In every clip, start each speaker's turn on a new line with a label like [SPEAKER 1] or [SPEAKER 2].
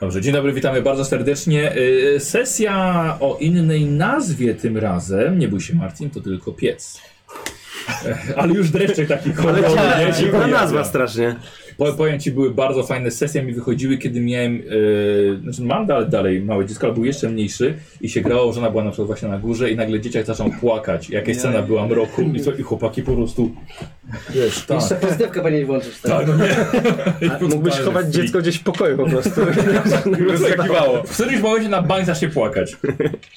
[SPEAKER 1] Dobrze, dzień dobry, witamy bardzo serdecznie. Y, Sesja o innej nazwie tym razem. Nie bój się Marcin, to tylko piec. Eh, Ale już dreszczek taki
[SPEAKER 2] Ale
[SPEAKER 1] chorobowy,
[SPEAKER 2] cię-
[SPEAKER 1] nie?
[SPEAKER 2] cię- ta
[SPEAKER 1] Dziękuję.
[SPEAKER 2] nazwa strasznie.
[SPEAKER 1] Po- Powiem ci, były bardzo fajne sesje, mi wychodziły, kiedy miałem, e, znaczy mam dalej, dalej małe dziecko, ale był jeszcze mniejszy i się grało, żona była na przykład właśnie na górze i nagle dzieciak zaczął płakać, jakaś scena była mroku i, co, i chłopaki po prostu, wiesz, tak,
[SPEAKER 3] Jeszcze pozdrowkę powinien włączyć.
[SPEAKER 1] tak, no nie.
[SPEAKER 2] A Mógłbyś
[SPEAKER 1] Totalny
[SPEAKER 2] chować
[SPEAKER 1] freak.
[SPEAKER 2] dziecko gdzieś w pokoju po prostu.
[SPEAKER 1] Zakiwało. W którymś momencie na bank zacznie płakać.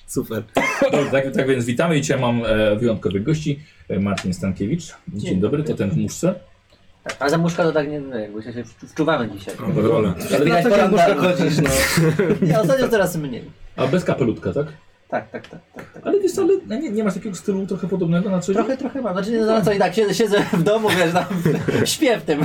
[SPEAKER 2] Super.
[SPEAKER 1] Dobrze, tak, tak więc witamy i dzisiaj mam e, wyjątkowych gości. E, Marcin Stankiewicz, dzień dobry, to ten w muszce.
[SPEAKER 3] A za muszka to tak nie wiem, jakby się wczu- wczuwamy dzisiaj.
[SPEAKER 1] Tak. Dobra.
[SPEAKER 3] Ale
[SPEAKER 4] Na
[SPEAKER 3] widać
[SPEAKER 4] co dzień muszka
[SPEAKER 3] porandarno.
[SPEAKER 4] chodzisz, no.
[SPEAKER 3] Ja ostatnio coraz mniej.
[SPEAKER 1] A bez kapelutka, tak?
[SPEAKER 3] Tak, tak, tak. tak, tak.
[SPEAKER 1] Ale wiesz, co, ale nie, nie masz takiego stylu trochę podobnego na co dzień?
[SPEAKER 3] Trochę, trochę mam. Znaczy, no, no co i tak, siedzę, siedzę w domu, wiesz, tam śpię w tym.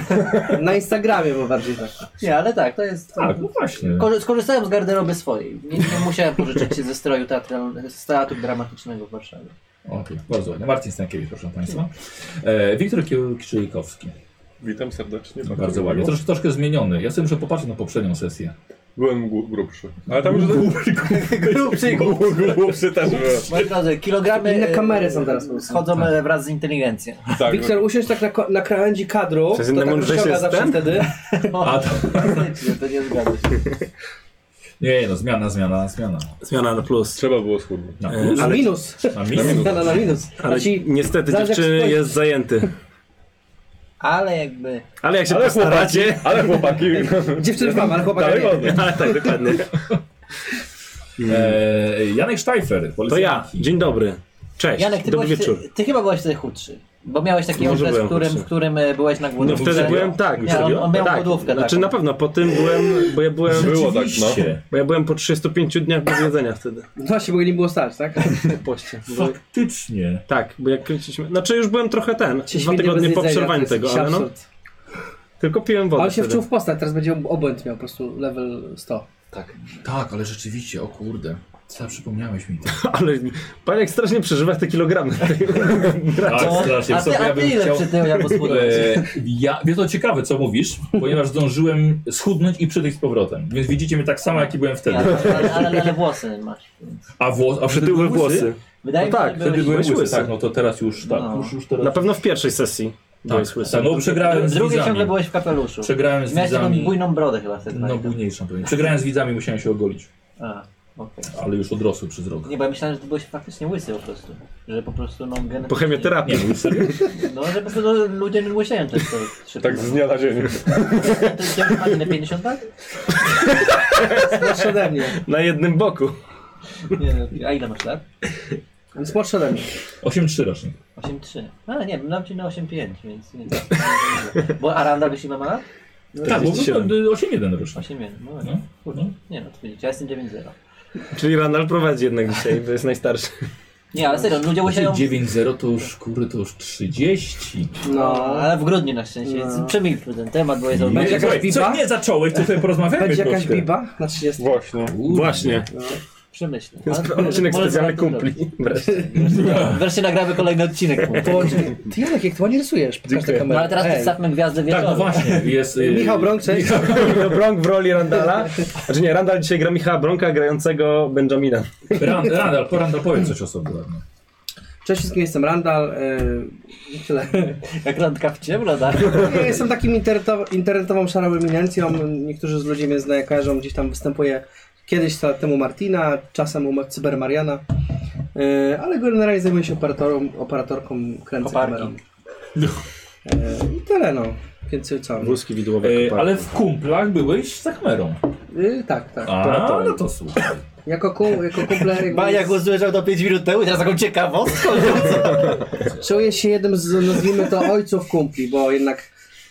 [SPEAKER 4] Na Instagramie bo bardziej tak.
[SPEAKER 3] Nie, ale tak, to jest...
[SPEAKER 1] Tak, no właśnie.
[SPEAKER 3] Korzy- Skorzystałem z garderoby swojej. Nie, nie musiałem pożyczyć się ze stroju teatralnego, z teatru dramatycznego w Warszawie.
[SPEAKER 1] Okej, bardzo ładnie. Marcin Stankiewicz, proszę Państwa. E, Wiktor Kiełczyjkowski.
[SPEAKER 5] Witam serdecznie.
[SPEAKER 1] Bardzo ładnie. Trosz, troszkę zmieniony. Ja sobie muszę popatrzeć na poprzednią sesję.
[SPEAKER 5] Byłem gru- grubszy. Ale tam już
[SPEAKER 3] Grubszy,
[SPEAKER 5] grubszy też byłem.
[SPEAKER 3] Moi drodzy, kilogramy...
[SPEAKER 4] Inne
[SPEAKER 3] e,
[SPEAKER 4] kamery są teraz po prostu.
[SPEAKER 3] Schodzą e, wraz z inteligencją.
[SPEAKER 5] Tak,
[SPEAKER 4] Wiktor, usiądź tak na, ko- na krawędzi kadru.
[SPEAKER 2] Przez inne
[SPEAKER 4] to tak
[SPEAKER 2] mądrze
[SPEAKER 4] wyciąga
[SPEAKER 2] się
[SPEAKER 4] zawsze
[SPEAKER 2] ten?
[SPEAKER 4] wtedy.
[SPEAKER 1] A to...
[SPEAKER 3] Faktycznie, to nie zgadza się.
[SPEAKER 1] Nie, no zmiana, zmiana, zmiana.
[SPEAKER 2] Zmiana na plus.
[SPEAKER 5] trzeba było schudnąć.
[SPEAKER 1] Na
[SPEAKER 2] E,
[SPEAKER 1] plus,
[SPEAKER 4] Na
[SPEAKER 2] Ale-
[SPEAKER 4] minus.
[SPEAKER 1] na minus.
[SPEAKER 4] Na, na, na minus.
[SPEAKER 2] Ale
[SPEAKER 4] Znaczy,
[SPEAKER 2] niestety
[SPEAKER 4] Zależy, jak
[SPEAKER 2] dziewczyny
[SPEAKER 4] spojrzy-
[SPEAKER 2] jest zajęty.
[SPEAKER 3] Ale jakby...
[SPEAKER 2] Ale jak się postaracie...
[SPEAKER 5] ale chłopaki.
[SPEAKER 4] dziewczyny mam, ale chłopaka
[SPEAKER 5] Dalej
[SPEAKER 4] nie.
[SPEAKER 5] wolno.
[SPEAKER 2] Ale tak, dokładnie.
[SPEAKER 1] E, Janek Sztajfer,
[SPEAKER 2] To ja.
[SPEAKER 1] policjant.
[SPEAKER 2] Dzień dobry. Cześć.
[SPEAKER 3] Janek, ty,
[SPEAKER 2] Dobry
[SPEAKER 3] byłeś,
[SPEAKER 2] wieczór.
[SPEAKER 3] ty, ty chyba byłeś wtedy chudszy. Bo miałeś taki
[SPEAKER 2] Może
[SPEAKER 3] okres, w
[SPEAKER 2] byłem
[SPEAKER 3] którym,
[SPEAKER 2] chudszy.
[SPEAKER 3] w którym e, byłeś na
[SPEAKER 2] No
[SPEAKER 3] głodówce.
[SPEAKER 2] wtedy
[SPEAKER 1] serio?
[SPEAKER 2] byłem tak.
[SPEAKER 3] Nie, on, on miał
[SPEAKER 2] tak.
[SPEAKER 3] głodówkę
[SPEAKER 2] Znaczy
[SPEAKER 3] taką.
[SPEAKER 2] na pewno po tym byłem, bo ja byłem,
[SPEAKER 5] Było tak, no.
[SPEAKER 1] Oczywiście.
[SPEAKER 2] bo ja byłem po 35 dniach bez jedzenia wtedy.
[SPEAKER 4] No Właśnie, bo nie było stać, tak?
[SPEAKER 2] Po poście. Bo,
[SPEAKER 1] Faktycznie.
[SPEAKER 2] tak, bo jak kręciliśmy. Znaczy już byłem trochę ten.
[SPEAKER 4] Cię
[SPEAKER 2] Dwa
[SPEAKER 4] świetnie
[SPEAKER 2] tygodnie
[SPEAKER 4] bez
[SPEAKER 2] po
[SPEAKER 4] jedzenia,
[SPEAKER 2] przerwaniu
[SPEAKER 4] to jest
[SPEAKER 2] tego,
[SPEAKER 4] jakiś
[SPEAKER 2] ale no.
[SPEAKER 4] absurd.
[SPEAKER 2] Tylko piłem wodę.
[SPEAKER 4] Ale się
[SPEAKER 2] wtedy.
[SPEAKER 4] wczuł w postać, teraz będzie obłęd miał po prostu level 100.
[SPEAKER 1] Tak, ale rzeczywiście, o kurde. Co, przypomniałeś mi to.
[SPEAKER 2] Ale pan jak strasznie przeżywa te kilogramy.
[SPEAKER 1] Tak,
[SPEAKER 3] No,
[SPEAKER 1] strasznie.
[SPEAKER 3] a
[SPEAKER 1] Co,
[SPEAKER 3] ty,
[SPEAKER 1] ja
[SPEAKER 3] a ty
[SPEAKER 1] bym
[SPEAKER 3] ile
[SPEAKER 1] chciał...
[SPEAKER 3] przytyłeś albo schudłeś?
[SPEAKER 1] E, ja, wiesz, to ciekawe, co mówisz, ponieważ zdążyłem schudnąć i przytyć z powrotem. Więc widzicie mnie tak samo, jak i byłem wtedy.
[SPEAKER 3] Nie, Ale, ale, ale włosy masz. więc-
[SPEAKER 1] A, wło, a wtedy
[SPEAKER 2] Przytyły
[SPEAKER 1] były
[SPEAKER 2] włosy.
[SPEAKER 3] Wydaje
[SPEAKER 2] No tak,
[SPEAKER 3] mi się,
[SPEAKER 2] wtedy
[SPEAKER 3] że
[SPEAKER 1] Wtedy byłem
[SPEAKER 3] byłeś...
[SPEAKER 1] łysy,
[SPEAKER 2] Byłeś łysy.
[SPEAKER 1] tak, no to teraz już, tak,
[SPEAKER 3] No.
[SPEAKER 1] już, już teraz.
[SPEAKER 2] Na pewno w pierwszej sesji byłeś
[SPEAKER 1] tak,
[SPEAKER 2] łysy.
[SPEAKER 1] tak, no przegrałem z
[SPEAKER 3] W drugiej
[SPEAKER 1] widzami.
[SPEAKER 3] ciągle byłeś w kapeluszu.
[SPEAKER 1] Przegrałem z
[SPEAKER 3] Miałeś taką
[SPEAKER 1] widzami.
[SPEAKER 3] bujną brodę chyba wtedy.
[SPEAKER 1] No
[SPEAKER 3] pamiętam.
[SPEAKER 1] bujniejszą pewnie. Przegrałem z widzami, musiałem się ogolić.
[SPEAKER 3] A, okej.
[SPEAKER 1] Ale już odrosły przez rok.
[SPEAKER 3] Nie, bo ja myślałem, że ty byłeś faktycznie łysy po prostu. Że po prostu no genetycznie...
[SPEAKER 2] Po chemioterapii.
[SPEAKER 1] Nie, no już serio?
[SPEAKER 3] No, że po prostu no, ludzie nie łysieją też.
[SPEAKER 5] Tak z dnia na dzień.
[SPEAKER 3] Ty ty masz ile, 50 lat?
[SPEAKER 4] Młodszy ode mnie.
[SPEAKER 2] Na jednym boku.
[SPEAKER 3] Nie, no, a ile masz lat?
[SPEAKER 4] On jest młodszy ode mnie.
[SPEAKER 1] 8-3 rocznik.
[SPEAKER 3] 8,3. A nie, mam ci na 8,5, więc nie wiem. Bo Aranda byś ile ma lat?
[SPEAKER 1] Tak, bo
[SPEAKER 2] 47.
[SPEAKER 1] był 8-1 rocznik.
[SPEAKER 3] 8,1. No,
[SPEAKER 1] No,
[SPEAKER 3] właśnie.
[SPEAKER 1] no.
[SPEAKER 3] Nie no, to widzicie, ja jestem 9,0.
[SPEAKER 2] Czyli Randall prowadzi jednak dzisiaj, bo jest najstarszy.
[SPEAKER 3] Nie, ale serio, ludzie
[SPEAKER 1] Znaczy
[SPEAKER 3] łysiają...
[SPEAKER 1] 9-0 to już, kurde, to już 30.
[SPEAKER 4] No.
[SPEAKER 3] No, ale w grudniu na szczęście, więc
[SPEAKER 4] No.
[SPEAKER 3] przemilczmy ten temat, bo jest on
[SPEAKER 4] Będzie jakaś
[SPEAKER 1] Słuchaj, co
[SPEAKER 4] biba?
[SPEAKER 1] nie zacząłeś, to sobie porozmawiamy
[SPEAKER 4] Będzie jakaś
[SPEAKER 1] troszkę.
[SPEAKER 4] biba na 30.
[SPEAKER 5] Właśnie.
[SPEAKER 1] Kurde.
[SPEAKER 2] Właśnie.
[SPEAKER 3] przemyślny.
[SPEAKER 2] Jest odcinek specjalny kumpli. Wreszcie.
[SPEAKER 3] Wreszcie nagramy kolejny odcinek.
[SPEAKER 4] Połączenie. Ty Janek, jak ty ładnie rysujesz, pokaż tę kamerę.
[SPEAKER 3] No ale teraz
[SPEAKER 4] Ej.
[SPEAKER 3] przedstawmy gwiazdę
[SPEAKER 1] Tak,
[SPEAKER 3] wieczoru.
[SPEAKER 1] no właśnie, jest... y,
[SPEAKER 4] Michał Brąk, cześć.
[SPEAKER 2] Michał Bronk w roli Randala. Znaczy nie, Randall dzisiaj gra Michała Bronka grającego Benjamina.
[SPEAKER 1] Rand, Randall, po- Randall, powiedz coś o sobie ładnie.
[SPEAKER 4] Cześć wszystkim, jestem Randall. Yy, tyle.
[SPEAKER 3] Jak randka w ciemno, tak?
[SPEAKER 4] Ja jestem takim internetow- internetową szarą eminencją. Niektórzy z ludzi mnie znają, kojarzą, gdzieś tam występuje kiedyś lat temu Martina, czasem u Cyber Mariana. Yy, ale generalnie zajmuję się operatorą, operatorką kręcę
[SPEAKER 3] Koparki.
[SPEAKER 4] kamerą. Yy, I tyle no. Więc co?
[SPEAKER 2] Wózki widłowe.
[SPEAKER 1] E,
[SPEAKER 2] kopalki.
[SPEAKER 1] ale w kumplach byłeś za kamerą.
[SPEAKER 4] Yy, tak, tak.
[SPEAKER 1] A, no to słuchaj.
[SPEAKER 4] Jako, kum, jako kumple jakby
[SPEAKER 3] Baniak usłyszał to 5 minut temu i teraz taką ciekawostką. że co?
[SPEAKER 4] czuję się jednym z, nazwijmy to, ojców kumpli, bo jednak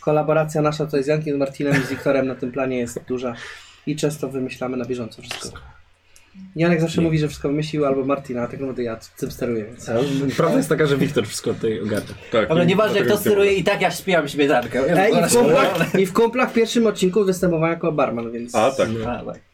[SPEAKER 4] kolaboracja nasza tutaj z Jankiem, Martinem i z Wiktorem na tym planie jest duża i często wymyślamy na bieżąco wszystko. Janek zawsze mówi, że wszystko wymyślił albo Martina, a tak naprawdę ja tym steruję. Więc.
[SPEAKER 2] Prawda jest taka, że Wiktor wszystko tutaj ogarnia.
[SPEAKER 5] Tak.
[SPEAKER 3] Dobra, nieważne kto
[SPEAKER 5] dlatego
[SPEAKER 3] steruje i tak ja śpiewam śmietankę.
[SPEAKER 4] E, i, w
[SPEAKER 3] Zaraz-
[SPEAKER 1] No.
[SPEAKER 4] kumplach, I w kumplach w pierwszym odcinku występowałem jako barman, więc
[SPEAKER 5] A, tak.
[SPEAKER 3] A, tak.
[SPEAKER 5] faktycznie.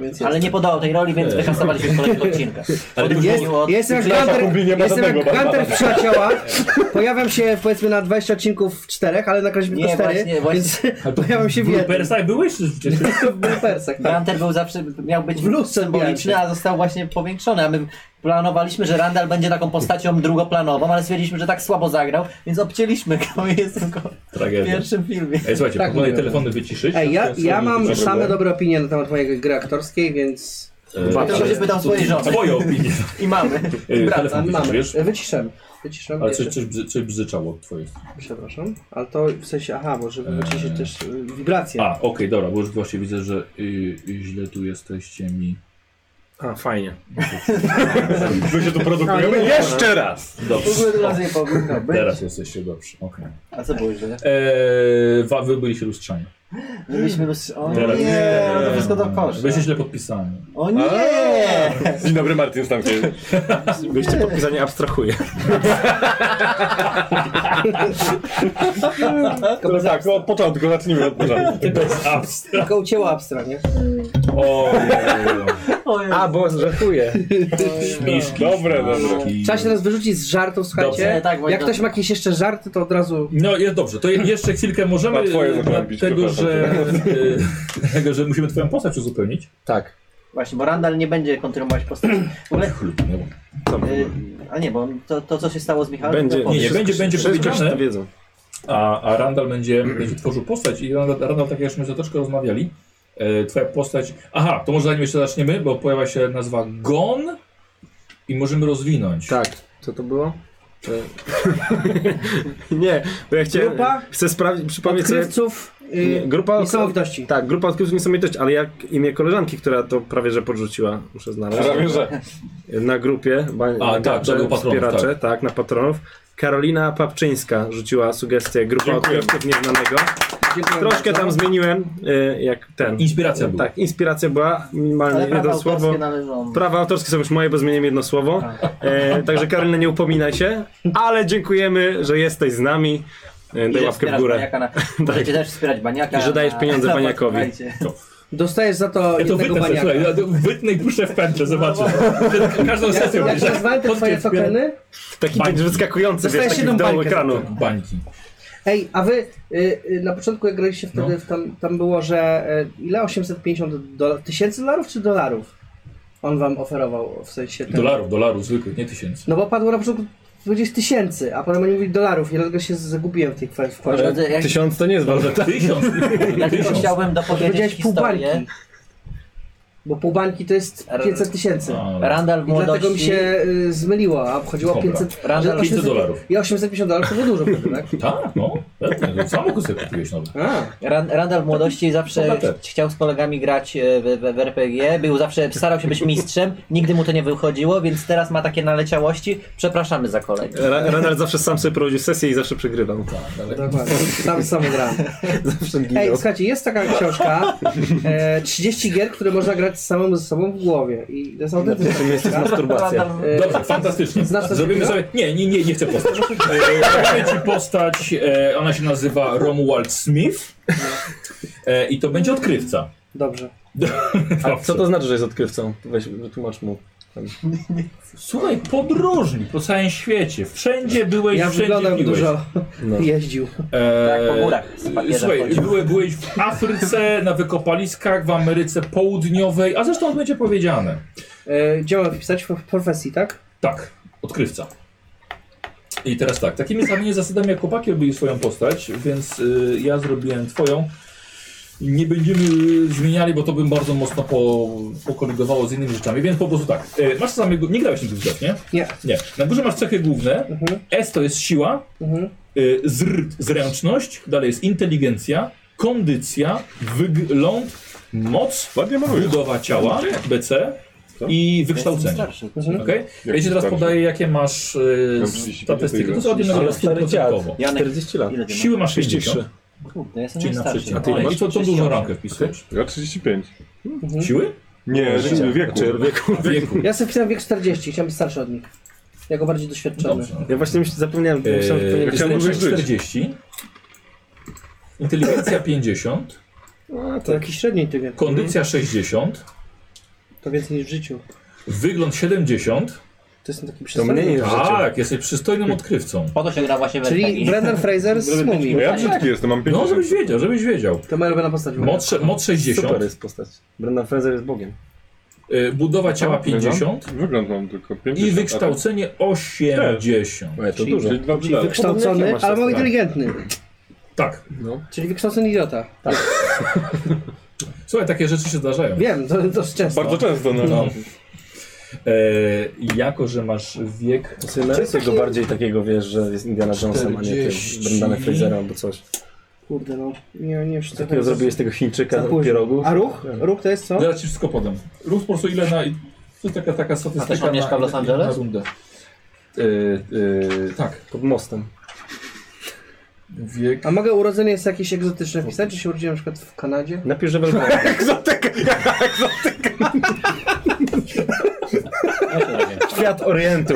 [SPEAKER 4] Więc
[SPEAKER 3] Ale nie podał tej roli, więc wykasowaliśmy z kolejnego odcinka.
[SPEAKER 1] Ale
[SPEAKER 3] Odróżnieniu
[SPEAKER 4] Jest,
[SPEAKER 3] od
[SPEAKER 4] jestem jak
[SPEAKER 3] Flasha
[SPEAKER 5] Kubi nie
[SPEAKER 4] Gunter,
[SPEAKER 5] ma
[SPEAKER 4] jestem
[SPEAKER 5] żadnego
[SPEAKER 4] jak
[SPEAKER 5] Batmana.
[SPEAKER 4] Gunter w przyjaciołach. Pojawiam się powiedzmy na 20 odcinków w czterech, ale nagraliśmy tylko
[SPEAKER 3] Nie,
[SPEAKER 4] cztery,
[SPEAKER 3] właśnie, właśnie.
[SPEAKER 4] no więc pojawiam się w
[SPEAKER 1] W
[SPEAKER 4] jednym.
[SPEAKER 1] Persach byłeś przecież.
[SPEAKER 4] To był persek, tak.
[SPEAKER 3] Ranter był zawsze, miał być
[SPEAKER 4] W lustrze
[SPEAKER 3] symboliczny,
[SPEAKER 4] bijał
[SPEAKER 3] a został właśnie powiększony, a my planowaliśmy, że Randall będzie taką postacią drugoplanową, ale stwierdziliśmy, że tak słabo zagrał, więc obcięliśmy go i jest tylko w
[SPEAKER 1] Tragedia.
[SPEAKER 3] pierwszym filmie.
[SPEAKER 1] Ej, słuchajcie,
[SPEAKER 4] Tak
[SPEAKER 1] tak, proponuję
[SPEAKER 4] mówiłem.
[SPEAKER 1] telefony wyciszyć.
[SPEAKER 4] Ej, ja, ja mam
[SPEAKER 5] Dobra,
[SPEAKER 4] same
[SPEAKER 5] dobra.
[SPEAKER 4] dobre opinie na temat mojej gry aktorskiej, więc
[SPEAKER 1] E,
[SPEAKER 2] Dwa,
[SPEAKER 1] ale-
[SPEAKER 3] Tylko się pytał swojej żony
[SPEAKER 1] Twoje opinie.
[SPEAKER 3] i mamy.
[SPEAKER 1] E,
[SPEAKER 3] Brat.
[SPEAKER 1] Telefon
[SPEAKER 4] mamy. Yy,
[SPEAKER 1] wyciszysz.
[SPEAKER 4] Wyciszem. Wyciszem.
[SPEAKER 1] Ale czy,
[SPEAKER 4] jeszcze.
[SPEAKER 1] czy, czy, czy brzyczało od twojej strony?
[SPEAKER 4] Przepraszam. Ale to w sensie, aha, bo żeby wyciszyć też y, wibracje.
[SPEAKER 1] A, okej, dobra, bo już właśnie widzę, że y, y, źle tu jesteście mi.
[SPEAKER 2] A, fajnie.
[SPEAKER 5] My się tu produkujemy
[SPEAKER 1] No,
[SPEAKER 4] A, nie,
[SPEAKER 5] jeszcze raz!
[SPEAKER 3] W ogóle
[SPEAKER 1] Dobrze.
[SPEAKER 3] to razy nie powinno być.
[SPEAKER 1] Teraz jesteście dobrze, okej.
[SPEAKER 3] A co było źle?
[SPEAKER 1] Eee, wa- wy byliście lustrzani.
[SPEAKER 3] My byliśmy... bez- O
[SPEAKER 1] Teraz-
[SPEAKER 3] nie, no to wszystko do
[SPEAKER 1] Byliście
[SPEAKER 3] kosza.
[SPEAKER 1] źle podpisani.
[SPEAKER 3] O nie!
[SPEAKER 5] Dzień dobry, Martin Stankiewicz.
[SPEAKER 2] Wyjście podpisanie abstrahuje.
[SPEAKER 5] No tak, od początku, zacznijmy od początku.
[SPEAKER 1] Bez abs.
[SPEAKER 4] Tylko ucięło abstra, nie?
[SPEAKER 3] Ojej.
[SPEAKER 2] A, bo żartuje.
[SPEAKER 1] Miszki.
[SPEAKER 5] Dobre,
[SPEAKER 1] No.
[SPEAKER 5] dobre.
[SPEAKER 4] Trzeba się teraz wyrzucić z żartów, słuchajcie.
[SPEAKER 3] Dobrze, tak, Wojtek.
[SPEAKER 4] Jak ktoś ma jakieś jeszcze żarty, to od razu...
[SPEAKER 1] No jest dobrze, to je, jeszcze chwilkę możemy,
[SPEAKER 5] Na twoje
[SPEAKER 1] e,
[SPEAKER 5] zagłębić,
[SPEAKER 1] dlatego
[SPEAKER 5] przepraszam.
[SPEAKER 1] że, e, dlatego, że musimy twoją postać uzupełnić.
[SPEAKER 2] Tak.
[SPEAKER 3] Właśnie, bo Randall nie będzie kontynuować postaci. W ogóle,
[SPEAKER 1] Chlub, nie,
[SPEAKER 3] y, a nie, bo on- to, to co się stało z Michałem...
[SPEAKER 2] Będzie.
[SPEAKER 3] to powiem.
[SPEAKER 1] nie, będzie- będzie
[SPEAKER 2] Wszyscy
[SPEAKER 1] powiedziane.
[SPEAKER 2] wiedzą.
[SPEAKER 1] A, a Randall będzie, będzie tworzył postać i Randall, Randall tak jak już my za troszkę rozmawiali, e, twoja postać... Aha, to może zanim jeszcze zaczniemy, bo pojawia się nazwa Gon i możemy rozwinąć.
[SPEAKER 2] Tak. Co to było? nie, bo ja chciałem...
[SPEAKER 4] Grupa?
[SPEAKER 2] Chcę sprawdzić, przypomnieć sobie...
[SPEAKER 4] Odkrywców
[SPEAKER 2] Nie,
[SPEAKER 4] y,
[SPEAKER 2] Grupa
[SPEAKER 4] niesamowitości.
[SPEAKER 2] Tak, grupa odkrywców niesamowitości, ale jak imię koleżanki, która to prawie że podrzuciła, muszę znaleźć.
[SPEAKER 5] Prawie, że.
[SPEAKER 2] Na grupie, ba- na
[SPEAKER 1] tak, to był patronów,
[SPEAKER 2] wspieracze, tak. na patronów. Karolina Papczyńska rzuciła sugestię grupa
[SPEAKER 5] Dziękujemy.
[SPEAKER 2] odkrywców nieznanego.
[SPEAKER 4] Dziękuję
[SPEAKER 2] Troszkę
[SPEAKER 4] bardzo.
[SPEAKER 2] tam zmieniłem, y, jak ten.
[SPEAKER 1] Inspiracja była.
[SPEAKER 2] Tak, inspiracja była, minimalnie
[SPEAKER 3] Ale prawa
[SPEAKER 2] jedno słowo.
[SPEAKER 3] autorskie należą...
[SPEAKER 2] Prawa autorskie są już moje, bo zmieniłem jedno słowo. E, także Karolina, nie upominaj się, ale dziękujemy, że jesteś z nami. E,
[SPEAKER 3] I
[SPEAKER 2] daj
[SPEAKER 3] że
[SPEAKER 2] łapkę w
[SPEAKER 3] wspierasz
[SPEAKER 2] górę.
[SPEAKER 3] Baniaka na, Możecie też wspierać baniaka.
[SPEAKER 2] I że dajesz
[SPEAKER 3] na-
[SPEAKER 2] pieniądze
[SPEAKER 3] na
[SPEAKER 2] Baniakowi.
[SPEAKER 3] Patronite.
[SPEAKER 4] Dostajesz za to
[SPEAKER 1] Ja to
[SPEAKER 4] jednego
[SPEAKER 1] wytnę,
[SPEAKER 4] baniaka. No,
[SPEAKER 1] słuchaj, ja to wytnę i puszczę w pętlę, zobaczę. Ten- Każdą sesję
[SPEAKER 4] Jak
[SPEAKER 1] będzie.
[SPEAKER 4] nazwałem te twoje
[SPEAKER 1] Podpię-
[SPEAKER 4] tokeny?
[SPEAKER 2] Taki
[SPEAKER 1] Bańki.
[SPEAKER 2] być wyskakujący,
[SPEAKER 4] Dostajesz
[SPEAKER 2] wiesz, taki w
[SPEAKER 4] jedną
[SPEAKER 2] dołu
[SPEAKER 4] bańkę za
[SPEAKER 2] ekranu.
[SPEAKER 1] No, Bańki.
[SPEAKER 4] Ej, a wy y, y, na początku jak graliście wtedy,
[SPEAKER 1] No.
[SPEAKER 4] w tam, tam było, że y, ile? 850 dola- tysięcy dolarów czy dolarów? On wam oferował w sensie ten...
[SPEAKER 1] Dolarów, dolarów zwykłych, nie tysięcy.
[SPEAKER 4] No bo padło na początku powiedzieć tysięcy, a potem oni mówili dolarów i dlatego się zagubiłem w tej kwestii. w kwestii.
[SPEAKER 3] Drodzy, Ja,
[SPEAKER 2] Tysiąc to nie jest bardzo.
[SPEAKER 1] Tysiąc.
[SPEAKER 3] ja tylko
[SPEAKER 1] Tysiąc.
[SPEAKER 3] chciałbym dopowiedzieć
[SPEAKER 4] Powiedziałeś pół
[SPEAKER 3] historię.
[SPEAKER 4] bańki. Bo pół bańki to jest 500 tysięcy.
[SPEAKER 1] A,
[SPEAKER 3] Randall w
[SPEAKER 4] I dlatego mi
[SPEAKER 3] młodości...
[SPEAKER 4] się y, zmyliło, a chodziło o
[SPEAKER 1] Dobra.
[SPEAKER 4] 500...
[SPEAKER 3] Randall
[SPEAKER 4] że
[SPEAKER 1] 500 dolarów.
[SPEAKER 4] I 850 dolarów to było dużo wtedy, tak?
[SPEAKER 1] Tak, no. Pewnie, to samochód sobie kupiłeś nowy.
[SPEAKER 4] A,
[SPEAKER 3] Ran- Randall w młodości zawsze
[SPEAKER 1] bohater.
[SPEAKER 3] ch- chciał z kolegami grać e, w, w, w RPG, był zawsze, starał się być mistrzem, nigdy mu to nie wychodziło, więc teraz ma takie naleciałości, przepraszamy za kolegę.
[SPEAKER 2] Ra- Renard zawsze sam sobie prowadził sesję i zawsze przegrywam.
[SPEAKER 4] dokładnie. Tam sam grałem.
[SPEAKER 2] Zawsze
[SPEAKER 4] Ej,
[SPEAKER 2] ginął.
[SPEAKER 4] słuchajcie, jest taka książka e, 30 gier, które można grać samemu ze sobą w głowie. I to jest autentyczna
[SPEAKER 2] Czym jest
[SPEAKER 4] książka.
[SPEAKER 2] masturbacja.
[SPEAKER 3] Randall-
[SPEAKER 4] E,
[SPEAKER 1] Dobrze, fantastycznie.
[SPEAKER 4] Znasz coś
[SPEAKER 1] Zrobimy sobie.
[SPEAKER 4] takiego?
[SPEAKER 1] Nie, nie, nie, nie chcę postać. Zrobimy ci postać. E, ona się nazywa Romuald Smith. E, I to będzie odkrywca.
[SPEAKER 4] Dobrze.
[SPEAKER 2] A co to znaczy, że jest odkrywcą? Weź, wytłumacz mu.
[SPEAKER 1] Słuchaj, podróżnik po całym świecie. Wszędzie byłeś,
[SPEAKER 4] Ja
[SPEAKER 1] wszędzie
[SPEAKER 4] wyglądam
[SPEAKER 1] byłeś.
[SPEAKER 4] dużo. Jeździł.
[SPEAKER 3] Tak, po górach z papierem
[SPEAKER 1] E, Słuchaj,
[SPEAKER 3] chodził.
[SPEAKER 1] były, byłeś w Afryce, na wykopaliskach, w Ameryce Południowej, a zresztą będzie powiedziane.
[SPEAKER 4] E, gdzie mam wpisać? W profesji, tak?
[SPEAKER 1] Tak, odkrywca. I teraz tak, takimi samymi zasadami jak chłopaki robili swoją postać, więc y, ja zrobiłem twoją. Nie będziemy y, zmieniali, bo to bym bardzo mocno po, pokorygowało z innymi rzeczami, więc po prostu tak. Y, masz samego, nie grałeś nigdy w grach, nie?
[SPEAKER 4] Nie.
[SPEAKER 1] Nie. Na górze masz cechy główne.
[SPEAKER 4] Mhm.
[SPEAKER 1] S to jest siła,
[SPEAKER 4] Mhm.
[SPEAKER 1] y, zr, zręczność, dalej jest inteligencja, kondycja, wygląd, moc,
[SPEAKER 5] Ładnie malujesz.
[SPEAKER 1] budowa ciała, BC
[SPEAKER 5] Co?
[SPEAKER 1] i
[SPEAKER 3] Jestem
[SPEAKER 1] wykształcenie.
[SPEAKER 3] starszy.
[SPEAKER 4] Mhm.
[SPEAKER 1] Okay? Ja ci teraz
[SPEAKER 5] starszy.
[SPEAKER 1] podaję, jakie masz y,
[SPEAKER 5] Mam 35,
[SPEAKER 1] statystyki. To są
[SPEAKER 4] No,
[SPEAKER 1] od jednego do
[SPEAKER 2] Ale stary dziad,
[SPEAKER 1] 100%.
[SPEAKER 3] Janek,
[SPEAKER 2] 40 lat.
[SPEAKER 3] Ile ty
[SPEAKER 1] Siły masz 60,
[SPEAKER 2] 33.
[SPEAKER 3] Kurde, ja jestem
[SPEAKER 1] czyli na
[SPEAKER 3] najstarszy.
[SPEAKER 1] przeciętnie.
[SPEAKER 2] A ty
[SPEAKER 1] A
[SPEAKER 2] ile?
[SPEAKER 1] I co, co dużą ramkę wpisujesz?
[SPEAKER 5] Ja 35.
[SPEAKER 1] Siły? No,
[SPEAKER 5] Nie, życie, wieku.
[SPEAKER 1] Znaczy-
[SPEAKER 2] Czy wieku.
[SPEAKER 1] Wieku.
[SPEAKER 4] Ja sobie wpisałem wiek 40, chciałem być starszy od nich. Jako bardziej doświadczony.
[SPEAKER 1] Dobrze.
[SPEAKER 2] Ja właśnie myśl, zapomniałem,
[SPEAKER 1] Eee,
[SPEAKER 2] myślałem, że
[SPEAKER 5] ja
[SPEAKER 2] powinien
[SPEAKER 5] chciałem
[SPEAKER 1] zręczność
[SPEAKER 5] dłużej żyć.
[SPEAKER 1] 40, inteligencja 50,
[SPEAKER 4] To jakiś średni tygiel.
[SPEAKER 1] kondycja 60,
[SPEAKER 4] To więcej niż w życiu.
[SPEAKER 1] Wygląd 70.
[SPEAKER 4] To jestem taki
[SPEAKER 2] To mniej
[SPEAKER 4] przystojny.
[SPEAKER 2] niż w życiu.
[SPEAKER 1] Tak, jesteś przystojnym odkrywcą. No,
[SPEAKER 3] Po to się gra właśnie w
[SPEAKER 4] Czyli
[SPEAKER 3] RPG.
[SPEAKER 4] Brendan Fraser z Mumii.
[SPEAKER 5] Bo ja brzydki jestem, mam
[SPEAKER 1] No,
[SPEAKER 5] 50.
[SPEAKER 1] żebyś wiedział, żebyś wiedział.
[SPEAKER 4] To moja ulubiona postać. w ogóle.
[SPEAKER 1] Mod, sze- mod 60,
[SPEAKER 2] Super jest postać. Brendan Fraser jest bogiem.
[SPEAKER 1] y, budowa ciała 50
[SPEAKER 5] Wygląd mam tylko 50.
[SPEAKER 1] i
[SPEAKER 5] a tak-
[SPEAKER 1] wykształcenie 80.
[SPEAKER 2] Ale to
[SPEAKER 4] Czyli-
[SPEAKER 2] dużo.
[SPEAKER 5] Czyli dwa tak.
[SPEAKER 4] Czyli
[SPEAKER 5] brzydały.
[SPEAKER 2] Podobnie
[SPEAKER 4] wykształcony,
[SPEAKER 2] jak ja
[SPEAKER 4] ale
[SPEAKER 2] masz
[SPEAKER 4] mało
[SPEAKER 2] czas, tak.
[SPEAKER 4] inteligentny.
[SPEAKER 1] Tak.
[SPEAKER 2] no,
[SPEAKER 4] Czyli wykształcony idiota.
[SPEAKER 1] Słuchaj, takie rzeczy się zdarzają.
[SPEAKER 4] Wiem, to dość często.
[SPEAKER 5] Bardzo często, no.
[SPEAKER 1] No. E, jako, że masz wiek
[SPEAKER 2] To sobie narysuj go bardziej takiego, wiesz, że jest Indiana Jonesem, a nie tym
[SPEAKER 1] 40.
[SPEAKER 2] Brendanem Fraserem albo coś.
[SPEAKER 4] Kurde, no. Nie, nie tak- wiem, czy to
[SPEAKER 2] Takiego zrobiłeś tego Chińczyka
[SPEAKER 4] za późno.
[SPEAKER 2] z pierogów.
[SPEAKER 4] A ruch? Ruch to jest co?
[SPEAKER 1] Zaraz no ci wszystko podam. Ruch po prostu ile na... To jest taka, taka statystyka
[SPEAKER 3] A też on mieszka
[SPEAKER 1] na-
[SPEAKER 3] w Los Angeles?
[SPEAKER 1] Na rundę. E, e, tak.
[SPEAKER 2] Pod mostem.
[SPEAKER 1] Wiek...
[SPEAKER 4] A mogę urodzenie jest jakieś egzotyczne wpisać? Czy się urodziłem na przykład w Kanadzie?
[SPEAKER 2] Napisz, że Belgrade. Świat Orientu.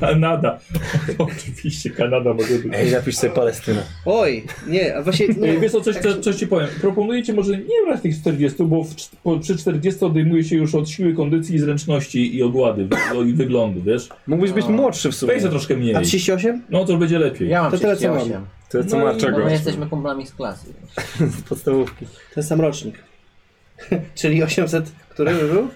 [SPEAKER 1] Kanada. Oczywiście Kanada może być.
[SPEAKER 2] Ej, napisz sobie Palestynę.
[SPEAKER 4] Oj, nie, a właśnie
[SPEAKER 1] Ej,
[SPEAKER 4] nie.
[SPEAKER 1] Wiesz co, coś, co- coś ci powiem. Proponuję ci może nie brać tych 40, bo w, cz- po, przy 40 odejmuje się już od siły, kondycji i zręczności i ogłady wy- i wyglądu, wiesz?
[SPEAKER 2] Mógłbyś
[SPEAKER 4] No.
[SPEAKER 2] być młodszy w sumie.
[SPEAKER 1] Weź za troszkę mniej.
[SPEAKER 4] A 38?
[SPEAKER 1] No to już będzie lepiej.
[SPEAKER 3] Ja mam
[SPEAKER 4] To tyle, co mam.
[SPEAKER 3] 38.
[SPEAKER 2] To jest co
[SPEAKER 5] No i-
[SPEAKER 2] masz
[SPEAKER 5] Czego?
[SPEAKER 3] No my jesteśmy kumplami z klasy.
[SPEAKER 2] z podstawówki.
[SPEAKER 4] To jest sam rocznik. Czyli 800, który by był?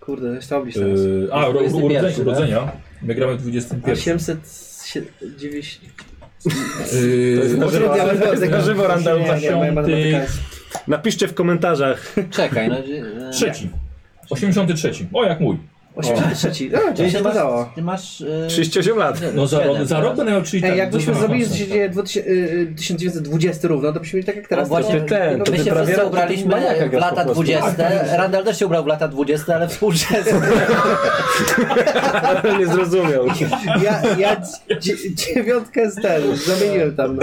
[SPEAKER 4] Kurde, jest to obliczone.
[SPEAKER 1] Yy, a, ro,
[SPEAKER 3] 21,
[SPEAKER 1] urodzenia,
[SPEAKER 3] tak?
[SPEAKER 1] urodzenia. My gramy w Yy, 21.
[SPEAKER 4] 890.
[SPEAKER 1] Yy,
[SPEAKER 2] na żywo.
[SPEAKER 1] może-
[SPEAKER 2] Na żywo random
[SPEAKER 4] Nie, nie, moja matematyka jest-
[SPEAKER 2] Napiszcie w komentarzach.
[SPEAKER 3] Czekaj, no... e,
[SPEAKER 1] Trzeci. 83. O, jak mój.
[SPEAKER 4] 83. No,
[SPEAKER 3] Czyli
[SPEAKER 4] gdzieś
[SPEAKER 3] ty
[SPEAKER 4] się
[SPEAKER 3] masz...
[SPEAKER 4] udało.
[SPEAKER 3] Ty masz... e,
[SPEAKER 2] 38 lat.
[SPEAKER 1] No za rok,
[SPEAKER 3] siedem
[SPEAKER 1] za rok
[SPEAKER 3] teraz.
[SPEAKER 1] będę miał czyli
[SPEAKER 4] Ej,
[SPEAKER 1] tak,
[SPEAKER 4] jakbyśmy
[SPEAKER 1] za-
[SPEAKER 4] zrobili,
[SPEAKER 1] za-
[SPEAKER 4] że się dzieje 2000, y, 1920 równo, to byśmy mieli tak jak teraz.
[SPEAKER 3] No właśnie,
[SPEAKER 4] tylko-
[SPEAKER 2] ten,
[SPEAKER 4] no,
[SPEAKER 2] to
[SPEAKER 4] my
[SPEAKER 3] My
[SPEAKER 4] się
[SPEAKER 3] się
[SPEAKER 2] prawie
[SPEAKER 4] wszyscy-
[SPEAKER 3] wszyscy
[SPEAKER 2] raczej
[SPEAKER 3] ubraliśmy
[SPEAKER 2] maniaka grasz
[SPEAKER 3] w
[SPEAKER 2] po
[SPEAKER 3] lata
[SPEAKER 2] prostu.
[SPEAKER 3] 20.
[SPEAKER 1] Tak.
[SPEAKER 3] Randall też się ubrał w lata 20, ale współczesne.
[SPEAKER 2] Nie zrozumiał.
[SPEAKER 4] Ja, ja dzi- dziewiątkę z ten, zamieniłem tam.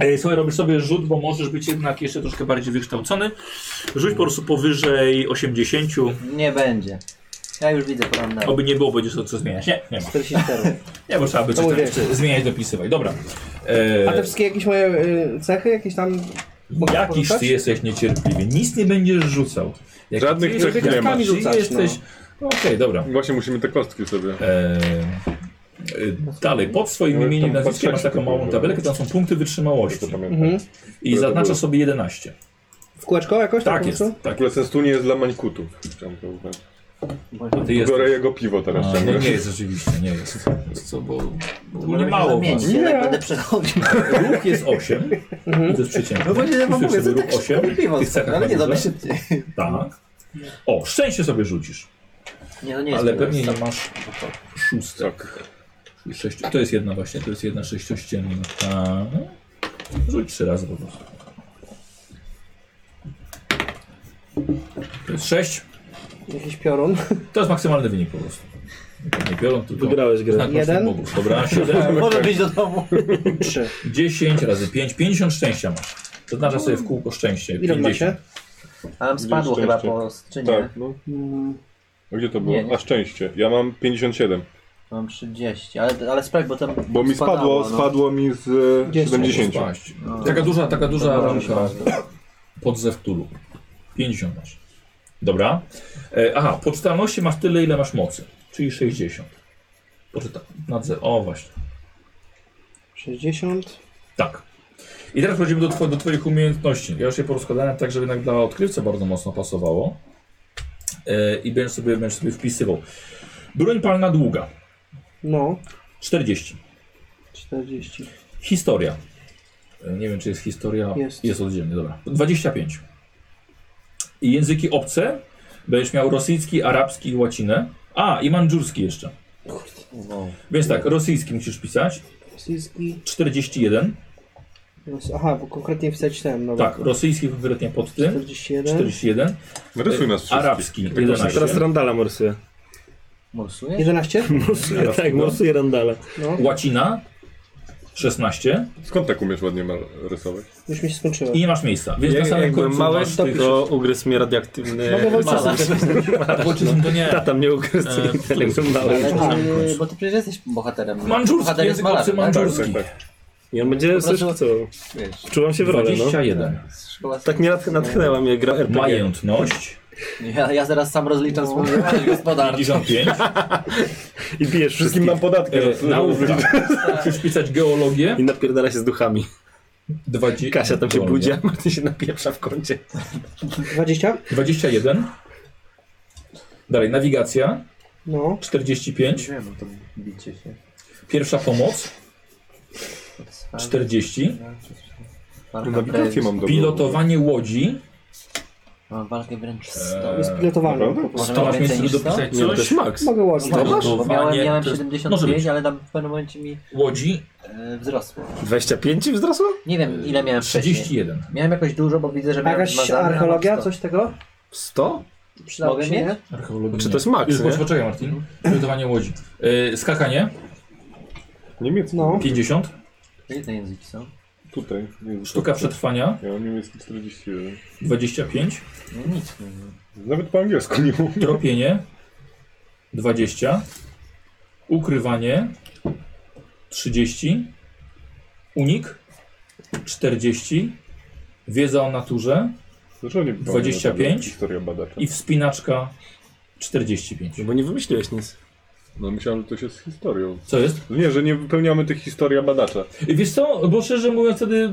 [SPEAKER 1] Ej, słuchaj, robisz sobie rzut, bo możesz być jednak jeszcze troszkę bardziej wykształcony. Rzuć po prostu powyżej 80.
[SPEAKER 3] Nie będzie. Ja już widzę po Randallu.
[SPEAKER 1] Oby nie było, będziesz to co zmieniać. Nie, nie ma.
[SPEAKER 4] 44.
[SPEAKER 1] Nie, bo trzeba by coś
[SPEAKER 4] To
[SPEAKER 1] tam
[SPEAKER 4] mówię.
[SPEAKER 1] jeszcze zmieniać, dopisywać. Dobra. E,
[SPEAKER 4] A te wszystkie jakieś moje y, cechy, jakieś tam... mogę
[SPEAKER 1] jakiś
[SPEAKER 4] porzucać?
[SPEAKER 1] ty jesteś niecierpliwy. Nic nie będziesz rzucał. Jak
[SPEAKER 5] Żadnych
[SPEAKER 1] ty
[SPEAKER 5] cech nie
[SPEAKER 1] jesteś-
[SPEAKER 5] ma.
[SPEAKER 1] ty
[SPEAKER 3] no.
[SPEAKER 4] Rzucać,
[SPEAKER 1] jesteś... no Okej, dobra.
[SPEAKER 5] Właśnie musimy te kostki sobie.
[SPEAKER 1] E, e, dalej, pod swoim
[SPEAKER 5] No,
[SPEAKER 1] imieniem i
[SPEAKER 5] tam
[SPEAKER 1] nazwiskiem masz
[SPEAKER 5] patrzę,
[SPEAKER 1] taką
[SPEAKER 5] to
[SPEAKER 1] małą
[SPEAKER 5] było.
[SPEAKER 1] tabelkę, tam są punkty wytrzymałości.
[SPEAKER 5] To pamiętam.
[SPEAKER 4] Mhm.
[SPEAKER 1] I
[SPEAKER 5] to
[SPEAKER 1] zaznaczasz
[SPEAKER 5] było.
[SPEAKER 1] sobie 11.
[SPEAKER 4] W kółeczko jakoś?
[SPEAKER 1] Tak
[SPEAKER 4] po
[SPEAKER 1] jest,
[SPEAKER 4] prostu?
[SPEAKER 5] W
[SPEAKER 1] tak
[SPEAKER 5] ogóle ten stół nie jest dla mańkutów. Chciałem to uznać.
[SPEAKER 1] Ty jesteś.
[SPEAKER 5] Biorę jego piwo teraz.
[SPEAKER 1] A,
[SPEAKER 5] ciągle.
[SPEAKER 1] nie, nie jest rzeczywiście, nie jest. Co, bo bo nie
[SPEAKER 3] Możemy
[SPEAKER 1] mało
[SPEAKER 3] się
[SPEAKER 1] was.
[SPEAKER 3] zamienić, ja tak będę przechodził.
[SPEAKER 1] Ruch jest 8. I to jest przeciętne.
[SPEAKER 3] No właśnie ja wam
[SPEAKER 1] Wpiszesz
[SPEAKER 3] mówię,
[SPEAKER 1] sobie
[SPEAKER 3] to
[SPEAKER 1] ruch
[SPEAKER 3] tak
[SPEAKER 1] 8.
[SPEAKER 3] szkodliwo,
[SPEAKER 1] Tych cechach
[SPEAKER 3] ale nie
[SPEAKER 1] na
[SPEAKER 3] damy
[SPEAKER 1] górze.
[SPEAKER 3] szybciej.
[SPEAKER 1] Tak. O, szczęście sobie rzucisz.
[SPEAKER 3] Nie, no nie jest
[SPEAKER 1] ale
[SPEAKER 3] tyle.
[SPEAKER 1] pewnie nie masz szóstek.
[SPEAKER 5] Tak.
[SPEAKER 1] Sześć... To jest jedna właśnie, to jest jedna sześciościenna. Tak. Rzuć trzy razy po prostu. To jest sześć.
[SPEAKER 4] Jakiś piorun.
[SPEAKER 1] To jest maksymalny wynik po prostu. Nie biorą, tylko
[SPEAKER 2] Wygrałeś grę.
[SPEAKER 1] znak mocnych
[SPEAKER 4] Jeden.
[SPEAKER 1] bogów. Dobra, siedem.
[SPEAKER 3] Może być do domu.
[SPEAKER 4] 3.
[SPEAKER 1] 10 razy 5, 50 szczęścia masz. Zaznaczasz sobie w kółko szczęście.
[SPEAKER 4] Ile
[SPEAKER 1] 50.
[SPEAKER 4] macie?
[SPEAKER 3] A nam spadło
[SPEAKER 5] Szczęście.
[SPEAKER 3] chyba po skrzynie.
[SPEAKER 5] Tak, no.
[SPEAKER 4] Mm,
[SPEAKER 5] A gdzie to
[SPEAKER 3] Nie,
[SPEAKER 5] było?
[SPEAKER 3] nie.
[SPEAKER 5] A szczęście. Ja mam 57.
[SPEAKER 3] Mam 30, ale, ale sprawdź, bo tam
[SPEAKER 5] Bo mi spadło,
[SPEAKER 3] spadało, no.
[SPEAKER 5] spadło mi z e,
[SPEAKER 4] Gdzieś
[SPEAKER 5] 70.
[SPEAKER 1] Spaść. Taka duża, taka duża
[SPEAKER 3] No,
[SPEAKER 1] ramka pod zewtulu. 50 masz. Dobra. E, aha, po czytalności masz tyle, ile masz mocy. Czyli 60. Poczyta. Nadze. O, właśnie.
[SPEAKER 4] 60.
[SPEAKER 1] Tak. I teraz przechodzimy do, two, do Twoich umiejętności. Ja już je porozkładałem tak, żeby jednak dla odkrywcy bardzo mocno pasowało. E, I będziesz sobie, będziesz sobie wpisywał. Broń palna długa.
[SPEAKER 4] No,
[SPEAKER 1] 40.
[SPEAKER 4] 40.
[SPEAKER 1] Historia. E, Nie wiem, czy jest historia.
[SPEAKER 4] Jest.
[SPEAKER 1] jest oddzielnie, dobra. 25. I języki obce. Będziesz miał rosyjski, arabski i łacinę. A, i mandżurski jeszcze.
[SPEAKER 3] No.
[SPEAKER 1] Więc tak, rosyjski musisz pisać.
[SPEAKER 4] Rosyjski.
[SPEAKER 1] 41.
[SPEAKER 4] Rosy- Aha, bo konkretnie wpisać ten, no.
[SPEAKER 1] Tak, rosyjski konkretnie pod tym.
[SPEAKER 4] 41.
[SPEAKER 1] 41.
[SPEAKER 5] No, Rysuj nas wszystkich. Tak,
[SPEAKER 1] Arabski.
[SPEAKER 5] Jak
[SPEAKER 1] 11.
[SPEAKER 2] Teraz Randala morsuje.
[SPEAKER 3] Morsujesz?
[SPEAKER 4] 11?
[SPEAKER 2] Morsuje, tak, morsuje Randala.
[SPEAKER 4] No,
[SPEAKER 1] Łacina. 16.
[SPEAKER 5] Skąd tak umiesz ładnie mal- rysować? Tak,
[SPEAKER 4] już mi się skończyło.
[SPEAKER 1] I nie masz miejsca. Więc na
[SPEAKER 2] Jak,
[SPEAKER 1] samym
[SPEAKER 2] jak byłem
[SPEAKER 1] końcu
[SPEAKER 2] mały,
[SPEAKER 1] masz tych...
[SPEAKER 2] to ugryzł mnie radioaktywny...
[SPEAKER 3] No
[SPEAKER 4] Mogę Wojciecha.
[SPEAKER 1] Łaciną to nie.
[SPEAKER 2] Tata mnie ugryzł.
[SPEAKER 1] E,
[SPEAKER 2] Jak byłem mały.
[SPEAKER 3] Ale
[SPEAKER 1] Na samym
[SPEAKER 3] ty,
[SPEAKER 1] końcu.
[SPEAKER 3] bo ty przecież jesteś bohaterem.
[SPEAKER 1] Mandżurski,
[SPEAKER 3] Bohater jest
[SPEAKER 1] język obcy
[SPEAKER 3] malarzem, tak?
[SPEAKER 1] mandżurski.
[SPEAKER 2] I on będzie
[SPEAKER 3] prostu-
[SPEAKER 2] słyszał co.
[SPEAKER 3] Wiesz,
[SPEAKER 2] Czułam się w rolę, no.
[SPEAKER 1] 21.
[SPEAKER 3] szkoła...
[SPEAKER 2] Tak nie natch- natchnęła mnie gra RPG.
[SPEAKER 1] Majętność.
[SPEAKER 3] Ja, ja zaraz sam rozliczam swoją
[SPEAKER 1] No.
[SPEAKER 3] działalność gospodarczą.
[SPEAKER 1] 55.
[SPEAKER 2] Tak I bijesz wszystkim nam podatki.
[SPEAKER 1] E, nauka. Musisz pisać geologię.
[SPEAKER 2] I napierdala się z duchami.
[SPEAKER 1] 20,
[SPEAKER 2] Kasia tam się
[SPEAKER 1] geologia.
[SPEAKER 2] budzi, a Martin się napieprza w kącie.
[SPEAKER 4] 20?
[SPEAKER 1] 21. Dalej, nawigacja.
[SPEAKER 4] No.
[SPEAKER 1] 45.
[SPEAKER 6] Nie wiem, to bicie się.
[SPEAKER 1] Pierwsza pomoc. 40.
[SPEAKER 3] Tak, Walka
[SPEAKER 5] Nawigację
[SPEAKER 3] wręcz.
[SPEAKER 5] mam dobrą.
[SPEAKER 1] Pilotowanie łodzi.
[SPEAKER 3] Mam walkę wręcz z
[SPEAKER 1] E,
[SPEAKER 4] Jest pilotowany.
[SPEAKER 5] Naprawdę?
[SPEAKER 4] po prostu.
[SPEAKER 3] Może
[SPEAKER 1] To masz
[SPEAKER 3] więcej
[SPEAKER 1] miejsce
[SPEAKER 3] niż
[SPEAKER 1] do
[SPEAKER 3] sto?
[SPEAKER 1] dopisania
[SPEAKER 2] Nie, no to
[SPEAKER 1] coś.
[SPEAKER 2] jest max.
[SPEAKER 4] Mogę łączyć.
[SPEAKER 1] Masz?
[SPEAKER 4] Dobra.
[SPEAKER 3] Bo miałem,
[SPEAKER 1] Panie,
[SPEAKER 3] miałem
[SPEAKER 1] to jest- może
[SPEAKER 3] 75,
[SPEAKER 1] być.
[SPEAKER 3] ale tam w pewnym momencie mi
[SPEAKER 1] Łodzi.
[SPEAKER 3] e, wzrosło.
[SPEAKER 2] 25 wzrosło?
[SPEAKER 3] Nie wiem ile miałem wcześniej.
[SPEAKER 1] 31.
[SPEAKER 3] Miałem jakoś dużo, bo widzę, że miałem
[SPEAKER 4] Jakaś
[SPEAKER 3] zmazane, a mam
[SPEAKER 4] archeologia,
[SPEAKER 3] 100.
[SPEAKER 4] coś tego?
[SPEAKER 2] 100?
[SPEAKER 4] Przydało
[SPEAKER 3] Mogę
[SPEAKER 4] się, nie?
[SPEAKER 3] mieć?
[SPEAKER 1] Archeologia.
[SPEAKER 2] Czy to jest max,
[SPEAKER 1] Już,
[SPEAKER 2] nie?
[SPEAKER 1] Poczekaj, Martin. Pilotowanie łodzi. E, skakanie.
[SPEAKER 5] Niemiecki.
[SPEAKER 4] No.
[SPEAKER 1] 50.
[SPEAKER 3] Jakie te języki są?
[SPEAKER 5] Tutaj. Nie,
[SPEAKER 1] Sztuka przetrwania.
[SPEAKER 5] Ja mam niemiecki 41.
[SPEAKER 1] 25.
[SPEAKER 3] No nic. nie wiem.
[SPEAKER 5] Nawet po angielsku nie mówię.
[SPEAKER 1] Tropienie 20, ukrywanie 30, unik 40, wiedza o naturze
[SPEAKER 5] Dlaczego nie było
[SPEAKER 1] 25?
[SPEAKER 5] Historia badacza.
[SPEAKER 1] i wspinaczka 45.
[SPEAKER 2] No bo nie wymyśliłeś nic.
[SPEAKER 5] No myślałem, że to się z historią.
[SPEAKER 1] Co jest?
[SPEAKER 5] Nie, że nie wypełniamy tych historia badacza.
[SPEAKER 1] Wiesz co, bo szczerze mówiąc wtedy,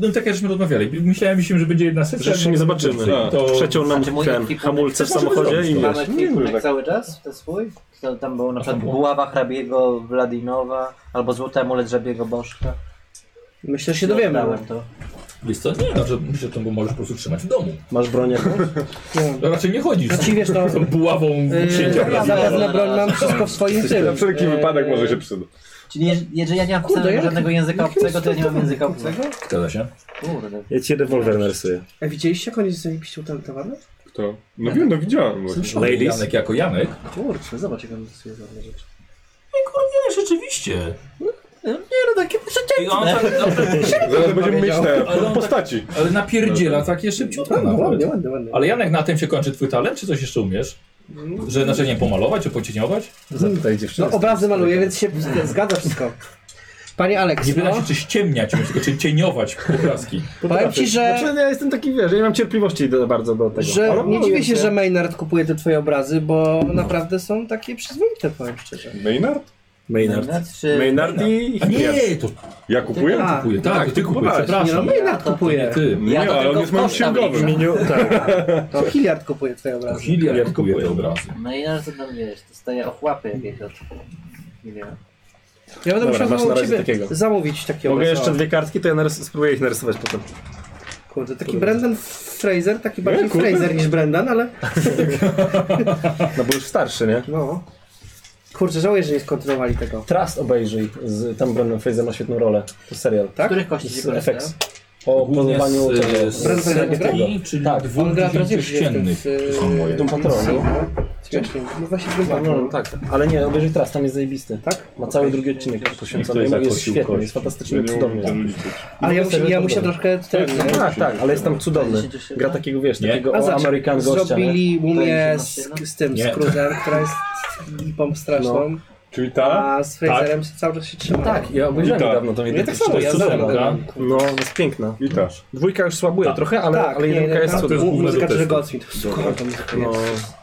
[SPEAKER 1] no tak jak żeśmy rozmawiali, myślałem, że będzie jedna sesja.
[SPEAKER 2] Rzeczy nie zobaczymy.
[SPEAKER 5] Tak.
[SPEAKER 1] To
[SPEAKER 2] Przeciął nam
[SPEAKER 3] Znaczy, mój
[SPEAKER 2] ten
[SPEAKER 3] ekwipunek-
[SPEAKER 2] hamulce w
[SPEAKER 5] Możemy
[SPEAKER 2] samochodzie
[SPEAKER 5] zrobić
[SPEAKER 2] i
[SPEAKER 5] to.
[SPEAKER 2] wiesz.
[SPEAKER 3] Mamy
[SPEAKER 5] nie wiem,
[SPEAKER 3] filmek
[SPEAKER 5] tak-
[SPEAKER 3] cały czas, ten swój? To, tam było na przykład
[SPEAKER 1] było?
[SPEAKER 3] buława hrabiego Wladinowa, albo złoty amulet żabiego bożka.
[SPEAKER 4] Myślę, że się dowiemy.
[SPEAKER 3] Oddałem to.
[SPEAKER 1] wiesz co, nie, no, że, że to możesz po prostu trzymać w domu.
[SPEAKER 2] Masz broń jakąś?
[SPEAKER 4] Nie wiem.
[SPEAKER 1] No, raczej nie chodzisz
[SPEAKER 4] Ci wiesz to.
[SPEAKER 1] z tą buławą
[SPEAKER 4] Yy,
[SPEAKER 1] księcia.
[SPEAKER 4] ja zapewne broń mam wszystko w swoim
[SPEAKER 5] Na
[SPEAKER 1] no,
[SPEAKER 4] tym.
[SPEAKER 5] wszelki
[SPEAKER 2] Eee.
[SPEAKER 4] Yy,
[SPEAKER 5] wypadek może się przyda.
[SPEAKER 3] Czyli je- jeżeli ja nie mam
[SPEAKER 4] Kurde,
[SPEAKER 3] wpisanego
[SPEAKER 4] jak-
[SPEAKER 3] żadnego języka
[SPEAKER 4] jak
[SPEAKER 3] obcego,
[SPEAKER 4] jest
[SPEAKER 3] to ja nie
[SPEAKER 4] to-
[SPEAKER 3] mam języka obcego?
[SPEAKER 1] Zgadza się.
[SPEAKER 3] Kurde.
[SPEAKER 2] Ja ci rewolwer narysuję.
[SPEAKER 4] A widzieliście, jak oni zajebiście utalentowany?
[SPEAKER 5] Kto? No wiem, no widziałem. właśnie.
[SPEAKER 2] Ladies?
[SPEAKER 1] Janek jako Janek. No
[SPEAKER 4] Kurczę, zobacz, jak on stosuje żadne rzeczy.
[SPEAKER 1] Nie, rzeczywiście.
[SPEAKER 3] Nie no, takie
[SPEAKER 1] I on tak,
[SPEAKER 5] Zaraz będziemy mieć te
[SPEAKER 1] Ale on-
[SPEAKER 5] postaci.
[SPEAKER 1] ale napierdziela takie szybciutko
[SPEAKER 4] Ładnie, ładnie,
[SPEAKER 1] nawet.
[SPEAKER 4] ładnie, ładnie.
[SPEAKER 1] No, Ale Janek, na tym się kończy twój talent, czy coś jeszcze umiesz? Że znaczy nie pomalować, czy pocieniować?
[SPEAKER 2] Zapytaj dziewczynę.
[SPEAKER 4] No obrazy maluję, więc się zgadza wszystko. Panie Aleks,
[SPEAKER 1] Nie pytam się,
[SPEAKER 4] no,
[SPEAKER 1] czy ściemniać, umiesz, tylko czy cieniować obrazki.
[SPEAKER 4] powiem ci, że...
[SPEAKER 2] Znaczy, ja jestem taki, wiesz, ja nie mam cierpliwości do, bardzo do tego.
[SPEAKER 4] Że
[SPEAKER 2] Ale
[SPEAKER 4] nie
[SPEAKER 2] no,
[SPEAKER 4] dziwię
[SPEAKER 2] więc
[SPEAKER 4] się,
[SPEAKER 2] ja-
[SPEAKER 4] że Maynard kupuje te twoje obrazy, bo naprawdę są takie przyzwoite, powiem szczerze.
[SPEAKER 5] Maynard?
[SPEAKER 2] Maynard.
[SPEAKER 3] Maynard czy...
[SPEAKER 2] Maynard i...
[SPEAKER 1] A nie, to
[SPEAKER 5] Ja kupuję?
[SPEAKER 4] A,
[SPEAKER 1] kupuję, tak,
[SPEAKER 2] Tak,
[SPEAKER 1] to
[SPEAKER 2] ty
[SPEAKER 1] ty kupujesz,
[SPEAKER 2] kupowałeś.
[SPEAKER 4] Nie no,
[SPEAKER 1] przepraszam.
[SPEAKER 4] Maynard
[SPEAKER 1] Nie
[SPEAKER 4] kupuje.
[SPEAKER 1] ty.
[SPEAKER 5] Nie,
[SPEAKER 3] Ja do
[SPEAKER 5] ale
[SPEAKER 3] tego
[SPEAKER 5] on jest moim
[SPEAKER 3] koszta
[SPEAKER 5] księgowym.
[SPEAKER 3] wliczę.
[SPEAKER 2] Miniu, tak.
[SPEAKER 4] To Hilliard kupuje twoje obrazy.
[SPEAKER 1] Hiliard
[SPEAKER 2] Hilliard
[SPEAKER 1] kupuje
[SPEAKER 2] kupuje.
[SPEAKER 1] te obrazy.
[SPEAKER 3] Maynard to tam wiesz, dostaje ochłapy jakiegoś. Nie wiem.
[SPEAKER 4] Ja będę
[SPEAKER 2] Dobra,
[SPEAKER 4] musiał
[SPEAKER 2] masz na
[SPEAKER 4] znowu u
[SPEAKER 2] razie
[SPEAKER 4] ciebie
[SPEAKER 2] takiego.
[SPEAKER 4] zamówić takie
[SPEAKER 2] Mogę
[SPEAKER 4] obrazy.
[SPEAKER 2] jeszcze dwie kartki, to ja narys- spróbuję ich narysować potem.
[SPEAKER 4] Kurde, taki Brendan Fraser, taki bardziej
[SPEAKER 5] kurde.
[SPEAKER 4] Fraser niż Brendan, ale
[SPEAKER 2] No bo już starszy, nie?
[SPEAKER 4] no. Kurczę, żałuję, że nie skontynuowali tego.
[SPEAKER 2] Trust obejrzyj, z, tam Brendan Fraser ma świetną rolę. To serial.
[SPEAKER 4] Tak?
[SPEAKER 3] Których kości się korzysta?
[SPEAKER 2] FX. O
[SPEAKER 1] Głównie
[SPEAKER 2] polowaniu
[SPEAKER 1] z,
[SPEAKER 2] tego-
[SPEAKER 1] z,
[SPEAKER 4] Brand
[SPEAKER 1] serii,
[SPEAKER 2] tego.
[SPEAKER 1] czyli
[SPEAKER 2] Tak,
[SPEAKER 1] dwóch dziesięciu ściennych. To są moje.
[SPEAKER 2] Doom Patrolu.
[SPEAKER 4] Wcześniej, e, no właśnie Doom
[SPEAKER 2] No, no,
[SPEAKER 4] Patrol.
[SPEAKER 2] tak, ale nie, obejrzyj Trust, tam jest zajebisty.
[SPEAKER 4] Tak?
[SPEAKER 2] Ma cały drugi odcinek poświęcony,
[SPEAKER 1] I ktoś
[SPEAKER 2] jest
[SPEAKER 1] zakosił
[SPEAKER 2] świetny,
[SPEAKER 1] kość.
[SPEAKER 2] jest
[SPEAKER 5] Ja
[SPEAKER 2] fantastycznie
[SPEAKER 5] nie umiem tego
[SPEAKER 2] cudowny.
[SPEAKER 5] liczyć.
[SPEAKER 4] Ale ja, muszę, ja
[SPEAKER 2] Cudowny.
[SPEAKER 4] muszę troszkę ten... nie?
[SPEAKER 2] Tak, tak, ale jest tam cudowny. Gra takiego, wiesz,
[SPEAKER 1] Nie?
[SPEAKER 2] takiego
[SPEAKER 4] A
[SPEAKER 2] o
[SPEAKER 4] zobacz,
[SPEAKER 2] American gościa, nie?
[SPEAKER 4] Zrobili mumię
[SPEAKER 3] To jest
[SPEAKER 4] z,
[SPEAKER 2] no.
[SPEAKER 3] jedna
[SPEAKER 4] z tym,
[SPEAKER 1] Nie.
[SPEAKER 4] z Cruzem, która jest lipą straszną,
[SPEAKER 5] Czyli ta?
[SPEAKER 4] a z Fraserem się cały czas się trzyma.
[SPEAKER 2] Tak, ja obejrzałem
[SPEAKER 5] I tak.
[SPEAKER 2] niedawno tą
[SPEAKER 4] Ja
[SPEAKER 2] jedynkę.
[SPEAKER 4] tak samo,
[SPEAKER 1] jest
[SPEAKER 4] ja znam.
[SPEAKER 1] cudowna gra.
[SPEAKER 2] No, jest piękna.
[SPEAKER 5] I tak. ta.
[SPEAKER 2] Dwójka już słabuje trochę, ale,
[SPEAKER 4] tak,
[SPEAKER 2] ale jedynka
[SPEAKER 4] nie,
[SPEAKER 2] jest
[SPEAKER 4] tam
[SPEAKER 1] cudowna.
[SPEAKER 2] cudowna.
[SPEAKER 4] mu- Muzyka
[SPEAKER 1] To jest
[SPEAKER 4] Jerzego Gottfried. Skoro to muzyka
[SPEAKER 2] No,
[SPEAKER 4] jest.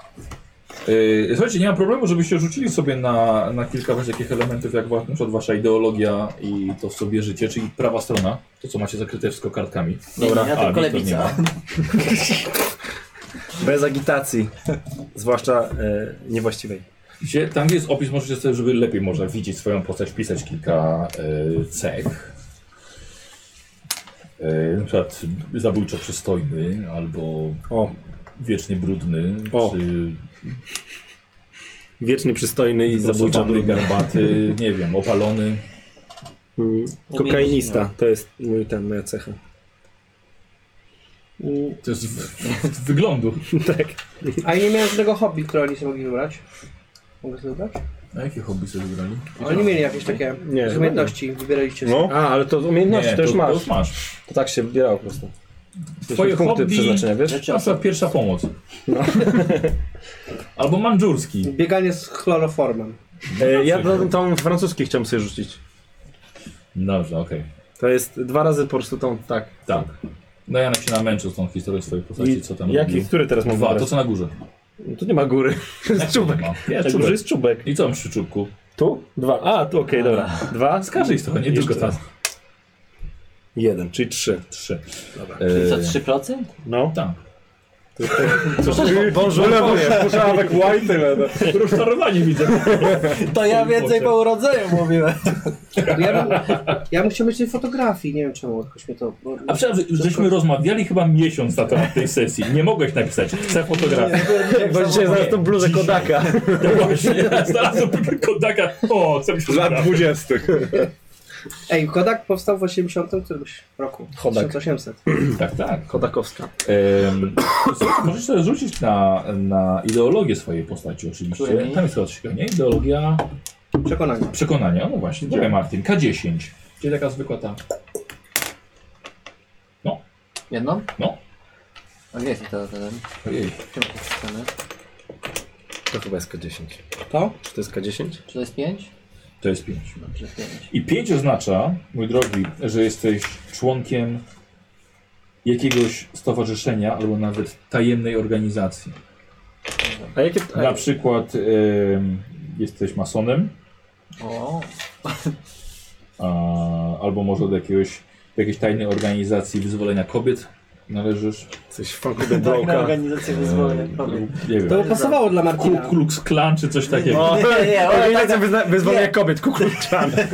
[SPEAKER 1] Yy, Słuchajcie, nie ma problemu, żebyście rzucili sobie na, na kilka właśnie takich elementów, jak wa- na przykład wasza ideologia i to sobie życie, czyli prawa strona, to co macie zakryte wszystko kartkami.
[SPEAKER 3] Dobra,
[SPEAKER 1] A,
[SPEAKER 3] ja tylko
[SPEAKER 1] Wiktor nie
[SPEAKER 3] lewica.
[SPEAKER 1] ma.
[SPEAKER 2] bez agitacji, zwłaszcza e, niewłaściwej.
[SPEAKER 1] Gdzie, tam gdzie jest opis, możecie sobie, żeby lepiej można widzieć swoją postać, pisać kilka yy, cech. Yy, na przykład zabójczo przystojny, albo
[SPEAKER 2] O,
[SPEAKER 1] wiecznie brudny,
[SPEAKER 2] O.
[SPEAKER 1] czy
[SPEAKER 2] wiecznie przystojny i zabójcza
[SPEAKER 1] zabójczany,
[SPEAKER 2] druga.
[SPEAKER 1] garbaty, nie wiem, opalony.
[SPEAKER 2] Mm, Kokainista, to jest mój ten, moja cecha.
[SPEAKER 4] Mm,
[SPEAKER 1] To jest w, w wyglądu.
[SPEAKER 2] tak.
[SPEAKER 4] A ja nie miałem żadnego hobby, które oni sobie mogli wybrać. Mogę sobie wybrać?
[SPEAKER 1] A jakie hobby sobie wybrali?
[SPEAKER 4] Oni mieli jakieś takie
[SPEAKER 2] Nie, chyba
[SPEAKER 4] umiejętności, wybieraliście sobie.
[SPEAKER 5] No,
[SPEAKER 2] A, ale to umiejętności
[SPEAKER 1] Nie,
[SPEAKER 2] to już
[SPEAKER 1] to,
[SPEAKER 2] masz.
[SPEAKER 1] To
[SPEAKER 2] To,
[SPEAKER 1] już masz.
[SPEAKER 2] tak się wybierało po prostu.
[SPEAKER 1] Twoje
[SPEAKER 2] Twoje punkty
[SPEAKER 1] hobby-
[SPEAKER 2] przeznaczenia, wiesz?
[SPEAKER 3] Rzeczy
[SPEAKER 1] Na przykład pierwsza pomoc. Albo mandżurski.
[SPEAKER 4] Bieganie z chloroformem.
[SPEAKER 2] E, ja tą, tą francuski chciałem sobie rzucić.
[SPEAKER 1] Dobrze, okej.
[SPEAKER 2] To jest dwa razy po prostu tą, tak.
[SPEAKER 1] Tak. No Janek się namęczył z tą historią swojej postaci, co tam
[SPEAKER 6] Jaki,
[SPEAKER 1] robił.
[SPEAKER 6] który teraz mam
[SPEAKER 1] Dwa, to
[SPEAKER 6] wybrać?
[SPEAKER 1] co na górze.
[SPEAKER 2] Tu No nie ma góry. jest czubek. Tak
[SPEAKER 1] No. Ja,
[SPEAKER 6] Na
[SPEAKER 1] czubek.
[SPEAKER 6] górze jest czubek.
[SPEAKER 1] I co mam przy czubku?
[SPEAKER 6] Tu? Dwa. A, tu okej, dobra. Dwa.
[SPEAKER 1] Z każdej strony, nie
[SPEAKER 6] Jeszcze
[SPEAKER 1] tylko tam.
[SPEAKER 6] raz. Jeden, czyli trzy.
[SPEAKER 1] Trzy. Dobra.
[SPEAKER 3] Co, 3%?
[SPEAKER 6] No.
[SPEAKER 1] Tak.
[SPEAKER 2] Boże, no,
[SPEAKER 5] Słyszałem tak white, ale...
[SPEAKER 1] Rozczarowanie widzę.
[SPEAKER 3] To ja więcej po urodzeniu mówiłem.
[SPEAKER 4] Ja bym, ja bym chciał mieć tej fotografii, nie wiem czemu, jakoś mnie to... Bo,
[SPEAKER 1] A przecież żeśmy rozmawiali chyba miesiąc na temat tej sesji. Nie mogłeś napisać, chcę fotografię.
[SPEAKER 2] Bo dzisiaj zaraz tą bluzę Kodaka.
[SPEAKER 1] No właśnie, znalazłem Kodaka. O, chcę mieć
[SPEAKER 5] Lat
[SPEAKER 1] fotografię.
[SPEAKER 5] 20.
[SPEAKER 4] Ej, Kodak powstał w 80 którymś roku.
[SPEAKER 2] Kodak.
[SPEAKER 4] 1800.
[SPEAKER 1] Tak, tak.
[SPEAKER 2] Kodakowska.
[SPEAKER 1] Ehm, słuchajcie, możecie sobie rzucić na, na ideologię swojej postaci oczywiście.
[SPEAKER 3] Której?
[SPEAKER 1] Tam jest chyba coś takiego, nie? Ideologia
[SPEAKER 4] Przekonanie.
[SPEAKER 1] przekonania. No właśnie, dobra Martin, K10. Czyli taka zwykła ta.
[SPEAKER 3] Jedną?
[SPEAKER 1] No.
[SPEAKER 3] A gdzie jest to ten?
[SPEAKER 1] Ojej.
[SPEAKER 3] Czym to jest wpisane?
[SPEAKER 2] To chyba jest K10.
[SPEAKER 4] To?
[SPEAKER 2] Czy to jest K10?
[SPEAKER 3] Czy to jest 5?
[SPEAKER 1] To jest 5.
[SPEAKER 3] Dobrze, 5.
[SPEAKER 1] I 5 oznacza, mój drogi, że jesteś członkiem jakiegoś stowarzyszenia albo nawet tajemnej organizacji.
[SPEAKER 2] A jakie...
[SPEAKER 1] Na przykład em, jesteś masonem,
[SPEAKER 3] O,
[SPEAKER 1] a, albo może do jakiegoś, do jakiejś tajnej organizacji wyzwolenia kobiet należysz.
[SPEAKER 2] Coś w funku do
[SPEAKER 3] tak na
[SPEAKER 2] broka.
[SPEAKER 3] organizację wyzwolenia. powiem.
[SPEAKER 1] Lub, nie wiem.
[SPEAKER 4] To by pasowało dla
[SPEAKER 1] Ku
[SPEAKER 4] Martina.
[SPEAKER 1] Klux Klan czy coś takiego.
[SPEAKER 2] O,
[SPEAKER 3] Nie, nie, o,
[SPEAKER 2] organizacja
[SPEAKER 3] tak,
[SPEAKER 2] wyzna- wyzwolenia
[SPEAKER 3] nie.
[SPEAKER 2] kobiet, kukurczane.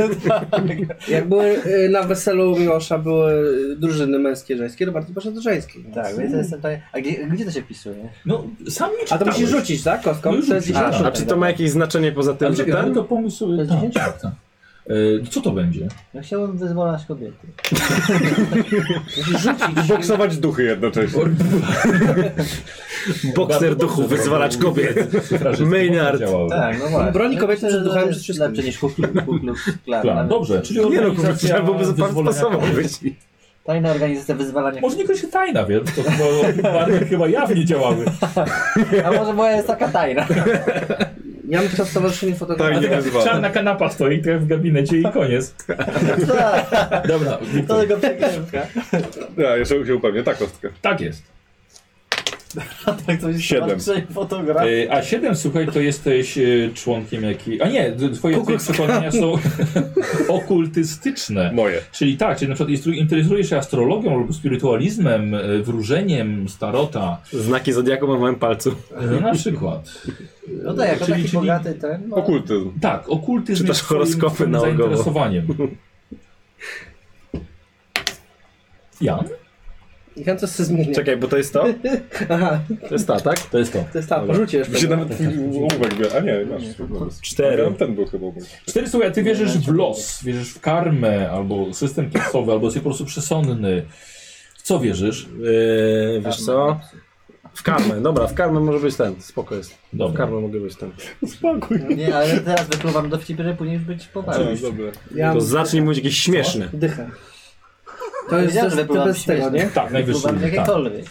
[SPEAKER 4] Jak były y, na weselu Miłosza były drużyny męskie, żeńskie, to Martin poszedł do żeńskiej.
[SPEAKER 1] Eee,
[SPEAKER 3] Tak, więc ja jestem tutaj. A gdzie, gdzie to się pisuje?
[SPEAKER 1] No, sam nie
[SPEAKER 4] A to
[SPEAKER 1] czytałeś.
[SPEAKER 4] musisz rzucić, tak? Kostką?
[SPEAKER 1] No już
[SPEAKER 4] to jest
[SPEAKER 1] rzucisz,
[SPEAKER 4] dziesięć
[SPEAKER 1] tak.
[SPEAKER 4] sztuk.
[SPEAKER 2] A czy to ma jakieś znaczenie poza tym,
[SPEAKER 1] Ale
[SPEAKER 2] że
[SPEAKER 1] czekaj, ale
[SPEAKER 2] ten?
[SPEAKER 1] to pomysł sobie.
[SPEAKER 3] To jest
[SPEAKER 1] Tak, tak, tak. E, co to będzie?
[SPEAKER 3] Ja No chciałbym wyzwalać kobiety.
[SPEAKER 1] Tak.
[SPEAKER 4] Musisz rzucić.
[SPEAKER 5] Boksować duchy jednocześnie.
[SPEAKER 2] Bokser duchów, wyzwalacz kobiet. Maynard.
[SPEAKER 1] Działały.
[SPEAKER 3] Tak, no właśnie.
[SPEAKER 4] Broni
[SPEAKER 3] Ja
[SPEAKER 4] kobiety
[SPEAKER 3] myślę,
[SPEAKER 4] przed
[SPEAKER 3] że to
[SPEAKER 4] duchami
[SPEAKER 3] jest
[SPEAKER 4] przed wszystkim.
[SPEAKER 3] Lepsze niż Ku Klux- Ku Klux Klan.
[SPEAKER 1] Plan.
[SPEAKER 3] Nawet
[SPEAKER 1] Dobrze, czyli
[SPEAKER 2] Nie no, kurczę,
[SPEAKER 1] organizacja
[SPEAKER 2] trzeba byłoby za pan
[SPEAKER 1] wyzwolenia
[SPEAKER 2] pasował
[SPEAKER 1] kobiet.
[SPEAKER 2] być.
[SPEAKER 3] Tajna organizacja wyzwalania
[SPEAKER 1] Może niekoniecznie tajna, wiesz? To chyba, bardziej chyba jawnie działały.
[SPEAKER 3] kobiet. A może moja jest taka tajna.
[SPEAKER 4] Ja bym chciał stowarzyszenie fotografii.
[SPEAKER 5] Tajnie wyzwala.
[SPEAKER 1] Czarna kanapa stoi, tref w gabinecie i koniec. Dobra,
[SPEAKER 3] To
[SPEAKER 1] Wiktor,
[SPEAKER 3] tego przekrętka.
[SPEAKER 5] Ja jeszcze się upewnię, tak kostkę.
[SPEAKER 1] tak jest.
[SPEAKER 3] Tak to jest
[SPEAKER 5] Siedem.
[SPEAKER 4] Tak?
[SPEAKER 3] fotograf.
[SPEAKER 1] E, A 7, słuchaj, to jesteś e, członkiem jaki... A nie, d- twoje twoje przekonania są okultystyczne.
[SPEAKER 5] Moje.
[SPEAKER 1] Czyli tak, czyli na przykład instru- interesujesz się astrologią lub spirytualizmem, e, wróżeniem, starota,
[SPEAKER 2] Znaki zodiaku mam w moim palcu.
[SPEAKER 1] e, na przykład.
[SPEAKER 3] No tak, jako
[SPEAKER 1] Czyli-
[SPEAKER 3] taki
[SPEAKER 1] czyli-
[SPEAKER 3] bogaty ten. No,
[SPEAKER 5] Okultyzm.
[SPEAKER 1] Tak, okultyzm
[SPEAKER 2] Czytasz
[SPEAKER 1] jest twoim-
[SPEAKER 2] horoskopy
[SPEAKER 1] twoim
[SPEAKER 2] naokoło.
[SPEAKER 1] zainteresowaniem. Jan?
[SPEAKER 4] I chętnie coś zmienię.
[SPEAKER 2] Czekaj, bo to jest to?
[SPEAKER 4] Aha,
[SPEAKER 2] To jest ta, tak?
[SPEAKER 1] To jest to.
[SPEAKER 4] to jest ta, porzucie
[SPEAKER 5] Mi
[SPEAKER 4] jeszcze.
[SPEAKER 5] się nawet twój ołówek wie. A nie, masz. Ja
[SPEAKER 2] Cztery.
[SPEAKER 5] mam ten był chyba. mój.
[SPEAKER 1] Cztery słowa, ty wierzysz w los, wierzysz w karmę, albo system klasowy, albo jesteś po prostu przesądny. W co wierzysz?
[SPEAKER 2] Yy, wiesz co? W karmę, dobra, w karmę może być ten, spoko jest. W
[SPEAKER 1] Dobra.
[SPEAKER 2] karmę mogę być ten.
[SPEAKER 5] Spakuj.
[SPEAKER 3] Nie, ale teraz wypluwam do wcipy, żeby później być poważny.
[SPEAKER 5] Dobra.
[SPEAKER 4] Ja
[SPEAKER 2] To zacznij mówić jakieś śmieszne.
[SPEAKER 4] dychę. To jest
[SPEAKER 3] Wiedziałem,
[SPEAKER 4] to,
[SPEAKER 3] że
[SPEAKER 4] to
[SPEAKER 3] wypływam
[SPEAKER 4] bez tego,
[SPEAKER 3] śmiesznie.
[SPEAKER 4] nie?
[SPEAKER 1] Tak, najwyższy.
[SPEAKER 3] Wypluwam
[SPEAKER 1] Tak.
[SPEAKER 3] jakiekolwiek.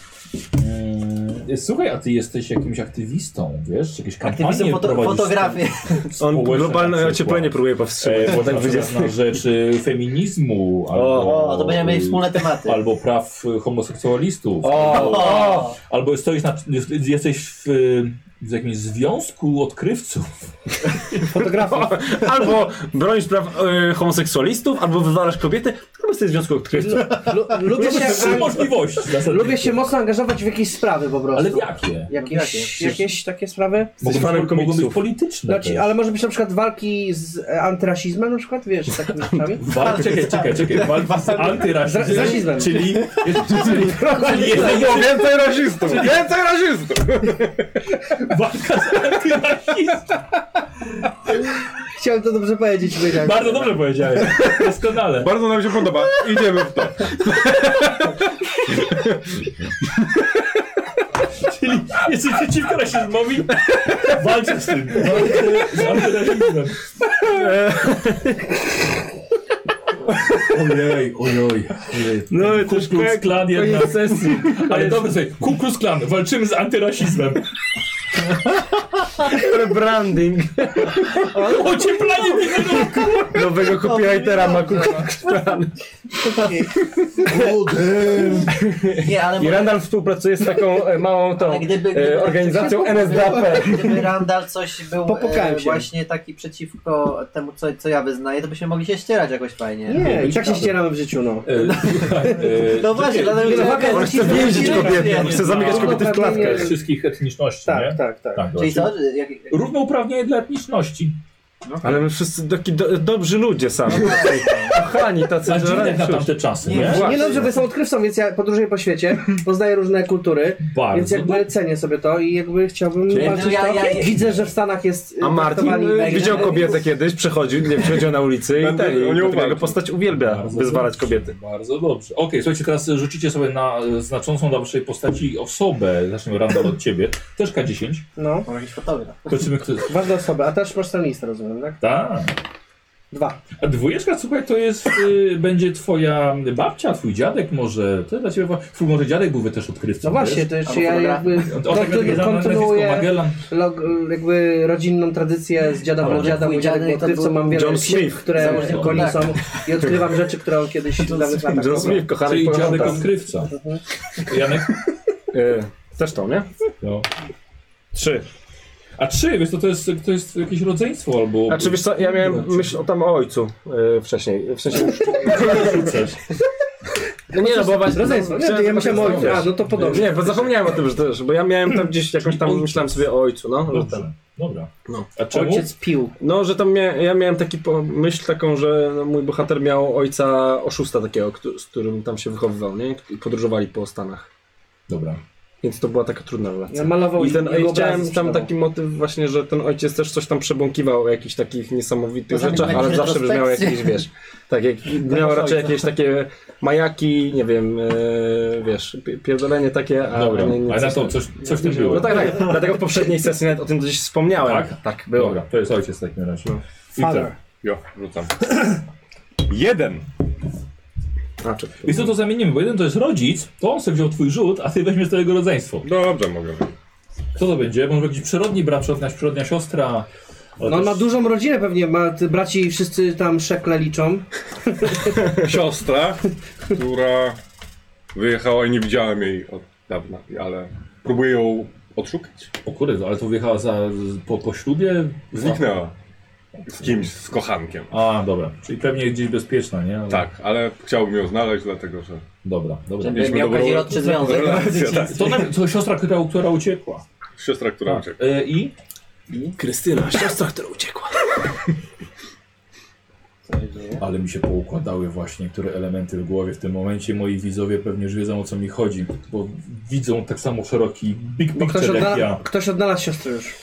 [SPEAKER 1] Mm, Słuchaj, a ty jesteś jakimś aktywistą, wiesz? Jakieś kampanie
[SPEAKER 3] Aktywizm foto
[SPEAKER 1] prowadzisz. tak?
[SPEAKER 3] fotografię.
[SPEAKER 2] On
[SPEAKER 1] Społeczne na
[SPEAKER 2] globalne
[SPEAKER 1] przykład.
[SPEAKER 2] ocieplenie próbuje powstrzymać.
[SPEAKER 1] E, bo tak
[SPEAKER 2] Tak
[SPEAKER 1] na rzecz e, feminizmu, albo,
[SPEAKER 3] O, to będziemy mieli wspólne tematy.
[SPEAKER 1] albo praw e, homoseksualistów, albo,
[SPEAKER 3] O!
[SPEAKER 1] albo stoisz na, jesteś w, e, w jakimś związku odkrywców.
[SPEAKER 4] Fotografii.
[SPEAKER 2] Albo bronisz praw e, homoseksualistów, albo wywalasz kobiety, albo jesteś w związku odkrywców.
[SPEAKER 4] Lu- Lubię
[SPEAKER 1] To
[SPEAKER 4] się,
[SPEAKER 1] są możliwości.
[SPEAKER 4] lubię się mocno angażować w jakieś sprawy po prostu.
[SPEAKER 1] Ale w jakie?
[SPEAKER 4] Jakieś,
[SPEAKER 3] Jakie?
[SPEAKER 4] jakieś takie sprawy?
[SPEAKER 1] Mogą
[SPEAKER 2] fanem
[SPEAKER 1] być, mogą być
[SPEAKER 2] komiksów.
[SPEAKER 1] polityczne.
[SPEAKER 4] Znaczy,
[SPEAKER 1] też.
[SPEAKER 4] ale może być na przykład walki z e, antyrasizmem na przykład, wiesz, z takimi rzeczami?
[SPEAKER 1] Walka, czekaj, czekaj, czekaj. Walka z antyrasizmem.
[SPEAKER 4] Z rasizmem.
[SPEAKER 1] Czyli, czyli, czyli jesteś
[SPEAKER 5] Więcej rasistów! Więcej rasistów!
[SPEAKER 1] walka z antyrasizmem.
[SPEAKER 4] Chciałem to dobrze powiedzieć, powiedziałem.
[SPEAKER 1] Bardzo dobrze powiedziałeś. Doskonale.
[SPEAKER 5] Bardzo nam się podoba. Idziemy w to.
[SPEAKER 1] Czyli jesteś przeciwko rasizmowi, walczysz z tym. Walczysz Z antyrasizmem. Ojej, ojoj.
[SPEAKER 2] No i
[SPEAKER 1] Ku
[SPEAKER 2] też
[SPEAKER 1] Klux Klan
[SPEAKER 2] koniec
[SPEAKER 1] jednak.
[SPEAKER 2] sesji.
[SPEAKER 1] Ale dobrze, słuchaj, Ku Klux Klan, walczymy z antyrasizmem.
[SPEAKER 2] Rebranding.
[SPEAKER 1] Ocieplanie tego roku!
[SPEAKER 2] Nowego copywritera ma
[SPEAKER 3] Nie, ale
[SPEAKER 2] I
[SPEAKER 3] może-
[SPEAKER 2] Randall współpracuje z taką e, małą tą
[SPEAKER 3] Ale gdyby- gdyby-
[SPEAKER 2] e, organizacją NSDAP.
[SPEAKER 3] Gdyby Randall coś był
[SPEAKER 4] Popłakałem
[SPEAKER 3] e,
[SPEAKER 4] się.
[SPEAKER 3] właśnie taki przeciwko temu, co, co ja wyznaję, to byśmy mogli się ścierać jakoś fajnie.
[SPEAKER 4] Nie, i tak się
[SPEAKER 1] ciekawe.
[SPEAKER 4] ścieramy w życiu, no.
[SPEAKER 1] E,
[SPEAKER 3] No właśnie, dlatego że
[SPEAKER 4] Chce
[SPEAKER 3] Okej,
[SPEAKER 2] Chce więzić kobiety, chce zamykać
[SPEAKER 4] No,
[SPEAKER 2] kobiety w klatkach.
[SPEAKER 1] Z wszystkich etniczności,
[SPEAKER 4] Tak,
[SPEAKER 1] nie?
[SPEAKER 4] tak, tak.
[SPEAKER 1] tak
[SPEAKER 3] Czyli
[SPEAKER 1] właśnie.
[SPEAKER 3] co? Jak, jak,
[SPEAKER 1] Równouprawnienie dla etniczności.
[SPEAKER 2] Ale my wszyscy taki do, dobrzy ludzie sami. tutaj. Kochani, tacy
[SPEAKER 1] A dziwne
[SPEAKER 2] ranczusi.
[SPEAKER 1] na tamte czasy, nie?
[SPEAKER 4] Nie
[SPEAKER 2] Właśnie.
[SPEAKER 4] dobrze, bo jestem odkrywcą, więc ja podróżuję po świecie, poznaję różne kultury, więc
[SPEAKER 1] Bardzo.
[SPEAKER 4] jakby cenię sobie to i jakby chciałbym
[SPEAKER 1] Czyli-
[SPEAKER 4] walczyć
[SPEAKER 3] Ja- ja-
[SPEAKER 4] to.
[SPEAKER 3] ja-
[SPEAKER 4] Widzę, że w Stanach jest y,
[SPEAKER 2] A Martin
[SPEAKER 4] traktowani
[SPEAKER 2] y,
[SPEAKER 4] mega.
[SPEAKER 2] widział kobietę kiedyś, przechodził, nie przechodził na ulicy i
[SPEAKER 5] Będę
[SPEAKER 2] ten, i
[SPEAKER 5] o nią
[SPEAKER 2] dlatego jego
[SPEAKER 5] walczył.
[SPEAKER 2] postać uwielbia
[SPEAKER 1] Bardzo
[SPEAKER 2] Tak, wyzwalać
[SPEAKER 1] dobrze,
[SPEAKER 2] kobiety.
[SPEAKER 1] Bardzo dobrze. Okej, słuchajcie, teraz rzucicie sobie na e, znaczącą dla waszej postaci osobę. Zacznę Randall od ciebie. Też K10.
[SPEAKER 4] No,
[SPEAKER 3] może tak. jakiś fotograf.
[SPEAKER 1] Zobaczymy, kto jest.
[SPEAKER 4] ważna osoba, a też masz tę listę, rozumiem, tak?
[SPEAKER 1] Tak.
[SPEAKER 4] Dwa.
[SPEAKER 1] A dwójeczka, słuchaj, to jest, y, będzie twoja babcia, twój dziadek może, to jest dla ciebie, wa- twój może dziadek byłby też odkrywcą,
[SPEAKER 4] No właśnie,
[SPEAKER 3] Albo
[SPEAKER 4] to jeszcze ja
[SPEAKER 3] fotogra-
[SPEAKER 4] jakby
[SPEAKER 1] wiesz? O, tak,
[SPEAKER 4] kontynu-
[SPEAKER 1] tak,
[SPEAKER 4] kontynuuję
[SPEAKER 1] Magellan.
[SPEAKER 4] log, jakby rodzinną tradycję z dziada
[SPEAKER 1] Ale
[SPEAKER 4] pradziada,
[SPEAKER 3] twój
[SPEAKER 4] mój dziadek
[SPEAKER 3] dziadek
[SPEAKER 4] był
[SPEAKER 3] to
[SPEAKER 4] odkrywcą,
[SPEAKER 3] był
[SPEAKER 4] mam wiele
[SPEAKER 2] John
[SPEAKER 4] ksiąg,
[SPEAKER 2] Smith.
[SPEAKER 4] które
[SPEAKER 3] Założyciel
[SPEAKER 4] koni
[SPEAKER 3] tak.
[SPEAKER 4] są i odkrywam rzeczy, które kiedyś w dawnych
[SPEAKER 2] John
[SPEAKER 4] latach robiłem.
[SPEAKER 2] Smith, kochany
[SPEAKER 1] Czyli dziadek
[SPEAKER 2] Pocahontas.
[SPEAKER 1] odkrywca. Janek?
[SPEAKER 2] Y, Też to, nie?
[SPEAKER 1] No.
[SPEAKER 2] Trzy.
[SPEAKER 1] A trzy, wiesz, to, to, jest, to jest jakieś rodzeństwo albo...
[SPEAKER 2] A czy Znaczy, wiesz co, ja miałem
[SPEAKER 1] Dobra,
[SPEAKER 2] myśl o tam o ojcu y, wcześniej. W sensie,
[SPEAKER 1] Rzucasz.
[SPEAKER 2] no nie no, bo właśnie...
[SPEAKER 4] Rodzeństwo, nie,
[SPEAKER 2] chciałem
[SPEAKER 4] ja myślałem o
[SPEAKER 2] zobaczyć,
[SPEAKER 4] ojcu, a no to
[SPEAKER 2] co
[SPEAKER 4] podobnie.
[SPEAKER 2] wiesz. Nie, bo zapomniałem o tym, że też, bo ja miałem tam gdzieś jakąś tam, myślałem sobie o ojcu, no. Że ten.
[SPEAKER 1] Dobrze, dobra.
[SPEAKER 2] No.
[SPEAKER 1] A czemu?
[SPEAKER 4] Ojciec pił.
[SPEAKER 2] No, że tam mia ja miałem taki po- myśl taką, że no, mój bohater miał ojca oszusta takiego, któ- z którym tam się wychowywał, nie? I podróżowali po Stanach.
[SPEAKER 1] Dobra.
[SPEAKER 2] Więc to była taka trudna relacja.
[SPEAKER 4] Ja malował
[SPEAKER 2] I ten,
[SPEAKER 4] jego
[SPEAKER 2] i chciałem
[SPEAKER 4] obrazy
[SPEAKER 2] tam
[SPEAKER 4] sprzedawał.
[SPEAKER 2] taki motyw właśnie, że ten ojciec też coś tam przebąkiwał o jakichś takich niesamowitych
[SPEAKER 3] Może
[SPEAKER 2] rzeczach,
[SPEAKER 3] mieć
[SPEAKER 2] ale
[SPEAKER 3] jakieś
[SPEAKER 2] zawsze brzmiał
[SPEAKER 3] retrospekcje.
[SPEAKER 2] jakieś, wiesz, tak jak miał raczej jakieś takie majaki, nie wiem, e, wiesz, pi- pierdolenie takie, a
[SPEAKER 1] Dobra,
[SPEAKER 2] nie, nie
[SPEAKER 1] ale na
[SPEAKER 2] coś
[SPEAKER 1] to
[SPEAKER 2] tam.
[SPEAKER 1] coś, coś w tym było.
[SPEAKER 2] No tak, tak, dlatego w poprzedniej sesji nawet o tym gdzieś wspomniałem.
[SPEAKER 1] Tak?
[SPEAKER 2] tak było.
[SPEAKER 1] Dobra, to jest ojciec w takim razie.
[SPEAKER 2] No.
[SPEAKER 1] I
[SPEAKER 4] Father.
[SPEAKER 1] tak.
[SPEAKER 5] Jo, rzucam. Jeden.
[SPEAKER 2] Znaczy,
[SPEAKER 1] I co to zamienimy, bo jeden to jest rodzic, to on sobie wziął twój rzut, a ty weźmiesz to jego rodzeństwo.
[SPEAKER 5] Dobrze, mogę.
[SPEAKER 1] Co to będzie? Może jakiś przyrodni brat, przyrodnia, przyrodnia siostra. ale
[SPEAKER 4] No on
[SPEAKER 1] też-
[SPEAKER 4] ma dużą rodzinę pewnie, ma ty braci wszyscy tam szekle liczą.
[SPEAKER 5] Siostra, która wyjechała i nie widziałem jej od dawna, ale próbuję ją odszukać.
[SPEAKER 1] O kurde, ale to wyjechała za, po, po ślubie?
[SPEAKER 5] Zniknęła. Z kimś, z kochankiem.
[SPEAKER 1] A, dobra. Czyli pewnie gdzieś bezpieczna, nie? Ale-
[SPEAKER 5] Tak, ale chciałbym ją znaleźć, dlatego że.
[SPEAKER 1] Dobra, dobra.
[SPEAKER 3] Żeby miał
[SPEAKER 5] dobrą-
[SPEAKER 3] kazirodczy związek.
[SPEAKER 5] relację, tak.
[SPEAKER 1] To, nawet- to siostra, która, która uciekła.
[SPEAKER 5] Siostra, która
[SPEAKER 1] Tak.
[SPEAKER 5] uciekła.
[SPEAKER 1] E, I?
[SPEAKER 2] Krystyna, siostra, która uciekła.
[SPEAKER 1] Ale mi się poukładały właśnie niektóre elementy w głowie. W tym momencie moi widzowie pewnie już wiedzą o co mi chodzi, bo widzą tak samo szeroki big
[SPEAKER 4] Bo ktoś,
[SPEAKER 1] picture jak
[SPEAKER 4] odna...
[SPEAKER 1] ja. E,
[SPEAKER 4] ktoś odnalazł siostrę już.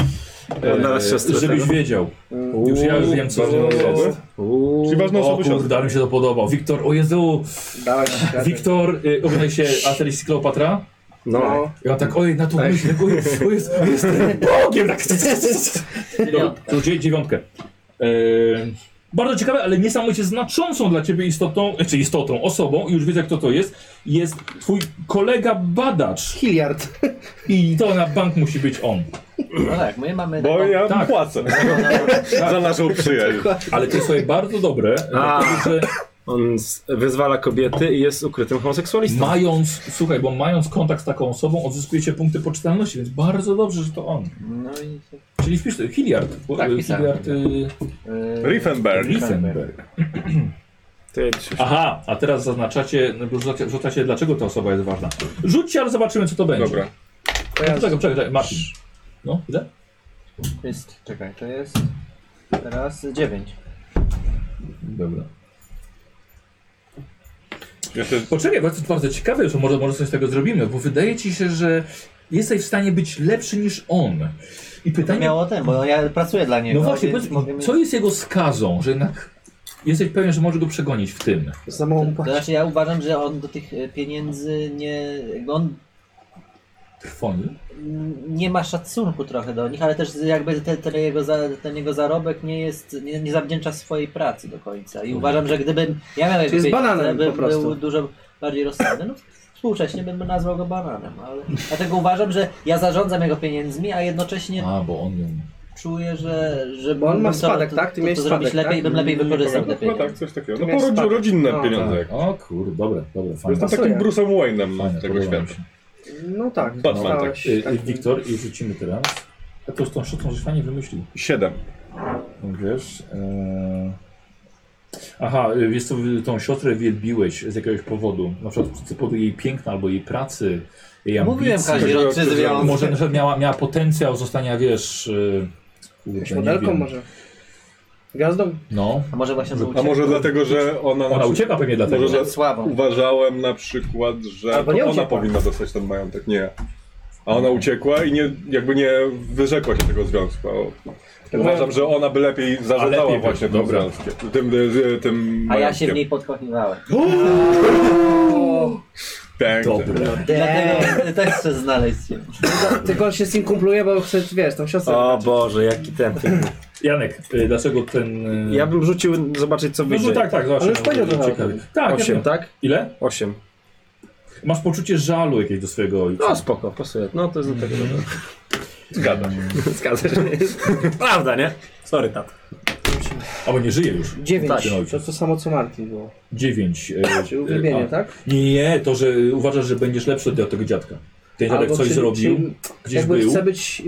[SPEAKER 2] Odnalazł siostrę,
[SPEAKER 1] żebyś
[SPEAKER 2] tak?
[SPEAKER 1] wiedział. Już ja już wiem co z nią jest.
[SPEAKER 2] Uuu.
[SPEAKER 5] Czyli ważną
[SPEAKER 1] O
[SPEAKER 5] osobę siostrę.
[SPEAKER 1] kurde, mi się to podobał. Wiktor, o Jezu!
[SPEAKER 4] Dałeś radę.
[SPEAKER 1] Wiktor, y, oglądaj się Asterix i Kleopatra.
[SPEAKER 2] No.
[SPEAKER 4] No.
[SPEAKER 1] Ja tak, oj, na tą myśl, o jest, o jest, o jest Bogiem, tak. Dobra, to dzieje dziewiątkę. Ehm, bardzo ciekawe, ale niesamowicie znaczącą dla ciebie istotą, czy istotą, osobą, i już wiedzę kto to jest, jest twój kolega badacz.
[SPEAKER 4] Hilliard.
[SPEAKER 1] I to na bank musi być on.
[SPEAKER 3] No tak, my mamy...
[SPEAKER 5] Bo
[SPEAKER 3] taką-
[SPEAKER 5] ja
[SPEAKER 1] Tak.
[SPEAKER 5] płacę za naszą przyjaźń.
[SPEAKER 1] Ale to jest sobie bardzo dobre,
[SPEAKER 2] A.
[SPEAKER 1] dlatego, że
[SPEAKER 2] On z- wyzwala kobiety i jest ukrytym homoseksualistą.
[SPEAKER 1] mając, słuchaj, bo mając kontakt z taką osobą, odzyskujecie punkty poczytalności, więc bardzo dobrze, że to on.
[SPEAKER 3] No i...
[SPEAKER 1] Czyli wpisz Hilliard. bo-
[SPEAKER 3] Tak,
[SPEAKER 1] e,
[SPEAKER 3] pisałem.
[SPEAKER 1] Hilliard y,
[SPEAKER 3] Yy,
[SPEAKER 5] Riefenberg.
[SPEAKER 1] Liefenberg.
[SPEAKER 2] To ja dzisiaj-
[SPEAKER 1] Aha, a teraz zaznaczacie, no, rzucacie, rzucacie, dlaczego ta osoba jest ważna. Rzućcie, ale zobaczymy, co to będzie.
[SPEAKER 5] Dobra.
[SPEAKER 1] Czekaj, czekaj, czekaj, Marcin. No, ile?
[SPEAKER 3] jest, czekaj, to jest... Teraz dziewięć.
[SPEAKER 1] Dobra.
[SPEAKER 5] Jeszcze
[SPEAKER 1] Poczekaj, bardzo, bardzo ciekawe, że może, może coś z tego zrobimy, bo wydaje ci się, że jesteś w stanie być lepszy niż on. I
[SPEAKER 3] To
[SPEAKER 1] pytanie,
[SPEAKER 3] miało ten, bo ja pracuję dla niego.
[SPEAKER 1] no właśnie,
[SPEAKER 3] więc
[SPEAKER 1] powiedz,
[SPEAKER 3] mogę mieć-
[SPEAKER 1] co jest jego skazą, że jednak jesteś pewien, że może go przegonić w tym.
[SPEAKER 4] Za mało mu
[SPEAKER 3] To
[SPEAKER 4] płaci.
[SPEAKER 3] znaczy ja uważam, że on do tych e, pieniędzy nie... jakby On
[SPEAKER 1] Trwoni?
[SPEAKER 3] mm, nie ma szacunku trochę do nich, ale też jakby te, te jego za, ten jego zarobek nie jest, nie, nie zawdzięcza swojej pracy do końca. I uważam, że gdybym ja miał jakby
[SPEAKER 4] Mhm. jest bananem
[SPEAKER 3] bym
[SPEAKER 4] po prostu.
[SPEAKER 3] był dużo bardziej rozsądny, no Współcześnie bym nazwał go bananem, ale dlatego uważam, że ja zarządzam jego pieniędzmi, a jednocześnie
[SPEAKER 1] A, bo on ją...
[SPEAKER 3] czuję, że, że
[SPEAKER 4] Bo on ma
[SPEAKER 3] mógłbym to-
[SPEAKER 4] spadek,
[SPEAKER 3] to-
[SPEAKER 4] tak? Ty
[SPEAKER 3] to,
[SPEAKER 4] miałeś
[SPEAKER 3] to zrobić
[SPEAKER 4] spadek, tak?
[SPEAKER 3] lepiej i bym lepiej wykorzystał te
[SPEAKER 5] No chyba
[SPEAKER 3] pieniądze.
[SPEAKER 5] tak, coś takiego.
[SPEAKER 4] Tu
[SPEAKER 5] No
[SPEAKER 4] miałeś
[SPEAKER 5] porodzi,
[SPEAKER 4] spadek.
[SPEAKER 5] rodzinne
[SPEAKER 4] No,
[SPEAKER 5] pieniądze.
[SPEAKER 1] Tak.
[SPEAKER 5] jakieś.
[SPEAKER 1] O kurde, dobre, dobre, fajne.
[SPEAKER 5] Jestem takim
[SPEAKER 4] Pasuje.
[SPEAKER 5] Bruce'em Wayne'em
[SPEAKER 1] Fajne,
[SPEAKER 5] tego
[SPEAKER 1] podoba mi
[SPEAKER 5] świata.
[SPEAKER 1] się.
[SPEAKER 4] No tak,
[SPEAKER 5] Batman, tak.
[SPEAKER 4] stałeś
[SPEAKER 1] Y, y,
[SPEAKER 4] takim-
[SPEAKER 1] Wiktor, i rzucimy teraz. A to z tą sztuką żeś fajnie wymyślił.
[SPEAKER 5] Siedem.
[SPEAKER 1] Wiesz... E... Aha, y, wiesz co, y, tą siostrę wielbiłeś z jakiegoś powodu. Na przykład z powodu jej piękna albo jej pracy, jej ambicji.
[SPEAKER 3] Mówiłem Kazik,
[SPEAKER 5] Chodzi o
[SPEAKER 3] że
[SPEAKER 5] to, że
[SPEAKER 3] odczyzwiał.
[SPEAKER 1] Może na przykład miała, miała potencjał zostania, wiesz... y, kurde,
[SPEAKER 4] Jakąś
[SPEAKER 1] nie
[SPEAKER 4] modelką
[SPEAKER 1] wiem.
[SPEAKER 4] może. Gwiazdą?
[SPEAKER 1] No.
[SPEAKER 3] A może właśnie
[SPEAKER 5] A
[SPEAKER 3] uciekł.
[SPEAKER 5] może dlatego, że ona... na
[SPEAKER 1] Ona
[SPEAKER 5] przykład-
[SPEAKER 1] ucieka pewnie dlatego.
[SPEAKER 5] Może,
[SPEAKER 3] Przed
[SPEAKER 5] że
[SPEAKER 3] sławą.
[SPEAKER 5] uważałem na przykład, że
[SPEAKER 4] Albo
[SPEAKER 5] to
[SPEAKER 4] nie
[SPEAKER 5] ona
[SPEAKER 4] uciekła.
[SPEAKER 5] powinna dostać ten majątek, nie ja. A ona uciekła i nie, jakby nie wyrzekła się tego związku.
[SPEAKER 3] Tak, no.
[SPEAKER 5] Uważam, że ona by lepiej
[SPEAKER 1] A lepiej
[SPEAKER 5] zarządzała
[SPEAKER 1] by-
[SPEAKER 5] właśnie tym
[SPEAKER 1] dobra.
[SPEAKER 5] związkiem. Tym, y, tym
[SPEAKER 3] A ja się
[SPEAKER 5] majątkiem.
[SPEAKER 3] w niej podkochiwałem.
[SPEAKER 5] Piękne.
[SPEAKER 1] Dobre.
[SPEAKER 3] Dlatego też chcę znaleźć się.
[SPEAKER 4] Tylko on się z nim kumpluje, bo chce, wiesz, tą siostrę.
[SPEAKER 2] O Boże, jaki ten.
[SPEAKER 1] Janek, y, dlaczego ten... y,
[SPEAKER 2] Ja bym rzucił zobaczyć co
[SPEAKER 1] No,
[SPEAKER 2] wyjdzie.
[SPEAKER 1] no tak, tak,
[SPEAKER 4] Ale
[SPEAKER 1] zawsze.
[SPEAKER 4] już powiedział trochę o
[SPEAKER 1] Ciekawe.
[SPEAKER 4] tym.
[SPEAKER 1] Tak, ja wiem.
[SPEAKER 2] Osiem, tak?
[SPEAKER 1] Ile?
[SPEAKER 2] Osiem.
[SPEAKER 1] Masz poczucie żalu jakiegoś do swojego ojca.
[SPEAKER 2] No spoko, pasuje. No to jest do tego dobre.
[SPEAKER 5] Zgadza się.
[SPEAKER 2] Zgadza się. Prawda, nie? Sorry, tat.
[SPEAKER 1] Albo nie żyje już.
[SPEAKER 4] Dziewięć.
[SPEAKER 1] Tak, ten ojciec.
[SPEAKER 4] to to samo co Martin było.
[SPEAKER 1] Dziewięć. e,
[SPEAKER 4] Czyli
[SPEAKER 1] e,
[SPEAKER 4] uwielbienie,
[SPEAKER 1] a-
[SPEAKER 4] tak?
[SPEAKER 1] Nie, nie, nie, to, że uważasz, że będziesz lepszy od tego dziadka. Ten dziadek coś
[SPEAKER 4] czy-
[SPEAKER 1] zrobił,
[SPEAKER 4] czy-
[SPEAKER 1] gdzieś
[SPEAKER 4] jakby
[SPEAKER 1] był.
[SPEAKER 4] chcę być,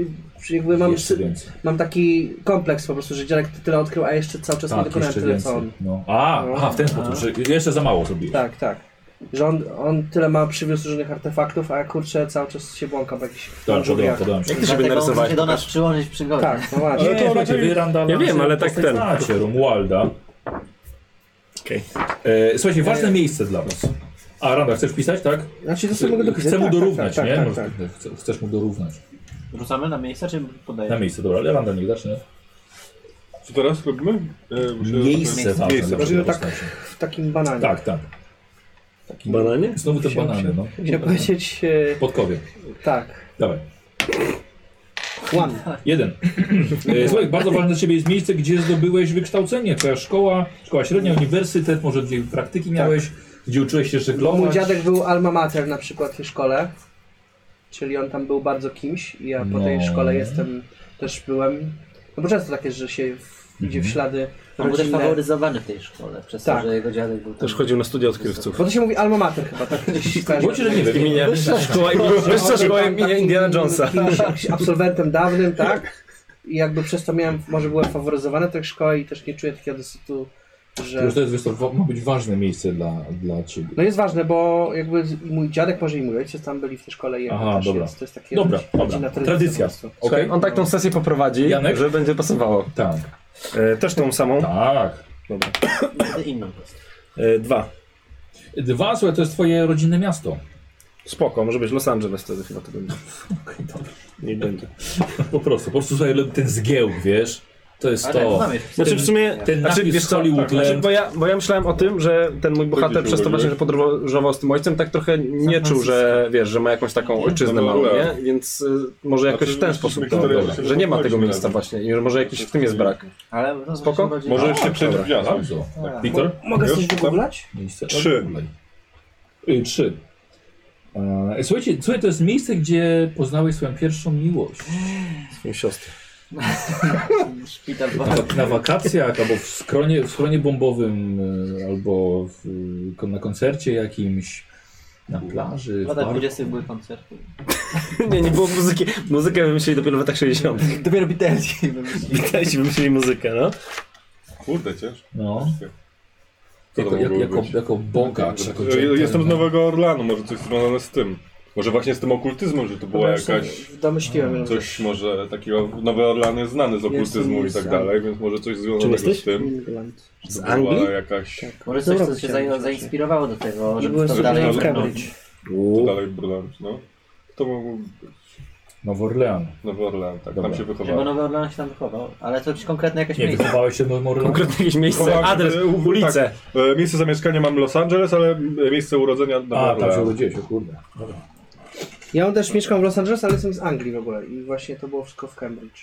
[SPEAKER 4] czy jakby mam,
[SPEAKER 1] Jeszcze więcej.
[SPEAKER 4] mam taki kompleks po prostu, że dziadek tyle odkrył, a jeszcze cały czas nie
[SPEAKER 1] Tak,
[SPEAKER 4] dokonałem
[SPEAKER 1] jeszcze
[SPEAKER 4] tyle co on.
[SPEAKER 1] więcej. No. A,
[SPEAKER 4] No.
[SPEAKER 1] aha, w ten sposób, że jeszcze za mało zrobiłeś.
[SPEAKER 4] Tak, tak. Że on, on tyle ma przywiózł różnych artefaktów, a ja kurczę cały czas się błąkam w jakichś
[SPEAKER 1] Tak, podoba,
[SPEAKER 4] żubriach.
[SPEAKER 1] podoba mi się.
[SPEAKER 2] Jak ty się by
[SPEAKER 3] Dlatego muszę
[SPEAKER 2] narysować?
[SPEAKER 3] się do nas przyłączyć przygodę.
[SPEAKER 4] Tak, no właśnie.
[SPEAKER 5] Ale
[SPEAKER 1] Nie,
[SPEAKER 5] to
[SPEAKER 1] słuchajcie,
[SPEAKER 5] raczej-
[SPEAKER 1] wy Randall
[SPEAKER 2] Ja wiem,
[SPEAKER 1] znacie-
[SPEAKER 2] ale tak
[SPEAKER 1] postać
[SPEAKER 2] ten.
[SPEAKER 1] Znacie, Romualda.
[SPEAKER 2] Okej.
[SPEAKER 1] E, słuchajcie, ważne miejsce dla was. A, Randall, chcesz pisać, tak?
[SPEAKER 4] Znaczy to sobie mogę dopisać.
[SPEAKER 1] Chcę mu
[SPEAKER 4] Tak,
[SPEAKER 1] dorównać,
[SPEAKER 4] tak,
[SPEAKER 1] nie?
[SPEAKER 4] Tak, tak,
[SPEAKER 1] Może-
[SPEAKER 4] tak.
[SPEAKER 1] chce- Chcesz mu dorównać.
[SPEAKER 3] Rzucamy na miejsce, czy
[SPEAKER 1] Na
[SPEAKER 3] podajemy?
[SPEAKER 1] miejsce, dobra, ale Randall niech zacznie.
[SPEAKER 5] Co teraz robimy? E, muszę-
[SPEAKER 1] Miejsce ważne
[SPEAKER 5] Miejsce.
[SPEAKER 1] dla
[SPEAKER 4] Możemy
[SPEAKER 1] tej
[SPEAKER 4] tak-
[SPEAKER 1] postaci.
[SPEAKER 4] W takim bananie.
[SPEAKER 1] Tak, tak.
[SPEAKER 2] Bananie?
[SPEAKER 1] Znowu te
[SPEAKER 4] Musiał
[SPEAKER 1] banany,
[SPEAKER 4] się-
[SPEAKER 1] no.
[SPEAKER 4] Chciałem powiedzieć, e,
[SPEAKER 1] Podkowie.
[SPEAKER 4] tak.
[SPEAKER 1] Dawaj.
[SPEAKER 4] One.
[SPEAKER 1] Jeden. E, Słuchaj, bardzo ważne dla Ciebie jest miejsce, gdzie zdobyłeś wykształcenie. Twoja szkoła, szkoła średnia, uniwersytet, może gdzie praktyki miałeś, gdzie uczyłeś się
[SPEAKER 4] Tak. Bo
[SPEAKER 1] żeglować.
[SPEAKER 4] mój dziadek był alma mater na przykład w tej szkole, czyli on tam był bardzo kimś i ja po tej
[SPEAKER 1] No.
[SPEAKER 4] szkole jestem, też byłem. No bo często tak jest, że się w, idzie w
[SPEAKER 1] Mhm.
[SPEAKER 4] ślady
[SPEAKER 3] On był też
[SPEAKER 4] rodzinne.
[SPEAKER 3] faworyzowany w tej szkole, przez
[SPEAKER 4] Tak.
[SPEAKER 3] to, że jego dziadek był tam.
[SPEAKER 2] Też chodził na studia odkrywców.
[SPEAKER 4] Bo to się mówi alma mater chyba, tak?
[SPEAKER 1] Bo ci, że nie wiem.
[SPEAKER 2] Imienia. Szkoła, wyższa szkoła imienia Indiana Jonesa.
[SPEAKER 4] Kimś, jakimś absolwentem dawnym, tak? I jakby przez to miałem, może byłem faworyzowany w tej szkole i też nie czuję takiego dosytu,
[SPEAKER 1] To
[SPEAKER 4] że...
[SPEAKER 1] już to jest, wiesz co, wa- ma być ważne miejsce dla, dla Ciebie.
[SPEAKER 4] No jest ważne, bo jakby z- i mój dziadek, może i mój ojciec tam byli w tej szkole i jakby
[SPEAKER 1] Aha,
[SPEAKER 4] też
[SPEAKER 1] dobra.
[SPEAKER 4] Jest, to jest takie
[SPEAKER 1] Dobra,
[SPEAKER 4] jakaś
[SPEAKER 1] dobra.
[SPEAKER 4] rodzinna
[SPEAKER 1] Tradycja.
[SPEAKER 4] po prostu.
[SPEAKER 1] Okej?
[SPEAKER 2] On tak tą sesję poprowadzi,
[SPEAKER 1] Janek?
[SPEAKER 2] że będzie pasowało.
[SPEAKER 1] Tak.
[SPEAKER 6] E, też tą samą.
[SPEAKER 1] Tak.
[SPEAKER 3] inną postać.
[SPEAKER 6] E, dwa.
[SPEAKER 1] Dwa, słuchaj, to jest Twoje rodzinne miasto.
[SPEAKER 6] Spoko, może być Los Angeles wtedy chyba to będzie. Nie będzie.
[SPEAKER 1] Tak Po prostu, po prostu słuchaj, ten zgiełk, wiesz, to jest
[SPEAKER 3] Ale
[SPEAKER 1] to.
[SPEAKER 3] to mamy wpis.
[SPEAKER 6] Znaczy w sumie...
[SPEAKER 1] Ten
[SPEAKER 6] znaczy,
[SPEAKER 1] napis
[SPEAKER 6] wiesz co,
[SPEAKER 1] Hollywood
[SPEAKER 2] Znaczy,
[SPEAKER 1] Land.
[SPEAKER 2] bo, ja, bo ja myślałem o tym, że ten mój bohater
[SPEAKER 5] Będziesz
[SPEAKER 2] przez to
[SPEAKER 5] urodziłeś?
[SPEAKER 2] właśnie, że podróżował z tym ojcem, tak trochę nie czuł, że wiesz, że ma jakąś taką ojczyznę
[SPEAKER 5] No,
[SPEAKER 2] małą,
[SPEAKER 5] dobra.
[SPEAKER 2] nie? Więc y, może jakoś w ten
[SPEAKER 5] Znaczy,
[SPEAKER 2] sposób,
[SPEAKER 5] myślę,
[SPEAKER 2] to,
[SPEAKER 5] że
[SPEAKER 2] dobra,
[SPEAKER 5] się
[SPEAKER 2] że nie ma tego
[SPEAKER 5] rozmawialiśmy
[SPEAKER 2] miejsca
[SPEAKER 5] razem.
[SPEAKER 2] właśnie i że może jakiś w tym jest brak.
[SPEAKER 3] Ale no,
[SPEAKER 2] Spoko?
[SPEAKER 3] chodzi-
[SPEAKER 5] Może
[SPEAKER 3] No,
[SPEAKER 5] jeszcze przed Tak.
[SPEAKER 2] dobra.
[SPEAKER 5] gwiazdą.
[SPEAKER 1] Dobrze. Wiktor?
[SPEAKER 4] Mogę
[SPEAKER 5] Już
[SPEAKER 4] coś
[SPEAKER 5] tam?
[SPEAKER 4] wygooglać?
[SPEAKER 1] Miejsce. No,
[SPEAKER 5] Trzy.
[SPEAKER 1] Y, Trzy. E, Słuchajcie, słuchaj, to jest miejsce, gdzie poznałeś swoją pierwszą miłość.
[SPEAKER 2] Swoją siostrę.
[SPEAKER 3] Szpital
[SPEAKER 1] Na, wa- na wakacjach, albo w skronie, w skronie bombowym, y, albo w, y, kon- na koncercie jakimś, na plaży. W
[SPEAKER 3] w latach
[SPEAKER 1] parku.
[SPEAKER 3] 20 były koncerty.
[SPEAKER 2] nie, nie było muzyki. Muzykę wymyślili dopiero w latach 60.
[SPEAKER 3] Dopiero Beatlesi wymyślili.
[SPEAKER 2] Witajcie, wymyślili muzykę, no.
[SPEAKER 5] Kurde, cięż.
[SPEAKER 1] No,
[SPEAKER 5] Co
[SPEAKER 1] jako,
[SPEAKER 5] to
[SPEAKER 1] jak,
[SPEAKER 5] mogło
[SPEAKER 1] jako,
[SPEAKER 5] być?
[SPEAKER 1] jako bogacz. Jako gentleman.
[SPEAKER 5] Jestem z Nowego Orlanu, może coś związane z tym. Może właśnie z tym okultyzmem, że to była
[SPEAKER 4] Dobra, już
[SPEAKER 5] jakaś...
[SPEAKER 4] sobie Domyśliłem ją.
[SPEAKER 5] Coś może takiego, Nowy Orlan jest znany z okultyzmu i
[SPEAKER 4] Jestem
[SPEAKER 5] tak
[SPEAKER 4] z-
[SPEAKER 5] dalej, więc może coś związanego z
[SPEAKER 2] jesteś?
[SPEAKER 5] tym.
[SPEAKER 4] England.
[SPEAKER 2] Z
[SPEAKER 5] To była
[SPEAKER 2] Anglii?
[SPEAKER 5] jakaś
[SPEAKER 3] Może coś, co
[SPEAKER 4] Dobra,
[SPEAKER 3] się
[SPEAKER 4] chciałem
[SPEAKER 3] za,
[SPEAKER 4] właśnie.
[SPEAKER 3] zainspirowało do tego,
[SPEAKER 4] Nie
[SPEAKER 3] żeby
[SPEAKER 4] byłem
[SPEAKER 3] to
[SPEAKER 4] studiowałem
[SPEAKER 3] dalej robić.
[SPEAKER 4] w Cambridge.
[SPEAKER 5] to
[SPEAKER 2] Uuu.
[SPEAKER 5] dalej brylant, no. To mógł być
[SPEAKER 1] Nowy Orlean.
[SPEAKER 5] Nowy Orlean, tak,
[SPEAKER 1] Dobra.
[SPEAKER 5] tam się
[SPEAKER 3] Żeby
[SPEAKER 5] wychowałem.
[SPEAKER 3] Nowy Orlean się tam wychował, ale to jakieś konkretne jakieś
[SPEAKER 1] Nie,
[SPEAKER 3] miejsce.
[SPEAKER 1] wychowałeś się w Nowym Orleanie?
[SPEAKER 2] Konkretnie jakieś miejsce,
[SPEAKER 5] Chowałem się,
[SPEAKER 2] adres,
[SPEAKER 5] e, u-
[SPEAKER 2] ulicę.
[SPEAKER 5] E, Miejsce zamieszkania mam Los Angeles, ale e, miejsce urodzenia Nowy
[SPEAKER 1] A, tam się
[SPEAKER 5] Orlean.
[SPEAKER 1] urodziłeś, o kurde. Dobra.
[SPEAKER 4] Ja też mieszkam w Los Angeles, ale jestem z Anglii w ogóle i właśnie to było wszystko w Cambridge.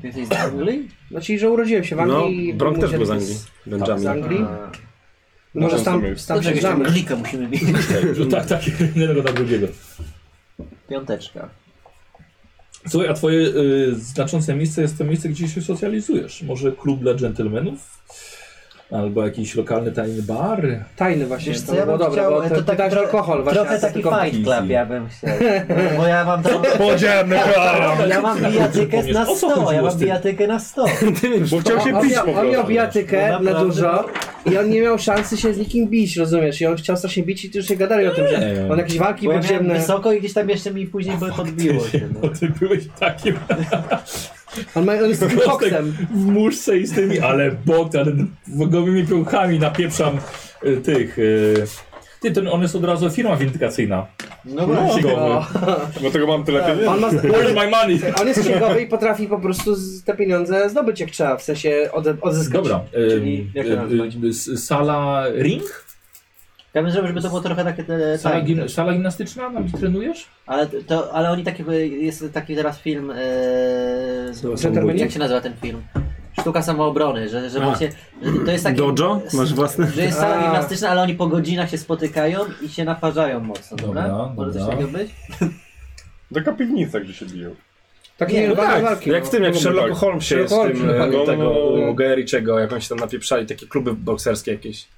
[SPEAKER 3] Ty jesteś z Anglii?
[SPEAKER 5] tak.
[SPEAKER 4] Znaczy, że urodziłem się w Anglii.
[SPEAKER 2] No,
[SPEAKER 4] i
[SPEAKER 2] Bronk
[SPEAKER 4] mój
[SPEAKER 2] też był z
[SPEAKER 4] dziadek
[SPEAKER 2] Anglii.
[SPEAKER 4] jest
[SPEAKER 2] Benjamin.
[SPEAKER 4] Z Anglii. Może
[SPEAKER 5] Możemy
[SPEAKER 4] tam,
[SPEAKER 5] sobie-
[SPEAKER 4] Hmm. tam się
[SPEAKER 3] jakiegoś tam
[SPEAKER 4] znamy.
[SPEAKER 3] glika musimy mieć.
[SPEAKER 1] Że tak, tak, jednego na drugiego.
[SPEAKER 3] Piąteczka.
[SPEAKER 1] Słuchaj, a twoje y, znaczące miejsce jest to miejsce, gdzie się socjalizujesz. Może klub dla dżentelmenów? Albo jakiś lokalny tajny bar?
[SPEAKER 4] Tajny właśnie,
[SPEAKER 3] Wiesz
[SPEAKER 4] to
[SPEAKER 3] co,
[SPEAKER 4] by
[SPEAKER 3] ja
[SPEAKER 4] było
[SPEAKER 3] bym
[SPEAKER 4] dobre,
[SPEAKER 3] chciał,
[SPEAKER 4] bo to,
[SPEAKER 3] to tak
[SPEAKER 4] dać
[SPEAKER 3] trochę-
[SPEAKER 4] alkohol właśnie. a
[SPEAKER 3] Trochę
[SPEAKER 4] to
[SPEAKER 3] taki
[SPEAKER 4] tylko-
[SPEAKER 3] fight club ja bym chciał. Bo ja mam tam...
[SPEAKER 5] Podzielny plan!
[SPEAKER 3] Ja mam bijatykę na
[SPEAKER 1] O co
[SPEAKER 3] 100, ja
[SPEAKER 1] chodziło z
[SPEAKER 3] mam
[SPEAKER 1] tym?
[SPEAKER 3] bijatykę na 100.
[SPEAKER 5] Bo
[SPEAKER 2] tak.
[SPEAKER 5] chciał się
[SPEAKER 4] On
[SPEAKER 5] pić
[SPEAKER 4] miał,
[SPEAKER 5] po
[SPEAKER 4] on miał
[SPEAKER 5] prostu.
[SPEAKER 4] bijatykę
[SPEAKER 3] No
[SPEAKER 4] na
[SPEAKER 3] naprawdę.
[SPEAKER 4] dużo i on nie miał szansy się z nikim bić, rozumiesz? I on chciał strasznie bić i tu już się gadali o tym, że on jakieś walki
[SPEAKER 3] Bo ja miałem
[SPEAKER 4] podziemne...
[SPEAKER 3] wysoko i gdzieś tam jeszcze mi później by podbiło się. No.
[SPEAKER 1] Bo ty byłeś takim
[SPEAKER 4] On, ma, on jest takim koksem.
[SPEAKER 1] w muszce i z tymi, ale bok, ale gołymi piłkami napieprzam y, tych... Y, ty, ten, on jest od razu firma windykacyjna.
[SPEAKER 3] No
[SPEAKER 1] Księgowy.
[SPEAKER 5] Dlatego No mam tyle pieniędzy.
[SPEAKER 4] On, ma,
[SPEAKER 1] Where's my money?
[SPEAKER 4] on jest księgowy i potrafi po prostu z- te pieniądze zdobyć jak trzeba, w sensie ode, odzyskać.
[SPEAKER 1] Dobra.
[SPEAKER 3] Czyli jak to
[SPEAKER 1] y,
[SPEAKER 3] nazwać?
[SPEAKER 1] y, y, sala ring?
[SPEAKER 3] Ja bym zrobił, żeby to było trochę takie te,
[SPEAKER 1] Sala,
[SPEAKER 3] tajne
[SPEAKER 1] gim,
[SPEAKER 3] też.
[SPEAKER 1] sala gimnastyczna? Tam gdzie trenujesz?
[SPEAKER 3] ale, to, ale oni takie, jest taki teraz film, e, z,
[SPEAKER 4] Gentlemani?
[SPEAKER 3] jak się nazywa ten film? Sztuka samoobrony, że, że
[SPEAKER 2] A.
[SPEAKER 3] właśnie, że to jest taki...
[SPEAKER 2] Dojo? Masz własny?
[SPEAKER 3] Że jest sala
[SPEAKER 4] A.
[SPEAKER 3] gimnastyczna, ale oni po godzinach się spotykają i się naparzają mocno, dobra?
[SPEAKER 1] Dobra,
[SPEAKER 3] Może coś
[SPEAKER 1] dobra.
[SPEAKER 3] takiego być?
[SPEAKER 5] Taka piwnica, gdzie się biją.
[SPEAKER 4] Takie
[SPEAKER 3] Nie, no
[SPEAKER 4] nierwane
[SPEAKER 2] Tak,
[SPEAKER 4] walki.
[SPEAKER 2] jak
[SPEAKER 4] no.
[SPEAKER 2] w tym, jak w Sherlocku
[SPEAKER 5] tak.
[SPEAKER 2] Holmesie jest
[SPEAKER 4] Sherlock
[SPEAKER 2] tym,
[SPEAKER 4] Holmes,
[SPEAKER 2] e,
[SPEAKER 5] dokładnie.
[SPEAKER 2] tego,
[SPEAKER 5] No.
[SPEAKER 2] u Gehrichego, jak oni się tam napieprzali, takie kluby bokserskie jakieś.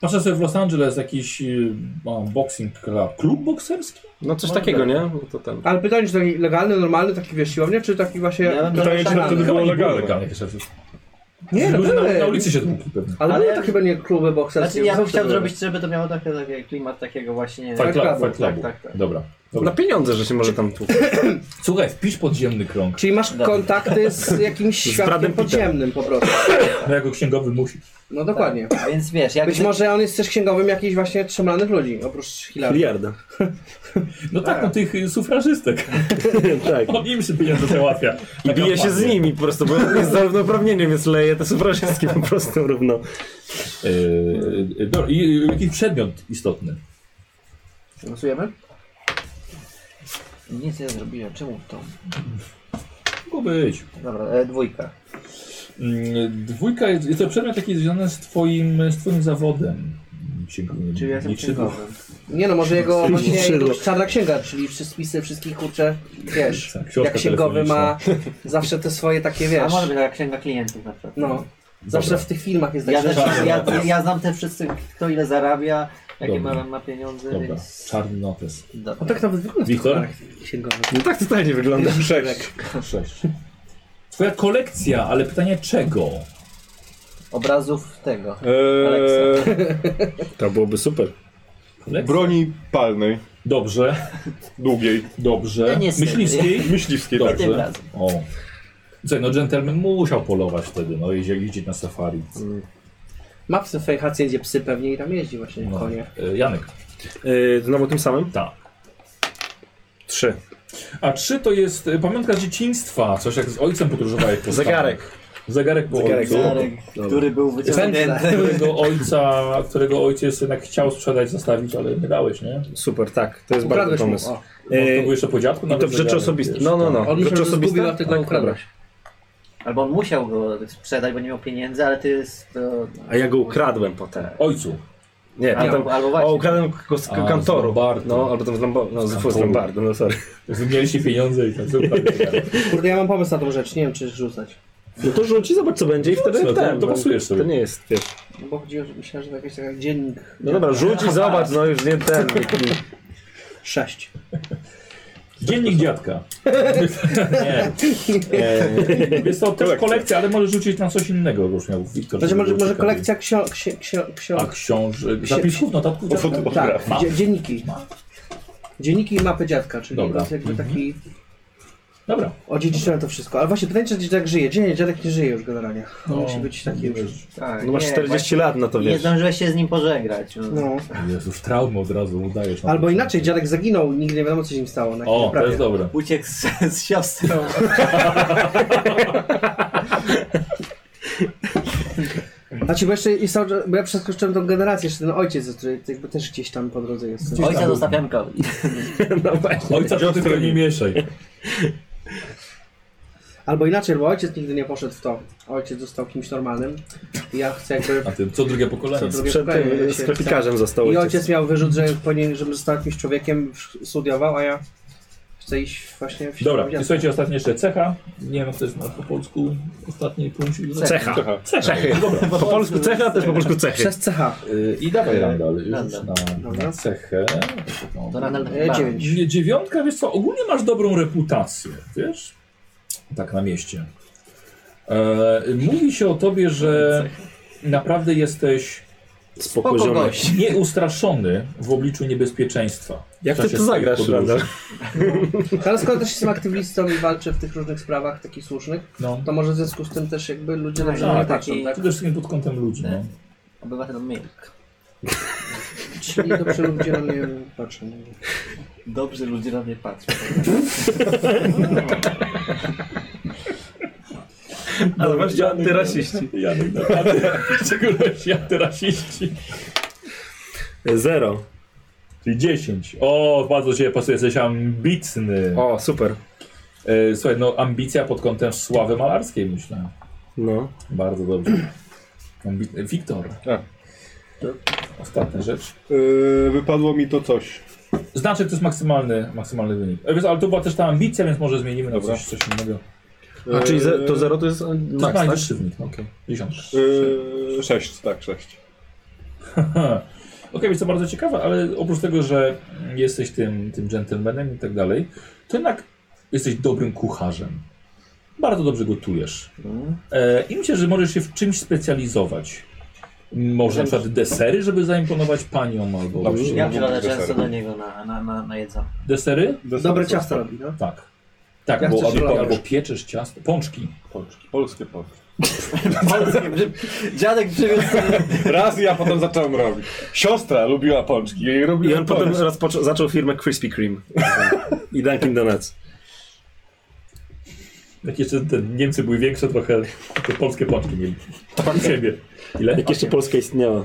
[SPEAKER 1] Patrzę sobie w Los Angeles jakiś y, o, boxing club. Klub bokserski?
[SPEAKER 2] No coś
[SPEAKER 4] Może
[SPEAKER 2] takiego,
[SPEAKER 4] tak.
[SPEAKER 2] nie? No to ten.
[SPEAKER 4] Ale pytanie, czy taki legalny, normalny, taki wiesz, siłownia, czy taki właśnie...
[SPEAKER 3] Ja bym
[SPEAKER 5] Pytanie, czy
[SPEAKER 3] Tak,
[SPEAKER 5] na wtedy
[SPEAKER 1] Chyba
[SPEAKER 5] było
[SPEAKER 1] nie
[SPEAKER 5] legalne.
[SPEAKER 1] legalne jakieś rzeczy.
[SPEAKER 4] Nie, no
[SPEAKER 1] Ludzie na,
[SPEAKER 4] były.
[SPEAKER 1] na ulicy się tłukli pewnie.
[SPEAKER 4] Ale,
[SPEAKER 3] Ale-
[SPEAKER 4] były takie pewnie kluby bokserskie.
[SPEAKER 3] Znaczy ja bym
[SPEAKER 4] zawsze
[SPEAKER 3] chciał
[SPEAKER 4] były.
[SPEAKER 3] zrobić, żeby to miało trochę taki klimat takiego właśnie...
[SPEAKER 1] Fight Club,
[SPEAKER 4] Clubu,
[SPEAKER 1] Fight
[SPEAKER 3] tak,
[SPEAKER 1] Clubu.
[SPEAKER 3] tak, tak.
[SPEAKER 1] Dobra.
[SPEAKER 2] No Na
[SPEAKER 1] Dobra.
[SPEAKER 2] pieniądze, że się może tam tłuc.
[SPEAKER 1] Słuchaj, wpisz podziemny krąg.
[SPEAKER 4] Czyli masz
[SPEAKER 3] Dobra.
[SPEAKER 4] kontakty z jakimś światłem
[SPEAKER 2] Bradem Pittem.
[SPEAKER 4] podziemnym po prostu.
[SPEAKER 1] No jako księgowy musisz.
[SPEAKER 4] No dokładnie.
[SPEAKER 3] A Więc wiesz, jak
[SPEAKER 4] Być może on jest też księgowym jakichś właśnie trzymanych ludzi, oprócz Hillary.
[SPEAKER 2] Miliarda.
[SPEAKER 1] No tak, no tych y, sufrażystek.
[SPEAKER 2] tak.
[SPEAKER 1] On im się pieniądze załatwia.
[SPEAKER 2] I bije się z
[SPEAKER 1] Taka
[SPEAKER 2] nimi po prostu, bo jest zarównouprawnieniem, więc leje te sufrażystki po prostu równo.
[SPEAKER 1] Yy, yy, dobra, i yy, jakiś przedmiot istotny.
[SPEAKER 3] Głosujemy? Nic nie zrobiłem, czemu to?
[SPEAKER 1] Mogło być.
[SPEAKER 3] Dobra, e, dwójka.
[SPEAKER 1] Mm, Dwójka jest, jest to przedmiot taki związany z twoim, z twoim zawodem. Księgowym.
[SPEAKER 3] Czyli ja jestem
[SPEAKER 1] Niczym-
[SPEAKER 3] księgowym.
[SPEAKER 4] Nie no, może jego właśnie
[SPEAKER 2] Skrzydło.
[SPEAKER 4] jakaś czarna księga, czyli przy spisy wszystkich kurczę, wiesz,
[SPEAKER 1] Tak, książka
[SPEAKER 4] jak księgowy ma zawsze te swoje takie,
[SPEAKER 3] A
[SPEAKER 4] wiesz,
[SPEAKER 3] może być taka księga klientów na przykład.
[SPEAKER 4] no, zawsze
[SPEAKER 1] Dobra.
[SPEAKER 4] w tych filmach jest tak,
[SPEAKER 3] Ja,
[SPEAKER 4] że
[SPEAKER 3] też,
[SPEAKER 1] Czarny
[SPEAKER 3] ja,
[SPEAKER 1] notes.
[SPEAKER 3] ja znam te wszyscy, kto ile zarabia, jakie
[SPEAKER 1] Dobra.
[SPEAKER 3] ma, ma pieniądze,
[SPEAKER 1] Dobra,
[SPEAKER 3] więc...
[SPEAKER 1] czarny notes.
[SPEAKER 4] on
[SPEAKER 3] Dobra.
[SPEAKER 4] tak nawet wygląda w tych
[SPEAKER 1] Wiktor?
[SPEAKER 4] filmach księgowych.
[SPEAKER 2] No tak totalnie wygląda.
[SPEAKER 5] Sześć.
[SPEAKER 3] Tak.
[SPEAKER 1] Sześć. Twoja kolekcja, ale pytanie czego?
[SPEAKER 3] Obrazów tego.
[SPEAKER 5] Eee,
[SPEAKER 2] To byłoby super.
[SPEAKER 1] Kolekcja?
[SPEAKER 5] broni palnej,
[SPEAKER 1] Dobrze,
[SPEAKER 5] długiej,
[SPEAKER 1] dobrze.
[SPEAKER 2] No,
[SPEAKER 3] Ja nie jestem.
[SPEAKER 1] Myśliwskiej?
[SPEAKER 5] myśliwskiej, tak.
[SPEAKER 3] Tym
[SPEAKER 1] Dobrze.
[SPEAKER 3] razem.
[SPEAKER 1] O. Słuchaj, no dżentelmen musiał polować wtedy, no jeździł jeździć na safari.
[SPEAKER 2] Mm,
[SPEAKER 4] Ma w fejhacji, gdzie psy pewnie i tam jeździ właśnie
[SPEAKER 1] No.
[SPEAKER 4] konie.
[SPEAKER 1] E, Janek.
[SPEAKER 2] Yy, znowu tym samym?
[SPEAKER 1] Tak.
[SPEAKER 2] Trzy.
[SPEAKER 1] A trzy to jest e, pamiątka z dzieciństwa, coś jak z ojcem podróżowałeś. po
[SPEAKER 2] Zegarek.
[SPEAKER 1] Stanach. Zegarek po
[SPEAKER 2] Zegarek.
[SPEAKER 1] ojcu.
[SPEAKER 3] Zarek, który był wyciągnięty.
[SPEAKER 1] Którego ojca, którego ojciec jednak chciał sprzedać, zostawić, ale nie dałeś, nie?
[SPEAKER 2] Super, tak. To jest
[SPEAKER 4] Ukradłeś
[SPEAKER 2] bardzo
[SPEAKER 4] mu,
[SPEAKER 2] pomysł.
[SPEAKER 4] o.
[SPEAKER 1] Może to
[SPEAKER 2] Yy,
[SPEAKER 1] był jeszcze po dziadku?
[SPEAKER 2] I to
[SPEAKER 1] nawet
[SPEAKER 2] w rzeczy
[SPEAKER 1] zegarek,
[SPEAKER 2] osobistej.
[SPEAKER 1] wiesz, tak.
[SPEAKER 2] No, no,
[SPEAKER 1] tam.
[SPEAKER 2] no.
[SPEAKER 4] On myślał,
[SPEAKER 2] Rzeczy
[SPEAKER 4] że zgubił, a
[SPEAKER 2] osobiste?
[SPEAKER 4] ty go ukradłeś.
[SPEAKER 3] Albo on musiał go sprzedać, bo nie miał pieniędzy, ale ty jest... To...
[SPEAKER 2] A ja go ukradłem potem.
[SPEAKER 1] Ojcu.
[SPEAKER 2] Nie,
[SPEAKER 3] Albo-
[SPEAKER 2] tam,
[SPEAKER 3] albo właśnie.
[SPEAKER 2] o, ukradłem go z
[SPEAKER 1] A, z
[SPEAKER 2] kantoru.
[SPEAKER 1] Lombardu.
[SPEAKER 2] no, albo tam z Lombardu. No,
[SPEAKER 1] Z
[SPEAKER 2] z, z
[SPEAKER 1] kantoru.
[SPEAKER 2] Lombardu, no sorry.
[SPEAKER 1] Wymieliście pieniądze i tam super.
[SPEAKER 4] Kurde, ja mam pomysł na tą rzecz, nie wiem czy rzucać.
[SPEAKER 2] No to rzuci, zobacz co będzie i wtedy
[SPEAKER 1] no, to-
[SPEAKER 2] ten,
[SPEAKER 1] to
[SPEAKER 2] bo
[SPEAKER 1] pasujesz sobie.
[SPEAKER 2] To nie jest, wiesz.
[SPEAKER 4] No bo chodziło, że myślałem, że to jakaś taka dziennik.
[SPEAKER 2] No dobra, rzuć i zobacz, no już nie ten.
[SPEAKER 4] Sześć.
[SPEAKER 1] Dziennik dziadka. nie. E, jest to też
[SPEAKER 5] Kolekcja.
[SPEAKER 1] kolekcja, ale możesz rzucić na coś innego, już miał Wiktor.
[SPEAKER 4] Znaczy
[SPEAKER 1] żeby
[SPEAKER 4] może,
[SPEAKER 1] było
[SPEAKER 4] może
[SPEAKER 1] ciekawiej.
[SPEAKER 4] kolekcja ksiąg... Ksi, ksi,
[SPEAKER 1] A
[SPEAKER 4] ksiąg...
[SPEAKER 1] książ... Zapisów, notatków dziadka?
[SPEAKER 4] Tak,
[SPEAKER 1] Ma.
[SPEAKER 4] dzie- dzienniki. Dzienniki i mapy dziadka, czyli
[SPEAKER 1] Dobra.
[SPEAKER 4] to jest jakby taki...
[SPEAKER 1] Dobra.
[SPEAKER 4] Odziedziczyłem to wszystko. Ale właśnie pytanie, czy dziadek żyje. Dzień, dziadek nie żyje już generalnie.
[SPEAKER 1] No.
[SPEAKER 4] On musi być taki już...
[SPEAKER 3] Tak,
[SPEAKER 2] No masz
[SPEAKER 3] nie,
[SPEAKER 2] 40 lat na to,
[SPEAKER 3] właśnie Nie
[SPEAKER 2] wiesz.
[SPEAKER 3] zdążyłeś się z nim pożegnać. No.
[SPEAKER 4] No.
[SPEAKER 1] Jezu, już traumę od razu udajesz. na
[SPEAKER 4] Albo
[SPEAKER 1] początku.
[SPEAKER 4] inaczej, dziadek zaginął, nigdy nie wiadomo co się nim stało. Na jakiej
[SPEAKER 1] O, to
[SPEAKER 4] wyprawie.
[SPEAKER 1] jest dobre.
[SPEAKER 3] Uciekł z, z siostrą.
[SPEAKER 4] Znaczy, bo jeszcze jest, bo ja przeskoczyłem tą generację, jeszcze ten ojciec, który jakby też gdzieś tam po drodze jest.
[SPEAKER 3] Ojca zostawiam kowi.
[SPEAKER 2] No właśnie.
[SPEAKER 1] Ojca to tylko nie mieszaj.
[SPEAKER 4] Albo inaczej, bo ojciec nigdy nie poszedł w to. Ojciec został kimś normalnym. I ja chcę jakby...
[SPEAKER 1] A tym co drugie
[SPEAKER 4] Co
[SPEAKER 1] pokolenie.
[SPEAKER 4] drugie
[SPEAKER 6] Przed
[SPEAKER 4] pokolenie
[SPEAKER 6] tym
[SPEAKER 4] będzie się-
[SPEAKER 6] sklepikarzem został
[SPEAKER 4] I
[SPEAKER 6] ojciec.
[SPEAKER 4] ojciec miał wyrzut, że powinien, żebym został jakimś człowiekiem, studiował, a ja chcę iść właśnie w
[SPEAKER 1] Dobra, i
[SPEAKER 4] dziadka.
[SPEAKER 1] słuchajcie, ostatnia jeszcze cecha. Nie wiem, jak to jest na- po polsku. Ostatni punkt.
[SPEAKER 6] Cecha.
[SPEAKER 5] Aha.
[SPEAKER 1] Cecha.
[SPEAKER 6] Cechy.
[SPEAKER 1] Dobra.
[SPEAKER 6] Po polsku cecha, też po polsku cechy.
[SPEAKER 4] Przez CH.
[SPEAKER 1] Y, I dawaj Randall już
[SPEAKER 3] Randall.
[SPEAKER 1] na, na
[SPEAKER 4] Dobra.
[SPEAKER 1] cechę. No,
[SPEAKER 3] To tak Randall
[SPEAKER 4] E,
[SPEAKER 3] chyba.
[SPEAKER 4] dziewięć.
[SPEAKER 1] Nie, dziewiątka, wiesz co, ogólnie masz dobrą reputację, wiesz? Tak na mieście. E, mówi się o tobie, że naprawdę jesteś
[SPEAKER 6] Spoko
[SPEAKER 3] Spoko
[SPEAKER 6] ziomek.
[SPEAKER 3] gość.
[SPEAKER 1] nieustraszony w obliczu niebezpieczeństwa.
[SPEAKER 6] Jak
[SPEAKER 1] W
[SPEAKER 6] ty
[SPEAKER 1] czasie
[SPEAKER 6] to
[SPEAKER 1] swoich
[SPEAKER 6] zagrasz,
[SPEAKER 1] podróży.
[SPEAKER 6] Randall?
[SPEAKER 4] Ale skoro też jestem aktywistą i walczę w tych różnych sprawach, takich słusznych,
[SPEAKER 1] No.
[SPEAKER 4] to może w związku z tym też jakby ludzie dobrze na
[SPEAKER 1] Tak,
[SPEAKER 4] mnie
[SPEAKER 1] tak,
[SPEAKER 4] patrzą,
[SPEAKER 1] przede
[SPEAKER 4] tak?
[SPEAKER 1] wszystkim pod kątem ludzi. No.
[SPEAKER 3] Obywatel Milk.
[SPEAKER 4] Czyli dobrze ludzie na mnie patrzą.
[SPEAKER 3] Dobrze ludzie na mnie patrzą.
[SPEAKER 6] Ale właśnie antyrasiści.
[SPEAKER 1] Janek, no, a ty, szczególnie antyraciści.
[SPEAKER 6] Zero.
[SPEAKER 1] Czyli 10. O, bardzo cię pasuje, jesteś ambitny.
[SPEAKER 6] O, super.
[SPEAKER 1] E, słuchaj, no ambicja pod kątem sławy malarskiej, myślę.
[SPEAKER 6] No.
[SPEAKER 1] Bardzo dobrze. Ambitny. Wiktor.
[SPEAKER 5] Tak.
[SPEAKER 1] Ostatnia rzecz.
[SPEAKER 5] Yy, wypadło mi to coś.
[SPEAKER 1] Znaczy to jest maksymalny, maksymalny wynik. E, wiesz, ale to była też ta ambicja, więc może zmienimy na
[SPEAKER 5] Dobra. Tak,
[SPEAKER 1] coś, coś innego.
[SPEAKER 6] A czyli ze, to
[SPEAKER 5] Yy,
[SPEAKER 6] zero to jest
[SPEAKER 1] To
[SPEAKER 6] max,
[SPEAKER 1] jest
[SPEAKER 6] tak?
[SPEAKER 1] najwyższy wynik. no, Okej. 10.
[SPEAKER 5] Yy, sześć, tak, sześć.
[SPEAKER 1] Ha. Okej, więc to bardzo ciekawe, ale oprócz tego, że jesteś tym, tym gentlemanem i tak dalej, to jednak jesteś dobrym kucharzem. Bardzo dobrze gotujesz.
[SPEAKER 5] Mhm.
[SPEAKER 1] E, I myślę, że możesz się w czymś specjalizować. Może na przykład desery, żeby zaimponować paniom albo...
[SPEAKER 5] Dobrze.
[SPEAKER 3] Ja przychodzę często do niego na, na, na, na jedzonko.
[SPEAKER 1] Desery?
[SPEAKER 4] Dobre ciasto robi, no.
[SPEAKER 1] Tak. Tak,
[SPEAKER 4] Ja
[SPEAKER 1] bo,
[SPEAKER 4] chcę
[SPEAKER 1] albo,
[SPEAKER 4] szokoladę.
[SPEAKER 1] albo pieczesz ciasto. Pączki.
[SPEAKER 5] Polskie, polskie. polskie.
[SPEAKER 3] Polskie, przy... Dziadek przywiózł sobie
[SPEAKER 5] Raz ja potem zacząłem robić. Siostra lubiła pączki. Jej robiła
[SPEAKER 6] I on
[SPEAKER 5] pączki.
[SPEAKER 6] potem rozpoczął, zaczął firmę Krispy Kreme. I Dunkin Donuts.
[SPEAKER 1] Jak jeszcze te Niemcy były większe trochę, to polskie pączki mieli. Tak siebie. Ile?
[SPEAKER 6] Jak jeszcze Polska istniała.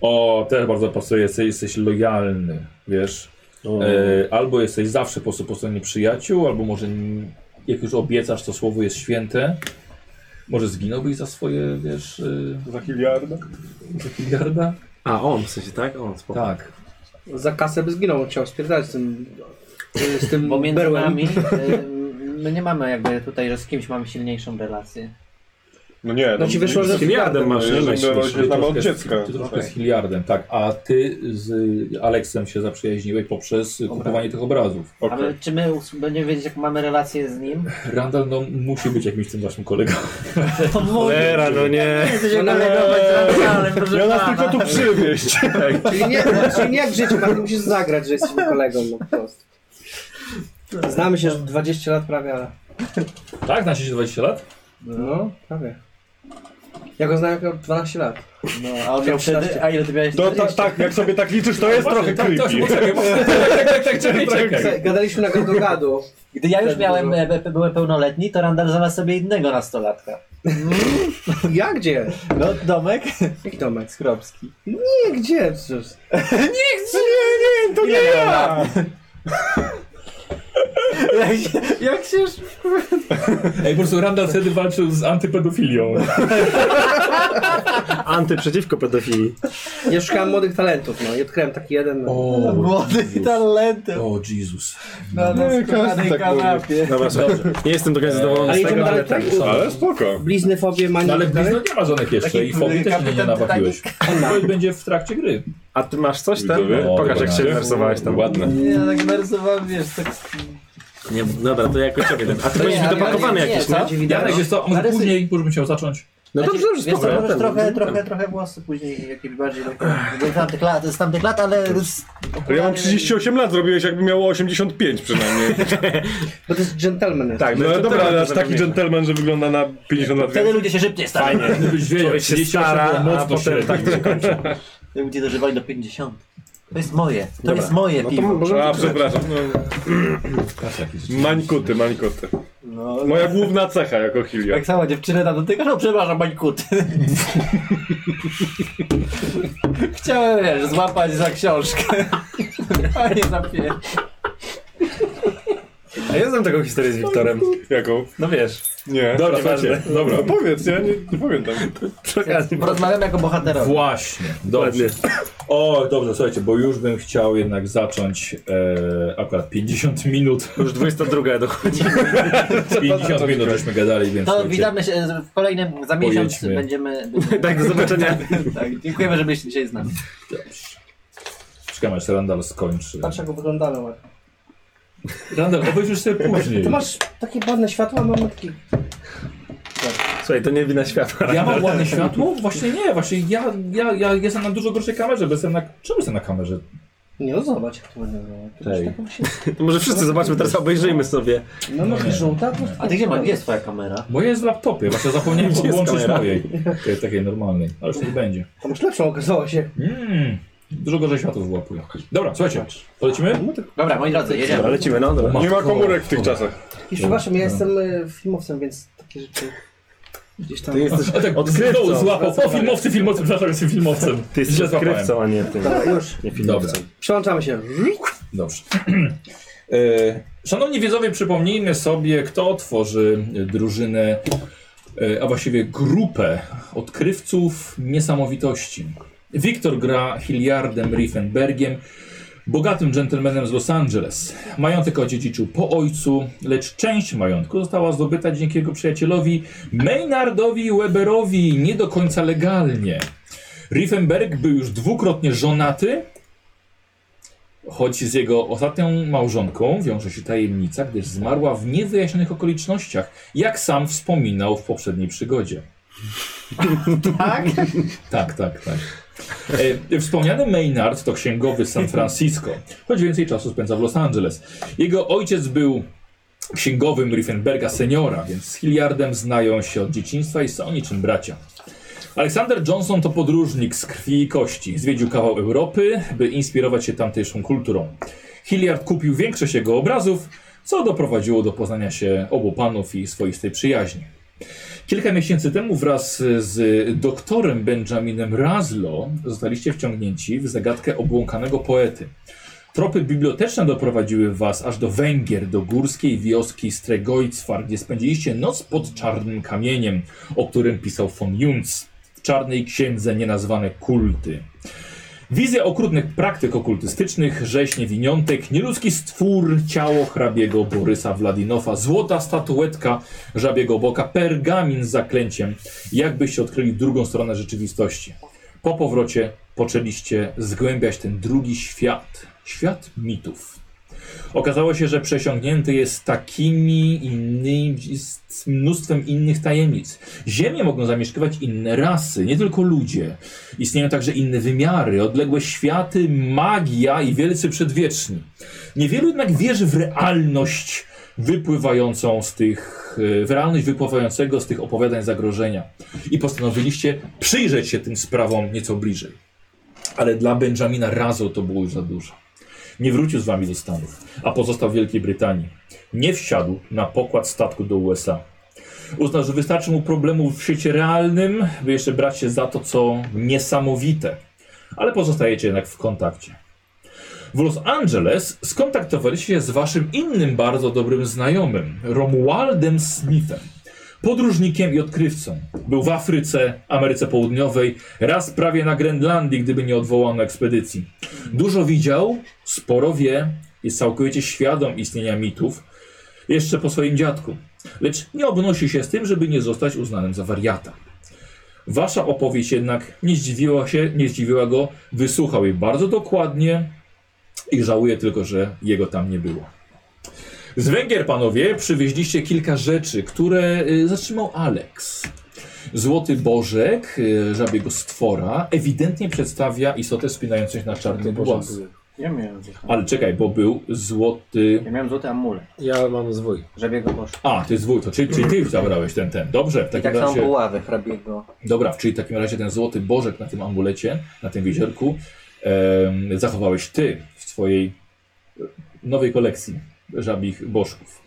[SPEAKER 1] O, też bardzo pasuje. Jesteś, jesteś lojalny, wiesz.
[SPEAKER 6] O.
[SPEAKER 1] E, albo jesteś zawsze po, po stronie przyjaciół, albo może n- jak już obiecasz, to słowo jest święte. Może zginąłbyś za swoje, wiesz, e,
[SPEAKER 5] Za miliarda?
[SPEAKER 1] za miliarda?
[SPEAKER 6] A, on w sensie, tak? On, spoko.
[SPEAKER 1] Tak.
[SPEAKER 4] Za kasę by zginął, chciał spierdalać z tym, z tym
[SPEAKER 3] pomiędzy
[SPEAKER 4] berłem.
[SPEAKER 3] nami. y, My nie mamy jakby tutaj, że z kimś mamy silniejszą relację.
[SPEAKER 5] No nie, no,
[SPEAKER 4] No ci wyszło, że...
[SPEAKER 6] Z miliardem masz, nie?
[SPEAKER 5] Żeby
[SPEAKER 6] Myślisz.
[SPEAKER 5] rośnie- Znamy no, od
[SPEAKER 1] troszkę z-
[SPEAKER 5] dziecka.
[SPEAKER 1] Ty troszkę
[SPEAKER 5] Okej.
[SPEAKER 1] z Hilliardem, tak. A ty z y, Aleksem się zaprzyjaźniłeś poprzez y, kupowanie tych obrazów.
[SPEAKER 5] Okej.
[SPEAKER 3] Ale czy my us- będziemy wiedzieć, jak mamy relację z nim?
[SPEAKER 1] Randall, no, musi być jakimś tym waszym kolegą.
[SPEAKER 3] To może
[SPEAKER 6] Cholera, no nie.
[SPEAKER 3] się
[SPEAKER 4] no.
[SPEAKER 3] kolegować z Randalem, proszę
[SPEAKER 5] Ja nas
[SPEAKER 3] pana.
[SPEAKER 5] tylko tu przywieźć.
[SPEAKER 6] Tak.
[SPEAKER 4] Czyli nie, czyli nie jak w życiu, ale musisz zagrać, że jesteśmy kolegą, no po prostu. Znamy się już 20 lat prawie, ale...
[SPEAKER 1] Tak, znacie się 20 lat?
[SPEAKER 4] No, prawie. Ja go znam jako 12 lat.
[SPEAKER 3] No, a on miał wtedy, No, a ile ty miałeś?
[SPEAKER 5] To, ta,
[SPEAKER 3] 40?
[SPEAKER 5] tak, jak sobie tak liczysz, to jest trochę
[SPEAKER 1] tak, tak,
[SPEAKER 5] creepy.
[SPEAKER 1] poczekaj, poczekaj, tak, tak, czekaj, czekaj.
[SPEAKER 4] Se- Gadaliśmy na gadu gadu.
[SPEAKER 3] Gdy ja już
[SPEAKER 4] Wtedy
[SPEAKER 3] miałem,
[SPEAKER 4] dużo.
[SPEAKER 3] e, be- byłem pełnoletni, to Randall znalazł sobie innego nastolatka.
[SPEAKER 4] Ja gdzie?
[SPEAKER 3] No, domek?
[SPEAKER 4] Jaki Tomek?
[SPEAKER 3] Skropski.
[SPEAKER 4] Nie, gdzie? Przecież.
[SPEAKER 5] Nie, to nie ja!
[SPEAKER 3] Jak się, jak się już...
[SPEAKER 1] Ej, po prostu Randall wtedy walczył z antypedofilią.
[SPEAKER 6] Anty przeciwko pedofilii.
[SPEAKER 4] Ja szukałem młodych talentów, no i odkryłem taki jeden. No.
[SPEAKER 3] Młody talentem.
[SPEAKER 1] O Jezus.
[SPEAKER 3] Na rozkładanej
[SPEAKER 5] tak mówi.
[SPEAKER 3] kanapie.
[SPEAKER 6] Dobra, słuchaj, nie jestem do końca zadowolony
[SPEAKER 4] Ale
[SPEAKER 6] z
[SPEAKER 4] idziemy
[SPEAKER 6] tego, ale
[SPEAKER 4] dalej,
[SPEAKER 6] tak.
[SPEAKER 4] tak?
[SPEAKER 5] Ale spoko.
[SPEAKER 4] Blizny, fobie, mani.
[SPEAKER 1] No ale
[SPEAKER 4] tak dalej?
[SPEAKER 1] blizno nie ma żadnych jeszcze
[SPEAKER 3] Taki
[SPEAKER 1] i fobii też nie, nie
[SPEAKER 3] kapitan
[SPEAKER 1] nabawiłeś. To będzie w trakcie gry.
[SPEAKER 6] A ty masz coś
[SPEAKER 2] No,
[SPEAKER 6] tam?
[SPEAKER 5] Widzowie?
[SPEAKER 1] O,
[SPEAKER 6] Pokaż, jak
[SPEAKER 1] dobra.
[SPEAKER 6] się narysowałeś tam.
[SPEAKER 5] Ładne.
[SPEAKER 3] Ja tak narysowałem, wiesz, tak...
[SPEAKER 6] Nie, dobra, to jako ciebie. A ty
[SPEAKER 3] To
[SPEAKER 6] będziesz
[SPEAKER 3] nie,
[SPEAKER 6] dopakowany
[SPEAKER 3] ale nie,
[SPEAKER 6] jakiś,
[SPEAKER 3] nie,
[SPEAKER 6] no?
[SPEAKER 3] co?
[SPEAKER 1] Janek, jest to, a może
[SPEAKER 3] Narysy-
[SPEAKER 1] później, bo żebym chciał zacząć.
[SPEAKER 6] No
[SPEAKER 3] Znaczy,
[SPEAKER 6] dobrze, dobrze,
[SPEAKER 3] wiesz, co,
[SPEAKER 6] spoko.
[SPEAKER 3] możesz trochę, trochę, trochę włosy później jakieś bardziej do- do tamtych lat, z tamtych lat, ale... Z
[SPEAKER 5] Ja mam 38 lat, zrobiłeś jakby miało 85 przynajmniej.
[SPEAKER 4] Bo to jest gentleman.
[SPEAKER 6] Tak,
[SPEAKER 5] No ale dobra, ale aż taki
[SPEAKER 6] zapamiętam.
[SPEAKER 5] dżentelmen, że wygląda na 50 lat
[SPEAKER 3] Wtedy
[SPEAKER 5] więcej.
[SPEAKER 3] ludzie się szybciej stają.
[SPEAKER 1] Gdybyś wiedział,
[SPEAKER 6] Człowiek się
[SPEAKER 1] 38
[SPEAKER 6] stara,
[SPEAKER 1] było
[SPEAKER 6] a potem
[SPEAKER 1] średnio.
[SPEAKER 6] tak to się kończy.
[SPEAKER 3] Ludzie dożywali do 50. To jest moje, to
[SPEAKER 6] Dobra.
[SPEAKER 3] jest moje
[SPEAKER 6] No to
[SPEAKER 3] piwo.
[SPEAKER 6] możemy
[SPEAKER 5] A,
[SPEAKER 6] zaczynać.
[SPEAKER 5] przepraszam. No. Mańkuty, mańkuty.
[SPEAKER 3] No,
[SPEAKER 5] Moja główna cecha jako Hilliard.
[SPEAKER 3] jak sama dziewczynę tam dotyka, no przepraszam, bańkut. Chciałem, wiesz, złapać za książkę. Panie zapie.
[SPEAKER 2] A ja znam taką historię
[SPEAKER 5] No
[SPEAKER 2] z Wiktorem.
[SPEAKER 5] Jaką?
[SPEAKER 2] No wiesz.
[SPEAKER 5] Nie.
[SPEAKER 1] Dobra,
[SPEAKER 2] Nieważne.
[SPEAKER 1] słuchajcie, dobra.
[SPEAKER 5] No powiedz, ja nie, nie pamiętam.
[SPEAKER 2] Czekaj,
[SPEAKER 3] Rozmawiam jako bohaterowie.
[SPEAKER 1] Właśnie, dobrze. O, dobrze, słuchajcie, bo już bym chciał jednak zacząć e, akurat 50 minut.
[SPEAKER 2] Już 22 dochodzi.
[SPEAKER 1] 50 minut żeśmy gadali, więc
[SPEAKER 3] To
[SPEAKER 1] słuchajcie,
[SPEAKER 3] witamy się w kolejnym, za miesiąc
[SPEAKER 1] Pojedźmy.
[SPEAKER 3] będziemy...
[SPEAKER 2] Tak, do zobaczenia.
[SPEAKER 3] tak, dziękujemy, że byliście dzisiaj z nami.
[SPEAKER 1] czekam aż Randall skończy.
[SPEAKER 3] Tak.
[SPEAKER 4] Patrz jak wyglądałem ładnie.
[SPEAKER 1] Randall, obejrzysz sobie później.
[SPEAKER 4] Ty masz takie ładne światła, a mam taki...
[SPEAKER 2] Słuchaj, to nie wina światła.
[SPEAKER 1] Ja mam ładne światło? Właśnie nie, właśnie ja, ja, ja jestem na dużo gorszej kamerze, bo jestem na... Czemu jestem na kamerze?
[SPEAKER 4] Nie, no zobacz jak to ładnie wygląda. Ty masz
[SPEAKER 1] Tej.
[SPEAKER 4] taką się...
[SPEAKER 2] To No może wszyscy zobaczmy, teraz obejrzyjmy sobie.
[SPEAKER 4] No masz żółta, to masz
[SPEAKER 3] A ty gdzie ma, gdzie jest twoja kamera?
[SPEAKER 1] Moje jest w laptopie, właśnie zapomniałem
[SPEAKER 2] Gdzie jest
[SPEAKER 1] podłączyć
[SPEAKER 2] kamera?
[SPEAKER 1] mojej. Tej, takiej normalnej, ale już nie będzie.
[SPEAKER 4] To masz lepszą, okazało się.
[SPEAKER 1] Mm, dużo gorzej światło wyłapuje. Dobra, słuchajcie, polecimy?
[SPEAKER 3] Dobra, moi drodzy,
[SPEAKER 2] Dobra,
[SPEAKER 3] jedziemy.
[SPEAKER 2] lecimy, no dobra.
[SPEAKER 5] Nie ma komórek w tych czasach.
[SPEAKER 4] I przepraszam, ja jestem y, filmowcem, więc takie rzeczy gdzieś tam...
[SPEAKER 2] Ty jesteś
[SPEAKER 1] A tak, znowu
[SPEAKER 2] odkrywcą.
[SPEAKER 1] złapał. Po filmowcy, filmowcy, przepraszam, jestem filmowcem.
[SPEAKER 2] Ty jesteś
[SPEAKER 1] Źle złapałem.
[SPEAKER 2] odkrywcą, a nie tym.
[SPEAKER 4] Dobra, już.
[SPEAKER 2] Nie filmowcem.
[SPEAKER 4] Przełączamy się.
[SPEAKER 1] Dobrze. E, Szanowni widzowie, przypomnijmy sobie, kto tworzy e, drużynę, e, a właściwie grupę odkrywców niesamowitości. Wiktor gra Hilliardem Riefenbergiem, bogatym dżentelmenem z Los Angeles. Majątek odziedziczył po ojcu, lecz część majątku została zdobyta dzięki jego przyjacielowi Maynardowi Weberowi nie do końca legalnie. Riefenberg był już dwukrotnie żonaty, Choć z jego ostatnią małżonką wiąże się tajemnica, gdyż zmarła w niewyjaśnionych okolicznościach, jak sam wspominał w poprzedniej przygodzie.
[SPEAKER 3] Tak?
[SPEAKER 1] Tak, tak, tak. E, Wspomniany Maynard to księgowy z San Francisco, choć więcej czasu spędza w Los Angeles. Jego ojciec był księgowym Riefenberga seniora, więc z Hilliardem znają się od dzieciństwa i są niczym bracia. Aleksander Johnson to podróżnik z krwi i kości. Zwiedził kawał Europy, by inspirować się tamtejszą kulturą. Hilliard kupił większość jego obrazów, co doprowadziło do poznania się obu panów i swoistej przyjaźni. Kilka miesięcy temu wraz z doktorem Benjaminem Razlo zostaliście wciągnięci w zagadkę obłąkanego poety. Tropy biblioteczne doprowadziły was aż do Węgier, do górskiej wioski Stregojcwar, gdzie spędziliście noc pod czarnym kamieniem, o którym pisał von Junz w czarnej księdze nienazwane kulty. Wizja okrutnych praktyk okultystycznych, rzeźnie winiątek, nieludzki stwór, ciało hrabiego Borysa Wladinowa, złota statuetka żabiego boka, pergamin z zaklęciem, jakbyście odkryli drugą stronę rzeczywistości. Po powrocie poczęliście zgłębiać ten drugi świat, świat mitów. Okazało się, że przesiągnięty jest takimi innymi, z mnóstwem innych tajemnic. Ziemię mogą zamieszkiwać inne rasy, nie tylko ludzie. Istnieją także inne wymiary, odległe światy, magia i wielcy przedwieczni. Niewielu jednak wierzy w realność wypływającą z tych, e, w realność wypływającego z tych opowiadań zagrożenia. I postanowiliście przyjrzeć się tym sprawom nieco bliżej. Ale dla Benjamina Razo to było już za dużo. Nie wrócił z wami do Stanów, a pozostał w Wielkiej Brytanii. Nie wsiadł na pokład statku do USA. Uznał, że wystarczy mu problemów w świecie realnym, by jeszcze brać się za to, co niesamowite. Ale pozostajecie jednak w kontakcie. W Los Angeles skontaktowaliście się z waszym innym bardzo dobrym znajomym, Romualdem Smithem. Podróżnikiem i odkrywcą. Był w Afryce, Ameryce Południowej, raz prawie na Grenlandii, gdyby nie odwołano ekspedycji. Dużo widział, sporo wie, jest całkowicie świadom istnienia mitów, jeszcze po swoim dziadku. Lecz nie obnosi się z tym, żeby nie zostać uznanym za wariata. Wasza opowieść jednak nie zdziwiła się, nie zdziwiła go, wysłuchał jej bardzo dokładnie i żałuje tylko, że jego tam nie było. Z Węgier, panowie, przywieźliście kilka rzeczy, które y, zatrzymał Alex. Złoty Bożek, y, żabiego stwora, ewidentnie przedstawia istotę spinającą się na czarny głaz.
[SPEAKER 3] Ja miałem
[SPEAKER 1] Ale czekaj, bo był złoty.
[SPEAKER 3] Ja miałem złoty amulet,
[SPEAKER 2] Ja mam zwój.
[SPEAKER 3] żabiego bożka.
[SPEAKER 1] A, ty zwój, to czyli, czyli ty już zabrałeś ten, ten. Dobrze, w
[SPEAKER 3] I
[SPEAKER 1] takim
[SPEAKER 3] tak samo
[SPEAKER 1] razie.
[SPEAKER 3] buławy hrabiego.
[SPEAKER 1] Dobra, czyli w takim razie ten złoty bożek na tym amulecie, na tym wizerku, em, zachowałeś ty w swojej e, nowej kolekcji żabich bożków.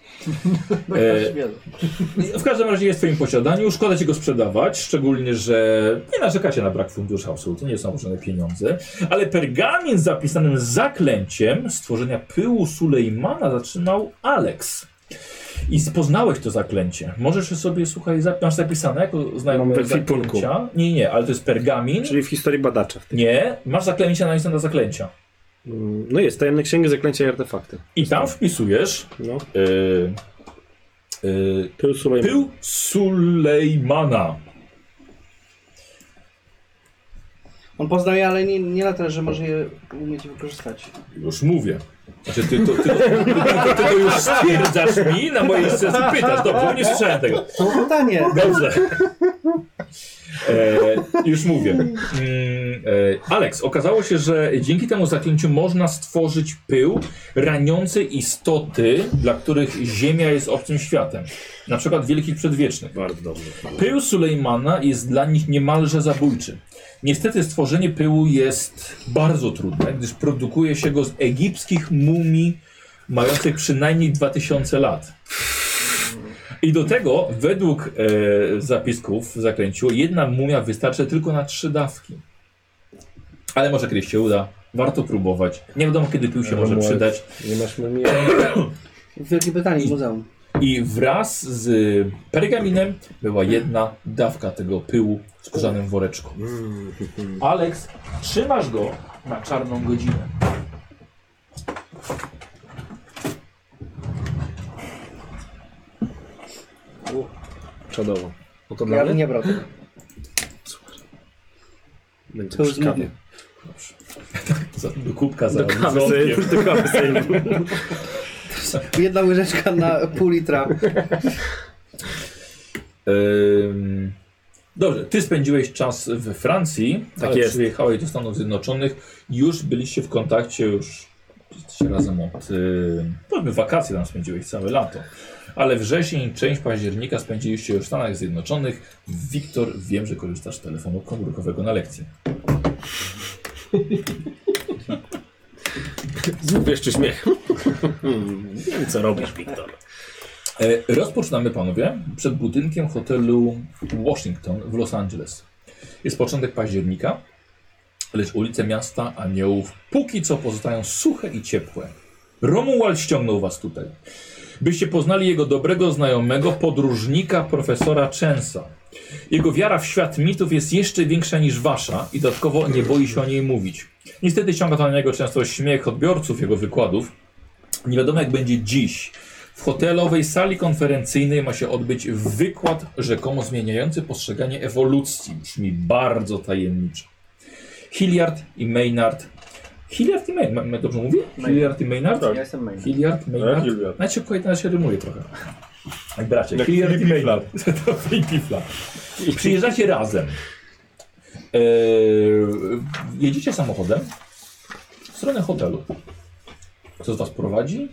[SPEAKER 1] E, w każdym razie jest w twoim posiadaniu, szkoda ci go sprzedawać, szczególnie, że nie narzekacie na brak funduszy, absolutnie, nie są żadne pieniądze, ale pergamin z zapisanym zaklęciem stworzenia pyłu Sulejmana zatrzymał Alex. I spoznałeś to zaklęcie. Możesz sobie, słuchaj, zap- masz zapisane jako
[SPEAKER 2] Mamy
[SPEAKER 1] znajomy
[SPEAKER 2] w ekwipunku.
[SPEAKER 1] zaklęcia. Nie, nie, ale to jest pergamin.
[SPEAKER 2] Czyli w historii badacza.
[SPEAKER 1] Nie, masz zaklęcia na na zaklęcia.
[SPEAKER 2] Mm, No jest, tajemne księgi, zaklęcia i artefakty.
[SPEAKER 1] I tam wpisujesz
[SPEAKER 2] No.
[SPEAKER 1] yy, yy,
[SPEAKER 2] Pył Sulejman.
[SPEAKER 1] pył Sulejmana.
[SPEAKER 4] On poznał je, ale nie, nie na tyle, że może je umieć wykorzystać.
[SPEAKER 1] Już mówię. Znaczy, ty to, ty, to, ty, to, ty to już stwierdzasz mi na mojej sesji pytasz. Dobrze, bo nie słyszałem tego.
[SPEAKER 4] To pytanie.
[SPEAKER 1] Dobrze. E, już mówię. Mm, e, Alex, okazało się, że dzięki temu zaklęciu można stworzyć pył raniący istoty, dla których Ziemia jest obcym światem. Na przykład wielkich przedwiecznych.
[SPEAKER 6] Bardzo dobrze.
[SPEAKER 1] Pył Sulejmana jest dla nich niemalże zabójczy. Niestety stworzenie pyłu jest bardzo trudne, gdyż produkuje się go z egipskich mumii mających przynajmniej 2000 lat. I do tego, według e, zapisków w zaklęciu, jedna mumia wystarczy tylko na trzy dawki. Ale może kiedyś się uda. Warto próbować. Nie wiadomo, kiedy pił się może
[SPEAKER 2] Romuald.
[SPEAKER 1] przydać.
[SPEAKER 2] Nie masz mumii.
[SPEAKER 4] W Wielkiej Brytanii, w muzeum.
[SPEAKER 1] I wraz z pergaminem była jedna dawka tego pyłu w skórzanym woreczku. Alex, trzymasz go na czarną godzinę.
[SPEAKER 2] Czadowo. No to
[SPEAKER 4] Ja
[SPEAKER 2] dla
[SPEAKER 4] bym
[SPEAKER 2] mnie?
[SPEAKER 4] nie brał tego.
[SPEAKER 2] Będzie
[SPEAKER 4] To już
[SPEAKER 2] przy kawie.
[SPEAKER 4] mówię.
[SPEAKER 1] Za- Do kubka za
[SPEAKER 2] Do kawy sobie,
[SPEAKER 1] dzwonkiem.
[SPEAKER 2] do kawy sobie.
[SPEAKER 4] Jedna łyżeczka na pół litra.
[SPEAKER 1] Ym, Dobrze, ty spędziłeś czas we Francji,
[SPEAKER 2] Tak
[SPEAKER 1] ale
[SPEAKER 2] jest.
[SPEAKER 1] przyjechałeś do Stanów Zjednoczonych. Już byliście w kontakcie, już jesteście razem od... Yy, powiedzmy wakacje tam spędziłeś całe lato. Ale wrzesień, część października spędziliście już w Stanach Zjednoczonych. Wiktor, wiem, że korzystasz z telefonu komórkowego na lekcję.
[SPEAKER 2] Znów jeszcze śmiech. Hmm, Wiem, co robisz, Wiktor.
[SPEAKER 1] E, Rozpoczynamy, panowie, przed budynkiem hotelu Washington w Los Angeles. Jest początek października, lecz ulice miasta aniołów póki co pozostają suche i ciepłe. Romuald ściągnął was tutaj, byście poznali jego dobrego znajomego, podróżnika profesora Czensa. Jego wiara w świat mitów jest jeszcze większa niż wasza i dodatkowo nie boi się o niej mówić. Niestety ciąga to na niego często śmiech odbiorców jego wykładów. Nie wiadomo jak będzie dziś. W hotelowej sali konferencyjnej ma się odbyć wykład rzekomo zmieniający postrzeganie ewolucji. Brzmi bardzo tajemniczo. Hilliard i Maynard. Hilliard i Maynard, dobrze mówię? Hilliard i Maynard?
[SPEAKER 3] Ja jestem main.
[SPEAKER 1] Hilliard, Maynard.
[SPEAKER 5] Hilliard.
[SPEAKER 1] Znaczy, kurde, ja się rymuje trochę. Jak bracie.
[SPEAKER 5] Jak
[SPEAKER 1] Hilliard i
[SPEAKER 5] Filip
[SPEAKER 1] Maynard. To Filip Pifla. Przyjeżdżacie razem. Eee, jedziecie samochodem w stronę hotelu. Co z was prowadzi?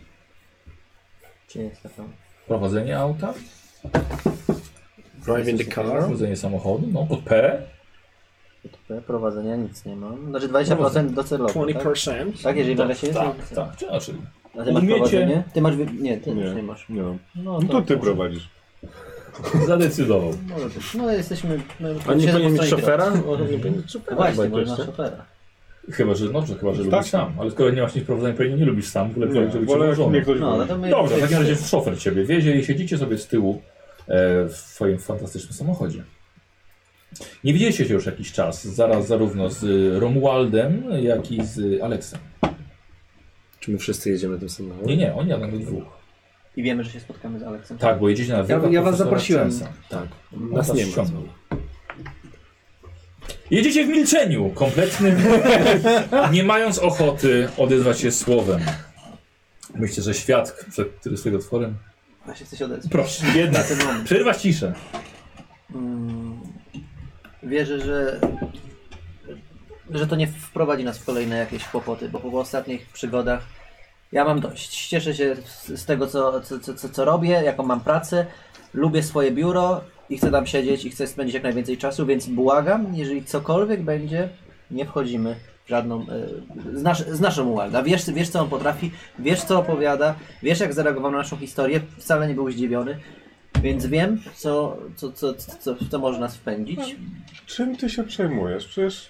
[SPEAKER 3] Czy nie jest to tam?
[SPEAKER 1] Prowadzenie auta?
[SPEAKER 2] Driving the car.
[SPEAKER 1] Prowadzenie samochodu? No, pod P.
[SPEAKER 3] P, Prowadzenia nic nie mam. Znaczy 20% docelowo. Tak? tak, jeżeli waga się jest.
[SPEAKER 1] Tak, tak. Czy, znaczy,
[SPEAKER 3] A ty masz
[SPEAKER 1] Umiecie-
[SPEAKER 3] prowadzenie? Ty masz. wy- Nie, ty
[SPEAKER 5] Nie.
[SPEAKER 3] już nie masz.
[SPEAKER 5] Nie mam.
[SPEAKER 3] No,
[SPEAKER 5] No to ty
[SPEAKER 3] może-
[SPEAKER 5] prowadzisz.
[SPEAKER 1] zadecydował.
[SPEAKER 3] Może być. No jesteśmy. No,
[SPEAKER 2] A nie
[SPEAKER 3] siedzę po
[SPEAKER 2] powinien mieć
[SPEAKER 3] stronie
[SPEAKER 2] szofera?
[SPEAKER 3] kierowcy.
[SPEAKER 2] On nie powinien mieć
[SPEAKER 3] No
[SPEAKER 2] szofera.
[SPEAKER 3] Właśnie,
[SPEAKER 2] chyba
[SPEAKER 3] można
[SPEAKER 2] jeszcze.
[SPEAKER 3] szofera.
[SPEAKER 1] Chyba, że dobrze, chyba, że
[SPEAKER 5] Tak.
[SPEAKER 1] lubisz sam. Ale skoro nie masz nic prowadzenia, pewnie nie lubisz sam. W ogóle
[SPEAKER 5] Nie,
[SPEAKER 1] woli, żeby cię
[SPEAKER 5] wolę jak
[SPEAKER 1] żonę.
[SPEAKER 5] mnie ktoś
[SPEAKER 3] No,
[SPEAKER 5] woli.
[SPEAKER 3] no to my.
[SPEAKER 1] Dobrze, w takim razie szofer ciebie wiezie i siedzicie sobie z tyłu e, w swoim fantastycznym samochodzie. Nie widzieliście się już jakiś czas, zaraz zarówno z y, Romualdem, jak i z Aleksem.
[SPEAKER 2] Czy my wszyscy jedziemy tym samochodem?
[SPEAKER 1] Nie, nie, oni jadą we dwóch.
[SPEAKER 3] I wiemy, że się spotkamy z Aleksem.
[SPEAKER 1] Tak, bo jedziecie na wykład
[SPEAKER 4] ja was
[SPEAKER 1] profesora
[SPEAKER 4] zaprosiłem.
[SPEAKER 1] Czensa. Tak.
[SPEAKER 2] Nas
[SPEAKER 1] was
[SPEAKER 2] nie ma.
[SPEAKER 1] ściągnął. Jedziecie w milczeniu, kompletnym, nie mając ochoty odezwać się słowem. Myślę, że świat, przed- który jest jego tworem.
[SPEAKER 3] Ja się chcę się odezwać.
[SPEAKER 1] Proszę, jednak. Przerwać ciszę.
[SPEAKER 3] Mm, Wierzę, że, że to nie wprowadzi nas w kolejne jakieś kłopoty, bo po ostatnich przygodach ja mam dość. Cieszę się z, z tego, co, co, co, co, co robię, jaką mam pracę. Lubię swoje biuro i chcę tam siedzieć i chcę spędzić jak najwięcej czasu, więc błagam, jeżeli cokolwiek będzie, nie wchodzimy w żadną. Y, znasz, znasz Romualda, wiesz, wiesz co on potrafi, wiesz co opowiada, wiesz jak zareagował na naszą historię, wcale nie był zdziwiony. Więc wiem, co, co, co, co, co może nas wpędzić.
[SPEAKER 5] Czym ty się przejmujesz? Przecież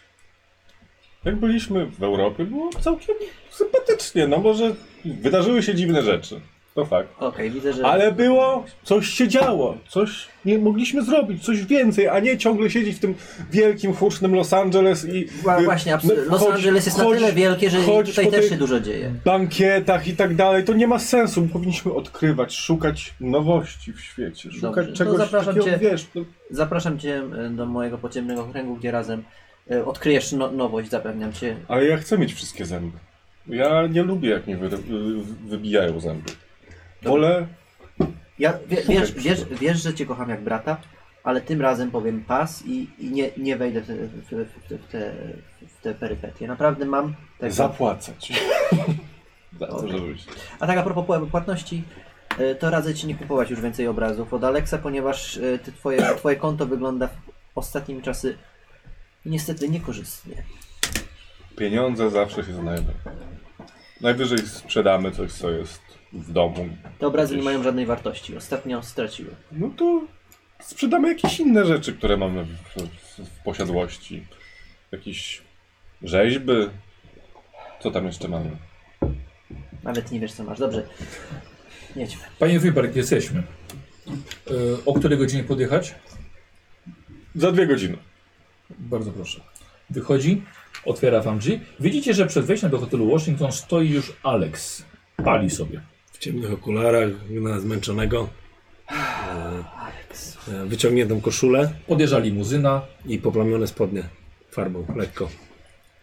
[SPEAKER 5] jak byliśmy w Europie, było całkiem sympatycznie. No może wydarzyły się dziwne rzeczy. To fakt.
[SPEAKER 3] Okej, widzę, że...
[SPEAKER 5] Ale było, coś się działo, coś nie mogliśmy zrobić, coś więcej, a nie ciągle siedzieć w tym wielkim, hucznym Los Angeles i
[SPEAKER 3] Wa-
[SPEAKER 5] y,
[SPEAKER 3] Właśnie, abs-
[SPEAKER 5] no,
[SPEAKER 3] Los
[SPEAKER 5] chodź-
[SPEAKER 3] Angeles jest na
[SPEAKER 5] chodź-
[SPEAKER 3] tyle wielkie, że
[SPEAKER 5] chodź
[SPEAKER 3] tutaj
[SPEAKER 5] po
[SPEAKER 3] też
[SPEAKER 5] tej-
[SPEAKER 3] się dużo dzieje.
[SPEAKER 5] bankietach i tak dalej, to nie ma sensu. Powinniśmy odkrywać, szukać nowości w świecie, szukać
[SPEAKER 3] Dobrze, to
[SPEAKER 5] czegoś
[SPEAKER 3] zapraszam
[SPEAKER 5] takiego,
[SPEAKER 3] cię.
[SPEAKER 5] wiesz, no,
[SPEAKER 3] Zapraszam Cię e, do mojego podziemnego kręgu, gdzie razem e, odkryjesz no nowość, zapewniam Cię.
[SPEAKER 5] ale ja chcę mieć wszystkie zęby. Ja nie lubię, jak mnie wy, wy- wybijają zęby. Wolę,
[SPEAKER 3] Ja, wie, wiesz, wiesz, wiesz, że Cię kocham jak brata, ale tym razem powiem pas i, i nie, nie wejdę w te, w, te- w, te, w, te, w te perypetie. Naprawdę mam tego.
[SPEAKER 5] zapłacać. Tak, Za to,
[SPEAKER 3] Dobra.
[SPEAKER 5] żebyś...
[SPEAKER 3] A tak a propos pł- płatności, e, to radzę Ci nie kupować już więcej obrazów od Alexa, ponieważ e, ty, twoje, twoje konto wygląda w ostatnimi czasy niestety niekorzystnie.
[SPEAKER 5] Pieniądze zawsze się znajdą. Najwyżej sprzedamy coś, co jest w domu.
[SPEAKER 3] Te obrazy nie
[SPEAKER 5] Gdzieś.
[SPEAKER 3] mają żadnej wartości. Ostatnio straciły.
[SPEAKER 5] No to sprzedamy jakieś inne rzeczy, które mamy w, w, w posiadłości. Jakieś rzeźby. Co tam jeszcze mamy?
[SPEAKER 3] Nawet nie wiesz co masz. Dobrze. Jedźmy.
[SPEAKER 1] Panie Wyberg, jesteśmy. E, O której godzinie podjechać?
[SPEAKER 5] Za dwie godziny.
[SPEAKER 1] Bardzo proszę. Wychodzi, otwiera wam drzwi. Widzicie, że przed wejściem do hotelu Washington stoi już Alex. Pali sobie.
[SPEAKER 6] W ciemnych okularach, na zmęczonego. E, e, Wyciągniętą koszulę
[SPEAKER 1] Podjeżdża limuzyna.
[SPEAKER 6] i poplamione spodnie farbą, lekko.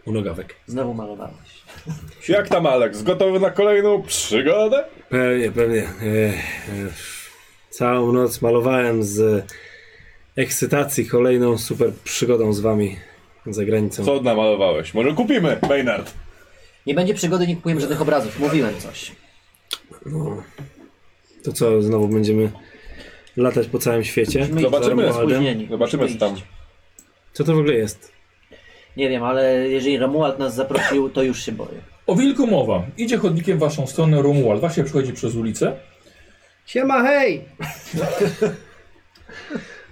[SPEAKER 6] U nogawek.
[SPEAKER 3] Znowu malowałeś.
[SPEAKER 5] Jak tam Aleks? Gotowy na kolejną przygodę?
[SPEAKER 6] Pewnie, pewnie. E, e, Całą noc malowałem z ekscytacji kolejną super przygodą z wami za granicą.
[SPEAKER 5] Co namalowałeś? Może kupimy, Maynard?
[SPEAKER 3] Nie będzie przygody, nie kupujemy żadnych obrazów. Mówiłem coś.
[SPEAKER 6] No. To co, znowu będziemy latać po całym świecie?
[SPEAKER 3] Musimy iść,
[SPEAKER 5] Zobaczymy.
[SPEAKER 3] jesteśmy spóźnieni.
[SPEAKER 5] Zobaczymy,
[SPEAKER 3] Musimy
[SPEAKER 5] co tam.
[SPEAKER 3] iść.
[SPEAKER 6] Co to w ogóle jest?
[SPEAKER 3] Nie wiem, ale jeżeli Romuald nas zaprosił, to już się boję.
[SPEAKER 1] O wilku mowa. Idzie chodnikiem w waszą stronę Romuald. Właśnie przechodzi przez ulicę.
[SPEAKER 4] Siema, hej!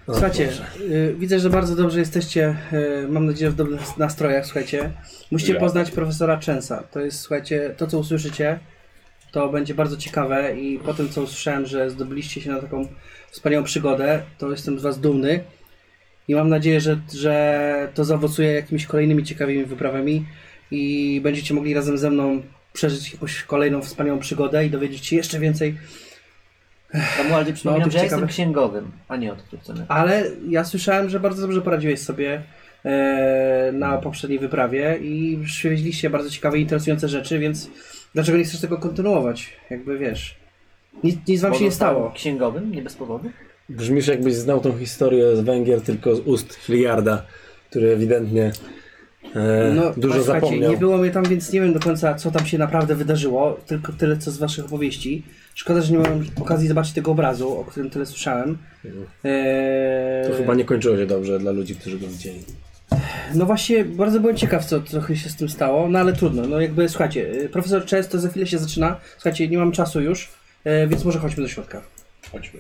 [SPEAKER 4] Słuchajcie, y, widzę, że bardzo dobrze jesteście, y, mam nadzieję, w dobrych nastrojach, słuchajcie. Musicie
[SPEAKER 5] Ja.
[SPEAKER 4] poznać profesora Częsa. To jest, słuchajcie, to co usłyszycie, to będzie bardzo ciekawe i po tym, co usłyszałem, że zdobyliście się na taką wspaniałą przygodę, to jestem z was dumny i mam nadzieję, że, że to zaowocuje jakimiś kolejnymi ciekawymi wyprawami i będziecie mogli razem ze mną przeżyć jakąś kolejną wspaniałą przygodę i dowiedzieć się jeszcze więcej
[SPEAKER 3] Romualdzie przypominam,
[SPEAKER 4] No, to
[SPEAKER 3] że ja
[SPEAKER 4] ciekawe.
[SPEAKER 3] jestem księgowym, a nie odkrywcem.
[SPEAKER 4] Ale ja słyszałem, że bardzo dobrze poradziłeś sobie e, na poprzedniej wyprawie i przywieźliście bardzo ciekawe i interesujące rzeczy, więc dlaczego nie chcesz tego kontynuować? Jakby wiesz. Nic, nic wam się nie stało.
[SPEAKER 3] Księgowym? Nie bez powodu?
[SPEAKER 6] Brzmisz jakbyś znał tą historię z Węgier tylko z ust Hilliarda, który ewidentnie e, dużo
[SPEAKER 4] No, słuchajcie,
[SPEAKER 6] zapomniał.
[SPEAKER 4] Nie było mnie tam, więc nie wiem do końca, co tam się naprawdę wydarzyło. Tylko tyle, co z waszych opowieści. Szkoda, że nie miałem okazji zobaczyć tego obrazu, o którym tyle słyszałem. E,
[SPEAKER 6] Mhm. To chyba nie kończyło się dobrze dla ludzi, którzy go widzieli.
[SPEAKER 4] No właśnie, bardzo byłem ciekaw, co trochę się z tym stało, no ale trudno, no jakby słuchajcie, y, profesor często za chwilę się zaczyna, słuchajcie, nie mam czasu już, y, więc może chodźmy do środka.
[SPEAKER 5] Chodźmy.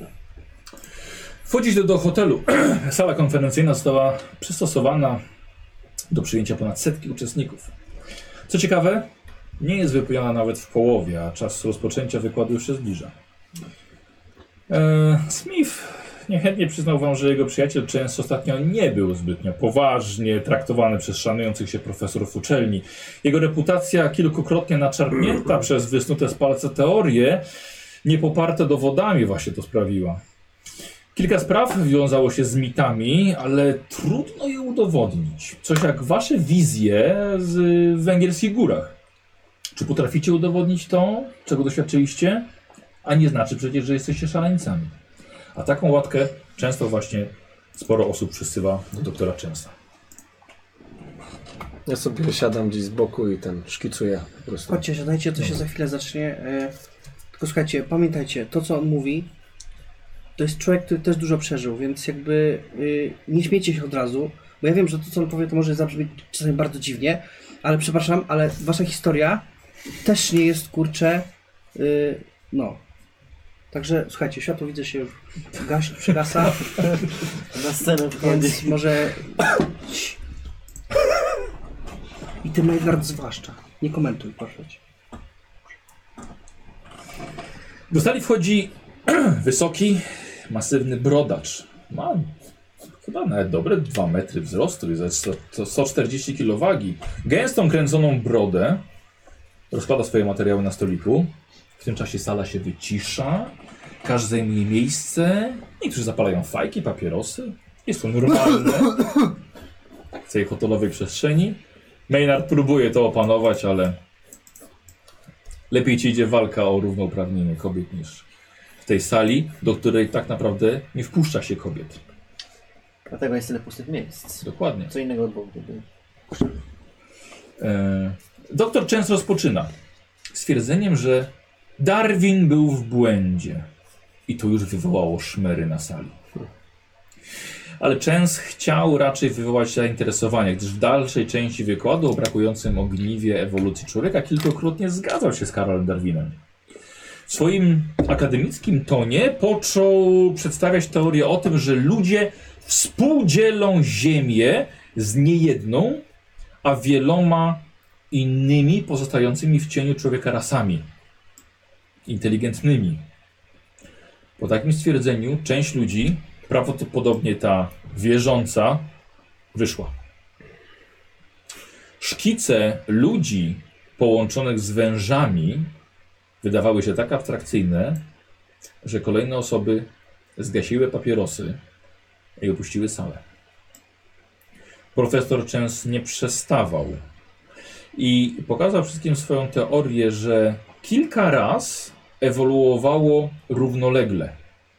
[SPEAKER 1] Wchodzicie do hotelu. Sala konferencyjna została przystosowana do przyjęcia ponad setki uczestników. Co ciekawe, nie jest wypełniona nawet w połowie, a czas rozpoczęcia wykładu już się zbliża. E, Smith niechętnie przyznał wam, że jego przyjaciel często ostatnio nie był zbytnio poważnie traktowany przez szanujących się profesorów uczelni. Jego reputacja kilkukrotnie naczarpnięta przez wysnute z palca teorie, niepoparte dowodami właśnie to sprawiła. Kilka spraw wiązało się z mitami, ale trudno je udowodnić. Coś jak wasze wizje z y, w węgierskich górach. Czy potraficie udowodnić to, czego doświadczyliście? A nie znaczy przecież, że jesteście szaleńcami. A taką łatkę często właśnie sporo osób przysyła do doktora Częsta.
[SPEAKER 6] Ja sobie siadam gdzieś z boku i ten szkicuję po prostu.
[SPEAKER 4] Chodźcie, siadajcie, to się za chwilę zacznie, y, tylko słuchajcie, pamiętajcie, to co on mówi, to jest człowiek, który też dużo przeżył, więc jakby y, nie śmiejcie się od razu, bo ja wiem, że to co on powie to może zabrzmieć czasami bardzo dziwnie, ale przepraszam, ale wasza historia też nie jest, kurczę, y, no... Także słuchajcie, światło widzę się już gaś, przygasa.
[SPEAKER 3] Na scenę
[SPEAKER 4] Więc
[SPEAKER 3] wchodzi.
[SPEAKER 4] może. I ty, Maynard, zwłaszcza. Nie komentuj, proszę cię.
[SPEAKER 1] Do sali wchodzi wysoki, masywny brodacz. Ma chyba nawet dobre 2 metry wzrostu, jest za- za- to 140 kg wagi. Gęstą kręconą brodę. Rozkłada swoje materiały na stoliku. W tym czasie sala się wycisza. Każdy zajmuje miejsce. Niektórzy zapalają fajki, papierosy. Jest to normalne. W tej hotelowej przestrzeni. Maynard próbuje to opanować, ale lepiej ci idzie walka o równouprawnienie kobiet niż w tej sali, do której tak naprawdę nie wpuszcza się kobiet.
[SPEAKER 3] Dlatego jest tyle pustych miejsc.
[SPEAKER 1] Dokładnie.
[SPEAKER 3] Co innego było, gdyby...
[SPEAKER 1] E, doktor często rozpoczyna stwierdzeniem, że Darwin był w błędzie. I to już wywołało szmery na sali. Ale Chens chciał raczej wywołać zainteresowanie, gdyż w dalszej części wykładu o brakującym ogniwie ewolucji człowieka kilkukrotnie zgadzał się z Karolem Darwinem. W swoim akademickim tonie począł przedstawiać teorię o tym, że ludzie współdzielą Ziemię z niejedną, a wieloma innymi pozostającymi w cieniu człowieka rasami. Inteligentnymi. Po takim stwierdzeniu część ludzi, prawdopodobnie ta wierząca, wyszła. Szkice ludzi połączonych z wężami wydawały się tak abstrakcyjne, że kolejne osoby zgasiły papierosy i opuściły salę profesor Częs nie przestawał. I pokazał wszystkim swoją teorię, że kilka raz ewoluowało równolegle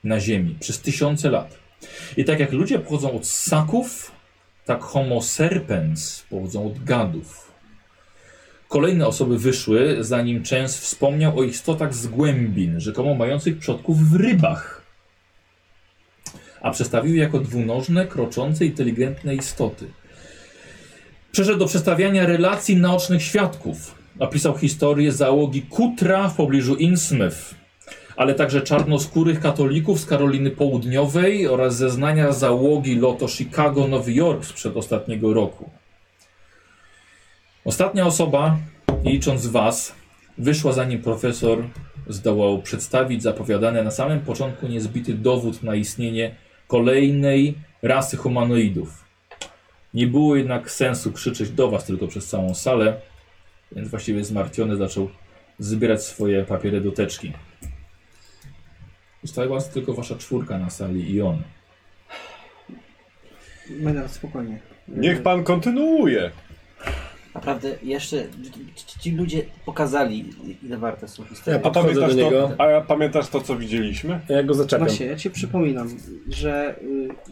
[SPEAKER 1] na Ziemi przez tysiące lat. I tak jak ludzie pochodzą od ssaków, tak homo serpens pochodzą od gadów. Kolejne osoby wyszły, zanim Częs wspomniał o istotach z głębin, rzekomo mających przodków w rybach a przestawił je jako dwunożne, kroczące, inteligentne istoty. Przeszedł do przestawiania relacji naocznych świadków. Napisał historię załogi Kutra w pobliżu Innsmouth, ale także czarnoskórych katolików z Karoliny Południowej oraz zeznania załogi Loto Chicago, Nowy Jork sprzed ostatniego roku. Ostatnia osoba, nie licząc was, wyszła zanim profesor zdołał przedstawić zapowiadany na samym początku niezbity dowód na istnienie kolejnej rasy humanoidów. Nie było jednak sensu krzyczeć do was tylko przez całą salę, więc właściwie zmartwiony zaczął zbierać swoje papiery do teczki. Została was tylko wasza czwórka na sali i on.
[SPEAKER 4] Maynard, spokojnie.
[SPEAKER 5] Niech pan kontynuuje.
[SPEAKER 3] Naprawdę jeszcze ci- ci ludzie pokazali, ile warte są historie.
[SPEAKER 5] A
[SPEAKER 2] Podchodzę
[SPEAKER 5] pamiętasz,
[SPEAKER 2] do
[SPEAKER 5] to,
[SPEAKER 2] niego.
[SPEAKER 5] a pamiętasz to, co widzieliśmy?
[SPEAKER 2] Ja go zaczepiam.
[SPEAKER 4] Właśnie, ja ci przypominam, że...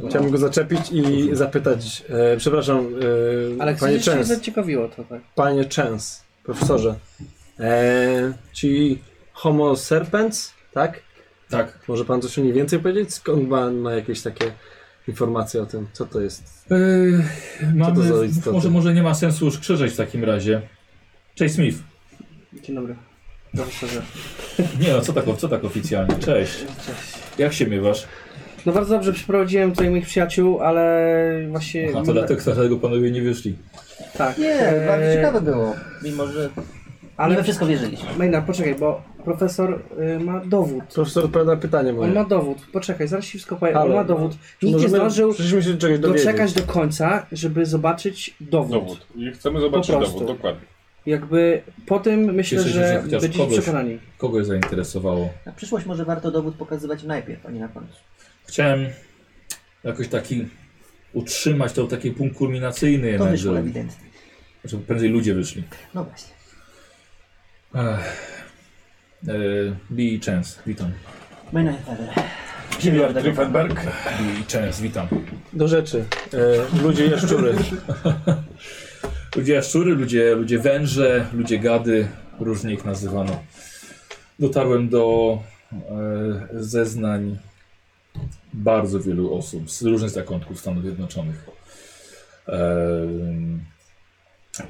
[SPEAKER 4] y,
[SPEAKER 2] Chciałbym go zaczepić i zapytać, e, przepraszam, e, panie
[SPEAKER 4] Ale chcę, że się
[SPEAKER 2] Częs,
[SPEAKER 4] zaciekawiło to, tak?
[SPEAKER 2] panie Częs, profesorze, e, ci homo serpens, tak?
[SPEAKER 1] Tak.
[SPEAKER 2] Może pan coś o niej więcej powiedzieć? Skąd pan ma jakieś takie informacje o tym, co to jest?
[SPEAKER 1] Yy,
[SPEAKER 2] to za
[SPEAKER 1] mamy,
[SPEAKER 2] istoty?
[SPEAKER 1] może, może nie ma sensu już krzyczeć w takim razie. Cześć Smith.
[SPEAKER 4] Dzień dobry. Profesorze.
[SPEAKER 1] Nie no, co tak, co tak oficjalnie? Cześć. Jak się miewasz?
[SPEAKER 4] No bardzo dobrze przeprowadziłem tutaj moich przyjaciół, ale właśnie...
[SPEAKER 1] Aha, to dlatego, dlatego panowie nie wyszli.
[SPEAKER 4] Tak.
[SPEAKER 3] Nie,
[SPEAKER 4] e,
[SPEAKER 3] bardzo ciekawe było. Mimo, że ale
[SPEAKER 4] Ale
[SPEAKER 3] we wszystko wierzyliśmy.
[SPEAKER 4] Maynard, poczekaj, bo profesor y, ma dowód.
[SPEAKER 2] Profesor odpowiada na pytanie moje.
[SPEAKER 4] On ma dowód. Poczekaj, zaraz ci wszystko powiem. On
[SPEAKER 2] Ale-
[SPEAKER 4] ma dowód. Nikt nie
[SPEAKER 2] Możemy-
[SPEAKER 4] zdążył
[SPEAKER 2] Przecież się czegoś dowiedzieć.
[SPEAKER 4] doczekać do końca, żeby zobaczyć dowód.
[SPEAKER 5] Dowód. I chcemy zobaczyć
[SPEAKER 4] Po prostu.
[SPEAKER 5] dowód, dokładnie.
[SPEAKER 4] Jakby po tym myślę,
[SPEAKER 1] Jesteśmy, że
[SPEAKER 4] że
[SPEAKER 1] chociaż
[SPEAKER 4] będziecie
[SPEAKER 1] kogoś-
[SPEAKER 4] przekonani.
[SPEAKER 1] Kogoś zainteresowało?
[SPEAKER 3] Na przyszłość może warto dowód pokazywać najpierw, a nie na końcu.
[SPEAKER 1] Chciałem jakoś taki utrzymać to taki punkt kulminacyjny
[SPEAKER 3] To
[SPEAKER 1] jednak,
[SPEAKER 3] wyszło
[SPEAKER 1] żeby,
[SPEAKER 3] ewidentnie.
[SPEAKER 1] żeby Znaczy, prędzej ludzie wyszli.
[SPEAKER 3] No właśnie.
[SPEAKER 1] Ech. Yy, Bi i Chance, witam.
[SPEAKER 3] My najpierw.
[SPEAKER 5] Hilliard Riefenberg.
[SPEAKER 1] Bi i Chance, witam.
[SPEAKER 2] Do rzeczy. E, ludzie jaszczury.
[SPEAKER 1] Ludzie jaszczury, ludzie, ludzie węże, ludzie gady, różnie ich nazywano. Dotarłem do e, zeznań bardzo wielu osób z różnych zakątków Stanów Zjednoczonych. Em,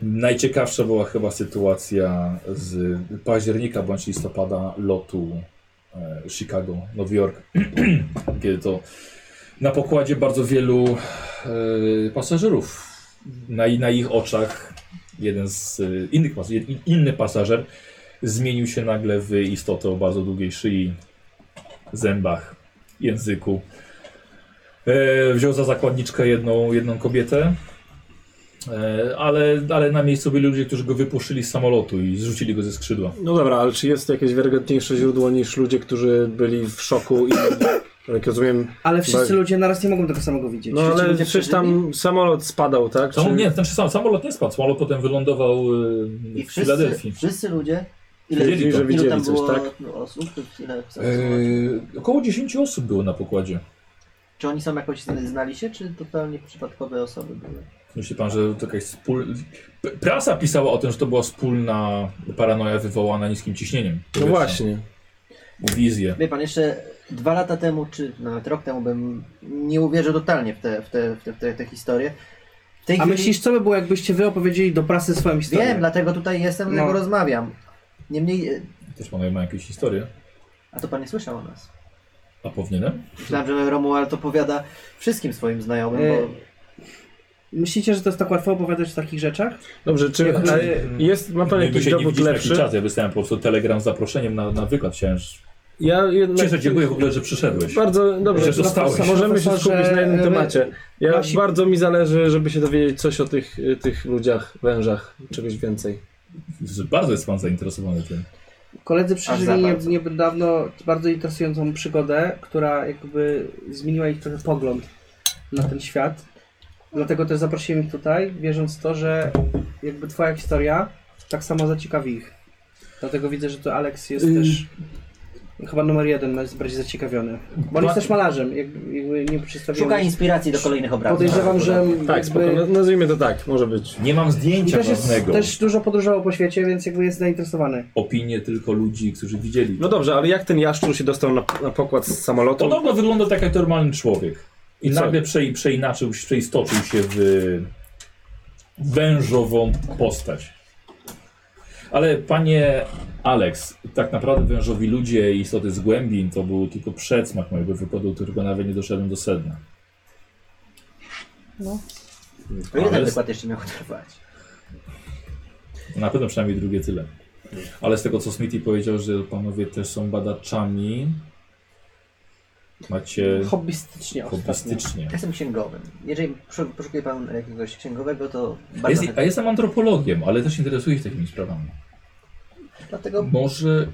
[SPEAKER 1] najciekawsza była chyba sytuacja z października bądź listopada lotu e, Chicago, Nowy Jork, kiedy to na pokładzie bardzo wielu e, pasażerów na, na ich oczach jeden z y, innych pas- jed- inny pasażer zmienił się nagle w istotę o bardzo długiej szyi, zębach, języku. E, wziął za zakładniczkę jedną, jedną kobietę, e, ale, ale na miejscu byli ludzie, którzy go wypuszczyli z samolotu i zrzucili go ze skrzydła.
[SPEAKER 6] No dobra, ale czy jest jakieś wiarygodniejsze źródło niż ludzie, którzy byli w szoku i jak rozumiem.
[SPEAKER 4] Ale wszyscy
[SPEAKER 6] Bardzo-
[SPEAKER 4] ludzie naraz nie mogą tego samego widzieć.
[SPEAKER 6] No ale
[SPEAKER 4] ludzie
[SPEAKER 6] przecież tam samolot spadał, tak?
[SPEAKER 1] Sam,
[SPEAKER 6] Czy-
[SPEAKER 1] nie, znaczy sam, samolot nie spadł, samolot potem wylądował e,
[SPEAKER 3] I
[SPEAKER 1] w
[SPEAKER 3] wszyscy,
[SPEAKER 1] Filadelfii.
[SPEAKER 3] wszyscy ludzie, ile,
[SPEAKER 1] Wiedzieli,
[SPEAKER 6] że
[SPEAKER 3] ilu tam
[SPEAKER 6] widzieli coś,
[SPEAKER 3] było
[SPEAKER 6] tak?
[SPEAKER 3] osób, ile
[SPEAKER 1] E, około 10 osób było na pokładzie.
[SPEAKER 3] Czy oni są jakoś zna- znali się, czy totalnie przypadkowe osoby były?
[SPEAKER 1] Myśli pan, że to jakaś wspól... P- Prasa pisała o tym, że to była wspólna paranoja wywołana niskim ciśnieniem.
[SPEAKER 6] No
[SPEAKER 1] powietrza.
[SPEAKER 6] właśnie.
[SPEAKER 1] Wizję.
[SPEAKER 3] Wie pan, jeszcze dwa lata temu, czy nawet rok temu bym nie uwierzył totalnie w te, w te, w te, w te, te historie. W tej
[SPEAKER 4] A
[SPEAKER 3] chwili-
[SPEAKER 4] myślisz, co by było, jakbyście wy opowiedzieli do prasy swoją historię?
[SPEAKER 3] Wiem, dlatego tutaj jestem,
[SPEAKER 4] No.
[SPEAKER 3] dlatego rozmawiam. Niemniej, e,
[SPEAKER 1] Też panowie mają jakieś historie.
[SPEAKER 3] a to pan nie słyszał o nas.
[SPEAKER 1] A powinienem?
[SPEAKER 3] Myślałem, że Romuald opowiada wszystkim swoim znajomym,
[SPEAKER 4] E,
[SPEAKER 3] bo
[SPEAKER 4] Myślicie, że to jest tak łatwo opowiadać o takich rzeczach?
[SPEAKER 6] Dobrze, czy
[SPEAKER 4] Nie,
[SPEAKER 6] a
[SPEAKER 4] czy-
[SPEAKER 6] jest, ma pan
[SPEAKER 1] Jakby
[SPEAKER 6] jakiś
[SPEAKER 1] się znaczy- nie
[SPEAKER 6] dowód
[SPEAKER 1] widzieliśmy jakiś
[SPEAKER 6] lepszy?
[SPEAKER 1] czas. Ja dostałem po prostu telegram z zaproszeniem na, na wykład. Chciałem...
[SPEAKER 6] Ja jednak...
[SPEAKER 1] Cieszę, dziękuję w ogóle, że przyszedłeś.
[SPEAKER 6] Bardzo dobrze,
[SPEAKER 1] Że zostałeś.
[SPEAKER 6] profesor- możemy się
[SPEAKER 4] Profesorze,
[SPEAKER 6] skupić na jednym
[SPEAKER 4] my-
[SPEAKER 6] temacie. Ja
[SPEAKER 4] nasi-
[SPEAKER 6] bardzo mi zależy, żeby się dowiedzieć coś o tych, y, tych ludziach, wężach, czegoś więcej.
[SPEAKER 1] Że Bardzo jest pan zainteresowany tym.
[SPEAKER 4] Koledzy
[SPEAKER 3] za
[SPEAKER 4] przeżyli nie,
[SPEAKER 3] bardzo.
[SPEAKER 4] niedawno bardzo interesującą przygodę, która jakby zmieniła ich trochę pogląd na ten świat. Dlatego też zaprosiłem ich tutaj, wierząc w to, że jakby twoja historia tak samo zaciekawi ich. Dlatego widzę, że to Alex jest
[SPEAKER 6] Y-
[SPEAKER 4] też chyba numer jeden, jest bardziej zaciekawiony. Bo on jest też malarzem, jakby, jakby nie przedstawiłem.
[SPEAKER 3] szuka inspiracji do kolejnych obrazów.
[SPEAKER 4] E, Podejrzewam, że
[SPEAKER 6] Tak, spoko,
[SPEAKER 4] jakby...
[SPEAKER 6] no- nazwijmy to tak, może być.
[SPEAKER 1] Nie mam
[SPEAKER 4] I
[SPEAKER 1] zdjęcia
[SPEAKER 4] też, jest,
[SPEAKER 1] żadnego.
[SPEAKER 4] też dużo podróżował po świecie, więc jakby jest zainteresowany.
[SPEAKER 1] Opinie tylko ludzi, którzy widzieli.
[SPEAKER 6] No dobrze, ale jak ten jaszczur się dostał na, na pokład z samolotu?
[SPEAKER 1] Podobno wygląda tak jak normalny człowiek. I
[SPEAKER 6] Co?
[SPEAKER 1] nagle prze, przeinaczył, się- przeistoczył się w wężową postać. Ale panie Alex, tak naprawdę wężowi ludzie i istoty z głębin to był tylko przedsmak mojego wykładu, którego nawet nie doszedłem do sedna.
[SPEAKER 3] To ile ten
[SPEAKER 1] Ale-
[SPEAKER 3] wykład jeszcze miał trwać?
[SPEAKER 1] Na pewno przynajmniej drugie tyle. Ale z tego co Smithy powiedział, że panowie też są badaczami. Macie
[SPEAKER 4] Hobbystycznie ostatnio.
[SPEAKER 1] hobbystycznie.
[SPEAKER 3] Ja jestem księgowym. Jeżeli poszu- poszukuje pan jakiegoś księgowego, to
[SPEAKER 1] A
[SPEAKER 3] bardzo
[SPEAKER 1] Jest, a
[SPEAKER 3] chętnie.
[SPEAKER 1] jestem antropologiem, ale też interesuję się takimi sprawami.
[SPEAKER 3] Dlatego
[SPEAKER 1] Może,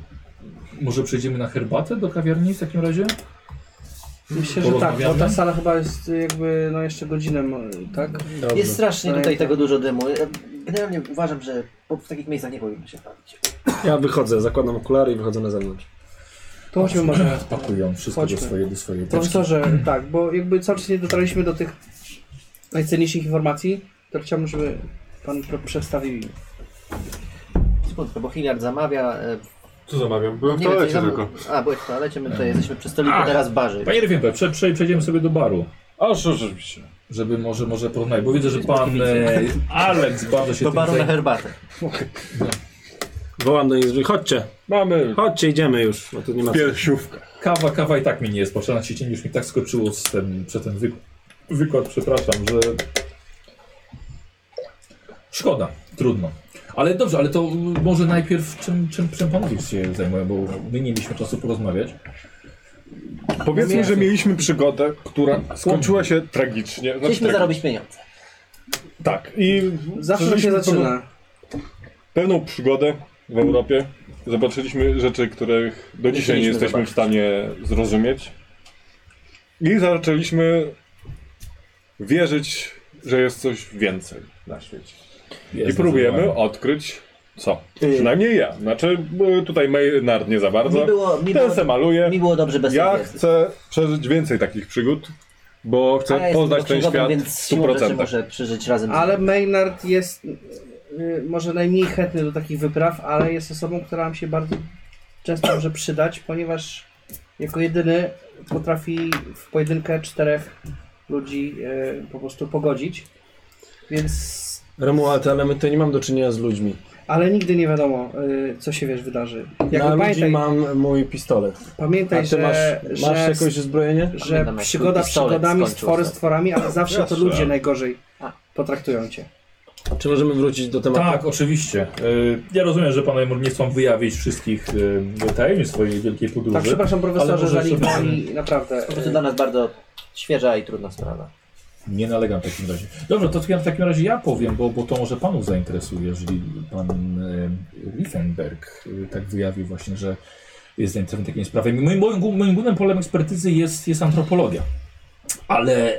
[SPEAKER 1] może przejdziemy na herbatę do kawiarni w takim razie?
[SPEAKER 4] Myślę, że tak, bo
[SPEAKER 1] Porozmawiamy?
[SPEAKER 4] ta sala chyba jest y, jakby no jeszcze godzinę, y, tak?
[SPEAKER 6] Dobrze.
[SPEAKER 3] jest strasznie
[SPEAKER 4] No
[SPEAKER 3] tutaj
[SPEAKER 4] i tak.
[SPEAKER 3] tego dużo dymu. Ja Generalnie uważam, że po- w takich miejscach nie powinno się bawić.
[SPEAKER 6] Ja wychodzę, zakładam okulary i wychodzę na zewnątrz.
[SPEAKER 4] To chodźmy może.
[SPEAKER 1] Pakują wszystko
[SPEAKER 4] Chodźmy.
[SPEAKER 1] do swojej, do swojej teczki.
[SPEAKER 4] Profesorze, tak, bo jakby cały czas nie dotarliśmy do tych najcenniejszych informacji, to chciałbym, żeby pan pro- przedstawił im.
[SPEAKER 3] Sekundkę, bo Hilliard zamawia. e,
[SPEAKER 5] Co zamawiam? Byłem w
[SPEAKER 3] nie wiem,
[SPEAKER 5] toalecie
[SPEAKER 3] coś zam-
[SPEAKER 5] tylko.
[SPEAKER 3] A, bo w toalecie, my tutaj jesteśmy przy stoliku,
[SPEAKER 1] Ach.
[SPEAKER 3] teraz w barze.
[SPEAKER 1] Panie Rywiempe, prze, prze, przejdziemy sobie do baru,
[SPEAKER 5] A, rzeczywiście.
[SPEAKER 1] żeby może, może porównać, bo widzę, że pan e, Alex bardzo się
[SPEAKER 3] Do
[SPEAKER 1] tym
[SPEAKER 3] baru na
[SPEAKER 1] zaj...
[SPEAKER 3] herbatę.
[SPEAKER 4] No
[SPEAKER 6] Wołam do nich, że chodźcie,
[SPEAKER 5] Mamy
[SPEAKER 6] chodźcie, idziemy już, bo tu nie ma
[SPEAKER 5] w
[SPEAKER 6] co.
[SPEAKER 5] piersiówkach.
[SPEAKER 1] Kawa, kawa i tak mi nie jest potrzebna, cienie już mi tak skoczyło z ten, przed ten wyk wykład, przepraszam, że... Szkoda, trudno. Ale dobrze, ale to mm, może najpierw czym, czym, czym panowie się zajmują, bo my nie mieliśmy czasu porozmawiać.
[SPEAKER 5] Powiedzmy, że mieliśmy przygodę, która skończyła się tragicznie. Znaczy,
[SPEAKER 4] tak.
[SPEAKER 3] Chcieliśmy
[SPEAKER 5] tragi-
[SPEAKER 3] zarobić pieniądze.
[SPEAKER 5] Tak. I
[SPEAKER 4] Zawsze tak się
[SPEAKER 5] przeżyliśmy
[SPEAKER 4] zaczyna.
[SPEAKER 5] pewną przygodę w Europie. Zobaczyliśmy rzeczy, których do dzisiaj nie
[SPEAKER 3] chcieliśmy
[SPEAKER 5] jesteśmy w stanie zrozumieć. I zaczęliśmy wierzyć, że jest coś więcej na świecie. I
[SPEAKER 1] Jest
[SPEAKER 5] próbujemy
[SPEAKER 1] zdecydowanie.
[SPEAKER 5] odkryć co. Przynajmniej ja. Znaczy y, tutaj Maynard nie za bardzo.
[SPEAKER 3] Y. Mi było, mi
[SPEAKER 5] Ten se
[SPEAKER 3] było,
[SPEAKER 5] maluje.
[SPEAKER 3] mi było dobrze bez
[SPEAKER 5] Ja
[SPEAKER 3] ja
[SPEAKER 5] chcę przeżyć więcej takich przygód, bo
[SPEAKER 3] A
[SPEAKER 5] chcę
[SPEAKER 3] ja jestem
[SPEAKER 5] poznać
[SPEAKER 3] tylko
[SPEAKER 5] ten
[SPEAKER 3] księgowym,
[SPEAKER 5] świat
[SPEAKER 3] więc
[SPEAKER 5] w
[SPEAKER 3] siłą rzeczy
[SPEAKER 5] 100%.
[SPEAKER 3] może przeżyć razem z
[SPEAKER 4] Ale
[SPEAKER 3] nim.
[SPEAKER 4] Maynard jest y, może najmniej chętny do takich wypraw, ale jest osobą, która nam się bardzo często może przydać, ponieważ jako jedyny potrafi w pojedynkę czterech ludzi y, po prostu pogodzić. Więc.
[SPEAKER 6] Romuald, ale my tutaj nie mam do czynienia z ludźmi.
[SPEAKER 4] Ale nigdy nie wiadomo, y, co się wiesz wydarzy. Jakby
[SPEAKER 6] Na ludzi
[SPEAKER 4] pamiętaj,
[SPEAKER 6] mam mój pistolet.
[SPEAKER 4] pamiętaj,
[SPEAKER 6] A ty
[SPEAKER 4] że,
[SPEAKER 6] masz,
[SPEAKER 4] że,
[SPEAKER 6] masz jakieś uzbrojenie?
[SPEAKER 4] że
[SPEAKER 3] Pamiętam, jak
[SPEAKER 4] przygoda
[SPEAKER 3] pistolet
[SPEAKER 4] przygodami,
[SPEAKER 3] skończył
[SPEAKER 4] stwory
[SPEAKER 3] sobie.
[SPEAKER 4] stworami, ale zawsze to
[SPEAKER 5] Jasne.
[SPEAKER 4] ludzie najgorzej
[SPEAKER 3] A.
[SPEAKER 4] potraktują cię. Tak,
[SPEAKER 2] Czy możemy wrócić do tematu?
[SPEAKER 1] Tak, oczywiście. Y, Ja rozumiem, że panowie nie chcą wyjawić wszystkich y, tajemnic swojej wielkiej podróży.
[SPEAKER 4] Tak, przepraszam
[SPEAKER 1] Ale
[SPEAKER 4] profesorze,
[SPEAKER 1] może
[SPEAKER 4] za nikt
[SPEAKER 1] sobie-
[SPEAKER 4] wami naprawdę. y,
[SPEAKER 3] Po prostu dla nas bardzo świeża i trudna sprawa.
[SPEAKER 1] Nie nalegam w takim razie. Dobrze, to w takim razie ja powiem, bo, bo to może panu zainteresuje, jeżeli pan e, Riefenberg e, tak wyjawił właśnie, że jest zainteresowany takimi sprawami. Moim, moim, gó- moim głównym polem ekspertyzy jest, jest antropologia. Ale e,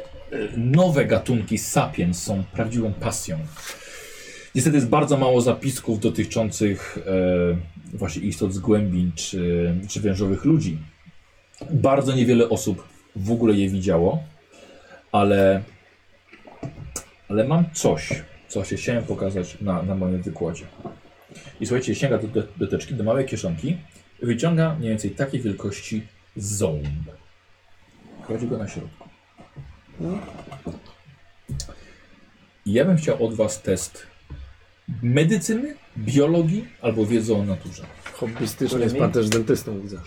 [SPEAKER 1] nowe gatunki sapiens są prawdziwą pasją. Niestety jest bardzo mało zapisków dotyczących e, właśnie istot z głębin czy, czy wężowych ludzi. Bardzo niewiele osób w ogóle je widziało ale, ale mam coś, co się chciałem pokazać na, na moim wykładzie. I słuchajcie, sięga do, do, do teczki, do małej kieszonki, wyciąga mniej więcej takiej wielkości ząb. Kładzie go na środku. I ja bym chciał od was test medycyny, biologii albo wiedzy o naturze.
[SPEAKER 6] Tak.
[SPEAKER 2] Hobbystycznie jest pan też dentystą, widzę.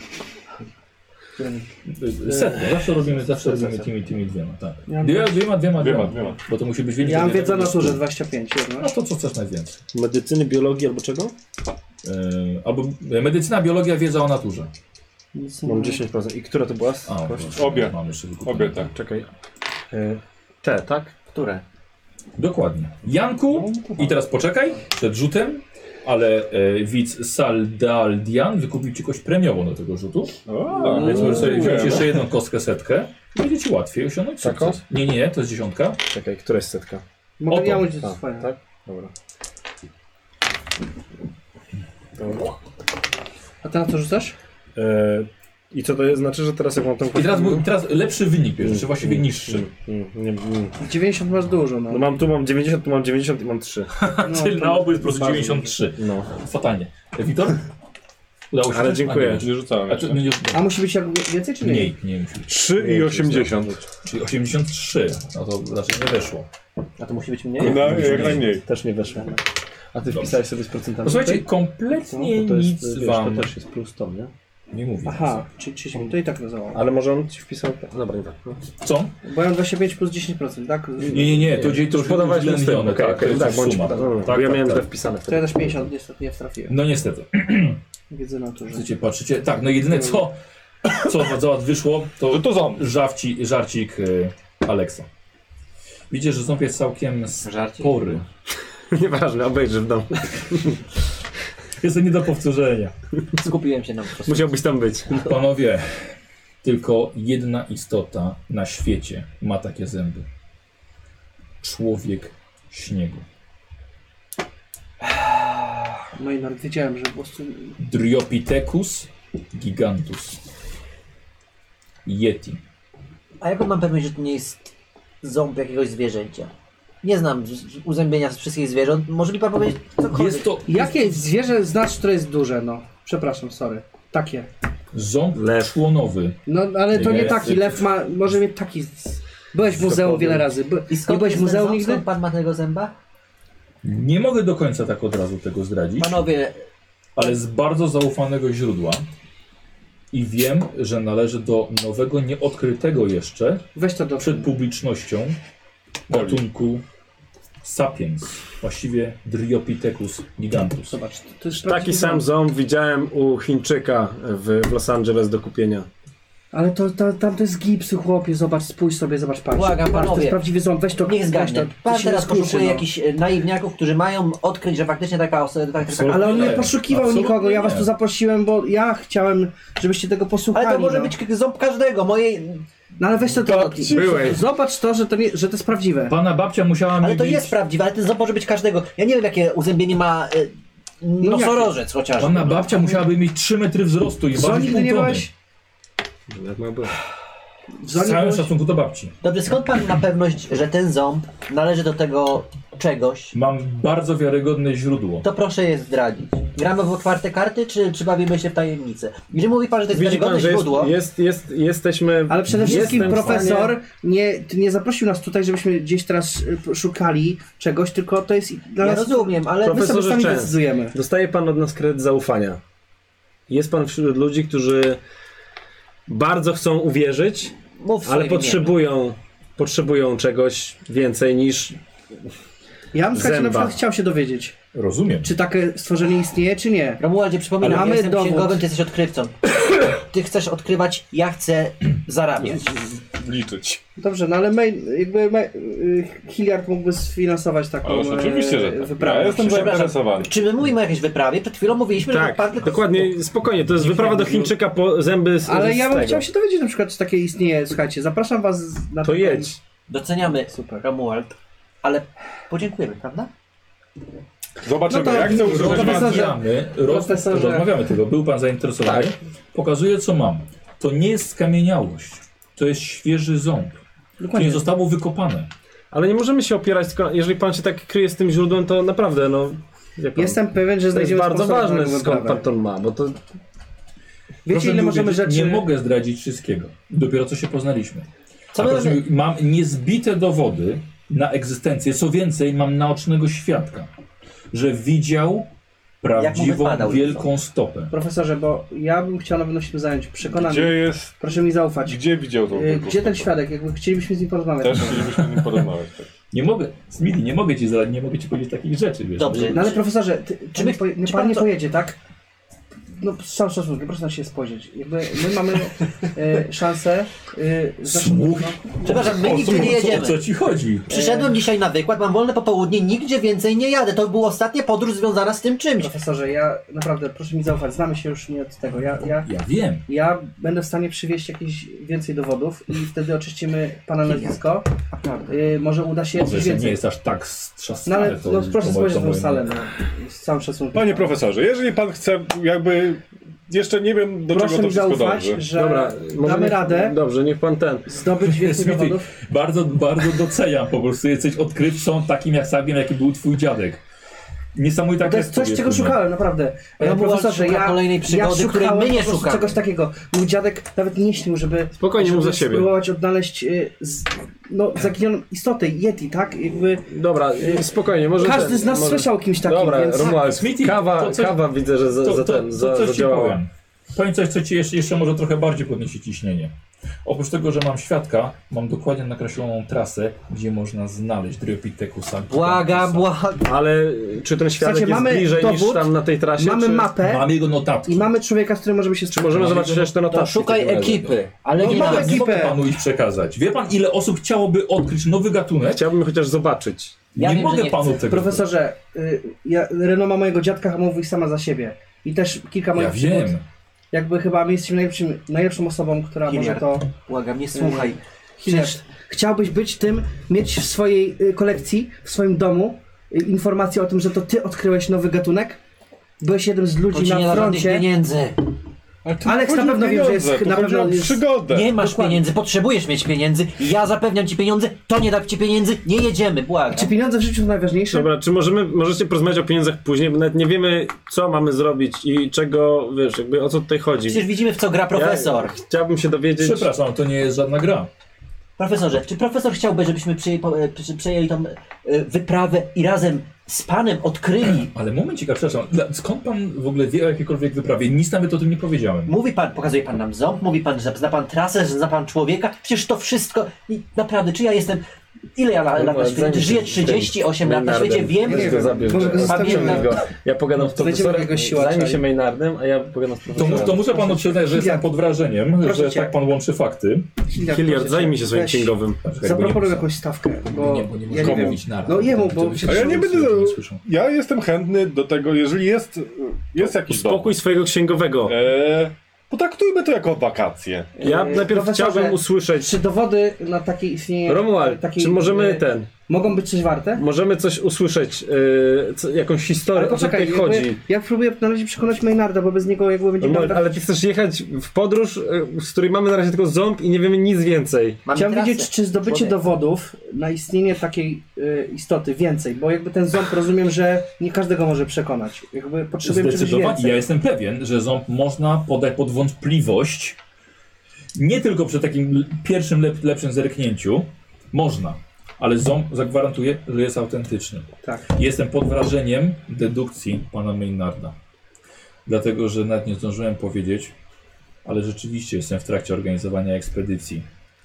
[SPEAKER 4] E,
[SPEAKER 1] Setno, zawsze robimy, zawsze robimy tymi, tymi dwiema, tak. Dwiema, dwiema, dwiema,
[SPEAKER 5] Dwiema,
[SPEAKER 1] dwiema.
[SPEAKER 5] dwiema.
[SPEAKER 1] Bo to musi być wiedzieć.
[SPEAKER 4] Ja mam wiedzę o naturze 25
[SPEAKER 1] No
[SPEAKER 4] jednak.
[SPEAKER 1] to co chcesz najwięcej.
[SPEAKER 6] Medycyny, biologii albo czego?
[SPEAKER 1] Yy, albo e, medycyna, biologia, wiedza o naturze.
[SPEAKER 6] Mam 10%. I która to była?
[SPEAKER 1] A,
[SPEAKER 6] kość?
[SPEAKER 1] proszę,
[SPEAKER 5] Obie.
[SPEAKER 1] Mam jeszcze wykupione.
[SPEAKER 5] Obie tak.
[SPEAKER 6] Czekaj.
[SPEAKER 2] E, Te, tak?
[SPEAKER 3] Które?
[SPEAKER 1] Dokładnie. Janku, i teraz poczekaj przed rzutem, ale e, widz Saldaldian wykupił ci kość premiową do tego rzutu.
[SPEAKER 5] O,
[SPEAKER 1] Więc możesz sobie wziąć
[SPEAKER 5] dziękujemy.
[SPEAKER 1] jeszcze jedną kostkę setkę. i Będzie ci łatwiej osiągnąć
[SPEAKER 2] Taką?
[SPEAKER 1] sukces. Nie, nie, nie, to jest dziesiątka.
[SPEAKER 2] Czekaj, która jest setka?
[SPEAKER 4] Mogę
[SPEAKER 1] Oto.
[SPEAKER 4] ja mówić
[SPEAKER 2] A,
[SPEAKER 4] swoje.
[SPEAKER 2] tak? Dobra.
[SPEAKER 4] A ty na co rzucasz?
[SPEAKER 6] E, I co to jest? Znaczy, że teraz jak mam tą
[SPEAKER 1] I teraz,
[SPEAKER 6] Mm,
[SPEAKER 1] był- teraz lepszy wynik bierzesz, czy właściwie
[SPEAKER 6] mm,
[SPEAKER 1] niższy.
[SPEAKER 6] mm, mm, nie, mm.
[SPEAKER 4] 90 masz dużo,
[SPEAKER 6] No
[SPEAKER 4] no.
[SPEAKER 6] mam tu mam 90, tu mam 90 i mam 3.
[SPEAKER 4] no
[SPEAKER 1] Czyli
[SPEAKER 4] to-
[SPEAKER 1] na obu jest po prostu
[SPEAKER 6] Bardzo
[SPEAKER 1] 93.
[SPEAKER 6] No.
[SPEAKER 1] Fatalnie. E, Witor? Udało się?
[SPEAKER 6] Ale
[SPEAKER 1] A,
[SPEAKER 6] dziękuję.
[SPEAKER 1] nie,
[SPEAKER 5] Nie rzucałem
[SPEAKER 1] A, czy,
[SPEAKER 3] Znaczy,
[SPEAKER 5] jeszcze.
[SPEAKER 1] nie,
[SPEAKER 4] A musi być jak więcej czy mniej?
[SPEAKER 1] mniej, nie musi być.
[SPEAKER 5] 3 i 80.
[SPEAKER 1] Czyli 83. No to raczej nie weszło.
[SPEAKER 3] A to musi być mniej?
[SPEAKER 5] No, jak najmniej.
[SPEAKER 2] Też nie weszło. A ty wpisałeś sobie z procentami.
[SPEAKER 1] Posłuchajcie,
[SPEAKER 2] tutaj?
[SPEAKER 1] kompletnie
[SPEAKER 2] No, to jest,
[SPEAKER 1] nic
[SPEAKER 2] wiesz,
[SPEAKER 1] wam
[SPEAKER 2] To też jest plus to, nie?
[SPEAKER 1] nie mówi.
[SPEAKER 4] Aha, czyli 30, to i tak nazywało.
[SPEAKER 2] Ale może on ci wpisał... Dobra, nie tak. No.
[SPEAKER 1] Co?
[SPEAKER 4] Bo ja mam 25 plus 10%, tak?
[SPEAKER 1] Nie, nie, nie, to, to już
[SPEAKER 2] Podawałeś mi
[SPEAKER 1] uwzględnione,
[SPEAKER 2] okay,
[SPEAKER 1] tak,
[SPEAKER 2] okay,
[SPEAKER 1] to jest
[SPEAKER 2] tak,
[SPEAKER 1] już
[SPEAKER 2] bądź
[SPEAKER 1] suma.
[SPEAKER 2] poda- Dobra,
[SPEAKER 1] Tak,
[SPEAKER 2] bo ja
[SPEAKER 1] tak,
[SPEAKER 2] miałem
[SPEAKER 1] tak.
[SPEAKER 2] źle wpisane
[SPEAKER 4] To ja
[SPEAKER 2] wtedy.
[SPEAKER 4] też 50 niestety nie wtrafiłem.
[SPEAKER 1] No niestety,
[SPEAKER 4] Wiedzę na to, że...
[SPEAKER 1] widzicie, patrzycie, tak, no jedyne co, co, co wyszło, to
[SPEAKER 5] Że to ząb.
[SPEAKER 1] żawci, żarcik y, Aleksa. Widzicie, że ząb jest całkiem
[SPEAKER 3] Żarcie.
[SPEAKER 1] spory.
[SPEAKER 2] Nieważne, obejrzysz w domu.
[SPEAKER 1] Jest to nie do powtórzenia.
[SPEAKER 3] Skupiłem się na po prostu.
[SPEAKER 2] Musiałbyś tam być.
[SPEAKER 1] Panowie, tylko jedna istota na świecie ma takie zęby. Człowiek śniegu.
[SPEAKER 4] No i nawet wiedziałem, że po prostu...
[SPEAKER 1] Dryopithecus gigantus. Yeti.
[SPEAKER 3] A jaką mam pewność, że to nie jest ząb jakiegoś zwierzęcia? Nie znam z- z- uzębienia z wszystkich zwierząt. Może mi pan powiedzieć cokolwiek?
[SPEAKER 1] Jest to
[SPEAKER 4] Jakie zwierzę znasz, które jest duże, no? Przepraszam, sorry. Takie.
[SPEAKER 1] ząb
[SPEAKER 2] Lew.
[SPEAKER 1] członowy.
[SPEAKER 4] No, ale to nie
[SPEAKER 1] Jest.
[SPEAKER 4] taki. Lew ma, może mieć taki... z- Byłeś w muzeum wiele razy. By,
[SPEAKER 3] I
[SPEAKER 4] nie
[SPEAKER 3] skąd
[SPEAKER 4] byłeś w
[SPEAKER 3] jest ten
[SPEAKER 4] muzeum
[SPEAKER 3] ząb?
[SPEAKER 4] nigdy?
[SPEAKER 3] Skąd pan ma tego zęba?
[SPEAKER 1] Nie mogę do końca tak od razu tego zdradzić,
[SPEAKER 3] Panowie,
[SPEAKER 1] ale z bardzo zaufanego źródła. I wiem, że należy do nowego, nieodkrytego jeszcze
[SPEAKER 4] Weź to do...
[SPEAKER 1] przed publicznością gatunku sapiens. Właściwie Dryopithecus gigantus.
[SPEAKER 4] Zobacz, to- to jest
[SPEAKER 2] Taki
[SPEAKER 4] prawdziwy
[SPEAKER 2] sam
[SPEAKER 4] ząb.
[SPEAKER 2] ząb widziałem u Chińczyka w, w Los Angeles do kupienia.
[SPEAKER 4] Ale to, to, tam to jest gipsy, chłopie. Zobacz, spójrz sobie, zobacz, patrz.
[SPEAKER 3] Błagam,
[SPEAKER 4] Patrz, To
[SPEAKER 3] panowie.
[SPEAKER 4] jest prawdziwy ząb. Weź to,
[SPEAKER 3] niech
[SPEAKER 4] weź to.
[SPEAKER 3] zgadnę.
[SPEAKER 4] to
[SPEAKER 3] Pan
[SPEAKER 4] się
[SPEAKER 3] teraz
[SPEAKER 4] nie skruszy,
[SPEAKER 3] poszukuje
[SPEAKER 4] no.
[SPEAKER 3] jakichś e, naiwniaków, którzy mają odkryć, że faktycznie taka osoba... Tak, tak,
[SPEAKER 1] Absolutnie.
[SPEAKER 4] Ale on nie
[SPEAKER 1] Nie,
[SPEAKER 4] poszukiwał
[SPEAKER 1] absolutnie
[SPEAKER 4] nikogo. Ja was
[SPEAKER 1] nie.
[SPEAKER 4] tu zaprosiłem, bo ja chciałem, żebyście tego posłuchali.
[SPEAKER 3] ale to może
[SPEAKER 4] no.
[SPEAKER 3] być k- ząb każdego, mojej...
[SPEAKER 4] No ale weź to do...
[SPEAKER 2] Byłeś.
[SPEAKER 4] Zobacz to, że to, nie, że to jest prawdziwe.
[SPEAKER 1] Pana babcia musiała
[SPEAKER 3] Ale
[SPEAKER 1] mi
[SPEAKER 3] to
[SPEAKER 1] bić-
[SPEAKER 3] jest prawdziwe, ale ten ząb może być każdego. Ja nie wiem, jakie uzębienie ma e,
[SPEAKER 2] No
[SPEAKER 3] nosorożec chociażby.
[SPEAKER 1] Pana babcia musiałaby mieć 3 metry wzrostu i
[SPEAKER 4] Zoni
[SPEAKER 1] ważyć
[SPEAKER 4] ty
[SPEAKER 1] pół
[SPEAKER 4] no. nie
[SPEAKER 1] tony.
[SPEAKER 4] byłeś?
[SPEAKER 2] Jak ma było?
[SPEAKER 4] W
[SPEAKER 1] Z
[SPEAKER 4] Zoni
[SPEAKER 1] całym
[SPEAKER 4] byłeś?
[SPEAKER 1] szacunku do babci.
[SPEAKER 3] Dobrze, skąd pan ma pewność, że ten ząb należy do tego czegoś?
[SPEAKER 1] Mam bardzo wiarygodne źródło.
[SPEAKER 3] To proszę je zdradzić. Gramy w otwarte karty, czy, czy bawimy się w tajemnicę? Jeżeli mówi pan, że to jest
[SPEAKER 2] Widzi pan,
[SPEAKER 3] wiarygodne
[SPEAKER 2] że jest,
[SPEAKER 3] źródło,
[SPEAKER 2] jest, jest, jesteśmy...
[SPEAKER 4] Ale przede wszystkim
[SPEAKER 2] jestem w stanie-
[SPEAKER 4] profesor nie, nie zaprosił nas tutaj, żebyśmy gdzieś teraz y, szukali czegoś, tylko to jest dla
[SPEAKER 3] ja
[SPEAKER 4] nas...
[SPEAKER 3] rozumiem, ale
[SPEAKER 4] My sobie
[SPEAKER 2] Profesorze
[SPEAKER 4] sami
[SPEAKER 2] Częst.
[SPEAKER 4] decydujemy.
[SPEAKER 2] Dostaje pan od nas kredyt zaufania. Jest pan wśród ludzi, którzy bardzo chcą uwierzyć,
[SPEAKER 3] mów
[SPEAKER 2] ale
[SPEAKER 3] swoim imieniem.
[SPEAKER 2] potrzebują, potrzebują czegoś więcej niż
[SPEAKER 4] Ja bym słuchajcie, na
[SPEAKER 6] Zęba.
[SPEAKER 4] przykład chciał się dowiedzieć,
[SPEAKER 1] Rozumiem.
[SPEAKER 4] czy takie stworzenie istnieje, czy nie.
[SPEAKER 3] Romualdzie, przypominam,
[SPEAKER 4] Ale
[SPEAKER 3] ja
[SPEAKER 4] mamy
[SPEAKER 3] jestem
[SPEAKER 4] dowód.
[SPEAKER 3] księgowym, ty jesteś odkrywcą. Ty chcesz odkrywać, ja chcę zarabiać.
[SPEAKER 5] Liczyć.
[SPEAKER 4] Dobrze, no ale main, jakby ma, y, Hilliard mógłby sfinansować taką
[SPEAKER 5] Ależ oczywiście, że
[SPEAKER 4] e,
[SPEAKER 5] tak.
[SPEAKER 4] wyprawę.
[SPEAKER 5] Ja jestem
[SPEAKER 4] Przepraszam.
[SPEAKER 5] zainteresowany.
[SPEAKER 3] Czy my mówimy o jakiejś wyprawie? Przed chwilą mówiliśmy, że
[SPEAKER 6] Tak,
[SPEAKER 3] pan tylko-
[SPEAKER 6] dokładnie, spokojnie, to jest wyprawa do Chińczyka po zęby z
[SPEAKER 4] Ale ja
[SPEAKER 6] z
[SPEAKER 4] bym
[SPEAKER 6] tego.
[SPEAKER 4] chciał się dowiedzieć na przykład, czy takie istnieje. Słuchajcie, zapraszam was na
[SPEAKER 6] To
[SPEAKER 4] taką-
[SPEAKER 6] jedź.
[SPEAKER 3] Doceniamy
[SPEAKER 4] Super.
[SPEAKER 3] Romuald, ale podziękujemy, prawda?
[SPEAKER 5] Zobaczymy,
[SPEAKER 4] No to-
[SPEAKER 5] jak chcę
[SPEAKER 4] no to
[SPEAKER 5] używać
[SPEAKER 4] profesorze-
[SPEAKER 5] magii.
[SPEAKER 1] Rozmawiamy, roz,
[SPEAKER 4] Profesorze. Tak.
[SPEAKER 1] rozmawiamy tego. Był pan zainteresowany. Pokazuję, co mam. To nie jest skamieniałość. To jest świeży ząb. To nie
[SPEAKER 4] Dokładnie.
[SPEAKER 1] zostało wykopane.
[SPEAKER 6] Ale nie możemy się opierać, tylko jeżeli pan się tak kryje z tym źródłem, to naprawdę, no... wie pan,
[SPEAKER 4] Jestem pewien, że
[SPEAKER 6] to jest
[SPEAKER 4] znajdziemy
[SPEAKER 6] bardzo
[SPEAKER 4] sposób na
[SPEAKER 6] ważne,
[SPEAKER 4] taką
[SPEAKER 6] skąd
[SPEAKER 4] wyprawę.
[SPEAKER 6] pan to ma, bo to
[SPEAKER 4] Wiecie,
[SPEAKER 1] Proszę
[SPEAKER 4] ile
[SPEAKER 1] mi
[SPEAKER 4] możemy
[SPEAKER 1] uwierzyć,
[SPEAKER 4] rzeczy...
[SPEAKER 1] Nie mogę zdradzić wszystkiego. Dopiero co się poznaliśmy.
[SPEAKER 3] Co
[SPEAKER 1] A
[SPEAKER 3] my
[SPEAKER 1] proszę
[SPEAKER 3] mamy...
[SPEAKER 1] mi, mam niezbite dowody na egzystencję. Co więcej, mam naocznego świadka, że widział prawdziwą,
[SPEAKER 3] wypadał,
[SPEAKER 1] wielką stopę.
[SPEAKER 4] Profesorze, bo ja bym chciał na pewno się tym zająć. Przekonam.
[SPEAKER 5] Gdzie jest...
[SPEAKER 4] Proszę mi zaufać.
[SPEAKER 5] Gdzie widział tą
[SPEAKER 4] Y,
[SPEAKER 5] wielką
[SPEAKER 4] Gdzie ten
[SPEAKER 5] stopę?
[SPEAKER 4] świadek? Jakby chcielibyśmy z nim porozmawiać.
[SPEAKER 5] Też chcielibyśmy z nim porozmawiać. Tak.
[SPEAKER 1] Nie mogę, Smili, nie mogę ci zra- nie mogę ci powiedzieć takich rzeczy, wiesz.
[SPEAKER 3] Dobrze.
[SPEAKER 4] No ale profesorze, ty,
[SPEAKER 3] Czy
[SPEAKER 4] czy
[SPEAKER 3] my-
[SPEAKER 4] my, pan, nie-
[SPEAKER 3] czy
[SPEAKER 4] pan
[SPEAKER 3] pan
[SPEAKER 4] nie
[SPEAKER 3] co-
[SPEAKER 4] pojedzie, tak? No z całym szacunkiem, proszę na siebie spojrzeć. Jakby my mamy e, szansę... E, za-
[SPEAKER 1] Słuch.
[SPEAKER 3] Przepraszam, my
[SPEAKER 1] O co,
[SPEAKER 3] nigdzie nie
[SPEAKER 1] o
[SPEAKER 3] jedziemy.
[SPEAKER 1] co ci chodzi?
[SPEAKER 3] Przyszedłem dzisiaj na wykład, mam wolne popołudnie, nigdzie więcej nie jadę. To była ostatnia podróż związana z tym czymś.
[SPEAKER 4] Profesorze, ja naprawdę, proszę mi zaufać, znamy się już nie od tego. Ja, ja,
[SPEAKER 1] Ja wiem.
[SPEAKER 4] ja będę w stanie przywieźć jakieś więcej dowodów i wtedy oczyścimy pana nazwisko. E, może uda się
[SPEAKER 1] Może
[SPEAKER 4] coś
[SPEAKER 1] że nie
[SPEAKER 4] więcej.
[SPEAKER 1] jest aż tak
[SPEAKER 4] No
[SPEAKER 1] strzaskane.
[SPEAKER 4] ale
[SPEAKER 1] to-
[SPEAKER 4] no,
[SPEAKER 1] to
[SPEAKER 4] proszę spojrzeć na
[SPEAKER 1] moje-
[SPEAKER 4] tą salę, no, z całym szacunkiem.
[SPEAKER 5] Panie profesorze, jeżeli pan chce jakby... Jeszcze nie wiem, do
[SPEAKER 4] proszę
[SPEAKER 5] czego to
[SPEAKER 4] mi
[SPEAKER 5] wszystko
[SPEAKER 4] zaufać,
[SPEAKER 5] dąży.
[SPEAKER 4] że
[SPEAKER 6] Dobra, może
[SPEAKER 4] damy
[SPEAKER 6] niech,
[SPEAKER 4] radę
[SPEAKER 6] Dobrze, niech pan ten.
[SPEAKER 4] zdobyć więcej
[SPEAKER 1] Smity,
[SPEAKER 4] dowodów.
[SPEAKER 1] Bardzo, bardzo doceniam po prostu. Jesteś odkrywcą takim jak Sabin, jaki był twój dziadek. Niesamowita
[SPEAKER 6] Tak
[SPEAKER 4] To jest
[SPEAKER 1] krew
[SPEAKER 4] coś, czego
[SPEAKER 1] powiedzmy.
[SPEAKER 4] szukałem, naprawdę.
[SPEAKER 3] Ja
[SPEAKER 4] E, Profesorze,
[SPEAKER 3] No szuka
[SPEAKER 4] ja,
[SPEAKER 3] kolejnej
[SPEAKER 4] ja
[SPEAKER 3] przygody,
[SPEAKER 4] szukałem
[SPEAKER 3] której my nie
[SPEAKER 4] po prostu
[SPEAKER 3] szukamy.
[SPEAKER 4] czegoś takiego. Mój dziadek nawet nie śnił, żeby,
[SPEAKER 6] Spokojnie mów za
[SPEAKER 4] żeby
[SPEAKER 6] siebie.
[SPEAKER 4] spróbować odnaleźć y, z, no, zaginioną istotę, Yeti, tak? Jakby
[SPEAKER 6] Dobra, y, spokojnie, może
[SPEAKER 4] każdy
[SPEAKER 6] ten,
[SPEAKER 4] z nas
[SPEAKER 6] może...
[SPEAKER 4] słyszał o kimś takim,
[SPEAKER 6] Dobra,
[SPEAKER 4] więc...
[SPEAKER 6] Romuald,
[SPEAKER 1] Smithy,
[SPEAKER 6] kawa,
[SPEAKER 1] to coś-
[SPEAKER 6] kawa widzę, że za,
[SPEAKER 1] To,
[SPEAKER 6] za
[SPEAKER 1] to,
[SPEAKER 6] ten,
[SPEAKER 1] to,
[SPEAKER 6] za,
[SPEAKER 1] coś ci
[SPEAKER 6] zadziałała.
[SPEAKER 1] powiem. Powiem coś, co ci jeszcze, jeszcze może trochę bardziej podniesie ciśnienie. Oprócz tego, że mam świadka, mam dokładnie nakreśloną trasę, gdzie można znaleźć Dryopithekusa.
[SPEAKER 3] Błagam, błagam.
[SPEAKER 6] Ale y, czy ten świadek
[SPEAKER 4] Słuchajcie,
[SPEAKER 6] jest
[SPEAKER 4] mamy
[SPEAKER 6] bliżej niż
[SPEAKER 4] dowód,
[SPEAKER 6] tam na tej trasie?
[SPEAKER 4] Mamy
[SPEAKER 6] czy...
[SPEAKER 4] mapę
[SPEAKER 1] Mam jego notatki.
[SPEAKER 4] i mamy człowieka, z którym możemy się
[SPEAKER 6] Czy możemy
[SPEAKER 1] No,
[SPEAKER 4] spotkać.
[SPEAKER 6] zobaczyć resztę
[SPEAKER 3] To
[SPEAKER 6] notatki? w
[SPEAKER 3] szukaj
[SPEAKER 6] takim razie?
[SPEAKER 3] ekipy, ale
[SPEAKER 1] Nie,
[SPEAKER 3] nie
[SPEAKER 4] mamy
[SPEAKER 1] mogę-
[SPEAKER 3] nas.
[SPEAKER 1] nie mogę
[SPEAKER 4] ekipę.
[SPEAKER 1] panu ich przekazać. Wie pan, ile osób chciałoby odkryć nowy gatunek?
[SPEAKER 6] Chciałbym chociaż zobaczyć.
[SPEAKER 1] Nie
[SPEAKER 3] Ja wiem, że
[SPEAKER 1] mogę
[SPEAKER 3] nie
[SPEAKER 1] panu
[SPEAKER 3] chcę.
[SPEAKER 1] tego.
[SPEAKER 4] Profesorze, y, ja, renoma mojego dziadka mówi sama za siebie. I też kilka moich
[SPEAKER 1] ja wiem.
[SPEAKER 4] przygód. Jakby chyba my jesteśmy najlepszym, najlepszą osobą, która może
[SPEAKER 3] Hilliard.
[SPEAKER 4] to...
[SPEAKER 3] Błagam, nie słuchaj.
[SPEAKER 4] Hilliard, chciałbyś być tym, mieć w swojej y, kolekcji, w swoim domu y, informację o tym, że to ty odkryłeś nowy gatunek? Byłeś jednym z
[SPEAKER 3] To ci
[SPEAKER 4] ludzi
[SPEAKER 3] nie
[SPEAKER 4] na
[SPEAKER 3] da żadnych
[SPEAKER 4] froncie.
[SPEAKER 3] pieniędzy.
[SPEAKER 5] Ale tu
[SPEAKER 4] Alex
[SPEAKER 5] chodzi
[SPEAKER 4] na
[SPEAKER 5] o
[SPEAKER 4] pewno wie, że jest-
[SPEAKER 5] pieniądze, tu
[SPEAKER 4] na
[SPEAKER 5] chodzi
[SPEAKER 4] pewno
[SPEAKER 5] o
[SPEAKER 4] jest-
[SPEAKER 5] przygodę.
[SPEAKER 3] Nie masz pieniędzy, potrzebujesz mieć pieniędzy. Ja zapewniam ci pieniądze, to nie da ci pieniędzy, nie jedziemy,
[SPEAKER 4] Czy
[SPEAKER 3] błagam.
[SPEAKER 4] pieniądze w życiu są najważniejsze?
[SPEAKER 6] Dobra, czy możemy, możecie porozmawiać o pieniądzach później, bo nawet nie wiemy, co mamy zrobić i czego, wiesz, jakby o co tutaj
[SPEAKER 3] Przecież
[SPEAKER 6] chodzi.
[SPEAKER 3] widzimy w co gra profesor.
[SPEAKER 6] Ja chciałbym się dowiedzieć...
[SPEAKER 1] Przepraszam, to nie jest żadna gra.
[SPEAKER 3] Profesorze, czy profesor chciałby, żebyśmy przyjęli, po, e, przy- przejęli tą e, wyprawę i razem z panem odkryli?
[SPEAKER 1] Ale momencik, a przepraszam, dla- skąd pan w ogóle wie o jakiejkolwiek wyprawie? Nic nawet o tym nie powiedziałem.
[SPEAKER 3] Mówi pan, pokazuje pan nam ząb, mówi pan, że zna pan trasę, że zna pan człowieka. Przecież to wszystko, i naprawdę, czy ja jestem, ile ja la- lat na
[SPEAKER 6] Dobra,
[SPEAKER 3] świecie?
[SPEAKER 6] zajmij się
[SPEAKER 3] Żyję
[SPEAKER 6] tym
[SPEAKER 3] 38 lat na świecie,
[SPEAKER 6] Maynardem.
[SPEAKER 3] wiem,
[SPEAKER 6] Weź
[SPEAKER 4] Nie
[SPEAKER 3] że...
[SPEAKER 6] go
[SPEAKER 4] wiem.
[SPEAKER 6] zabierz.
[SPEAKER 4] Może go
[SPEAKER 6] Pamiętam
[SPEAKER 4] zostawimy.
[SPEAKER 6] go. Ja pogadam z
[SPEAKER 4] Znajdziemy
[SPEAKER 6] profesorem,
[SPEAKER 4] jakiegoś siłacza
[SPEAKER 6] zajmie się
[SPEAKER 4] i-
[SPEAKER 6] Maynardem, a ja pogadam z
[SPEAKER 1] To, mu-
[SPEAKER 6] profesorem.
[SPEAKER 1] to muszę panu przyznać, że jestem
[SPEAKER 4] Hilliard.
[SPEAKER 1] pod wrażeniem,
[SPEAKER 4] Proszę
[SPEAKER 1] że
[SPEAKER 4] cię.
[SPEAKER 1] tak pan łączy fakty.
[SPEAKER 6] Hilliard, zajmij się swoim
[SPEAKER 4] Weź,
[SPEAKER 6] księgowym.
[SPEAKER 1] Jakby
[SPEAKER 4] Zaproponuj
[SPEAKER 1] nie-
[SPEAKER 4] jakąś stawkę, bo
[SPEAKER 1] nie, bo nie
[SPEAKER 4] ja
[SPEAKER 1] można
[SPEAKER 4] nie wiem.
[SPEAKER 1] mówić naraz.
[SPEAKER 4] No jemu,
[SPEAKER 1] To
[SPEAKER 4] bo
[SPEAKER 1] by-
[SPEAKER 4] się
[SPEAKER 5] A ja nie
[SPEAKER 4] trzymał.
[SPEAKER 5] będę...
[SPEAKER 1] nie słyszą.
[SPEAKER 5] Ja jestem chętny do tego, jeżeli jest, jest jakiś
[SPEAKER 6] Spokój swojego księgowego.
[SPEAKER 4] E,
[SPEAKER 5] dowód. Eee, potraktujmy to jako wakacje.
[SPEAKER 6] Ja
[SPEAKER 4] Eee,
[SPEAKER 6] najpierw
[SPEAKER 4] profesorze,
[SPEAKER 6] chciałbym usłyszeć.
[SPEAKER 4] Czy dowody na takie istnienie...
[SPEAKER 6] Romuald,
[SPEAKER 4] takiej,
[SPEAKER 6] czy możemy
[SPEAKER 4] y,
[SPEAKER 6] ten.
[SPEAKER 4] Mogą być coś warte?
[SPEAKER 6] Możemy coś usłyszeć, y, co, jakąś historię, o
[SPEAKER 4] Ale
[SPEAKER 6] co
[SPEAKER 4] poczekaj,
[SPEAKER 6] tutaj
[SPEAKER 4] jakby,
[SPEAKER 6] chodzi.
[SPEAKER 4] ja próbuję na razie przekonać Maynarda, bo bez niego jakby będzie...
[SPEAKER 6] Romuald,
[SPEAKER 4] miał-
[SPEAKER 6] ale ty chcesz jechać w podróż, y, z której mamy na razie tylko ząb i nie wiemy nic więcej.
[SPEAKER 3] Mamy
[SPEAKER 4] Chciałem
[SPEAKER 3] trasę.
[SPEAKER 4] wiedzieć, czy zdobycie
[SPEAKER 3] Człowiek.
[SPEAKER 4] dowodów na istnienie takiej y, istoty więcej, bo jakby ten ząb rozumiem, że nie każdego może przekonać. Jakby potrzebujemy czegoś
[SPEAKER 1] Zdecydowanie.
[SPEAKER 4] więcej.
[SPEAKER 1] Ja jestem pewien, że ząb można podać pod wątpliwość. Nie tylko przy takim l- pierwszym, lep, lepszym zerknięciu. Można. Ale ząb zagwarantuje, że jest autentyczny.
[SPEAKER 4] Tak.
[SPEAKER 1] Jestem pod wrażeniem dedukcji pana Maynarda. Dlatego, że nawet nie zdążyłem powiedzieć, ale rzeczywiście jestem w trakcie organizowania ekspedycji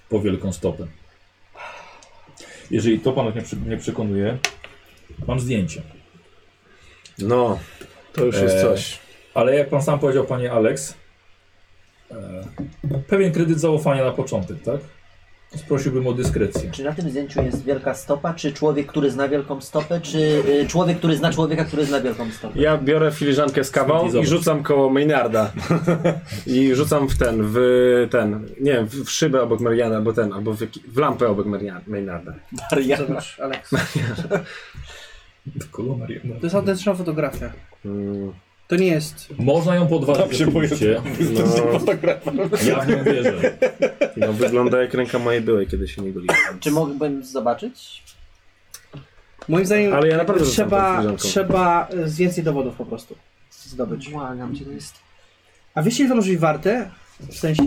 [SPEAKER 1] po Wielką Stopę. Jeżeli to panów nie, przy, nie przekonuje, Mam zdjęcie.
[SPEAKER 6] No, to już jest
[SPEAKER 1] E,
[SPEAKER 6] coś.
[SPEAKER 1] Ale jak pan sam powiedział, panie Alex, e, pewien kredyt zaufania na początek, tak? Prosiłbym o dyskrecję.
[SPEAKER 3] Czy na tym zdjęciu jest wielka stopa, czy człowiek, który zna wielką stopę, czy y, człowiek, który zna człowieka, który zna wielką stopę?
[SPEAKER 2] Ja biorę filiżankę z kawą
[SPEAKER 1] Zobacz.
[SPEAKER 2] i rzucam koło Maynarda. I rzucam w ten, w ten, nie wiem, w w szybę obok Mariana, albo ten, albo w, jaki- w lampę obok Mariana, Maynarda.
[SPEAKER 4] Zobacz, Alex.
[SPEAKER 1] Kogo Mariana?
[SPEAKER 4] To jest autentyczna fotografia.
[SPEAKER 2] Mm,
[SPEAKER 4] To nie jest.
[SPEAKER 1] Można ją podważyć.
[SPEAKER 5] Tam się
[SPEAKER 1] oczywiście.
[SPEAKER 2] No,
[SPEAKER 1] Ja w nią wierzę.
[SPEAKER 2] no, wygląda jak ręka mojej byłej, kiedy się nie goliłem.
[SPEAKER 3] Czy mógłbym zobaczyć?
[SPEAKER 4] Moim zdaniem
[SPEAKER 2] Ale ja naprawdę rzucam tą
[SPEAKER 4] trzeba,
[SPEAKER 2] filiżanką.
[SPEAKER 4] trzeba y, z więcej dowodów po prostu zdobyć.
[SPEAKER 3] Błagam cię, to jest...
[SPEAKER 4] A wiecie, ile to może być warte? W sensie,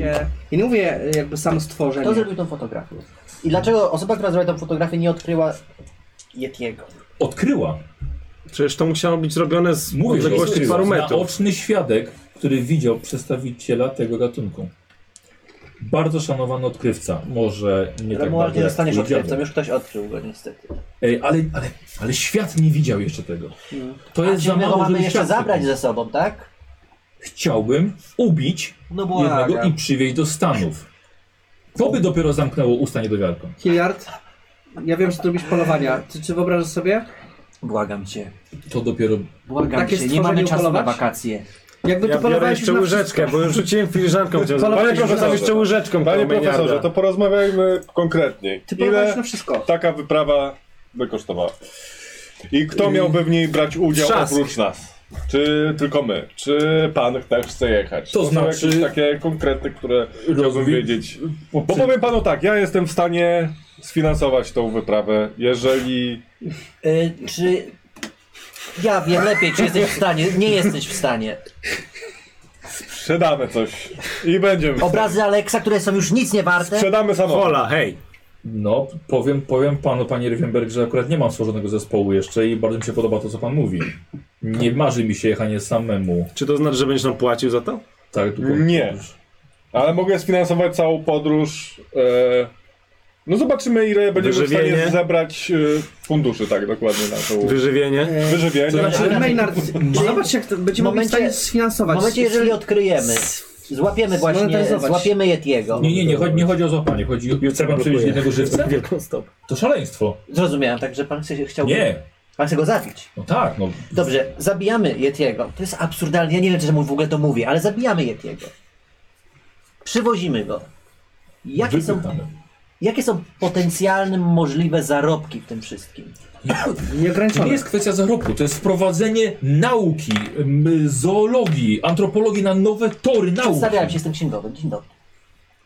[SPEAKER 4] ja nie mówię y, jakby samo stworzenie.
[SPEAKER 3] Kto zrobił tą fotografię? I dlaczego osoba, która zrobiła tą fotografię, nie odkryła Yetiego?
[SPEAKER 1] Odkryła.
[SPEAKER 2] Przecież to musiało być zrobione z
[SPEAKER 1] Mówię, że
[SPEAKER 2] odległości
[SPEAKER 1] odkryła.
[SPEAKER 2] paru metrów.
[SPEAKER 1] Naoczny świadek, który widział przedstawiciela tego gatunku. Bardzo szanowany odkrywca. Może nie tak
[SPEAKER 3] Romuald
[SPEAKER 1] bardzo
[SPEAKER 3] nie
[SPEAKER 1] jak
[SPEAKER 3] zostaniesz
[SPEAKER 1] twój dziadek.
[SPEAKER 3] odkrywcą, już ktoś odkrył go niestety.
[SPEAKER 1] Ej, ale, ale, ale świat nie widział jeszcze tego. To jest
[SPEAKER 3] Czyli
[SPEAKER 1] za
[SPEAKER 3] Mm. my go
[SPEAKER 1] mało,
[SPEAKER 3] mamy
[SPEAKER 1] żeby
[SPEAKER 3] jeszcze
[SPEAKER 1] świat
[SPEAKER 3] zabrać
[SPEAKER 1] tego-
[SPEAKER 3] ze sobą, tak?
[SPEAKER 1] Chciałbym ubić
[SPEAKER 3] No
[SPEAKER 1] jednego i
[SPEAKER 3] błagam.
[SPEAKER 1] przywieźć do Stanów. To by dopiero zamknęło usta niedowiarkom.
[SPEAKER 4] Hilliard, ja wiem, że ty lubisz polowania. Ty, czy wyobrażasz sobie?
[SPEAKER 3] Błagam cię.
[SPEAKER 1] To dopiero
[SPEAKER 3] Błagam
[SPEAKER 4] Takie
[SPEAKER 3] cię, nie mamy
[SPEAKER 4] stworzenie
[SPEAKER 3] czasu
[SPEAKER 4] upolować?
[SPEAKER 3] na wakacje.
[SPEAKER 4] Jakby
[SPEAKER 2] Ja
[SPEAKER 4] ty
[SPEAKER 2] biorę
[SPEAKER 4] polowałeś
[SPEAKER 2] jeszcze
[SPEAKER 4] już na
[SPEAKER 2] łyżeczkę, bo już rzuciłem filiżanką. chciałem-
[SPEAKER 4] Polowałeś
[SPEAKER 2] Panie
[SPEAKER 4] już na
[SPEAKER 2] profesorze, jeszcze
[SPEAKER 5] wszystko.
[SPEAKER 2] łyżeczką koło
[SPEAKER 5] Panie
[SPEAKER 2] Maynarda.
[SPEAKER 5] profesorze, to porozmawiajmy konkretnie.
[SPEAKER 4] Ty polowałeś
[SPEAKER 5] Ile
[SPEAKER 4] na wszystko.
[SPEAKER 5] taka wyprawa by kosztowała? I kto miałby w niej brać udział
[SPEAKER 2] Trzask.
[SPEAKER 5] oprócz nas? Czy tylko my? Czy pan też chce jechać?
[SPEAKER 1] To znaczy-
[SPEAKER 5] są jakieś takie konkrety, które chciałbym
[SPEAKER 1] Rozwi-
[SPEAKER 5] wiedzieć.
[SPEAKER 1] po,
[SPEAKER 5] Bo powiem panu tak, ja jestem w stanie sfinansować tą wyprawę, jeżeli...
[SPEAKER 3] Y, czy... Ja wiem lepiej, czy jesteś w stanie. Nie jesteś w stanie.
[SPEAKER 5] Sprzedamy coś i będziemy.
[SPEAKER 3] Obrazy Aleksa, które są już nic nie warte.
[SPEAKER 5] Sprzedamy samochód.
[SPEAKER 2] Ola, hej.
[SPEAKER 1] No, powiem, powiem panu, panie Riefenberg, że akurat nie mam stworzonego zespołu jeszcze i bardzo mi się podoba to, co pan mówi. Nie marzy mi się jechanie samemu
[SPEAKER 2] Czy to znaczy, że będziesz nam płacił za to?
[SPEAKER 1] tak długo.
[SPEAKER 5] Nie. Ale mogę sfinansować całą podróż. E... No zobaczymy, ile będziemy w stanie
[SPEAKER 2] Wyżywienie.
[SPEAKER 5] zebrać e... funduszy, tak, dokładnie na tą...
[SPEAKER 2] Wyżywienie?
[SPEAKER 5] Wyżywienie.
[SPEAKER 1] To znaczy-
[SPEAKER 4] Ale Maynard, zobacz jak to
[SPEAKER 3] W
[SPEAKER 4] będziemy mogli w
[SPEAKER 3] momencie-
[SPEAKER 4] stanie
[SPEAKER 3] W
[SPEAKER 4] sfinansować.
[SPEAKER 3] momencie, jeżeli odkryjemy, złapiemy właśnie,
[SPEAKER 4] Zmonetyzować.
[SPEAKER 3] złapiemy Yetiego.
[SPEAKER 1] Nie, nie, nie, chodzi, nie chodzi o złapanie, chodzi o... Chce pan przywieźć jednego żywca?
[SPEAKER 6] Wielką stopę.
[SPEAKER 1] To szaleństwo.
[SPEAKER 3] Zrozumiałem, także pan chce, chciał.
[SPEAKER 1] Nie,
[SPEAKER 3] Pan chce go zabić.
[SPEAKER 1] no tak, no.
[SPEAKER 3] Dobrze, zabijamy Yetiego. To jest absurdalne, ja nie wiem, czemu w ogóle to mówię, ale zabijamy Yetiego. Przywozimy go. Jakie są,
[SPEAKER 1] wypytamy.
[SPEAKER 3] jakie są potencjalne możliwe zarobki w tym wszystkim?
[SPEAKER 1] To nie
[SPEAKER 4] Nieograniczone.
[SPEAKER 1] jest kwestia zarobku, to jest wprowadzenie nauki, m, zoologii, antropologii na nowe tory nauki.
[SPEAKER 3] Przedstawiałem się, jestem księgowym. Dzień dobry.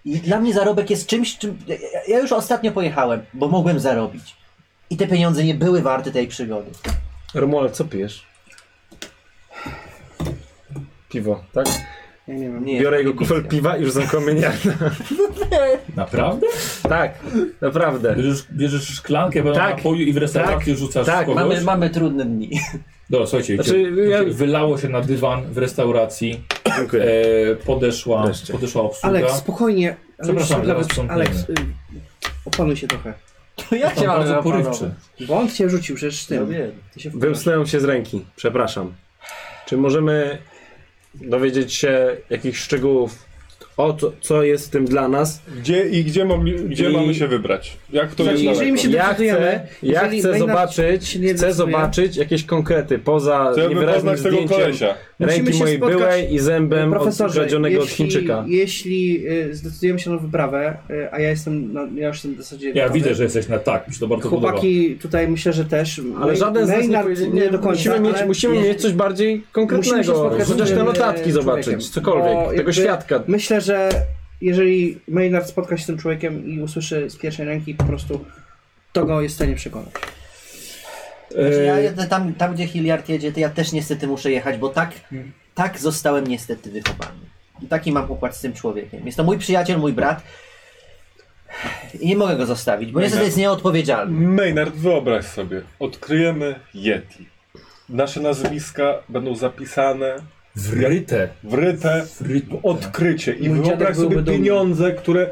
[SPEAKER 3] I dla mnie zarobek jest czymś, czym. ja- Ja już ostatnio pojechałem, bo mogłem zarobić. I te pieniądze nie były warte tej przygody.
[SPEAKER 2] Romuald, co pijesz? Piwo, tak?
[SPEAKER 4] Ja nie wiem.
[SPEAKER 3] Nie,
[SPEAKER 2] Biorę jego
[SPEAKER 3] nie
[SPEAKER 2] kufel
[SPEAKER 3] piję.
[SPEAKER 2] piwa i rzucam koło Maynarda.
[SPEAKER 1] Naprawdę?
[SPEAKER 2] Tak, naprawdę.
[SPEAKER 1] Bierzesz, bierzesz szklankę pełną
[SPEAKER 2] Tak.
[SPEAKER 1] napoju i w restauracji
[SPEAKER 2] Tak.
[SPEAKER 1] rzucasz w
[SPEAKER 2] Tak,
[SPEAKER 1] kogoś?
[SPEAKER 3] Mamy, mamy trudne dni.
[SPEAKER 1] Dobra, słuchajcie,
[SPEAKER 2] Znaczy,
[SPEAKER 1] cie-
[SPEAKER 2] ja-
[SPEAKER 1] wylało się na dywan w restauracji,
[SPEAKER 2] Dziękuję.
[SPEAKER 1] e, podeszła,
[SPEAKER 2] Wreszcie.
[SPEAKER 1] podeszła obsługa.
[SPEAKER 4] Alex, spokojnie.
[SPEAKER 1] Przepraszam,
[SPEAKER 4] Alex,
[SPEAKER 1] zaraz
[SPEAKER 4] Alex,
[SPEAKER 1] sprzątniemy.
[SPEAKER 4] Alex, y, opanuj się trochę.
[SPEAKER 3] To ja
[SPEAKER 1] Tam
[SPEAKER 3] cię mam
[SPEAKER 1] bardzo porywczy.
[SPEAKER 4] Bo on cię rzucił przecież
[SPEAKER 3] Ja
[SPEAKER 4] tym.
[SPEAKER 3] wiem.
[SPEAKER 4] Ty się wkurzasz.
[SPEAKER 2] Wymknąłem się z ręki, przepraszam. Czy możemy dowiedzieć się jakichś szczegółów o to, co jest w tym dla nas?
[SPEAKER 5] Gdzie i gdzie, mogli, gdzie
[SPEAKER 2] I-
[SPEAKER 5] mamy się wybrać? Jak to
[SPEAKER 4] Znaczy,
[SPEAKER 5] jest
[SPEAKER 4] jeżeli
[SPEAKER 5] daleko?
[SPEAKER 4] mi się-
[SPEAKER 2] Ja
[SPEAKER 4] decydujemy,
[SPEAKER 2] chcę, ja
[SPEAKER 4] jeżeli
[SPEAKER 2] chcę
[SPEAKER 4] Maynard
[SPEAKER 2] zobaczyć,
[SPEAKER 4] się nie
[SPEAKER 2] chcę
[SPEAKER 4] decyduje-
[SPEAKER 2] zobaczyć jakieś konkrety poza
[SPEAKER 5] Chciałbym
[SPEAKER 2] niewyraźnym
[SPEAKER 5] poznać tego
[SPEAKER 2] zdjęciem
[SPEAKER 5] kolesia.
[SPEAKER 4] Musimy
[SPEAKER 2] ręki
[SPEAKER 4] się
[SPEAKER 2] mojej
[SPEAKER 4] spotkać,
[SPEAKER 2] byłej i zębem od
[SPEAKER 4] Profesorze,
[SPEAKER 2] kradzionego od
[SPEAKER 4] jeśli-
[SPEAKER 2] Chińczyka.
[SPEAKER 4] jeśli y, zdecydujemy się na wyprawę, y, a ja jestem, na, ja już jestem w zasadzie...
[SPEAKER 1] Ja
[SPEAKER 4] gotowy.
[SPEAKER 1] widzę, że jesteś na tak, mi się to bardzo podoba.
[SPEAKER 4] Chłopaki tutaj myślę, że też.
[SPEAKER 2] Ale żaden z nas nie,
[SPEAKER 4] Maynard
[SPEAKER 2] powiedział-
[SPEAKER 4] nie do końca.
[SPEAKER 2] musimy, mieć,
[SPEAKER 4] ale
[SPEAKER 2] musimy
[SPEAKER 4] jest-
[SPEAKER 2] mieć coś bardziej
[SPEAKER 4] musimy się
[SPEAKER 2] konkretnego,
[SPEAKER 4] spotkać z
[SPEAKER 2] chociaż te
[SPEAKER 4] innym,
[SPEAKER 2] notatki
[SPEAKER 4] e,
[SPEAKER 2] zobaczyć,
[SPEAKER 4] człowiekiem.
[SPEAKER 2] cokolwiek,
[SPEAKER 4] Bo
[SPEAKER 2] tego
[SPEAKER 4] jakby
[SPEAKER 2] świadka.
[SPEAKER 4] Myślę, że jeżeli Maynard spotka się z tym człowiekiem i usłyszy z pierwszej ręki, po prostu to go jest w stanie przekonać.
[SPEAKER 3] Znaczy, ja jadę tam, tam, gdzie Hilliard jedzie, to ja też niestety muszę jechać, bo tak, tak zostałem niestety wychowany. I taki mam układ z tym człowiekiem. Jest to mój przyjaciel, mój brat. I nie mogę go zostawić, bo niestety jest nieodpowiedzialny.
[SPEAKER 5] Maynard, wyobraź sobie, odkryjemy Yeti. Nasze nazwiska będą zapisane,
[SPEAKER 1] Wryte.
[SPEAKER 5] wryte w
[SPEAKER 1] Wryte.
[SPEAKER 5] odkrycie. I
[SPEAKER 4] Mój dziadek
[SPEAKER 5] wyobraź sobie
[SPEAKER 4] byłby dumny.
[SPEAKER 5] pieniądze, które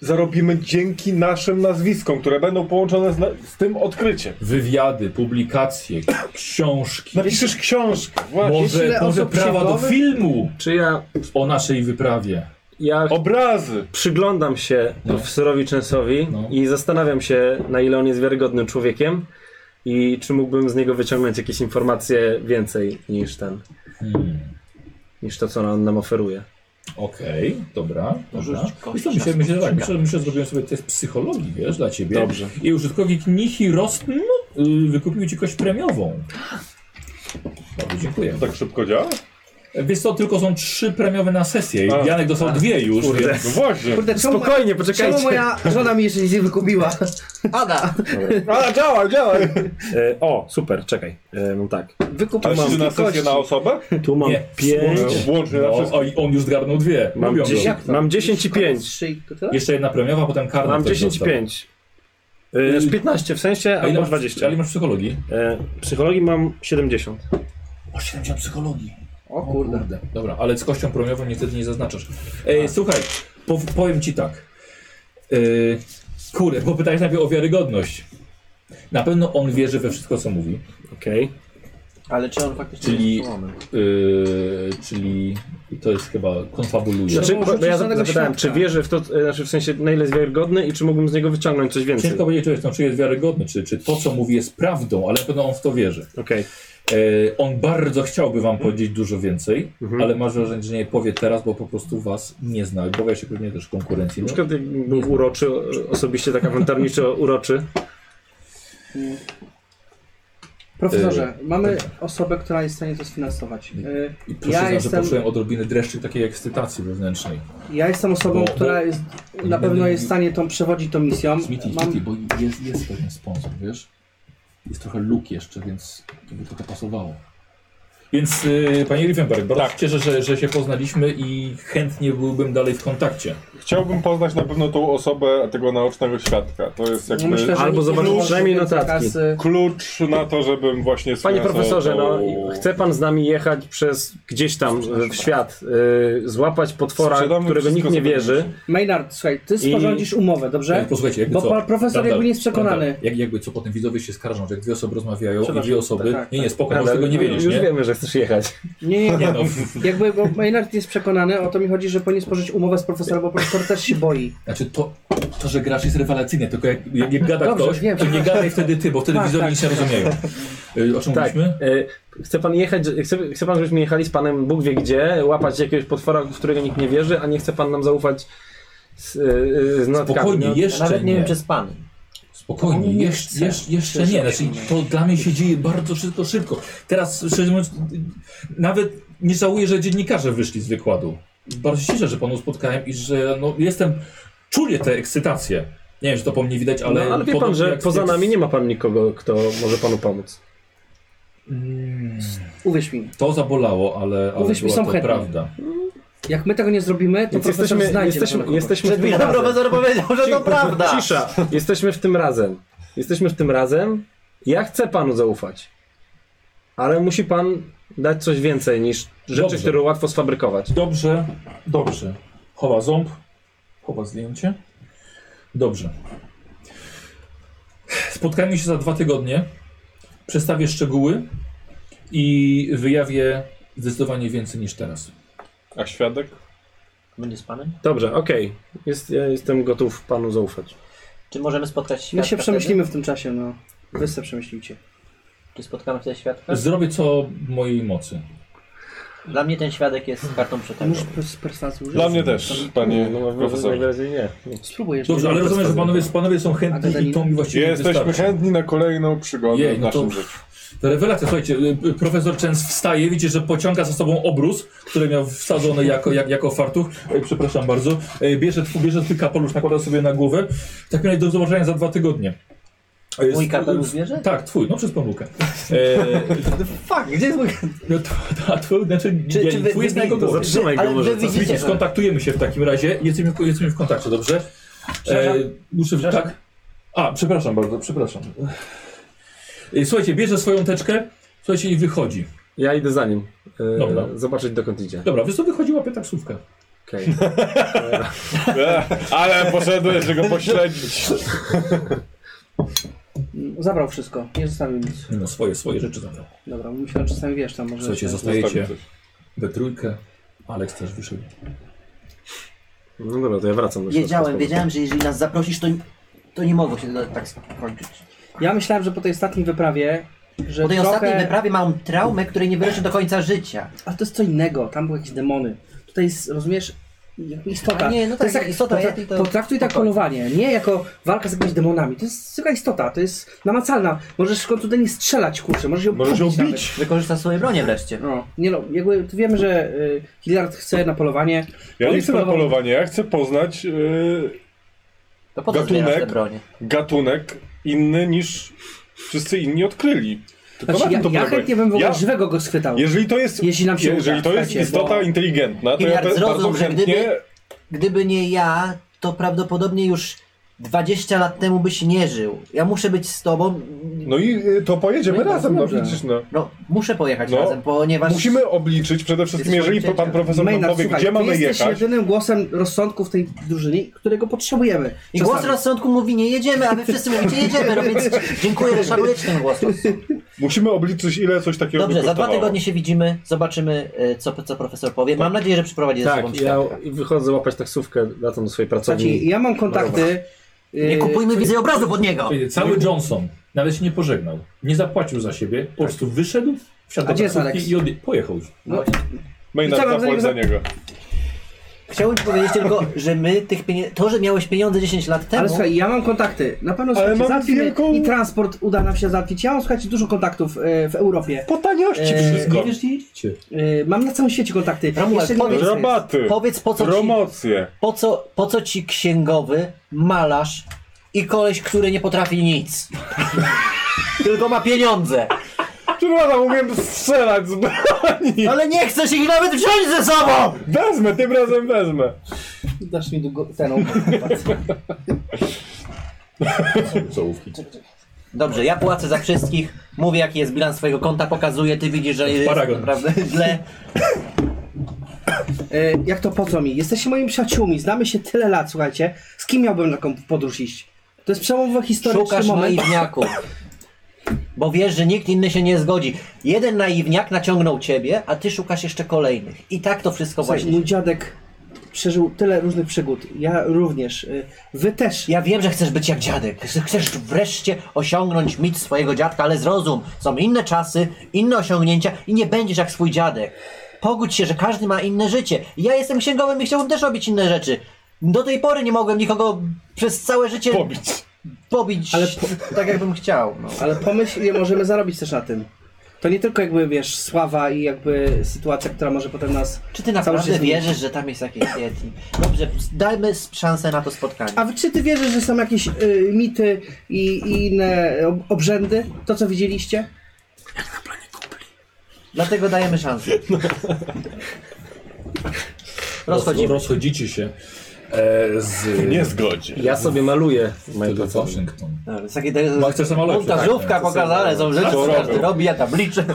[SPEAKER 5] zarobimy dzięki naszym nazwiskom, które będą połączone z, na- z tym odkryciem.
[SPEAKER 1] Wywiady, publikacje, książki.
[SPEAKER 5] Napiszesz książkę, właśnie.
[SPEAKER 4] Jest tyle
[SPEAKER 1] Może, może
[SPEAKER 4] osób
[SPEAKER 1] prawa do
[SPEAKER 4] księgowych?
[SPEAKER 1] filmu
[SPEAKER 2] Czy ja,
[SPEAKER 1] o naszej wyprawie.
[SPEAKER 2] ja
[SPEAKER 5] Obrazy.
[SPEAKER 2] przyglądam się
[SPEAKER 1] No.
[SPEAKER 2] profesorowi Częsowi
[SPEAKER 1] No.
[SPEAKER 2] i zastanawiam się, na ile on jest wiarygodnym człowiekiem i czy mógłbym z niego wyciągnąć jakieś informacje więcej niż ten,
[SPEAKER 1] Hmm.
[SPEAKER 2] niż to, co on nam oferuje.
[SPEAKER 1] Okej, dobra. dobra.
[SPEAKER 3] Rzuć kość
[SPEAKER 1] Wiesz co,
[SPEAKER 3] na
[SPEAKER 1] myślę, myślę, że tak,
[SPEAKER 3] spostrzeganie.
[SPEAKER 1] myślę, że- myślę, że zrobiłem sobie test psychologii, wiesz, dla ciebie.
[SPEAKER 5] Dobrze.
[SPEAKER 1] I użytkownik Nihi Rostn y, wykupił ci kość premiową. Bardzo dziękuję.
[SPEAKER 5] To tak szybko działa?
[SPEAKER 1] Wiesz co, tylko są trzy premiowe na sesję.
[SPEAKER 5] A.
[SPEAKER 1] Janek dostał dwie już,
[SPEAKER 2] Kurde.
[SPEAKER 1] więc
[SPEAKER 5] No właśnie.
[SPEAKER 4] Kurde, czemu,
[SPEAKER 2] Spokojnie,
[SPEAKER 4] czemu
[SPEAKER 2] poczekajcie.
[SPEAKER 4] moja żona mi jeszcze nic nie wykupiła?
[SPEAKER 3] Ada!
[SPEAKER 5] A, działa, działa.
[SPEAKER 2] E, o, super, czekaj. E, mam tak.
[SPEAKER 4] Wykupiła
[SPEAKER 5] Ale
[SPEAKER 4] mi
[SPEAKER 5] się na sesję
[SPEAKER 4] kości.
[SPEAKER 5] na osobę?
[SPEAKER 2] Tu mam
[SPEAKER 1] nie,
[SPEAKER 2] 5.
[SPEAKER 1] wspólnie.
[SPEAKER 5] Włącznie na
[SPEAKER 1] No,
[SPEAKER 5] wszystko.
[SPEAKER 1] o, i on już zgarnął dwie.
[SPEAKER 2] Mam
[SPEAKER 1] Lubią go.
[SPEAKER 2] 10,
[SPEAKER 4] Jak to?
[SPEAKER 2] mam 10 i 5.
[SPEAKER 4] Trzy, to tyle?
[SPEAKER 1] Jeszcze jedna premiowa, potem karna.
[SPEAKER 2] Mam
[SPEAKER 1] też
[SPEAKER 2] 10 i
[SPEAKER 1] dostał.
[SPEAKER 2] 5. E, z 15 w sensie,
[SPEAKER 1] A ile
[SPEAKER 2] albo
[SPEAKER 1] masz,
[SPEAKER 2] 20.
[SPEAKER 1] Ale masz psychologii?
[SPEAKER 2] E, psychologii mam 70.
[SPEAKER 1] O, 70 psychologii.
[SPEAKER 4] O kurde.
[SPEAKER 1] Dobra, ale z kością promiową niestety nie zaznaczasz. Ej, słuchaj, pow, powiem ci tak. Yy, kurde, bo pytałeś najpierw o wiarygodność. Na pewno on wierzy we wszystko, co mówi.
[SPEAKER 2] Okej.
[SPEAKER 3] Ale czy on faktycznie
[SPEAKER 1] Czyli-
[SPEAKER 3] jest słomem?
[SPEAKER 1] Yy, czyli to jest chyba konfabuluje.
[SPEAKER 2] Znaczy,
[SPEAKER 4] Trzeba
[SPEAKER 2] bo, bo ja
[SPEAKER 4] rzucić
[SPEAKER 2] zap-
[SPEAKER 4] żadnego
[SPEAKER 2] zapytałem,
[SPEAKER 4] świadka.
[SPEAKER 2] czy wierzy w to, e, znaczy w sensie na ile jest wiarygodny i czy mógłbym z niego wyciągnąć coś więcej.
[SPEAKER 1] Ciężko
[SPEAKER 2] Okej.
[SPEAKER 1] powiedzieć, czy jest, no, czy jest wiarygodny, czy, czy to, co mówi, jest prawdą, ale na pewno on w to wierzy. E, on bardzo chciałby wam powiedzieć dużo więcej,
[SPEAKER 2] Mhm.
[SPEAKER 1] ale masz wrażenie, że nie powie teraz, bo po prostu was nie zna. Obawia się pewnie też konkurencji.
[SPEAKER 2] Na
[SPEAKER 1] No,
[SPEAKER 2] przykład jakby był uroczy, o- osobiście tak awantarniczo uroczy.
[SPEAKER 4] Profesorze, mamy osobę, która jest w stanie to sfinansować. Y,
[SPEAKER 1] I proszę ja że
[SPEAKER 4] jestem-
[SPEAKER 1] poczułem odrobinę dreszczyk takiej ekscytacji wewnętrznej.
[SPEAKER 4] Ja jestem osobą,
[SPEAKER 1] Bo-
[SPEAKER 4] która
[SPEAKER 1] bo-
[SPEAKER 4] jest, na pewno jest w stanie tą przewodzić tą misją.
[SPEAKER 1] Smithy, Smithy,
[SPEAKER 4] Mam,
[SPEAKER 1] bo jest, jest pewien sponsor, wiesz? Jest trochę luk jeszcze, więc to by trochę pasowało. Więc yy, panie Riefenberg, bardzo tak. się cieszę, że, że się poznaliśmy i chętnie byłbym dalej w kontakcie.
[SPEAKER 5] Chciałbym poznać na pewno tą osobę tego naocznego świadka. To jest jakby
[SPEAKER 4] myślę, że
[SPEAKER 2] Albo
[SPEAKER 4] nikt nie
[SPEAKER 2] zobaczyć
[SPEAKER 4] wyłoży
[SPEAKER 2] przynajmniej
[SPEAKER 4] więcej
[SPEAKER 2] notatki.
[SPEAKER 4] kasy.
[SPEAKER 5] klucz na to, żebym właśnie
[SPEAKER 2] Panie
[SPEAKER 5] sfinansował
[SPEAKER 2] profesorze, no
[SPEAKER 5] tą-
[SPEAKER 2] chce pan z nami jechać przez gdzieś tam e, w świat, e, złapać potwora,
[SPEAKER 5] Sprzedamy
[SPEAKER 2] którego
[SPEAKER 5] wszystko,
[SPEAKER 2] nikt nie
[SPEAKER 5] co
[SPEAKER 2] wierzy.
[SPEAKER 5] będziemy.
[SPEAKER 4] Maynard, słuchaj, ty sporządzisz umowę,
[SPEAKER 1] Ej,
[SPEAKER 2] Tak.
[SPEAKER 4] dobrze?
[SPEAKER 1] E, posłuchajcie, jakby
[SPEAKER 4] Bo
[SPEAKER 1] co,
[SPEAKER 4] pan profesor jakby nie jest przekonany.
[SPEAKER 1] Randall, Jak, jakby co, potem widzowie się skarżą, że jak dwie osoby rozmawiają i dwie osoby...
[SPEAKER 4] tak,
[SPEAKER 1] nie, nie, spoko,
[SPEAKER 2] Ale
[SPEAKER 1] może tego nie wiedzieć,
[SPEAKER 2] No, Już
[SPEAKER 1] nie?
[SPEAKER 2] wiemy, że chcesz jechać.
[SPEAKER 4] Nie, nie,
[SPEAKER 1] Nie
[SPEAKER 4] nie.
[SPEAKER 1] no,
[SPEAKER 4] Jakby bo Maynard jest przekonany, o to mi chodzi, że powinien sporzyć umowę z profesorem, bo profesor też się boi.
[SPEAKER 1] znaczy to, to, że grasz jest rewelacyjne, tylko jak, jak, jak gada
[SPEAKER 4] Dobrze,
[SPEAKER 1] ktoś,
[SPEAKER 4] wiem.
[SPEAKER 1] to nie gadaj wtedy ty, bo wtedy
[SPEAKER 4] Tak,
[SPEAKER 1] widzowie
[SPEAKER 4] tak.
[SPEAKER 1] nie się rozumieją. Yy, o czym
[SPEAKER 2] Tak.
[SPEAKER 1] mówiliśmy?
[SPEAKER 2] e, Chce pan jechać, chce, chce pan, żebyśmy jechali z panem Bóg wie gdzie, łapać jakiegoś potwora, w którego nikt nie wierzy, a nie chce pan nam zaufać z, e, e, z notkami.
[SPEAKER 1] Spokojnie,
[SPEAKER 2] No,
[SPEAKER 1] jeszcze
[SPEAKER 3] Nawet nie
[SPEAKER 1] nie
[SPEAKER 3] wiem, czy z panem.
[SPEAKER 1] Spokojnie,
[SPEAKER 3] On nie
[SPEAKER 1] jeszcze,
[SPEAKER 3] chce.
[SPEAKER 1] jeszcze, jeszcze nie. Znaczy, to dla mnie się dzieje bardzo szybko, szybko. Teraz, szczerze mówiąc, nawet nie żałuję, że dziennikarze wyszli z wykładu. Bardzo się cieszę, że panu spotkałem i że no, jestem, czuję tę ekscytację. Nie wiem, czy to po mnie widać, ale...
[SPEAKER 2] Ale, no, ale wie pan,
[SPEAKER 1] podobnie
[SPEAKER 2] że
[SPEAKER 1] jak-
[SPEAKER 2] poza
[SPEAKER 1] jak-
[SPEAKER 2] nami nie ma pan nikogo, kto może panu pomóc.
[SPEAKER 1] Mm,
[SPEAKER 4] Uwierz mi,
[SPEAKER 1] To zabolało, ale, ale
[SPEAKER 4] Uwierz mi,
[SPEAKER 1] była
[SPEAKER 4] są
[SPEAKER 1] to
[SPEAKER 4] chętni.
[SPEAKER 1] prawda.
[SPEAKER 4] jak my tego nie zrobimy, to
[SPEAKER 2] Więc
[SPEAKER 4] profesor
[SPEAKER 2] jesteśmy,
[SPEAKER 4] znajdzie na
[SPEAKER 2] jesteśmy,
[SPEAKER 4] pewno kogoś.
[SPEAKER 2] jesteśmy
[SPEAKER 3] Przed
[SPEAKER 2] w tym
[SPEAKER 3] chwilą
[SPEAKER 2] razem.
[SPEAKER 3] profesor powiedział, że to
[SPEAKER 2] Cicho,
[SPEAKER 3] prawda.
[SPEAKER 2] Cisza. Jesteśmy w tym razem. Jesteśmy w tym razem. Ja chcę panu zaufać. Ale musi pan dać coś więcej niż rzeczy,
[SPEAKER 1] Dobrze.
[SPEAKER 2] które łatwo sfabrykować.
[SPEAKER 1] Dobrze, dobrze. Chowa ząb, chowa zdjęcie. Dobrze. Spotkajmy się za dwa tygodnie. Przedstawię szczegóły i wyjawię zdecydowanie więcej niż teraz.
[SPEAKER 5] A świadek?
[SPEAKER 3] Będzie z panem?
[SPEAKER 2] Dobrze, okej. Jest, ja jestem gotów panu zaufać.
[SPEAKER 3] Czy możemy spotkać świadka
[SPEAKER 4] My się
[SPEAKER 3] wtedy?
[SPEAKER 4] przemyślimy w tym czasie, no. Wy sobie przemyślicie.
[SPEAKER 3] Czy spotkamy wtedy świadka?
[SPEAKER 1] Zrobię co w mojej mocy.
[SPEAKER 3] Dla mnie ten świadek jest kartą
[SPEAKER 2] Tak,
[SPEAKER 3] przetargową.
[SPEAKER 4] Musisz z perswazji użyć.
[SPEAKER 5] Dla mnie też, panie
[SPEAKER 2] No,
[SPEAKER 5] profesorze.
[SPEAKER 2] najwyraźniej nie.
[SPEAKER 4] Spróbuj jeszcze.
[SPEAKER 1] Dobrze, ale rozumiem, że panowie, panowie są chętni i to mi właściwie
[SPEAKER 5] Jesteśmy
[SPEAKER 1] no, wystarczy.
[SPEAKER 5] chętni na kolejną przygodę
[SPEAKER 1] Jej,
[SPEAKER 5] w
[SPEAKER 1] no to-
[SPEAKER 5] naszym życiu.
[SPEAKER 1] To rewelacja, słuchajcie, y, y, profesor Częs wstaje, widzicie, że pociąga za sobą obrus, który miał wsadzony jako, jak, jako fartuch, Ej, przepraszam bardzo, Ej, bierze, tw- bierze twój kapelusz, nakłada sobie na głowę, w takim razie do zobaczenia za dwa tygodnie. Ej,
[SPEAKER 3] Mój
[SPEAKER 1] z-
[SPEAKER 3] kapelusz
[SPEAKER 1] z-
[SPEAKER 3] bierze?
[SPEAKER 1] Tak, twój, no przez pomyłkę.
[SPEAKER 3] Fuck, gdzie jest mój
[SPEAKER 1] E, no to, to, to, znaczy,
[SPEAKER 3] Czy-
[SPEAKER 1] ja,
[SPEAKER 3] czy wy-
[SPEAKER 1] twój jest na
[SPEAKER 3] wy-
[SPEAKER 1] jego
[SPEAKER 2] To
[SPEAKER 1] głowie.
[SPEAKER 2] zatrzymaj
[SPEAKER 3] Ale
[SPEAKER 2] go
[SPEAKER 3] wy
[SPEAKER 2] może. co?
[SPEAKER 3] widzicie-
[SPEAKER 1] Widzicie, skontaktujemy się w takim razie, jesteśmy, jesteśmy w kontakcie, dobrze? E,
[SPEAKER 3] Przepraszam.
[SPEAKER 1] muszę,
[SPEAKER 3] Przepraszam.
[SPEAKER 1] tak? A, przepraszam bardzo, przepraszam. Ej, Słuchajcie, bierze swoją teczkę, słuchajcie, i wychodzi.
[SPEAKER 2] Ja idę za nim. E,
[SPEAKER 1] Dobra.
[SPEAKER 2] Zobaczyć dokąd idzie.
[SPEAKER 1] Dobra, wiesz co, wychodzi łapie taksówkę.
[SPEAKER 2] Okej.
[SPEAKER 5] E, Ale poszedłeś, żeby go pośledzić.
[SPEAKER 4] Mm, Zabrał wszystko, nie zostawił nic.
[SPEAKER 1] No swoje, swoje rzeczy zabrał.
[SPEAKER 4] Dobra, myślę, że czasami wiesz tam może...
[SPEAKER 1] Słuchajcie,
[SPEAKER 4] się-
[SPEAKER 1] zostajecie
[SPEAKER 5] coś.
[SPEAKER 1] we trójkę. Aleks też wyszedł.
[SPEAKER 2] No dobra, to ja wracam do środka z
[SPEAKER 3] Wiedziałem,
[SPEAKER 2] powrotem.
[SPEAKER 3] wiedziałem, że jeżeli nas zaprosisz, to, to nie mogło się to tak skończyć.
[SPEAKER 4] Ja myślałem, że po tej ostatniej wyprawie, że
[SPEAKER 3] Po tej
[SPEAKER 4] trochę...
[SPEAKER 3] ostatniej wyprawie mam traumę, której nie wyleczę do końca życia.
[SPEAKER 4] Ale to jest co innego, tam były jakieś demony. Tutaj jest, rozumiesz, jakby istota.
[SPEAKER 3] A nie, no
[SPEAKER 4] to
[SPEAKER 3] tak,
[SPEAKER 4] jest jak
[SPEAKER 3] istota,
[SPEAKER 4] potra-
[SPEAKER 3] ja to-
[SPEAKER 4] Potraktuj tak
[SPEAKER 3] spokojnie.
[SPEAKER 4] polowanie, nie jako walka z jakimiś demonami. To jest zwykła istota, to jest namacalna. Możesz w końcu do niej strzelać, kurczę, możesz ją
[SPEAKER 5] Możesz ją
[SPEAKER 4] pobić nawet.
[SPEAKER 5] bić.
[SPEAKER 3] Wykorzysta swoje bronie wreszcie.
[SPEAKER 4] No, nie no, jakby tu wiemy, że y, Hilliard chce na polowanie.
[SPEAKER 5] Ja
[SPEAKER 4] On
[SPEAKER 5] nie
[SPEAKER 4] jest
[SPEAKER 5] chcę na
[SPEAKER 4] polowany.
[SPEAKER 5] polowanie, ja chcę poznać e,
[SPEAKER 3] To No po to zbierasz te
[SPEAKER 5] Gatunek.
[SPEAKER 3] bronie.
[SPEAKER 5] gatunek inny niż wszyscy inni odkryli. Tylko
[SPEAKER 4] Znaczy,
[SPEAKER 5] na
[SPEAKER 4] ja,
[SPEAKER 5] tym
[SPEAKER 4] ja
[SPEAKER 5] to polega.
[SPEAKER 4] chętnie bym w ogóle
[SPEAKER 5] Ja-
[SPEAKER 4] żywego go schwytał.
[SPEAKER 5] Jeżeli to jest,
[SPEAKER 4] Jeśli nam się
[SPEAKER 5] jeżeli
[SPEAKER 4] uda,
[SPEAKER 5] to jest
[SPEAKER 4] słuchajcie,
[SPEAKER 5] istota
[SPEAKER 4] bo-
[SPEAKER 5] inteligentna, to ja
[SPEAKER 3] Hilliard
[SPEAKER 5] te,
[SPEAKER 3] zrozum,
[SPEAKER 5] bardzo
[SPEAKER 3] że
[SPEAKER 5] chętnie...
[SPEAKER 3] gdyby- Gdyby nie ja, to prawdopodobnie już 20 lat temu byś nie żył. Ja muszę być z tobą.
[SPEAKER 5] No i y, to pojedziemy
[SPEAKER 4] No i
[SPEAKER 5] razem, no
[SPEAKER 4] dobrze.
[SPEAKER 5] widzisz, no.
[SPEAKER 3] No, muszę pojechać
[SPEAKER 5] No,
[SPEAKER 3] razem, ponieważ.
[SPEAKER 5] Musimy obliczyć przede wszystkim,
[SPEAKER 3] Jesteśmy
[SPEAKER 5] jeżeli pan
[SPEAKER 3] dzieciak.
[SPEAKER 5] profesor nam
[SPEAKER 4] Maynard,
[SPEAKER 5] powie,
[SPEAKER 4] słuchaj,
[SPEAKER 5] gdzie
[SPEAKER 4] ty
[SPEAKER 5] mamy
[SPEAKER 4] jesteś
[SPEAKER 5] jechać,
[SPEAKER 4] jedynym głosem rozsądku w tej drużynie, którego potrzebujemy.
[SPEAKER 3] I głos
[SPEAKER 4] Czasami.
[SPEAKER 3] rozsądku mówi, nie jedziemy, a wy wszyscy mówicie, jedziemy, no więc dziękuję, że szanujecie ten głos rozsądku.
[SPEAKER 5] musimy obliczyć, ile coś takiego
[SPEAKER 3] Dobrze, za
[SPEAKER 5] by
[SPEAKER 3] dwa
[SPEAKER 5] kosztowało.
[SPEAKER 3] tygodnie się widzimy, zobaczymy, e, co, co profesor powie. Mam nadzieję, że przyprowadzi ze sobą
[SPEAKER 2] Tak, ja
[SPEAKER 3] świadka.
[SPEAKER 2] wychodzę łapać taksówkę, latam do swojej
[SPEAKER 4] Słuchajcie,
[SPEAKER 2] pracowni.
[SPEAKER 4] ja mam kontakty.
[SPEAKER 3] Nie
[SPEAKER 4] y,
[SPEAKER 3] kupujmy widzę obrazów od niego!
[SPEAKER 1] Słuchajcie, Cały Johnson nawet się nie pożegnał. Nie zapłacił za siebie,
[SPEAKER 7] Tak.
[SPEAKER 1] po prostu wyszedł, wsiadł
[SPEAKER 4] A gdzie
[SPEAKER 1] do
[SPEAKER 4] jest
[SPEAKER 1] taksówki
[SPEAKER 4] Alex?
[SPEAKER 1] i odje- pojechał.
[SPEAKER 4] No,
[SPEAKER 5] Maynard,
[SPEAKER 4] Co mam za
[SPEAKER 5] zapłać za niego.
[SPEAKER 3] Chciałbym ci powiedzieć tylko, że my tych pieniędzy... To, że miałeś pieniądze 10 lat temu...
[SPEAKER 4] Ale słuchaj, ja mam kontakty. Na pewno
[SPEAKER 5] No. Ale
[SPEAKER 4] słuchajcie,
[SPEAKER 5] mam
[SPEAKER 4] załatwimy
[SPEAKER 5] wielką-
[SPEAKER 4] i transport uda nam się załatwić. Ja mam słuchajcie dużo kontaktów y, w Europie.
[SPEAKER 5] Po taniości
[SPEAKER 4] Eee,
[SPEAKER 5] wszystko.
[SPEAKER 1] Nie wiesz, nie jedziecie.
[SPEAKER 4] Y, mam na całym świecie kontakty.
[SPEAKER 3] Romuald,
[SPEAKER 4] Jeszcze nie wiem,
[SPEAKER 3] powiedz-
[SPEAKER 4] co jest.
[SPEAKER 5] Rabaty,
[SPEAKER 3] powiedz, po co, ci,
[SPEAKER 5] promocje.
[SPEAKER 3] po, co, po co ci księgowy, malarz i koleś, który nie potrafi nic? tylko ma pieniądze.
[SPEAKER 5] Przepraszam, umiem no, strzelać z broni.
[SPEAKER 3] Ale nie chcesz ich nawet wziąć ze sobą!
[SPEAKER 5] Wezmę, tym razem wezmę.
[SPEAKER 4] Dasz mi długo cenę.
[SPEAKER 1] Całówki.
[SPEAKER 3] Dobrze, ja płacę za wszystkich, mówię jaki jest bilans twojego konta, pokazuję, ty widzisz, że jest
[SPEAKER 1] paragon.
[SPEAKER 3] naprawdę źle.
[SPEAKER 4] E, jak to po co mi? Jesteście moimi przyjaciółmi, znamy się tyle lat, słuchajcie. Z kim miałbym na taką podróż iść? To jest przełomowy historyczny
[SPEAKER 3] Szukasz
[SPEAKER 4] moment.
[SPEAKER 3] naiwniaków. Bo wiesz, że nikt inny się nie zgodzi. Jeden naiwniak naciągnął ciebie, a ty szukasz jeszcze kolejnych. I tak to wszystko
[SPEAKER 4] Słuchaj,
[SPEAKER 3] właśnie.
[SPEAKER 4] mój dziadek przeżył tyle różnych przygód. Ja również. E, Wy też.
[SPEAKER 3] Ja wiem, że chcesz być jak dziadek. że Chcesz wreszcie osiągnąć mit swojego dziadka, ale zrozum, są inne czasy, inne osiągnięcia i nie będziesz jak swój dziadek. Pogódź się, że każdy ma inne życie. Ja jestem księgowym i chciałbym też robić inne rzeczy. Do tej pory nie mogłem nikogo przez całe życie
[SPEAKER 5] Pobić.
[SPEAKER 3] pobić
[SPEAKER 4] Ale
[SPEAKER 3] tak, jakbym chciał. No.
[SPEAKER 4] Ale pomyśl, ile możemy zarobić też na tym. To nie tylko jakby, wiesz, sława i jakby sytuacja, która może potem nas...
[SPEAKER 3] Czy ty
[SPEAKER 4] Cały
[SPEAKER 3] naprawdę
[SPEAKER 4] czas
[SPEAKER 3] wierzysz, że tam jest jakieś Yeti? Dobrze, dajmy s- szansę na to spotkanie.
[SPEAKER 4] A wy, czy ty wierzysz, że są jakieś y, mity i, i inne ob- obrzędy? To, co widzieliście?
[SPEAKER 3] Dlatego dajemy szansę. Rozchodzimy.
[SPEAKER 1] Rozchodzicie się e, z...
[SPEAKER 5] Nie zgodzi.
[SPEAKER 2] Ja sobie maluję w mojej
[SPEAKER 1] Tego
[SPEAKER 2] pracowni.
[SPEAKER 1] Waszyngton.
[SPEAKER 4] No,
[SPEAKER 3] Dobra, jest No, takie
[SPEAKER 1] Ma- chcesz samo lepsze, tak,
[SPEAKER 3] montażówka
[SPEAKER 1] tak.
[SPEAKER 3] pokazane, są rzeczy,
[SPEAKER 5] Co
[SPEAKER 3] które każdy
[SPEAKER 5] robią?
[SPEAKER 3] robi, ja tabliczę.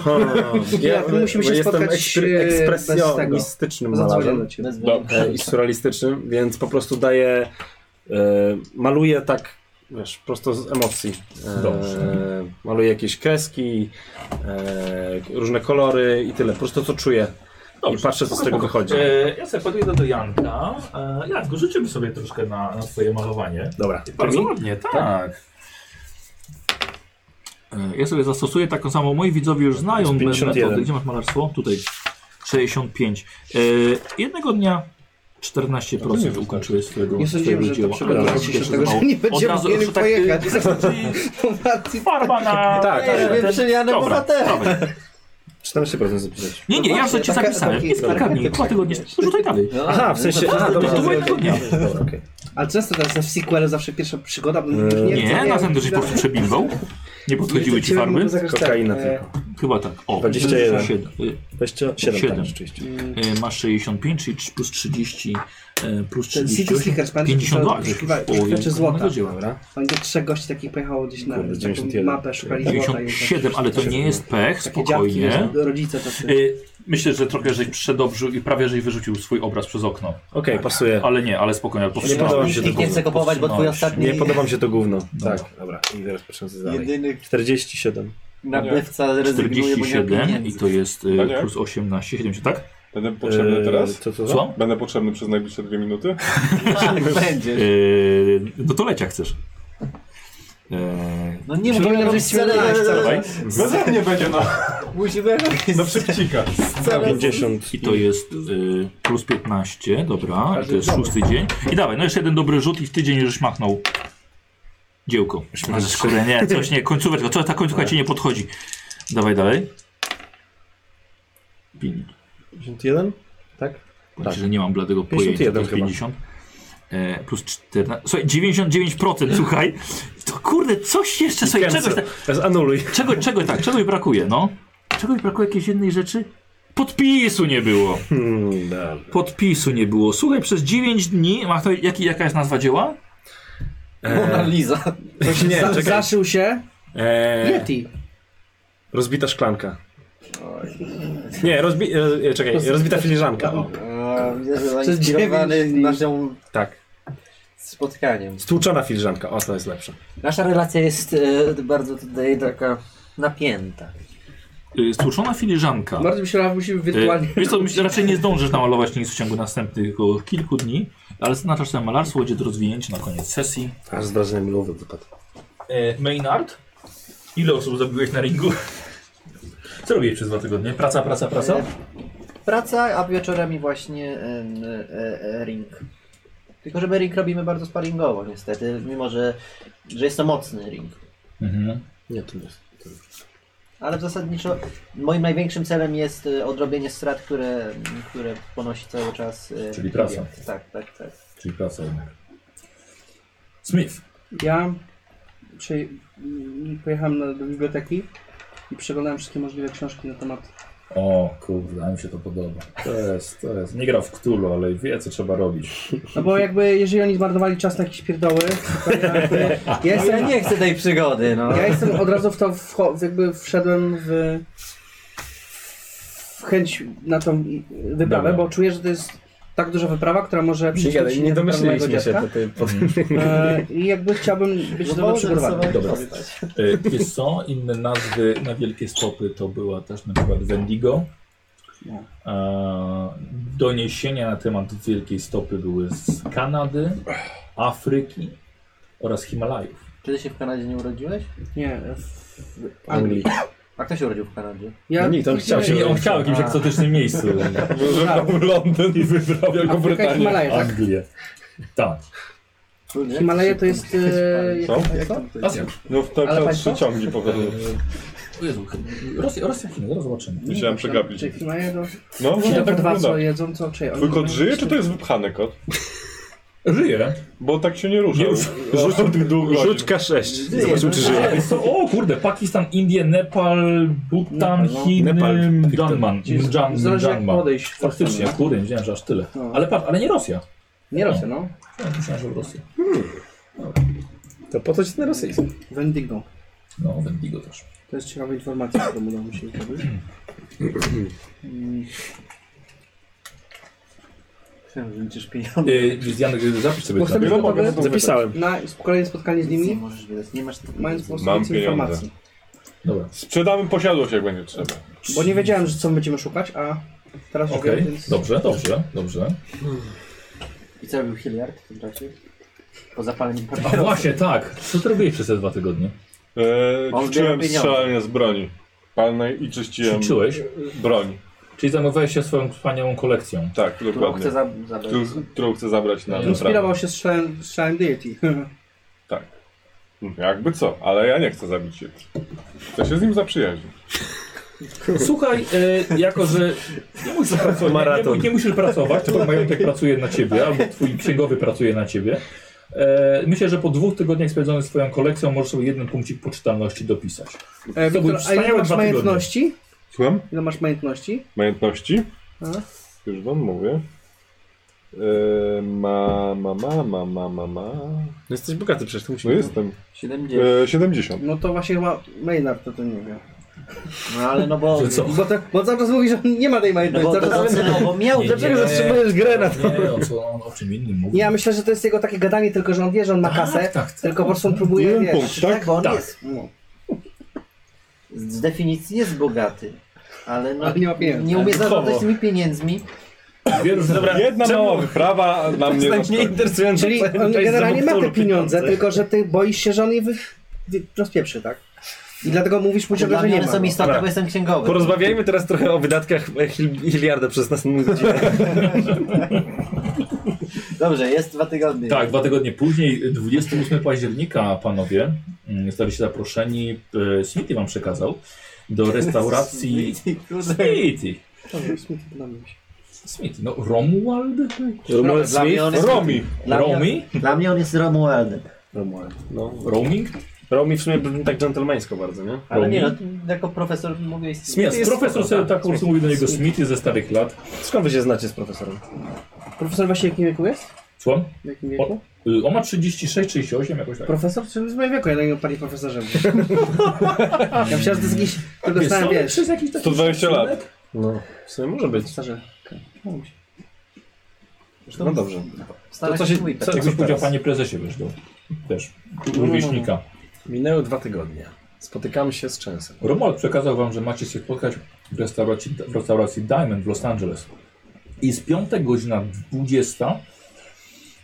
[SPEAKER 4] Ja- my musimy się
[SPEAKER 2] bo jestem
[SPEAKER 4] spotkać,
[SPEAKER 2] ekspre-
[SPEAKER 4] e, bez tego.
[SPEAKER 2] ekspresjonistycznym malarzem
[SPEAKER 4] cię.
[SPEAKER 5] Dobrze.
[SPEAKER 2] e, i surrealistycznym, więc po prostu daję, e, maluję tak, wiesz, prosto z emocji. E,
[SPEAKER 1] Dobrze.
[SPEAKER 2] Maluję jakieś kreski, e, różne kolory i tyle, po prostu to czuję. I
[SPEAKER 7] Dobrze.
[SPEAKER 2] patrzę, co z tego wychodzi.
[SPEAKER 7] E, ja sobie podjedę do Janka. E, Janku, życzymy sobie troszkę na, na twoje malowanie.
[SPEAKER 2] Dobra.
[SPEAKER 7] Bardzo ładnie, tak. E, Ja sobie zastosuję taką samą. Moi widzowie już znają
[SPEAKER 2] Jest 51.
[SPEAKER 7] metodę. Gdzie masz malarstwo? Tutaj. 65. E, jednego dnia
[SPEAKER 4] No
[SPEAKER 7] 14% ukończyłeś swojego,
[SPEAKER 4] Nie
[SPEAKER 7] swojego
[SPEAKER 4] sądziłem, że
[SPEAKER 7] dzieła. Ale
[SPEAKER 4] to przygotować się
[SPEAKER 7] cieszę
[SPEAKER 4] do tego, że
[SPEAKER 7] mało.
[SPEAKER 4] nie
[SPEAKER 7] Od
[SPEAKER 4] będziemy
[SPEAKER 7] razu
[SPEAKER 4] mieli
[SPEAKER 7] już tak,
[SPEAKER 4] pojechać.
[SPEAKER 7] y, Farba na...
[SPEAKER 2] Tak,
[SPEAKER 7] Ej,
[SPEAKER 2] tak.
[SPEAKER 7] ten-
[SPEAKER 3] Wyprzyjane
[SPEAKER 7] Dobra,
[SPEAKER 3] bohaterem.
[SPEAKER 7] dawaj.
[SPEAKER 2] 14% zapisać.
[SPEAKER 7] Nie, nie, ja już
[SPEAKER 4] Właśnie,
[SPEAKER 7] to cię
[SPEAKER 4] taka-
[SPEAKER 7] zapisałem.
[SPEAKER 4] taki
[SPEAKER 7] Jest kilka
[SPEAKER 4] paragraf
[SPEAKER 7] dni,
[SPEAKER 4] taki No,
[SPEAKER 7] dwa tygodnie. Rzucaj dalej.
[SPEAKER 3] No,
[SPEAKER 2] Aha, w sensie,
[SPEAKER 7] To-
[SPEAKER 2] aha,
[SPEAKER 7] to-
[SPEAKER 2] dobra,
[SPEAKER 7] to
[SPEAKER 2] dobra,
[SPEAKER 7] było jednego dnia.
[SPEAKER 2] dobra, okej.
[SPEAKER 4] Ale często teraz w sequelu zawsze pierwsza przygoda, bo
[SPEAKER 2] Eee,
[SPEAKER 4] nie,
[SPEAKER 7] Nie, następny żeś po prostu przebimbał. Nie podchodziły ci farby?
[SPEAKER 2] Kokaina
[SPEAKER 4] tylko.
[SPEAKER 7] Chyba tak. O,
[SPEAKER 6] 21.
[SPEAKER 7] 7.
[SPEAKER 6] 27
[SPEAKER 7] Siedem.
[SPEAKER 6] tam rzeczywiście.
[SPEAKER 7] y, Masz 65, czyli plus 30, e, plus
[SPEAKER 4] Ten City
[SPEAKER 7] 38.
[SPEAKER 4] Snickers, pamiętasz?
[SPEAKER 7] 52.
[SPEAKER 4] to
[SPEAKER 7] już w
[SPEAKER 4] wyszukiwałeś,
[SPEAKER 7] połowie
[SPEAKER 4] Czy złota.
[SPEAKER 7] kochanego dzieła.
[SPEAKER 6] Dobra.
[SPEAKER 4] Tam gdzie trzech gości takich pojechało gdzieś na
[SPEAKER 6] Kurde,
[SPEAKER 4] taką
[SPEAKER 6] 91.
[SPEAKER 4] mapę, szukali złota. i tak
[SPEAKER 7] 97, ale to nie jest pech,
[SPEAKER 4] Takie dziadki, wiesz,
[SPEAKER 7] spokojnie.
[SPEAKER 4] rodzice tacy.
[SPEAKER 7] Y, Myślę, że trochę żeś przedobrzył i prawie żeś wyrzucił swój obraz przez okno.
[SPEAKER 6] Okej, pasuje.
[SPEAKER 7] Ale nie, ale spokojnie, ale
[SPEAKER 6] Nie podoba mi się
[SPEAKER 3] Nikt
[SPEAKER 6] to
[SPEAKER 3] nie chce
[SPEAKER 7] gówno.
[SPEAKER 3] kupować, bo twój
[SPEAKER 7] Powstrzymałeś.
[SPEAKER 3] ostatni
[SPEAKER 6] Nie podoba mi się to gówno.
[SPEAKER 7] Dobra.
[SPEAKER 6] Tak, dobra. I teraz patrzę co dalej.
[SPEAKER 3] jedyny
[SPEAKER 6] 47.
[SPEAKER 3] nabywca rezygnuje, bo nie ma
[SPEAKER 7] 47 i
[SPEAKER 3] pieniędzy.
[SPEAKER 7] to jest y,
[SPEAKER 5] A nie?
[SPEAKER 7] plus 18, 70, tak?
[SPEAKER 5] Będę potrzebny
[SPEAKER 6] Eee,
[SPEAKER 5] teraz?
[SPEAKER 6] Co to za?
[SPEAKER 7] Słucham?
[SPEAKER 5] Będę potrzebny przez najbliższe dwie minuty?
[SPEAKER 3] Tak, będzie.
[SPEAKER 7] Y, No to lecia chcesz. Y,
[SPEAKER 3] No nie
[SPEAKER 4] Przypominam,
[SPEAKER 3] musimy robić
[SPEAKER 4] że śmielenie
[SPEAKER 3] scenę.
[SPEAKER 7] Dawaj.
[SPEAKER 5] Beze mnie będzie no. na,
[SPEAKER 3] Musimy robić
[SPEAKER 5] na szybcika.
[SPEAKER 3] scenę.
[SPEAKER 6] 50.
[SPEAKER 7] I to jest y, plus 15, dobra, i to jest szósty dzień. I dawaj, no jeszcze jeden dobry rzut i w tydzień już machnął dziełko. Ale kurde, nie, coś nie, końcóweczka, co ta końcówka ci nie podchodzi. Dawaj dalej. Pin.
[SPEAKER 6] 51? Tak?
[SPEAKER 7] Znaczy, że nie mam bladego pojęcia.
[SPEAKER 6] 51
[SPEAKER 7] To jest
[SPEAKER 6] chyba.
[SPEAKER 7] 50. E, plus 14. Słuchaj, 99%, słuchaj. To kurde, coś jeszcze sobie czegoś, tak-
[SPEAKER 6] Teraz anuluj.
[SPEAKER 7] czego, czego tak, czegoś brakuje, no? Czegoś brakuje jakiejś jednej rzeczy? Podpisu nie było.
[SPEAKER 6] Hmm, dobra.
[SPEAKER 7] Podpisu nie było. Słuchaj, przez 9 dni. Ma kto, jaki, jaka jest nazwa dzieła?
[SPEAKER 3] Mona Lisa.
[SPEAKER 6] nie,
[SPEAKER 4] Za-
[SPEAKER 6] czekaj.
[SPEAKER 4] Zaszył się
[SPEAKER 6] Eee,
[SPEAKER 4] Yeti.
[SPEAKER 6] rozbita szklanka. Nie, rozbi... E, czekaj, rozbita filiżanka. O,
[SPEAKER 3] Zainspirowany
[SPEAKER 4] dziewięć dni.
[SPEAKER 3] naszą
[SPEAKER 6] tak.
[SPEAKER 3] spotkaniem.
[SPEAKER 6] Stłuczona filiżanka, o to jest lepsze.
[SPEAKER 3] Nasza relacja jest e, bardzo tutaj taka napięta.
[SPEAKER 7] Y, Stłuczona filiżanka.
[SPEAKER 4] Bardzo mi się wydaje, musimy wirtualnie.
[SPEAKER 7] Y, Wiesz co, myślę, raczej nie zdążysz namalować nic w ciągu następnych o, kilku dni, ale znaczasz sobie malarstwo, będzie do rozwinięcia na koniec sesji.
[SPEAKER 6] Aż z wrażeniem głowy wypadł.
[SPEAKER 7] E, Maynard? Ile osób zabiłeś na ringu? Co robiłeś przez dwa tygodnie? Praca, praca, praca?
[SPEAKER 3] E, Praca, a wieczorami właśnie em, e, e, ring. Tylko, że my ring robimy bardzo sparingowo niestety, mimo że, że jest to mocny ring.
[SPEAKER 7] Mhm.
[SPEAKER 6] Nie, to nie jest.
[SPEAKER 3] Ale w zasadniczo moim największym celem jest e, odrobienie strat, które, które ponosi cały czas. e,
[SPEAKER 1] Czyli praca.
[SPEAKER 3] klient. Tak, tak, tak.
[SPEAKER 1] Czyli praca jednak. Smith.
[SPEAKER 4] Ja przy, mm, pojechałem na, do biblioteki i przeglądałem wszystkie możliwe książki na temat.
[SPEAKER 1] O kurde, a mi się to podoba. To jest, to jest. Nie gra w Cthulhu, ale wie co trzeba robić.
[SPEAKER 4] No bo jakby, jeżeli oni zmarnowali czas na jakieś pierdoły, to ja, jakby, ja,
[SPEAKER 3] Ja
[SPEAKER 4] jestem,
[SPEAKER 3] nie chcę tej przygody, no.
[SPEAKER 4] ja jestem od razu w to, wcho- jakby wszedłem w, w chęć na tą wyprawę,
[SPEAKER 6] Dobra.
[SPEAKER 4] bo czuję, że to jest tak duża wyprawa, która może przynieść
[SPEAKER 2] Nie,
[SPEAKER 4] mi
[SPEAKER 2] nie
[SPEAKER 4] niewyprawnionego
[SPEAKER 2] domyśliliśmy się
[SPEAKER 4] dziadka.
[SPEAKER 2] do tej
[SPEAKER 6] Mhm.
[SPEAKER 4] E, I jakby chciałbym być do tego przygotowany.
[SPEAKER 1] Dobra. E, Wiesz co, inne nazwy na wielkie stopy to była też na przykład Wendigo. No. E, Doniesienia na temat wielkiej stopy były z Kanady, Afryki oraz Himalajów.
[SPEAKER 3] Czy ty się w Kanadzie nie urodziłeś?
[SPEAKER 4] Nie, w
[SPEAKER 6] Anglii.
[SPEAKER 4] Anglii.
[SPEAKER 3] A kto się urodził w Kanadzie?
[SPEAKER 4] Ja,
[SPEAKER 6] No nikt, on chciał się
[SPEAKER 1] Nie, on chciał w jakimś
[SPEAKER 3] A.
[SPEAKER 1] egzotycznym miejscu.
[SPEAKER 5] Wybrał Londyn i wybrał Wielką
[SPEAKER 4] Afryka i
[SPEAKER 5] Brytanię.
[SPEAKER 4] Himalaje, tak?
[SPEAKER 1] Anglię. Tak.
[SPEAKER 3] Kurde, jak
[SPEAKER 4] Himalaje
[SPEAKER 3] się
[SPEAKER 4] to jest... E,
[SPEAKER 5] Co?
[SPEAKER 4] jak, co?
[SPEAKER 5] No w
[SPEAKER 4] Ale
[SPEAKER 5] te
[SPEAKER 4] państwo?
[SPEAKER 5] trzy ciągi pochodzą.
[SPEAKER 1] O Jezu, chyba- Rosja, Rosja, Chiny, zaraz zobaczymy.
[SPEAKER 5] Musiałem przegapić.
[SPEAKER 4] Czy Himalaje to...
[SPEAKER 5] No,
[SPEAKER 4] Czy
[SPEAKER 5] właśnie
[SPEAKER 4] jako
[SPEAKER 5] tak
[SPEAKER 4] dwa
[SPEAKER 5] wygląda.
[SPEAKER 4] co jedzą, co czy
[SPEAKER 5] Twój
[SPEAKER 4] oni
[SPEAKER 5] kot
[SPEAKER 4] mają
[SPEAKER 5] żyje, czy
[SPEAKER 4] cztery-
[SPEAKER 5] to jest wypchany kot?
[SPEAKER 1] Żyje.
[SPEAKER 5] Bo tak się nie rusza.
[SPEAKER 1] Nie
[SPEAKER 5] Już rzucam tych długów.
[SPEAKER 6] Rzuczka 6.
[SPEAKER 3] Żyje,
[SPEAKER 6] Zobaczmy, czy
[SPEAKER 3] no.
[SPEAKER 6] żyje.
[SPEAKER 1] A, jest to, o kurde, Pakistan, Indie, Nepal, Bhutan,
[SPEAKER 4] Nepal, no.
[SPEAKER 1] Chiny,
[SPEAKER 6] Nepal.
[SPEAKER 1] Mjanmar. Mjan-
[SPEAKER 4] Zależy jak
[SPEAKER 1] Mjanmar.
[SPEAKER 4] podejść.
[SPEAKER 1] Faktycznie, kurde, nie wiedziałem, że aż tyle.
[SPEAKER 4] No.
[SPEAKER 1] Ale patrz, ale nie Rosja.
[SPEAKER 4] Nie Rosja, no.
[SPEAKER 1] Ja myślałem, że w Rosji.
[SPEAKER 6] To po co ci ten rosyjski?
[SPEAKER 4] Wendigo.
[SPEAKER 1] No, Wendigo też.
[SPEAKER 4] To jest ciekawa informacja, którą udało mi się zdobyć. Mm.
[SPEAKER 3] Chciałem, że będziesz pieniądze.
[SPEAKER 1] Yy, Janek, zapisz sobie
[SPEAKER 4] Bo
[SPEAKER 1] to.
[SPEAKER 4] chcę być
[SPEAKER 5] no mogę,
[SPEAKER 4] gotowy
[SPEAKER 5] no to
[SPEAKER 6] Zapisałem.
[SPEAKER 4] na kolejne spotkanie z
[SPEAKER 3] Nic nie
[SPEAKER 4] nimi,
[SPEAKER 3] możesz wydać, nie masz
[SPEAKER 4] mając po
[SPEAKER 5] Mam
[SPEAKER 4] prostu
[SPEAKER 5] pieniądze.
[SPEAKER 4] informacji.
[SPEAKER 1] Dobra.
[SPEAKER 5] Sprzedamy posiadłość, jak będzie trzeba.
[SPEAKER 4] Bo nie wiedziałem, że co będziemy szukać, a teraz już
[SPEAKER 1] Okej,
[SPEAKER 4] wiem, więc...
[SPEAKER 1] dobrze, dobrze, dobrze.
[SPEAKER 3] I co robił Hilliard w tym czasie? Po zapaleniu
[SPEAKER 1] A
[SPEAKER 3] papierosów.
[SPEAKER 1] właśnie, tak. Co ty robiłeś przez te dwa tygodnie?
[SPEAKER 5] Eee,
[SPEAKER 3] On
[SPEAKER 5] ćwiczyłem
[SPEAKER 3] zbiera pieniądze.
[SPEAKER 5] strzelanie z broni. Palnej i czyściłem
[SPEAKER 1] Ćwiczyłeś?
[SPEAKER 5] broń.
[SPEAKER 1] Czyli zajmowałeś się swoją wspaniałą kolekcją.
[SPEAKER 5] Tak,
[SPEAKER 3] Którą
[SPEAKER 5] dokładnie.
[SPEAKER 3] chce za, zabrać.
[SPEAKER 5] Którą- Którą chcę zabrać na
[SPEAKER 4] Inspirował
[SPEAKER 5] naprawę.
[SPEAKER 4] się strzałem, strzałem deity. E,
[SPEAKER 5] Tak. Jakby co, ale ja nie chcę zabić się. Chcę się z nim zaprzyjaźnić.
[SPEAKER 1] Słuchaj, e, jako że nie musisz, pracować, nie, nie,
[SPEAKER 6] Maraton.
[SPEAKER 1] nie musisz pracować, tylko majątek pracuje na ciebie, albo twój księgowy pracuje na ciebie, E, myślę, że po dwóch tygodniach spędzonych swoją kolekcją możesz sobie jeden punkcik poczytalności dopisać.
[SPEAKER 4] E,
[SPEAKER 1] To były
[SPEAKER 4] Wiktor, a ile
[SPEAKER 1] wspaniałe
[SPEAKER 4] masz
[SPEAKER 1] dwa tygodnie.
[SPEAKER 4] majątności?
[SPEAKER 5] Słucham?
[SPEAKER 4] Ile masz majątności?
[SPEAKER 5] Majątności?
[SPEAKER 4] A?
[SPEAKER 5] Już wam mówię. E, ma, ma, ma, ma, ma, ma, ma.
[SPEAKER 2] No jesteś bogaty przecież, to musi
[SPEAKER 5] No jestem.
[SPEAKER 3] 70.
[SPEAKER 5] E, 70.
[SPEAKER 4] No to właśnie chyba Maynard to, to nie wie.
[SPEAKER 3] No ale no bo...
[SPEAKER 1] Że co?
[SPEAKER 4] Bo, te, bo cały czas mówi, że nie ma tej
[SPEAKER 3] No
[SPEAKER 4] majątności.
[SPEAKER 3] bo
[SPEAKER 4] cały
[SPEAKER 3] to
[SPEAKER 4] czas...
[SPEAKER 3] ocenowo miał...
[SPEAKER 7] Dlaczego zatrzymujesz
[SPEAKER 6] grę na
[SPEAKER 7] Nie, o, co, on o czym innym mówi.
[SPEAKER 4] Nie, ja myślę, że to jest jego takie gadanie, tylko że on wie, że on ma kasę,
[SPEAKER 7] tak, tak.
[SPEAKER 4] tylko po prostu on próbuje,
[SPEAKER 5] Jeden
[SPEAKER 4] wiesz... No.
[SPEAKER 5] punkt, tak?
[SPEAKER 3] Tak, bo on
[SPEAKER 1] Tak.
[SPEAKER 3] jest. Z definicji jest bogaty. Ale no,
[SPEAKER 4] Ale nie ma pieniędzy.
[SPEAKER 3] nie umie
[SPEAKER 4] Typowo.
[SPEAKER 3] zarządzać tymi pieniędzmi.
[SPEAKER 1] Dwie różne
[SPEAKER 5] Jedna mała wyprawa na mnie
[SPEAKER 2] Nie
[SPEAKER 5] zaszkodzi.
[SPEAKER 2] interesujące.
[SPEAKER 4] Czyli on generalnie ma te pieniądze, tylko że ty boisz się, że on je wy... wy- rozpieprzy, tak? I dlatego mówisz mu ciągle,
[SPEAKER 3] Dla
[SPEAKER 4] że
[SPEAKER 3] mnie
[SPEAKER 4] nie
[SPEAKER 3] one
[SPEAKER 4] ma. no.
[SPEAKER 3] są istotne,
[SPEAKER 2] Dobra.
[SPEAKER 3] bo jestem księgowy.
[SPEAKER 2] Porozmawiajmy teraz trochę o wydatkach Hiliarda przez następną godzinę.
[SPEAKER 3] Dobrze, jest dwa tygodnie.
[SPEAKER 1] Tak, dwa tygodnie później, 28 października, panowie, mm, zostaliście zaproszeni, e, Smithy wam przekazał, do restauracji
[SPEAKER 3] Kurde.
[SPEAKER 1] Smithy.
[SPEAKER 4] No.
[SPEAKER 1] Smithy, no Romuald?
[SPEAKER 2] Romuald
[SPEAKER 3] Dla mnie on jest...
[SPEAKER 5] Romi.
[SPEAKER 3] Dla mnie-
[SPEAKER 1] Romi?
[SPEAKER 3] Dla mnie on jest Romualdem.
[SPEAKER 2] No,
[SPEAKER 1] Roaming?
[SPEAKER 2] Romi w sumie brzmi tak dżentelmeńsko bardzo, nie?
[SPEAKER 3] Ale
[SPEAKER 1] Romi?
[SPEAKER 3] nie, no, jako profesor mówiłeś... z-
[SPEAKER 1] Smith,
[SPEAKER 2] jest
[SPEAKER 1] profesor
[SPEAKER 2] spoko,
[SPEAKER 1] sobie
[SPEAKER 2] tak.
[SPEAKER 1] tak po prostu mówi do niego Smithy ze starych lat.
[SPEAKER 2] Skąd wy się znacie z profesorem?
[SPEAKER 4] Profesor właśnie w jakim wieku jest?
[SPEAKER 1] Słucham?
[SPEAKER 4] W jakim wieku?
[SPEAKER 1] Y, On ma 36, 38, jakoś tak.
[SPEAKER 4] Profesor? Czy z mojego wieku? Ja na niego panie profesorze mówię. Ja myślałem, że to jest jakiś... To
[SPEAKER 1] Wiesz,
[SPEAKER 4] dostałem,
[SPEAKER 1] są
[SPEAKER 4] wiesz...
[SPEAKER 1] przez jakiś taki
[SPEAKER 5] 120 lat.
[SPEAKER 1] szacunek.
[SPEAKER 2] No, w sumie może być.
[SPEAKER 4] Starze.
[SPEAKER 3] Zresztą
[SPEAKER 2] No dobrze.
[SPEAKER 3] stara
[SPEAKER 2] to co się-
[SPEAKER 3] dwójka.
[SPEAKER 2] co-
[SPEAKER 1] Jakbyś powiedział
[SPEAKER 2] teraz?
[SPEAKER 1] panie prezesie, wiesz, do, też, u wieśnika.
[SPEAKER 2] Minęły dwa tygodnie. Spotykamy się z Częsem.
[SPEAKER 1] Romuald przekazał wam, że macie się spotkać w restauracji, w restauracji Diamond w Los Angeles. I z piątek godzina 20.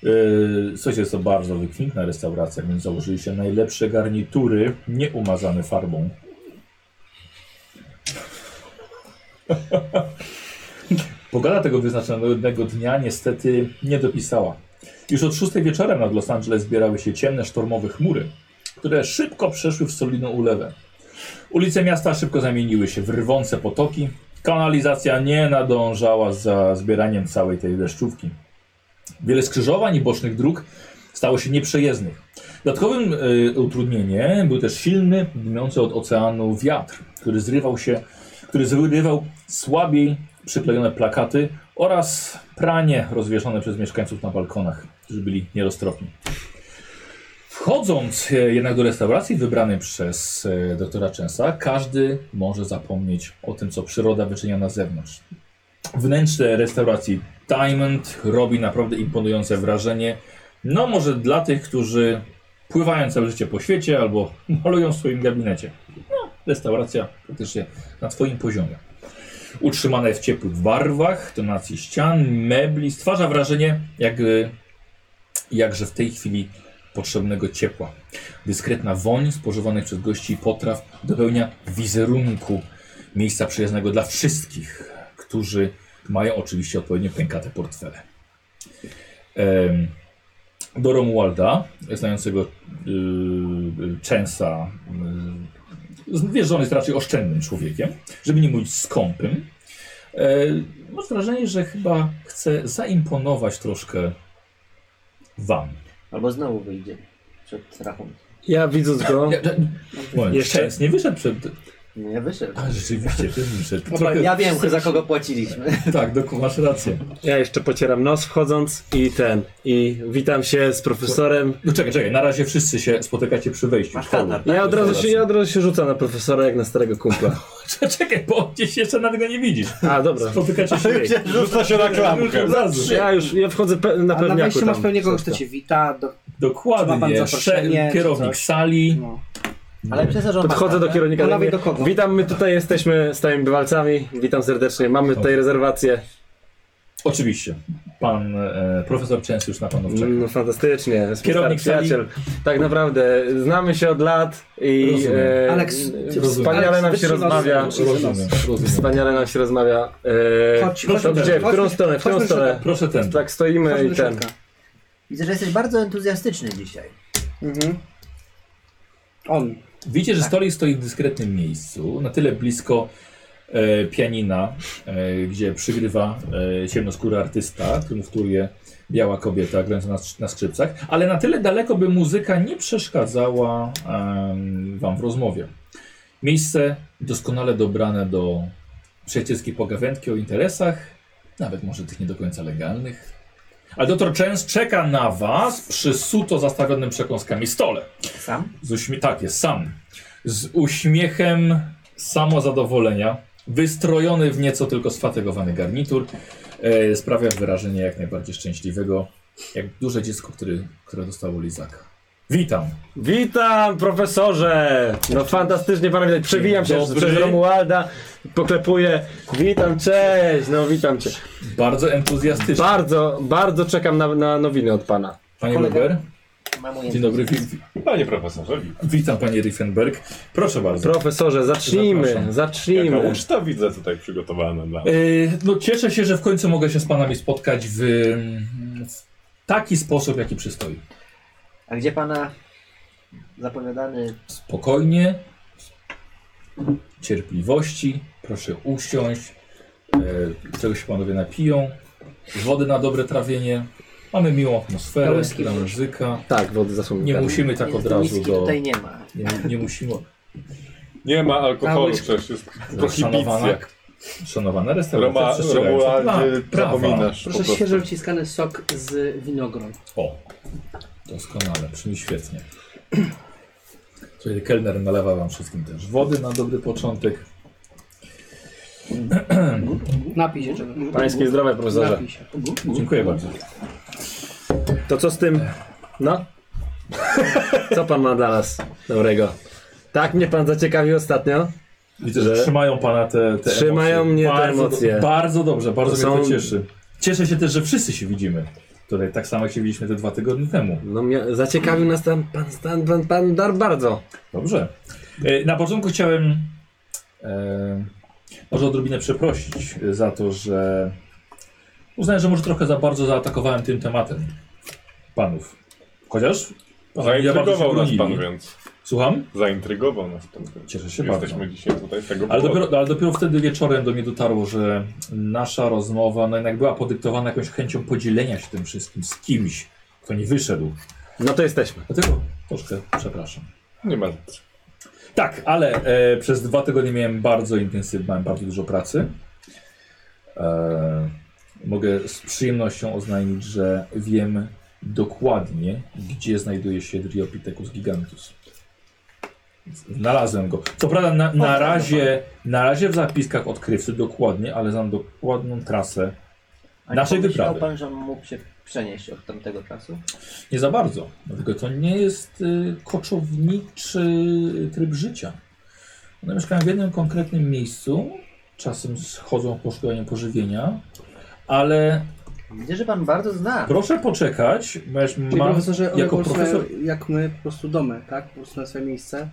[SPEAKER 1] Yy, coś jest to bardzo wykwintna restauracja, więc założyli się najlepsze garnitury, nie umazane farbą. Pogoda tego wyznaczonego dnia niestety nie dopisała. Już od 6 wieczorem nad Los Angeles zbierały się ciemne, sztormowe chmury, które szybko przeszły w solidną ulewę. Ulice miasta szybko zamieniły się w rwące potoki. Kanalizacja nie nadążała za zbieraniem całej tej deszczówki. Wiele skrzyżowań i bocznych dróg stało się nieprzejezdnych. Dodatkowym y, utrudnieniem był też silny, dmiący od oceanu wiatr, który zrywał się, który zrywał słabiej przyklejone plakaty oraz pranie rozwieszone przez mieszkańców na balkonach, którzy byli nieroztropni. Wchodząc e, jednak do restauracji wybranej przez e, doktora Częsa, każdy może zapomnieć o tym, co przyroda wyczynia na zewnątrz. Wnętrze restauracji Diamond robi naprawdę imponujące wrażenie. No może dla tych, którzy pływają całe życie po świecie albo malują w swoim gabinecie. No, restauracja praktycznie na twoim poziomie. Utrzymana jest w ciepłych barwach, tonacji ścian, mebli. Stwarza wrażenie, jak, e, jakże w tej chwili potrzebnego ciepła. Dyskretna woń spożywanych przez gości potraw dopełnia wizerunku miejsca przyjaznego dla wszystkich, którzy mają oczywiście odpowiednio pękate portfele. Em, Do Romualda, znającego yy, Częsa, yy, wiesz, że on jest raczej oszczędnym człowiekiem, żeby nie mówić skąpym. E, masz wrażenie, że chyba chce zaimponować troszkę wam.
[SPEAKER 3] Albo znowu wyjdzie przed rachunkiem.
[SPEAKER 2] Ja widząc go...
[SPEAKER 1] Ja, ja, moment,
[SPEAKER 2] Jeszcze?
[SPEAKER 1] Szczęs nie wyszedł przed.
[SPEAKER 3] No ja wyszedł.
[SPEAKER 1] A rzeczywiście, ty wyszedł.
[SPEAKER 3] Dobra,
[SPEAKER 1] Trochę,
[SPEAKER 3] ja wiem, za kogo płaciliśmy.
[SPEAKER 1] Tak, doku, masz rację.
[SPEAKER 2] Ja jeszcze pocieram nos wchodząc i ten. I witam się z profesorem.
[SPEAKER 1] No czekaj, czekaj, na razie wszyscy się spotykacie przy wejściu.
[SPEAKER 3] Masz
[SPEAKER 1] Paweł.
[SPEAKER 3] standard, tak?
[SPEAKER 2] No Ja od razu się, ja od razu się rzucam na profesora jak na starego kumpla.
[SPEAKER 1] Czekaj, bo gdzieś jeszcze na tego nie widzisz.
[SPEAKER 2] A, dobra.
[SPEAKER 1] Spotykacie się.
[SPEAKER 5] Rzuca się na klamkę.
[SPEAKER 1] Od razu.
[SPEAKER 2] Ja już, ja wchodzę pe na
[SPEAKER 4] A na
[SPEAKER 2] pewniaku
[SPEAKER 4] wejściu
[SPEAKER 2] tam.
[SPEAKER 4] masz pewnie kogoś, kto cię wita. Do... Ma pan
[SPEAKER 1] Dokładnie.
[SPEAKER 4] zaproszenie,
[SPEAKER 1] Sze-
[SPEAKER 4] czy
[SPEAKER 1] kierownik
[SPEAKER 4] coś?
[SPEAKER 1] sali.
[SPEAKER 4] No.
[SPEAKER 3] Ale przez zarząd.
[SPEAKER 2] Podchodzę do kierownika.
[SPEAKER 4] Panowie,
[SPEAKER 2] mówię,
[SPEAKER 4] do kogo?
[SPEAKER 2] Witam, my tutaj jesteśmy stałymi bywalcami. Witam serdecznie. Mamy tutaj rezerwację.
[SPEAKER 1] Oczywiście. Pan e, profesor Częs już na panów czeka.
[SPEAKER 2] No fantastycznie. Jest
[SPEAKER 1] Kierownik
[SPEAKER 2] mój stary przyjaciel. Tak naprawdę znamy się od lat i
[SPEAKER 1] Rozumiem.
[SPEAKER 2] e,
[SPEAKER 4] Aleks,
[SPEAKER 2] e, wspaniale
[SPEAKER 4] Aleks,
[SPEAKER 2] nam się
[SPEAKER 4] wytrzymał
[SPEAKER 2] rozmawia.
[SPEAKER 4] z-
[SPEAKER 1] Rozumiem, rozumiem.
[SPEAKER 2] Wspaniale nam się rozmawia. E,
[SPEAKER 4] Chodź,
[SPEAKER 1] proszę,
[SPEAKER 4] chodź,
[SPEAKER 2] Gdzie? W
[SPEAKER 4] chodź,
[SPEAKER 2] którą stronę? W którą
[SPEAKER 4] chodźmy
[SPEAKER 2] stronę?
[SPEAKER 4] szybko.
[SPEAKER 1] Proszę no ten.
[SPEAKER 2] Tak stoimy
[SPEAKER 4] Chodźmy
[SPEAKER 2] i
[SPEAKER 4] do
[SPEAKER 2] ten.
[SPEAKER 4] środka.
[SPEAKER 3] Widzę, że jesteś bardzo entuzjastyczny dzisiaj.
[SPEAKER 4] Mhm. On.
[SPEAKER 1] Widzicie, że stolik stoi w dyskretnym miejscu, na tyle blisko e, pianina, e, gdzie przygrywa e, ciemnoskóry artysta, który wtóruje biała kobieta grająca na, skrz- na skrzypcach, ale na tyle daleko, by muzyka nie przeszkadzała em, wam w rozmowie. Miejsce doskonale dobrane do przyjacielskiej pogawędki o interesach, nawet może tych nie do końca legalnych. A doktor Częs czeka na was przy suto zastawionym przekąskami stole.
[SPEAKER 3] Sam?
[SPEAKER 1] Z uśmie- tak, jest sam. Z uśmiechem samozadowolenia, wystrojony w nieco tylko sfategowany garnitur, e, sprawia wyrażenie jak najbardziej szczęśliwego, jak duże dziecko, który, które dostało lizaka. Witam.
[SPEAKER 2] Witam, profesorze! No fantastycznie pana widać. Przewijam się
[SPEAKER 1] Dobry.
[SPEAKER 2] przez Romualda, poklepuję. Witam, cześć! No witam cię.
[SPEAKER 1] Bardzo entuzjastycznie.
[SPEAKER 2] Bardzo, bardzo czekam na, na nowiny od pana.
[SPEAKER 1] Panie Weber,
[SPEAKER 3] Mam
[SPEAKER 1] dzień
[SPEAKER 3] ujęcie.
[SPEAKER 1] dobry. Wi- wi-
[SPEAKER 5] Panie profesorze, witam.
[SPEAKER 1] witam panie Riefenberg. Proszę bardzo.
[SPEAKER 2] Profesorze, zacznijmy,
[SPEAKER 1] Zapraszam.
[SPEAKER 5] Jaka
[SPEAKER 2] zacznijmy.
[SPEAKER 5] uczta widzę tutaj przygotowana dla
[SPEAKER 1] E, no cieszę się, że w końcu mogę się z panami spotkać w, w taki sposób, jaki przystoi.
[SPEAKER 3] A gdzie pana zapowiadany
[SPEAKER 1] spokojnie, cierpliwości, proszę usiąść, e, czegoś się panowie napiją, wody na dobre trawienie, mamy miłą atmosferę,
[SPEAKER 3] Whisky
[SPEAKER 1] dla
[SPEAKER 3] proszę.
[SPEAKER 1] muzyka,
[SPEAKER 2] Tak, wody zasłonię.
[SPEAKER 1] nie musimy tak od razu
[SPEAKER 3] miski
[SPEAKER 1] do...
[SPEAKER 3] tutaj nie ma.
[SPEAKER 1] Nie, nie musimy...
[SPEAKER 5] Nie ma alkoholu,
[SPEAKER 4] Całość-
[SPEAKER 5] przecież jest
[SPEAKER 1] Szanowana,
[SPEAKER 5] prohibicja.
[SPEAKER 1] szanowana restauracja
[SPEAKER 5] Roma,
[SPEAKER 1] przestrzegająca dla
[SPEAKER 5] Romualdzie,
[SPEAKER 1] prawa.
[SPEAKER 5] zapominasz po
[SPEAKER 4] Proszę
[SPEAKER 5] prostu.
[SPEAKER 4] świeżo wyciskany sok z winogron.
[SPEAKER 1] O, doskonale, brzmi świetnie. Czyli kelner nalewa wam wszystkim też wody na dobry początek.
[SPEAKER 4] Napij się czegoś.
[SPEAKER 2] Pańskie zdrowie, profesorze.
[SPEAKER 4] Napij się.
[SPEAKER 1] Dziękuję
[SPEAKER 5] Mhm.
[SPEAKER 1] bardzo.
[SPEAKER 2] To co z tym? No? Co pan ma dla nas dobrego? Tak mnie pan zaciekawił ostatnio.
[SPEAKER 1] Widzę, że trzymają pana te, te
[SPEAKER 2] Trzymają
[SPEAKER 1] emocje.
[SPEAKER 2] mnie te
[SPEAKER 1] bardzo,
[SPEAKER 2] emocje.
[SPEAKER 1] Bardzo dobrze, bardzo
[SPEAKER 2] To
[SPEAKER 1] mnie to
[SPEAKER 2] są-
[SPEAKER 1] cieszy. Cieszę się też, że wszyscy się widzimy. Tutaj tak samo jak się widzieliśmy te dwa tygodnie temu.
[SPEAKER 2] No, mia- zaciekawił nas tam pan, pan, pan, pan Dar bardzo.
[SPEAKER 1] Dobrze. E, Na początku chciałem e, może odrobinę przeprosić e, za to, że uznałem, że może trochę za bardzo zaatakowałem tym tematem panów. Chociaż ja bardzo się
[SPEAKER 5] Zaintrygował No nas
[SPEAKER 1] bronili.
[SPEAKER 5] pan, więc.
[SPEAKER 1] Słucham?
[SPEAKER 5] Zaintrygował nas pan. więc
[SPEAKER 1] Cieszę się
[SPEAKER 5] Jesteśmy
[SPEAKER 1] bardzo.
[SPEAKER 5] dzisiaj tutaj z tego
[SPEAKER 1] Ale
[SPEAKER 5] powodu.
[SPEAKER 1] dopiero, ale dopiero wtedy wieczorem do mnie dotarło, że nasza rozmowa no jednak była podyktowana jakąś chęcią podzielenia się tym wszystkim z kimś, kto nie wyszedł.
[SPEAKER 2] No to jesteśmy.
[SPEAKER 1] Dlatego troszkę przepraszam.
[SPEAKER 5] Nie ma.
[SPEAKER 1] Tak, ale e, przez dwa tygodnie miałem bardzo intensywną, miałem bardzo dużo pracy. E, mogę z przyjemnością oznajmić, że wiem dokładnie, gdzie znajduje się Dryopithecus gigantus. Znalazłem go. Co prawda na, na, razie, na razie w zapiskach odkrywcy dokładnie, ale znam dokładną trasę.
[SPEAKER 3] A
[SPEAKER 1] Naszej
[SPEAKER 3] nie pomyślał
[SPEAKER 1] wyprawy.
[SPEAKER 3] pan, że mógł się przenieść od tamtego czasu?
[SPEAKER 1] Nie za bardzo. Dlatego to nie jest y, koczowniczy tryb życia. One mieszkają w jednym konkretnym miejscu, czasem schodzą w poszukiwaniu pożywienia, ale
[SPEAKER 3] Widzę, że pan bardzo zna.
[SPEAKER 1] proszę poczekać, bo ja już
[SPEAKER 4] Czyli
[SPEAKER 1] mam
[SPEAKER 4] profesorze, one
[SPEAKER 1] jako
[SPEAKER 4] po prostu
[SPEAKER 1] profesor,
[SPEAKER 4] mają jak my po prostu domy, tak? Po prostu na swoje miejsce,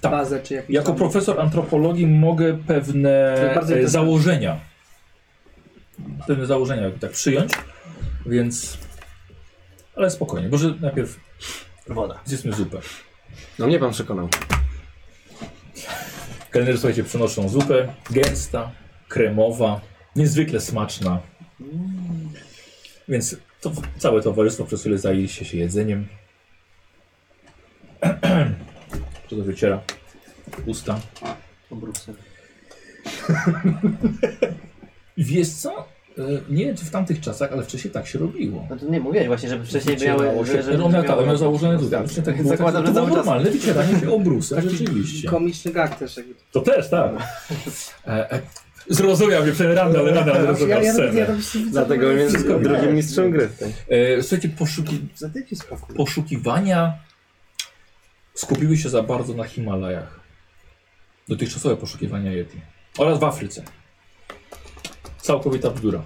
[SPEAKER 1] Tak.
[SPEAKER 4] bazę czy jakieś
[SPEAKER 1] jako
[SPEAKER 4] tam-
[SPEAKER 1] profesor antropologii mogę pewne
[SPEAKER 4] To jest bardzo
[SPEAKER 1] e,
[SPEAKER 4] interesujące.
[SPEAKER 1] założenia, pewne założenia tak przyjąć, więc, ale spokojnie, może najpierw
[SPEAKER 3] Woda.
[SPEAKER 1] zjedzmy zupę.
[SPEAKER 2] No mnie pan przekonał.
[SPEAKER 1] Kelnerzy, słuchajcie, przynoszą zupę gęsta, kremowa, niezwykle smaczna. Więc to, całe towarzystwo przez chwilę zajęliście się jedzeniem. Co to wyciera? Usta.
[SPEAKER 3] Obrócę.
[SPEAKER 1] Wiesz co? E, Nie wiem, czy w tamtych czasach, ale wcześniej tak się robiło.
[SPEAKER 3] No to nie mówiłeś właśnie, żeby wcześniej
[SPEAKER 1] Wycierało
[SPEAKER 3] miały...
[SPEAKER 1] się.
[SPEAKER 2] No,
[SPEAKER 3] że- że-
[SPEAKER 1] on miał, tak, on miał
[SPEAKER 3] miały-
[SPEAKER 1] założone tutaj. Właśnie tak było,
[SPEAKER 3] Zakładam,
[SPEAKER 1] tak, to było
[SPEAKER 3] że cały czas.
[SPEAKER 1] normalne wycieranie się obrusa, rzeczywiście.
[SPEAKER 4] Komiczny gag też. Jakby.
[SPEAKER 1] To też, tak. E, e, zrozumiał mnie, przed rano, No ale rano
[SPEAKER 4] ja,
[SPEAKER 1] zrozumiał
[SPEAKER 4] ja, nawet- ja,
[SPEAKER 1] scenę.
[SPEAKER 4] nawet się widzę,
[SPEAKER 2] Dlatego
[SPEAKER 4] że-
[SPEAKER 2] jest drugim mistrzem gry.
[SPEAKER 1] E, słuchajcie, poszuki,
[SPEAKER 4] Za ty się spokój.
[SPEAKER 1] poszukiwania skupiły się za bardzo na Himalajach. Dotychczasowe poszukiwania Yeti. Oraz w Afryce. Całkowita bzdura.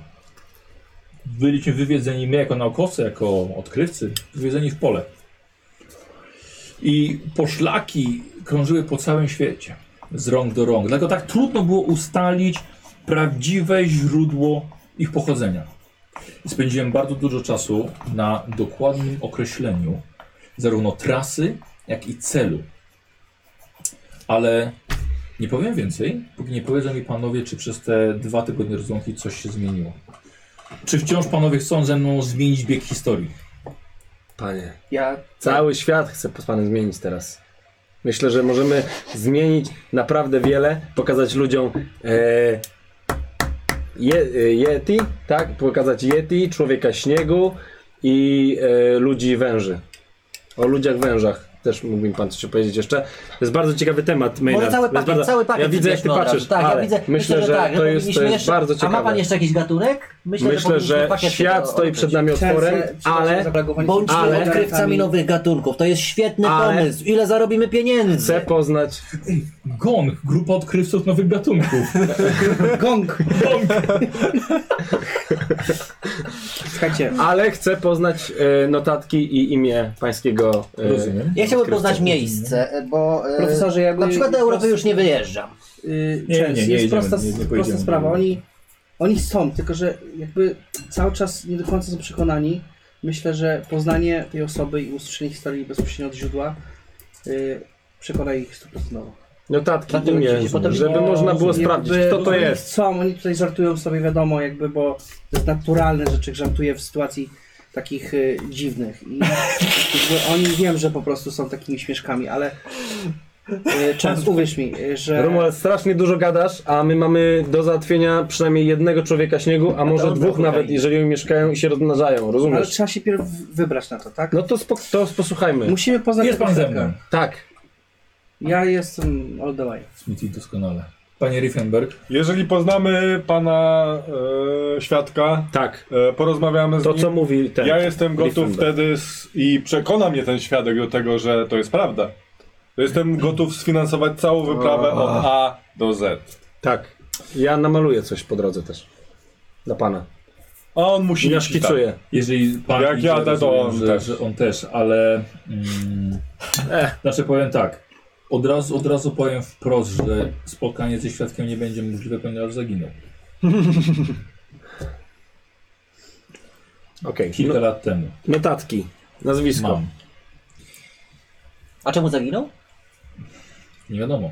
[SPEAKER 1] Byliśmy wywiedzeni, my jako naukowcy, jako odkrywcy, wywiedzeni w pole. I poszlaki krążyły po całym świecie. Z rąk do rąk. Dlatego tak trudno było ustalić prawdziwe źródło ich pochodzenia. Spędziłem bardzo dużo czasu na dokładnym określeniu zarówno trasy, jak i celu. Ale nie powiem więcej, póki nie powiedzą mi panowie, czy przez te dwa tygodnie rozłąki coś się zmieniło. Czy wciąż panowie chcą ze mną zmienić bieg historii?
[SPEAKER 2] Panie,
[SPEAKER 3] Ja
[SPEAKER 2] cały świat chce z panem zmienić teraz. Myślę, że możemy zmienić naprawdę wiele, pokazać ludziom e, je, e, Yeti, tak? Pokazać Yeti, człowieka śniegu i e, ludzi węży. O ludziach wężach też mógłby mi pan coś powiedzieć jeszcze. To jest bardzo ciekawy temat,
[SPEAKER 3] Może
[SPEAKER 2] Maynard.
[SPEAKER 3] cały
[SPEAKER 2] To jest
[SPEAKER 3] pakiet,
[SPEAKER 2] bardzo-
[SPEAKER 3] cały pakiet
[SPEAKER 2] Ja widzę, jak ty
[SPEAKER 3] wybierzmy od
[SPEAKER 2] patrzysz,
[SPEAKER 3] razu. Tak,
[SPEAKER 2] ale
[SPEAKER 3] ja widzę,
[SPEAKER 2] myślę, że
[SPEAKER 3] tak,
[SPEAKER 2] to jest, to
[SPEAKER 3] powinniśmy
[SPEAKER 2] jest
[SPEAKER 3] jeszcze-
[SPEAKER 2] bardzo
[SPEAKER 3] A ma
[SPEAKER 2] ciekawe.
[SPEAKER 3] pan jeszcze jakiś gatunek?
[SPEAKER 2] Myślę, że
[SPEAKER 3] powinniśmy pakiet
[SPEAKER 2] świat
[SPEAKER 3] o-
[SPEAKER 2] stoi przed nami otworem,
[SPEAKER 4] Chcę- chcę
[SPEAKER 2] ale
[SPEAKER 4] zareagować-
[SPEAKER 3] Bądźmy
[SPEAKER 2] Ale-
[SPEAKER 3] odkrywcami nowych gatunków. To jest świetny
[SPEAKER 2] Ale-
[SPEAKER 3] pomysł. Ile zarobimy pieniędzy?
[SPEAKER 2] chcę poznać
[SPEAKER 1] Gong, grupa odkrywców nowych gatunków. Gong.
[SPEAKER 4] Gong! Słuchajcie,
[SPEAKER 2] Ale chcę poznać e, notatki i imię pańskiego. E,
[SPEAKER 1] Rozumiem.
[SPEAKER 3] Ja chciałbym
[SPEAKER 2] odkrywcy.
[SPEAKER 3] poznać miejsce, e, bo e,
[SPEAKER 4] Profesorze, ja
[SPEAKER 3] na
[SPEAKER 4] bym-
[SPEAKER 3] przykład do Europy już nie wyjeżdżam.
[SPEAKER 4] yy,
[SPEAKER 1] Nie,
[SPEAKER 4] Częst,
[SPEAKER 1] nie, nie
[SPEAKER 4] jest
[SPEAKER 1] jedziemy,
[SPEAKER 4] prosta,
[SPEAKER 1] nie- nie
[SPEAKER 4] prosta
[SPEAKER 1] pojedziemy.
[SPEAKER 4] sprawa. Oni, oni są, tylko że jakby cały czas nie do końca są przekonani. Myślę, że poznanie tej osoby i usłyszenie historii bezpośrednio od źródła yy, przekona ich stuprocentowo.
[SPEAKER 2] Notatki,
[SPEAKER 3] Dlatego
[SPEAKER 2] imię,
[SPEAKER 3] ci się potem-
[SPEAKER 2] żeby można było sprawdzić,
[SPEAKER 4] Jakby-
[SPEAKER 2] kto to
[SPEAKER 4] oni
[SPEAKER 2] jest.
[SPEAKER 4] Chcą, oni tutaj żartują sobie, wiadomo, jakby, bo to jest naturalne rzeczy, żartuje w sytuacji takich y, dziwnych. I jakby oni wiem, że po prostu są takimi śmieszkami, ale y, czas, uwierz mi, y, że...
[SPEAKER 2] Romuald, strasznie dużo gadasz, a my mamy do załatwienia przynajmniej jednego człowieka śniegu, a może
[SPEAKER 3] dobra,
[SPEAKER 2] dwóch
[SPEAKER 3] okej.
[SPEAKER 2] nawet, jeżeli mieszkają i się rozmnażają,
[SPEAKER 4] Ale
[SPEAKER 2] rozumiesz?
[SPEAKER 4] trzeba się pierw wybrać na to, tak?
[SPEAKER 2] No to, spo, to posłuchajmy.
[SPEAKER 4] Musimy poznać...
[SPEAKER 1] Jest
[SPEAKER 4] tego
[SPEAKER 1] pan ze
[SPEAKER 4] człowieka.
[SPEAKER 1] mną.
[SPEAKER 2] Tak.
[SPEAKER 4] Ja jestem all the way.
[SPEAKER 1] Smithy doskonale. Panie Riefenberg,
[SPEAKER 5] Jeżeli poznamy pana e, świadka,
[SPEAKER 2] Tak.
[SPEAKER 5] e, porozmawiamy z
[SPEAKER 2] To,
[SPEAKER 5] nim.
[SPEAKER 2] co mówi ten.
[SPEAKER 5] Ja jestem gotów
[SPEAKER 2] Riefenberg.
[SPEAKER 5] wtedy s- i przekona mnie ten świadek do tego, że to jest prawda. Jestem gotów sfinansować całą wyprawę od A do Z.
[SPEAKER 2] Tak. Ja namaluję coś po drodze też. Dla pana.
[SPEAKER 5] A on
[SPEAKER 2] I
[SPEAKER 5] musi iść
[SPEAKER 2] naszkicuję.
[SPEAKER 1] jeżeli pan
[SPEAKER 5] Jak
[SPEAKER 1] idzie,
[SPEAKER 5] jadę, to
[SPEAKER 1] rozumiem,
[SPEAKER 5] on
[SPEAKER 1] że,
[SPEAKER 5] też.
[SPEAKER 1] Że on też, ale... Mm,
[SPEAKER 3] Eh.
[SPEAKER 1] znaczy powiem tak. Od razu, od razu powiem wprost, że spotkanie ze świadkiem nie będzie możliwe, ponieważ zaginął.
[SPEAKER 5] tak.
[SPEAKER 2] Okej. No-
[SPEAKER 3] No.
[SPEAKER 1] Kilka lat temu.
[SPEAKER 2] Notatki. Nazwisko.
[SPEAKER 1] Mam.
[SPEAKER 3] A czemu zaginął?
[SPEAKER 1] Nie wiadomo.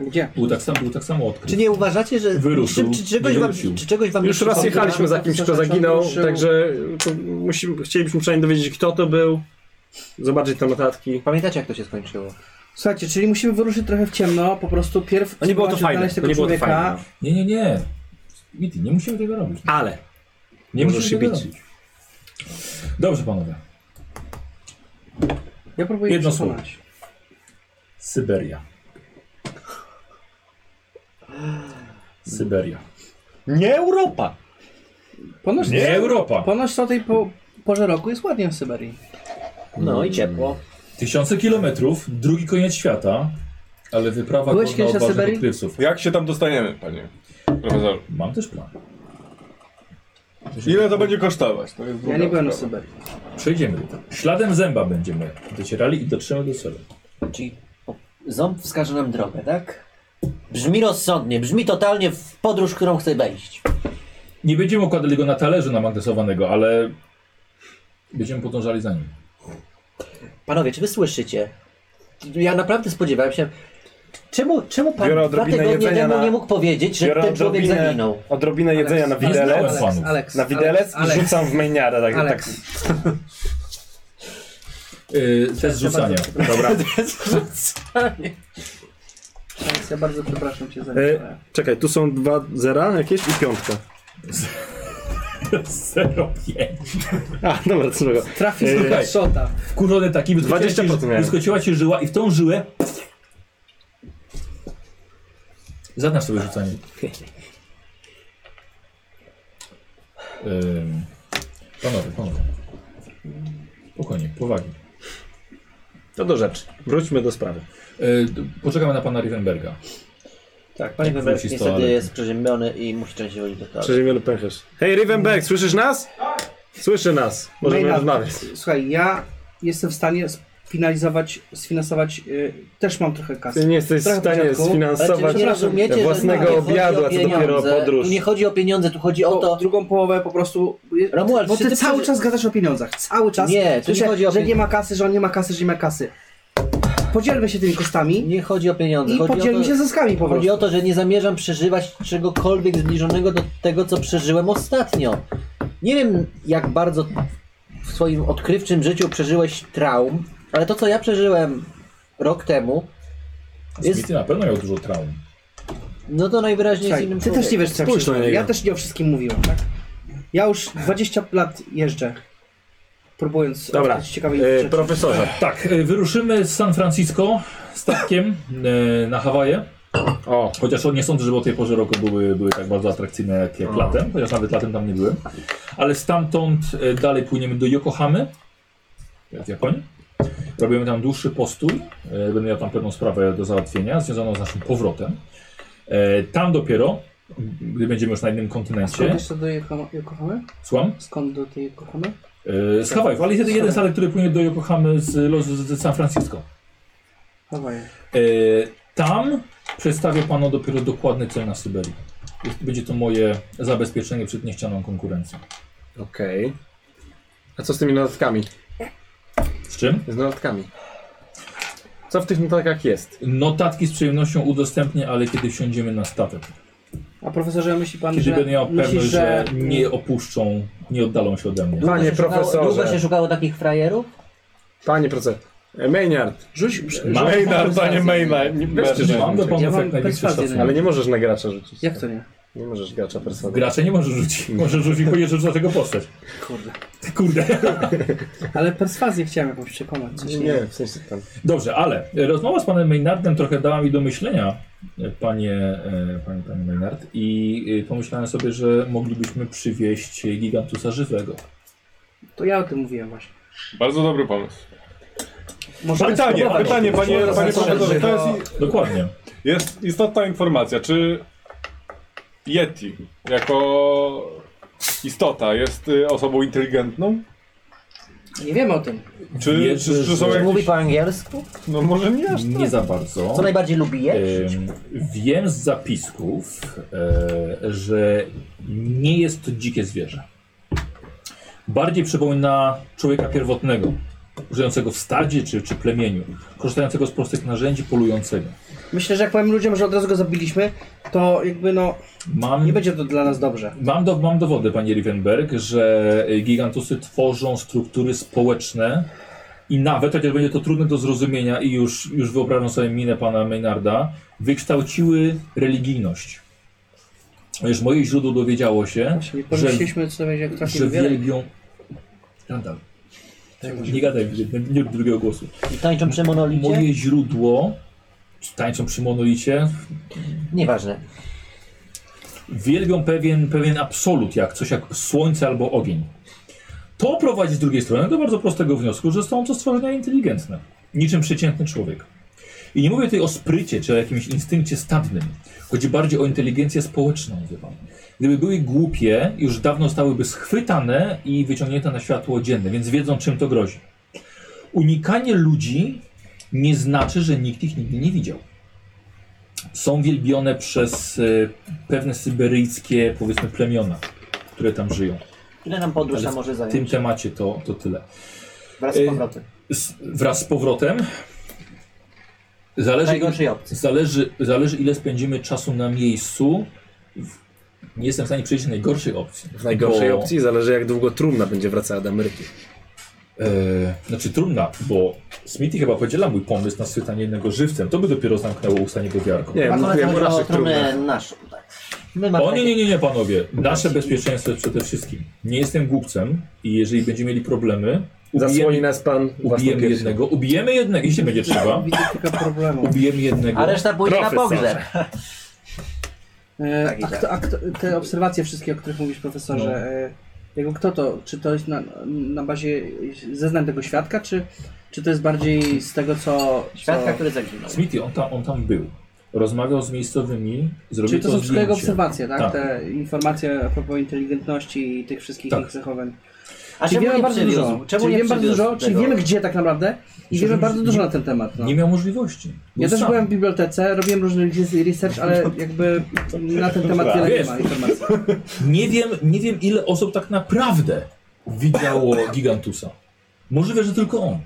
[SPEAKER 4] A Gdzie?
[SPEAKER 1] Był tak samo, był tak samo odkryty.
[SPEAKER 3] Czy nie uważacie, że
[SPEAKER 1] Wyruszył,
[SPEAKER 3] czy, czy, czegoś wam,
[SPEAKER 1] wrócił.
[SPEAKER 3] czy czegoś wam
[SPEAKER 2] Już
[SPEAKER 3] nie
[SPEAKER 2] raz
[SPEAKER 3] przypomina?
[SPEAKER 2] jechaliśmy za kimś, kto zaginął, także to musimy, chcielibyśmy przynajmniej dowiedzieć, kto to był, zobaczyć te notatki.
[SPEAKER 3] Pamiętacie jak to się skończyło?
[SPEAKER 4] Słuchajcie, czyli musimy wyruszyć trochę w ciemno, po prostu pierw
[SPEAKER 2] No nie było to
[SPEAKER 4] spróbować
[SPEAKER 2] fajne,
[SPEAKER 4] odnaleźć
[SPEAKER 2] to nie było to
[SPEAKER 4] człowieka.
[SPEAKER 2] fajne. no.
[SPEAKER 1] Nie, nie, nie. Miti, nie musimy tego robić.
[SPEAKER 2] Ale
[SPEAKER 1] Nie
[SPEAKER 2] Możesz
[SPEAKER 1] musimy
[SPEAKER 2] się
[SPEAKER 1] tego
[SPEAKER 2] bić.
[SPEAKER 1] robić. Dobrze, panowie.
[SPEAKER 4] Ja próbuję
[SPEAKER 1] Jedno
[SPEAKER 4] Jedno przekonać.
[SPEAKER 1] Syberia. Syberia.
[SPEAKER 5] Nie Europa!
[SPEAKER 4] Ponoć,
[SPEAKER 1] Nie Europa.
[SPEAKER 4] ponoć o tej po, porze roku jest ładnie w Syberii.
[SPEAKER 3] No
[SPEAKER 2] Mm.
[SPEAKER 3] i ciepło.
[SPEAKER 1] Tysiące kilometrów, drugi koniec świata, ale wyprawa
[SPEAKER 4] Byłeś
[SPEAKER 1] godna
[SPEAKER 4] kiedyś na
[SPEAKER 1] odważnych
[SPEAKER 4] Syberii?
[SPEAKER 1] odkrywców.
[SPEAKER 5] Jak się tam dostaniemy, panie profesor?
[SPEAKER 1] Mam też plan.
[SPEAKER 5] Ile to
[SPEAKER 2] tak-
[SPEAKER 5] będzie kosztować? To jest
[SPEAKER 4] Ja
[SPEAKER 5] druga
[SPEAKER 4] nie byłem na
[SPEAKER 5] sprawa.
[SPEAKER 4] Syberii.
[SPEAKER 1] Przejdziemy. Śladem zęba będziemy docierali i dotrzemy do celu.
[SPEAKER 3] Czyli o, ząb wskaże nam drogę, tak? Brzmi rozsądnie, brzmi totalnie w podróż, którą chcę wejść.
[SPEAKER 1] Nie będziemy układali go na talerzu namagnesowanego, ale będziemy podążali za nim.
[SPEAKER 3] Panowie, czy wy słyszycie? Ja naprawdę spodziewałem się. Czemu, czemu pan
[SPEAKER 2] Biorę
[SPEAKER 3] dwa
[SPEAKER 2] odrobinę
[SPEAKER 3] tygodnie
[SPEAKER 2] jedzenia
[SPEAKER 3] temu
[SPEAKER 2] na-
[SPEAKER 3] nie mógł powiedzieć, że ten człowiek zaginął?
[SPEAKER 2] odrobinę jedzenia na
[SPEAKER 1] Nie znałem
[SPEAKER 2] widelec,
[SPEAKER 1] panów.
[SPEAKER 4] Alex,
[SPEAKER 2] na widelec
[SPEAKER 4] Alex,
[SPEAKER 2] i rzucam w meniara, tak,
[SPEAKER 4] Alex.
[SPEAKER 2] tak
[SPEAKER 1] Yy, test rzucania. Dobra.
[SPEAKER 4] Alex, ja bardzo przepraszam cię za
[SPEAKER 2] E, czekaj, tu są dwa zera jakieś i piątka.
[SPEAKER 1] 0,5.
[SPEAKER 2] A, dobra, co tego.
[SPEAKER 4] Trafi z
[SPEAKER 1] Słuchaj.
[SPEAKER 4] druga szota.
[SPEAKER 1] Wkurzony taki, wyskoczyła
[SPEAKER 2] 20%
[SPEAKER 1] ci,
[SPEAKER 2] miałem.
[SPEAKER 1] wyskoczyła ci żyła i w tą żyłę... Zadasz sobie rzucanie. Ym, panowie, panowie. Spokojnie, powagi.
[SPEAKER 2] To do rzeczy. Wróćmy do sprawy.
[SPEAKER 1] Yy, poczekamy na pana Rivenberga.
[SPEAKER 3] Tak, panie Weber
[SPEAKER 1] wróci z
[SPEAKER 3] niestety
[SPEAKER 1] toalety.
[SPEAKER 3] jest przeziębiony i musi częściej chodzić do toalety.
[SPEAKER 2] Przeziemiony pęcherz. Hej, Rivenberg, słyszysz nas? Słyszy nas. Możemy
[SPEAKER 4] Maynard,
[SPEAKER 2] rozmawiać.
[SPEAKER 4] Słuchaj, ja jestem w stanie sfinalizować, sfinansować, y, też mam trochę kasy.
[SPEAKER 2] Ty nie jesteś w
[SPEAKER 4] Trochę
[SPEAKER 2] stanie
[SPEAKER 4] początku,
[SPEAKER 3] Ale przecież
[SPEAKER 2] sfinansować
[SPEAKER 3] nie rozumiecie, że
[SPEAKER 2] własnego
[SPEAKER 3] tu nie chodzi
[SPEAKER 2] obiadu,
[SPEAKER 3] o
[SPEAKER 2] a co dopiero
[SPEAKER 3] pieniądze.
[SPEAKER 2] podróż.
[SPEAKER 3] Tu nie chodzi o pieniądze, tu chodzi o No to...
[SPEAKER 4] drugą połowę po prostu.
[SPEAKER 3] Romuald,
[SPEAKER 4] bo
[SPEAKER 3] czy
[SPEAKER 4] ty,
[SPEAKER 3] ty
[SPEAKER 4] cały
[SPEAKER 3] przeży-
[SPEAKER 4] czas gadasz o pieniądzach. Cały czas.
[SPEAKER 3] Nie, tu nie
[SPEAKER 4] Słyszę,
[SPEAKER 3] chodzi o
[SPEAKER 4] że nie
[SPEAKER 3] pieniądze.
[SPEAKER 4] ma kasy, że on nie ma kasy, że nie ma kasy. Podzielmy się tymi kosztami
[SPEAKER 3] Nie chodzi o pieniądze,
[SPEAKER 4] i
[SPEAKER 3] chodzi o to...
[SPEAKER 4] podzielmy się zyskami po
[SPEAKER 3] Chodzi
[SPEAKER 4] prostu.
[SPEAKER 3] o to, że nie zamierzam przeżywać czegokolwiek zbliżonego do tego, co przeżyłem ostatnio. Nie wiem, jak bardzo w swoim odkrywczym życiu przeżyłeś traum, ale to, co ja przeżyłem rok temu, jest,
[SPEAKER 1] Jest... na pewno miał dużo traum.
[SPEAKER 3] no to najwyraźniej jest
[SPEAKER 4] Słuchaj,
[SPEAKER 3] innym
[SPEAKER 4] ty też nie wiesz, co ja
[SPEAKER 6] Spójrz na
[SPEAKER 4] przeżyłem. Ja
[SPEAKER 6] niego.
[SPEAKER 4] też nie o wszystkim mówiłem, tak? Ja już 20 lat jeżdżę, próbując
[SPEAKER 2] Dobra,
[SPEAKER 4] odkryć ciekawe
[SPEAKER 2] E,
[SPEAKER 4] rzeczy.
[SPEAKER 2] profesorze,
[SPEAKER 1] Tak, y, wyruszymy z San Francisco statkiem y, na Hawaje.
[SPEAKER 2] o,
[SPEAKER 1] Chociaż nie sądzę, żeby o tej porze roku były, były tak bardzo atrakcyjne jak, jak latem, chociaż nawet latem tam nie byłem. Ale stamtąd e, dalej płyniemy do Yokohamy w Japonii. Robimy tam dłuższy postój. E, Będę miał tam pewną sprawę do załatwienia związaną z naszym powrotem. E, Tam dopiero, gdy będziemy już na innym kontynencie,
[SPEAKER 4] Skąd jeszcze do Joko- Yokohamy?
[SPEAKER 1] słucham,
[SPEAKER 4] Skąd do tej Yokohamy?
[SPEAKER 1] E, z Hawajów, ale jest jeden- jeden statek, który płynie do Yokohamy z, Los- z, z San Francisco.
[SPEAKER 4] Hawaje.
[SPEAKER 1] E, Tam przedstawię panu dopiero dokładny cel na Syberii. Jest- Będzie to moje zabezpieczenie przed niechcianą konkurencją.
[SPEAKER 2] okej. A co z tymi notatkami?
[SPEAKER 1] Z czym?
[SPEAKER 2] Z notatkami. Co w tych notatkach jest?
[SPEAKER 1] Notatki z przyjemnością udostępnię, ale kiedy wsiądziemy na statek.
[SPEAKER 4] A profesorze, myśli pan,
[SPEAKER 1] Kiedy
[SPEAKER 4] że...
[SPEAKER 1] będę miał
[SPEAKER 4] myślisz,
[SPEAKER 1] pewność, że nie opuszczą, nie oddalą się ode
[SPEAKER 3] No,
[SPEAKER 1] mnie.
[SPEAKER 2] Panie
[SPEAKER 3] Długo
[SPEAKER 2] profesorze,
[SPEAKER 3] się szukało takich frajerów?
[SPEAKER 2] panie profesorze, Maynard,
[SPEAKER 4] Rzuć...
[SPEAKER 1] Mam-
[SPEAKER 5] Maynard, a nie Maynard. Nie
[SPEAKER 2] Weźcie,
[SPEAKER 5] Maynard.
[SPEAKER 1] Mam do
[SPEAKER 2] Ja
[SPEAKER 1] panów
[SPEAKER 4] mam
[SPEAKER 1] Znaczy, jak największy
[SPEAKER 4] perswazję
[SPEAKER 1] szacunek.
[SPEAKER 4] na-
[SPEAKER 2] ale nie możesz na gracza rzucić.
[SPEAKER 4] Jak to nie?
[SPEAKER 2] Nie możesz gracza perswady.
[SPEAKER 1] Gracze nie może rzucić. Może rzucić, bo rzuć na tego postać.
[SPEAKER 4] Kurde.
[SPEAKER 1] Kurde.
[SPEAKER 4] Ale perswazję chciałem jakąś przekonać. Coś nie.
[SPEAKER 2] Nie, w sensie tam.
[SPEAKER 1] Dobrze, ale e, rozmowa z panem Maynardem trochę dała mi do myślenia, e, panie, e, panie, panie Maynard, i e, pomyślałem sobie, że moglibyśmy przywieźć e, gigantusa żywego.
[SPEAKER 4] To ja o tym mówiłem właśnie.
[SPEAKER 5] Bardzo dobry pomysł.
[SPEAKER 4] Może
[SPEAKER 5] Pytanie,
[SPEAKER 1] spróbować.
[SPEAKER 5] pytanie, panie,
[SPEAKER 1] Możemy
[SPEAKER 5] panie
[SPEAKER 1] spróbować.
[SPEAKER 5] profesorze. To jest,
[SPEAKER 1] Dokładnie.
[SPEAKER 5] jest istotna informacja. Czy Yeti jako istota jest y, osobą inteligentną?
[SPEAKER 4] Nie wiemy o tym.
[SPEAKER 5] Czy,
[SPEAKER 1] Wierzę,
[SPEAKER 5] czy, czy są
[SPEAKER 1] że-
[SPEAKER 5] jakieś...
[SPEAKER 3] Mówi po angielsku?
[SPEAKER 5] No może nie aż
[SPEAKER 1] Nie za bardzo.
[SPEAKER 3] Co najbardziej lubi jeść?
[SPEAKER 1] Em, Wiem z zapisków, e, że nie jest to dzikie zwierzę. Bardziej przypomina człowieka pierwotnego, żyjącego w stadzie czy, czy plemieniu, korzystającego z prostych narzędzi, polującego.
[SPEAKER 4] Myślę, że jak powiem ludziom, że od razu go zabiliśmy, to jakby no,
[SPEAKER 1] Mam
[SPEAKER 4] nie będzie to dla nas dobrze.
[SPEAKER 1] Mam, do, mam dowody, panie Rivenberg, że gigantusy tworzą struktury społeczne i nawet, chociaż będzie to trudne do zrozumienia i już, już wyobrażam sobie minę pana Maynarda, wykształciły religijność. Już moje źródło dowiedziało się,
[SPEAKER 4] Właśnie
[SPEAKER 1] że,
[SPEAKER 4] pomyśleliśmy, co będzie, jak
[SPEAKER 1] że
[SPEAKER 4] trafimy wiele. Tak,
[SPEAKER 1] wielbią... Randall, nie gadaj, nie, nie rób drugiego głosu.
[SPEAKER 3] I tańczą przy monolicie?
[SPEAKER 1] Moje źródło, tańczą przy monolicie,
[SPEAKER 3] Nieważne.
[SPEAKER 1] wielbią pewien, pewien absolut, jak coś jak słońce albo ogień. To prowadzi z drugiej strony do bardzo prostego wniosku, że są to stworzenia inteligentne, niczym przeciętny człowiek. I nie mówię tutaj o sprycie czy o jakimś instynkcie stadnym. Chodzi bardziej o inteligencję społeczną, wie pan. Gdyby były głupie, już dawno zostałyby schwytane i wyciągnięte na światło dzienne, więc wiedzą czym to grozi. Unikanie ludzi nie znaczy, że nikt ich nigdy nie widział. Są wielbione przez e, pewne syberyjskie, powiedzmy, plemiona, które tam żyją.
[SPEAKER 3] Ile nam podróż
[SPEAKER 1] Ale
[SPEAKER 3] tam może
[SPEAKER 1] W tym
[SPEAKER 3] zająć?
[SPEAKER 1] temacie to, to tyle.
[SPEAKER 3] Wraz z powrotem.
[SPEAKER 1] Z, wraz z powrotem zależy,
[SPEAKER 3] Najgorszej opcji.
[SPEAKER 1] zależy, zależy ile spędzimy czasu na miejscu. W- Nie jestem w stanie przejść do najgorszej opcji.
[SPEAKER 2] W najgorszej
[SPEAKER 1] bo,
[SPEAKER 2] opcji zależy jak długo trumna będzie wracała do Ameryki.
[SPEAKER 1] E, znaczy trudna, bo Smithy chyba podziela mój pomysł na schwytanie jednego żywcem. To by dopiero zamknęło usta niegowiarką.
[SPEAKER 2] Nie,
[SPEAKER 3] A to
[SPEAKER 2] mówiłem o
[SPEAKER 3] chodzi o
[SPEAKER 2] naszych
[SPEAKER 3] trumnę
[SPEAKER 2] trumnach.
[SPEAKER 3] naszą. tak. My mamy
[SPEAKER 1] O nie,
[SPEAKER 3] takie-
[SPEAKER 1] nie, nie, nie panowie. Nasze bezpieczeństwo jest przede wszystkim. Nie jestem głupcem i jeżeli będziemy mieli problemy,
[SPEAKER 2] Zasłoni
[SPEAKER 1] ubijemy,
[SPEAKER 2] nas pan własną
[SPEAKER 1] ubijemy
[SPEAKER 2] piersią.
[SPEAKER 1] jednego, ubijemy jednego, jeśli będzie trzeba.
[SPEAKER 4] Widzę kilka problemów.
[SPEAKER 1] Ubijemy jednego.
[SPEAKER 3] A reszta pójdzie na
[SPEAKER 2] Profesorze.
[SPEAKER 3] pogrzeb.
[SPEAKER 4] E,
[SPEAKER 3] Tak,
[SPEAKER 4] a
[SPEAKER 3] tak.
[SPEAKER 4] kto, a kto, te obserwacje wszystkie, o których mówisz profesorze,
[SPEAKER 1] No.
[SPEAKER 4] e, jakby kto to? Czy to jest na, na bazie zeznań tego świadka, czy, czy to jest bardziej z tego, co...
[SPEAKER 3] Świadka,
[SPEAKER 4] co...
[SPEAKER 3] który zaginął.
[SPEAKER 1] Smithy, on tam, on tam był. Rozmawiał z miejscowymi, zrobił
[SPEAKER 4] Czyli to są wszystko jego
[SPEAKER 1] zdjęcie.
[SPEAKER 4] obserwacje, tak?
[SPEAKER 1] Tak.
[SPEAKER 4] Te informacje a propos inteligentności i tych wszystkich
[SPEAKER 1] Tak.
[SPEAKER 4] ich zachowań.
[SPEAKER 3] A
[SPEAKER 4] Czyli wiemy
[SPEAKER 3] nie
[SPEAKER 4] bardzo
[SPEAKER 3] przywiózł?
[SPEAKER 4] dużo.
[SPEAKER 3] Czemu
[SPEAKER 4] czyli
[SPEAKER 3] nie
[SPEAKER 4] wiemy bardzo
[SPEAKER 3] przywiózł
[SPEAKER 4] dużo, czyli
[SPEAKER 3] tego?
[SPEAKER 4] wiemy gdzie tak naprawdę i
[SPEAKER 1] Myślę,
[SPEAKER 4] wiemy
[SPEAKER 1] że
[SPEAKER 4] bardzo
[SPEAKER 1] nie-
[SPEAKER 4] dużo na ten temat. No.
[SPEAKER 1] Nie miał możliwości. Był
[SPEAKER 4] Ja też
[SPEAKER 1] sam.
[SPEAKER 4] byłem w bibliotece, robiłem różny research, ale jakby na ten temat wiele nie
[SPEAKER 1] Wiesz.
[SPEAKER 4] ma informacji.
[SPEAKER 1] Nie wiem, nie wiem ile osób tak naprawdę widziało Gigantusa. Możliwe, że tylko on.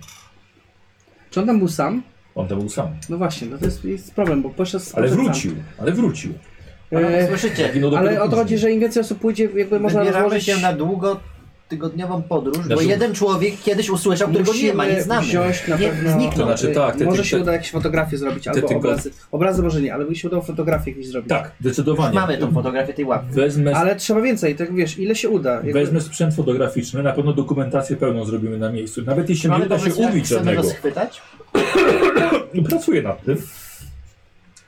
[SPEAKER 4] Czy on tam był sam?
[SPEAKER 1] On tam był sam.
[SPEAKER 4] No właśnie, no to jest, jest problem, bo poszedł z
[SPEAKER 1] Ale
[SPEAKER 4] poszedł
[SPEAKER 1] wrócił, ale wrócił.
[SPEAKER 4] sam. E,
[SPEAKER 3] Słyszycie,
[SPEAKER 1] No dopiero
[SPEAKER 4] ale o to
[SPEAKER 1] później.
[SPEAKER 4] chodzi, że im więcej osób pójdzie, jakby można
[SPEAKER 3] wybieramy
[SPEAKER 4] rozłożyć...
[SPEAKER 3] się na długo tygodniową podróż, bo
[SPEAKER 1] Znaczy-
[SPEAKER 3] jeden człowiek kiedyś usłyszał, którego nie ma, nie
[SPEAKER 4] Musimy
[SPEAKER 3] znamy.
[SPEAKER 4] wziąć na
[SPEAKER 3] nie,
[SPEAKER 4] pewno...
[SPEAKER 1] To
[SPEAKER 3] Zniknął.
[SPEAKER 1] znaczy tak, te-
[SPEAKER 4] Może
[SPEAKER 1] te-
[SPEAKER 4] się
[SPEAKER 1] te-
[SPEAKER 4] uda jakieś fotografie zrobić, albo
[SPEAKER 1] tylko-
[SPEAKER 4] obrazy. Obrazy może nie, ale by się udało fotografię jakieś zrobić.
[SPEAKER 1] Tak, zdecydowanie.
[SPEAKER 3] Mamy tą fotografię tej łapki.
[SPEAKER 1] Wezmę,
[SPEAKER 4] Ale trzeba więcej, tak wiesz, ile się uda. Jakby-
[SPEAKER 1] wezmę sprzęt fotograficzny, na pewno dokumentację pełną zrobimy na miejscu. Nawet jeśli nie
[SPEAKER 3] Mamy
[SPEAKER 1] uda się
[SPEAKER 3] pomysł, jak
[SPEAKER 1] ubić
[SPEAKER 3] chcemy
[SPEAKER 1] żadnego. No,
[SPEAKER 3] go schwytać?
[SPEAKER 1] Pracuję nad tym.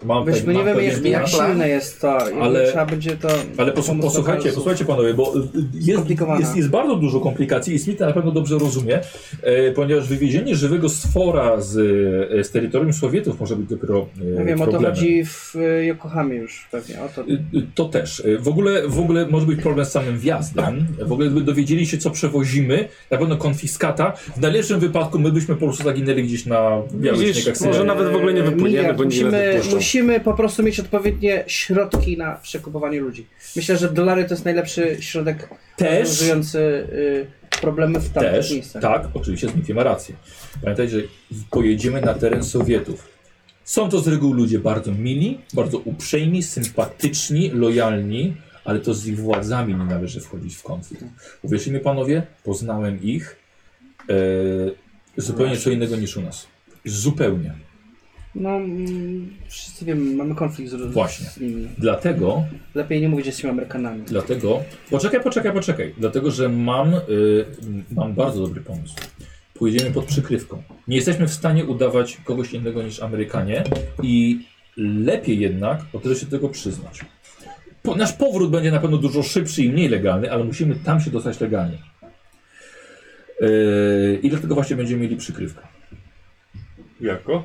[SPEAKER 1] Mam
[SPEAKER 4] Wiesz, my nie
[SPEAKER 1] mam
[SPEAKER 4] wiemy
[SPEAKER 1] pewien
[SPEAKER 4] jak,
[SPEAKER 1] plan.
[SPEAKER 4] jak silne jest to,
[SPEAKER 1] Ale-
[SPEAKER 4] ale trzeba będzie to...
[SPEAKER 1] Ale posłu- posłuchajcie, posłuchajcie panowie, bo y, y, jest,
[SPEAKER 4] Skomplikowana.
[SPEAKER 1] jest, jest bardzo dużo komplikacji i Smith na pewno dobrze rozumie, e, ponieważ wywiezienie żywego stwora z, e, z terytorium Sowietów może być dopiero e,
[SPEAKER 4] Ja No wiem, o to
[SPEAKER 1] problemem.
[SPEAKER 4] chodzi w y, Yokohamie już pewnie, o to.
[SPEAKER 1] Y, y, To też. Y, W ogóle, w ogóle może być problem z samym wjazdem. W ogóle gdyby dowiedzieli się, co przewozimy, na pewno konfiskata. W najlepszym wypadku my byśmy po prostu zaginęli gdzieś na białych
[SPEAKER 6] Widzisz, może nawet w ogóle nie wypłyniemy,
[SPEAKER 4] Miliard.
[SPEAKER 6] bo nie
[SPEAKER 4] musimy,
[SPEAKER 6] wypuszczą.
[SPEAKER 4] musimy po prostu mieć odpowiednie środki na przekupywanie ludzi. Myślę, że dolary to jest najlepszy środek
[SPEAKER 1] Też,
[SPEAKER 4] rozwiązujący y, problemy w tamtych
[SPEAKER 1] też,
[SPEAKER 4] miejscach.
[SPEAKER 1] tak, oczywiście Zmitki ma rację. Pamiętaj, że pojedziemy na teren Sowietów. Są to z reguły ludzie bardzo mili, bardzo uprzejmi, sympatyczni, lojalni, ale to z ich władzami nie należy wchodzić w konflikt. Uwierzcie mi panowie, poznałem ich e, zupełnie co innego niż u nas. Zupełnie.
[SPEAKER 4] No, mm, wszyscy wiemy, mamy konflikt z,
[SPEAKER 1] Właśnie.
[SPEAKER 4] z nimi.
[SPEAKER 1] Dlatego,
[SPEAKER 4] Lepiej nie mówić, że jesteśmy Amerykanami.
[SPEAKER 1] dlatego, poczekaj, poczekaj, poczekaj. Dlatego, że mam, y, mam bardzo dobry pomysł. Pójdziemy pod przykrywką. Nie jesteśmy w stanie udawać kogoś innego niż Amerykanie i lepiej jednak, o tyle się do tego przyznać. Po, nasz powrót będzie na pewno dużo szybszy i mniej legalny, ale musimy tam się dostać legalnie. Y, I dlatego właśnie będziemy mieli przykrywkę.
[SPEAKER 5] Jako?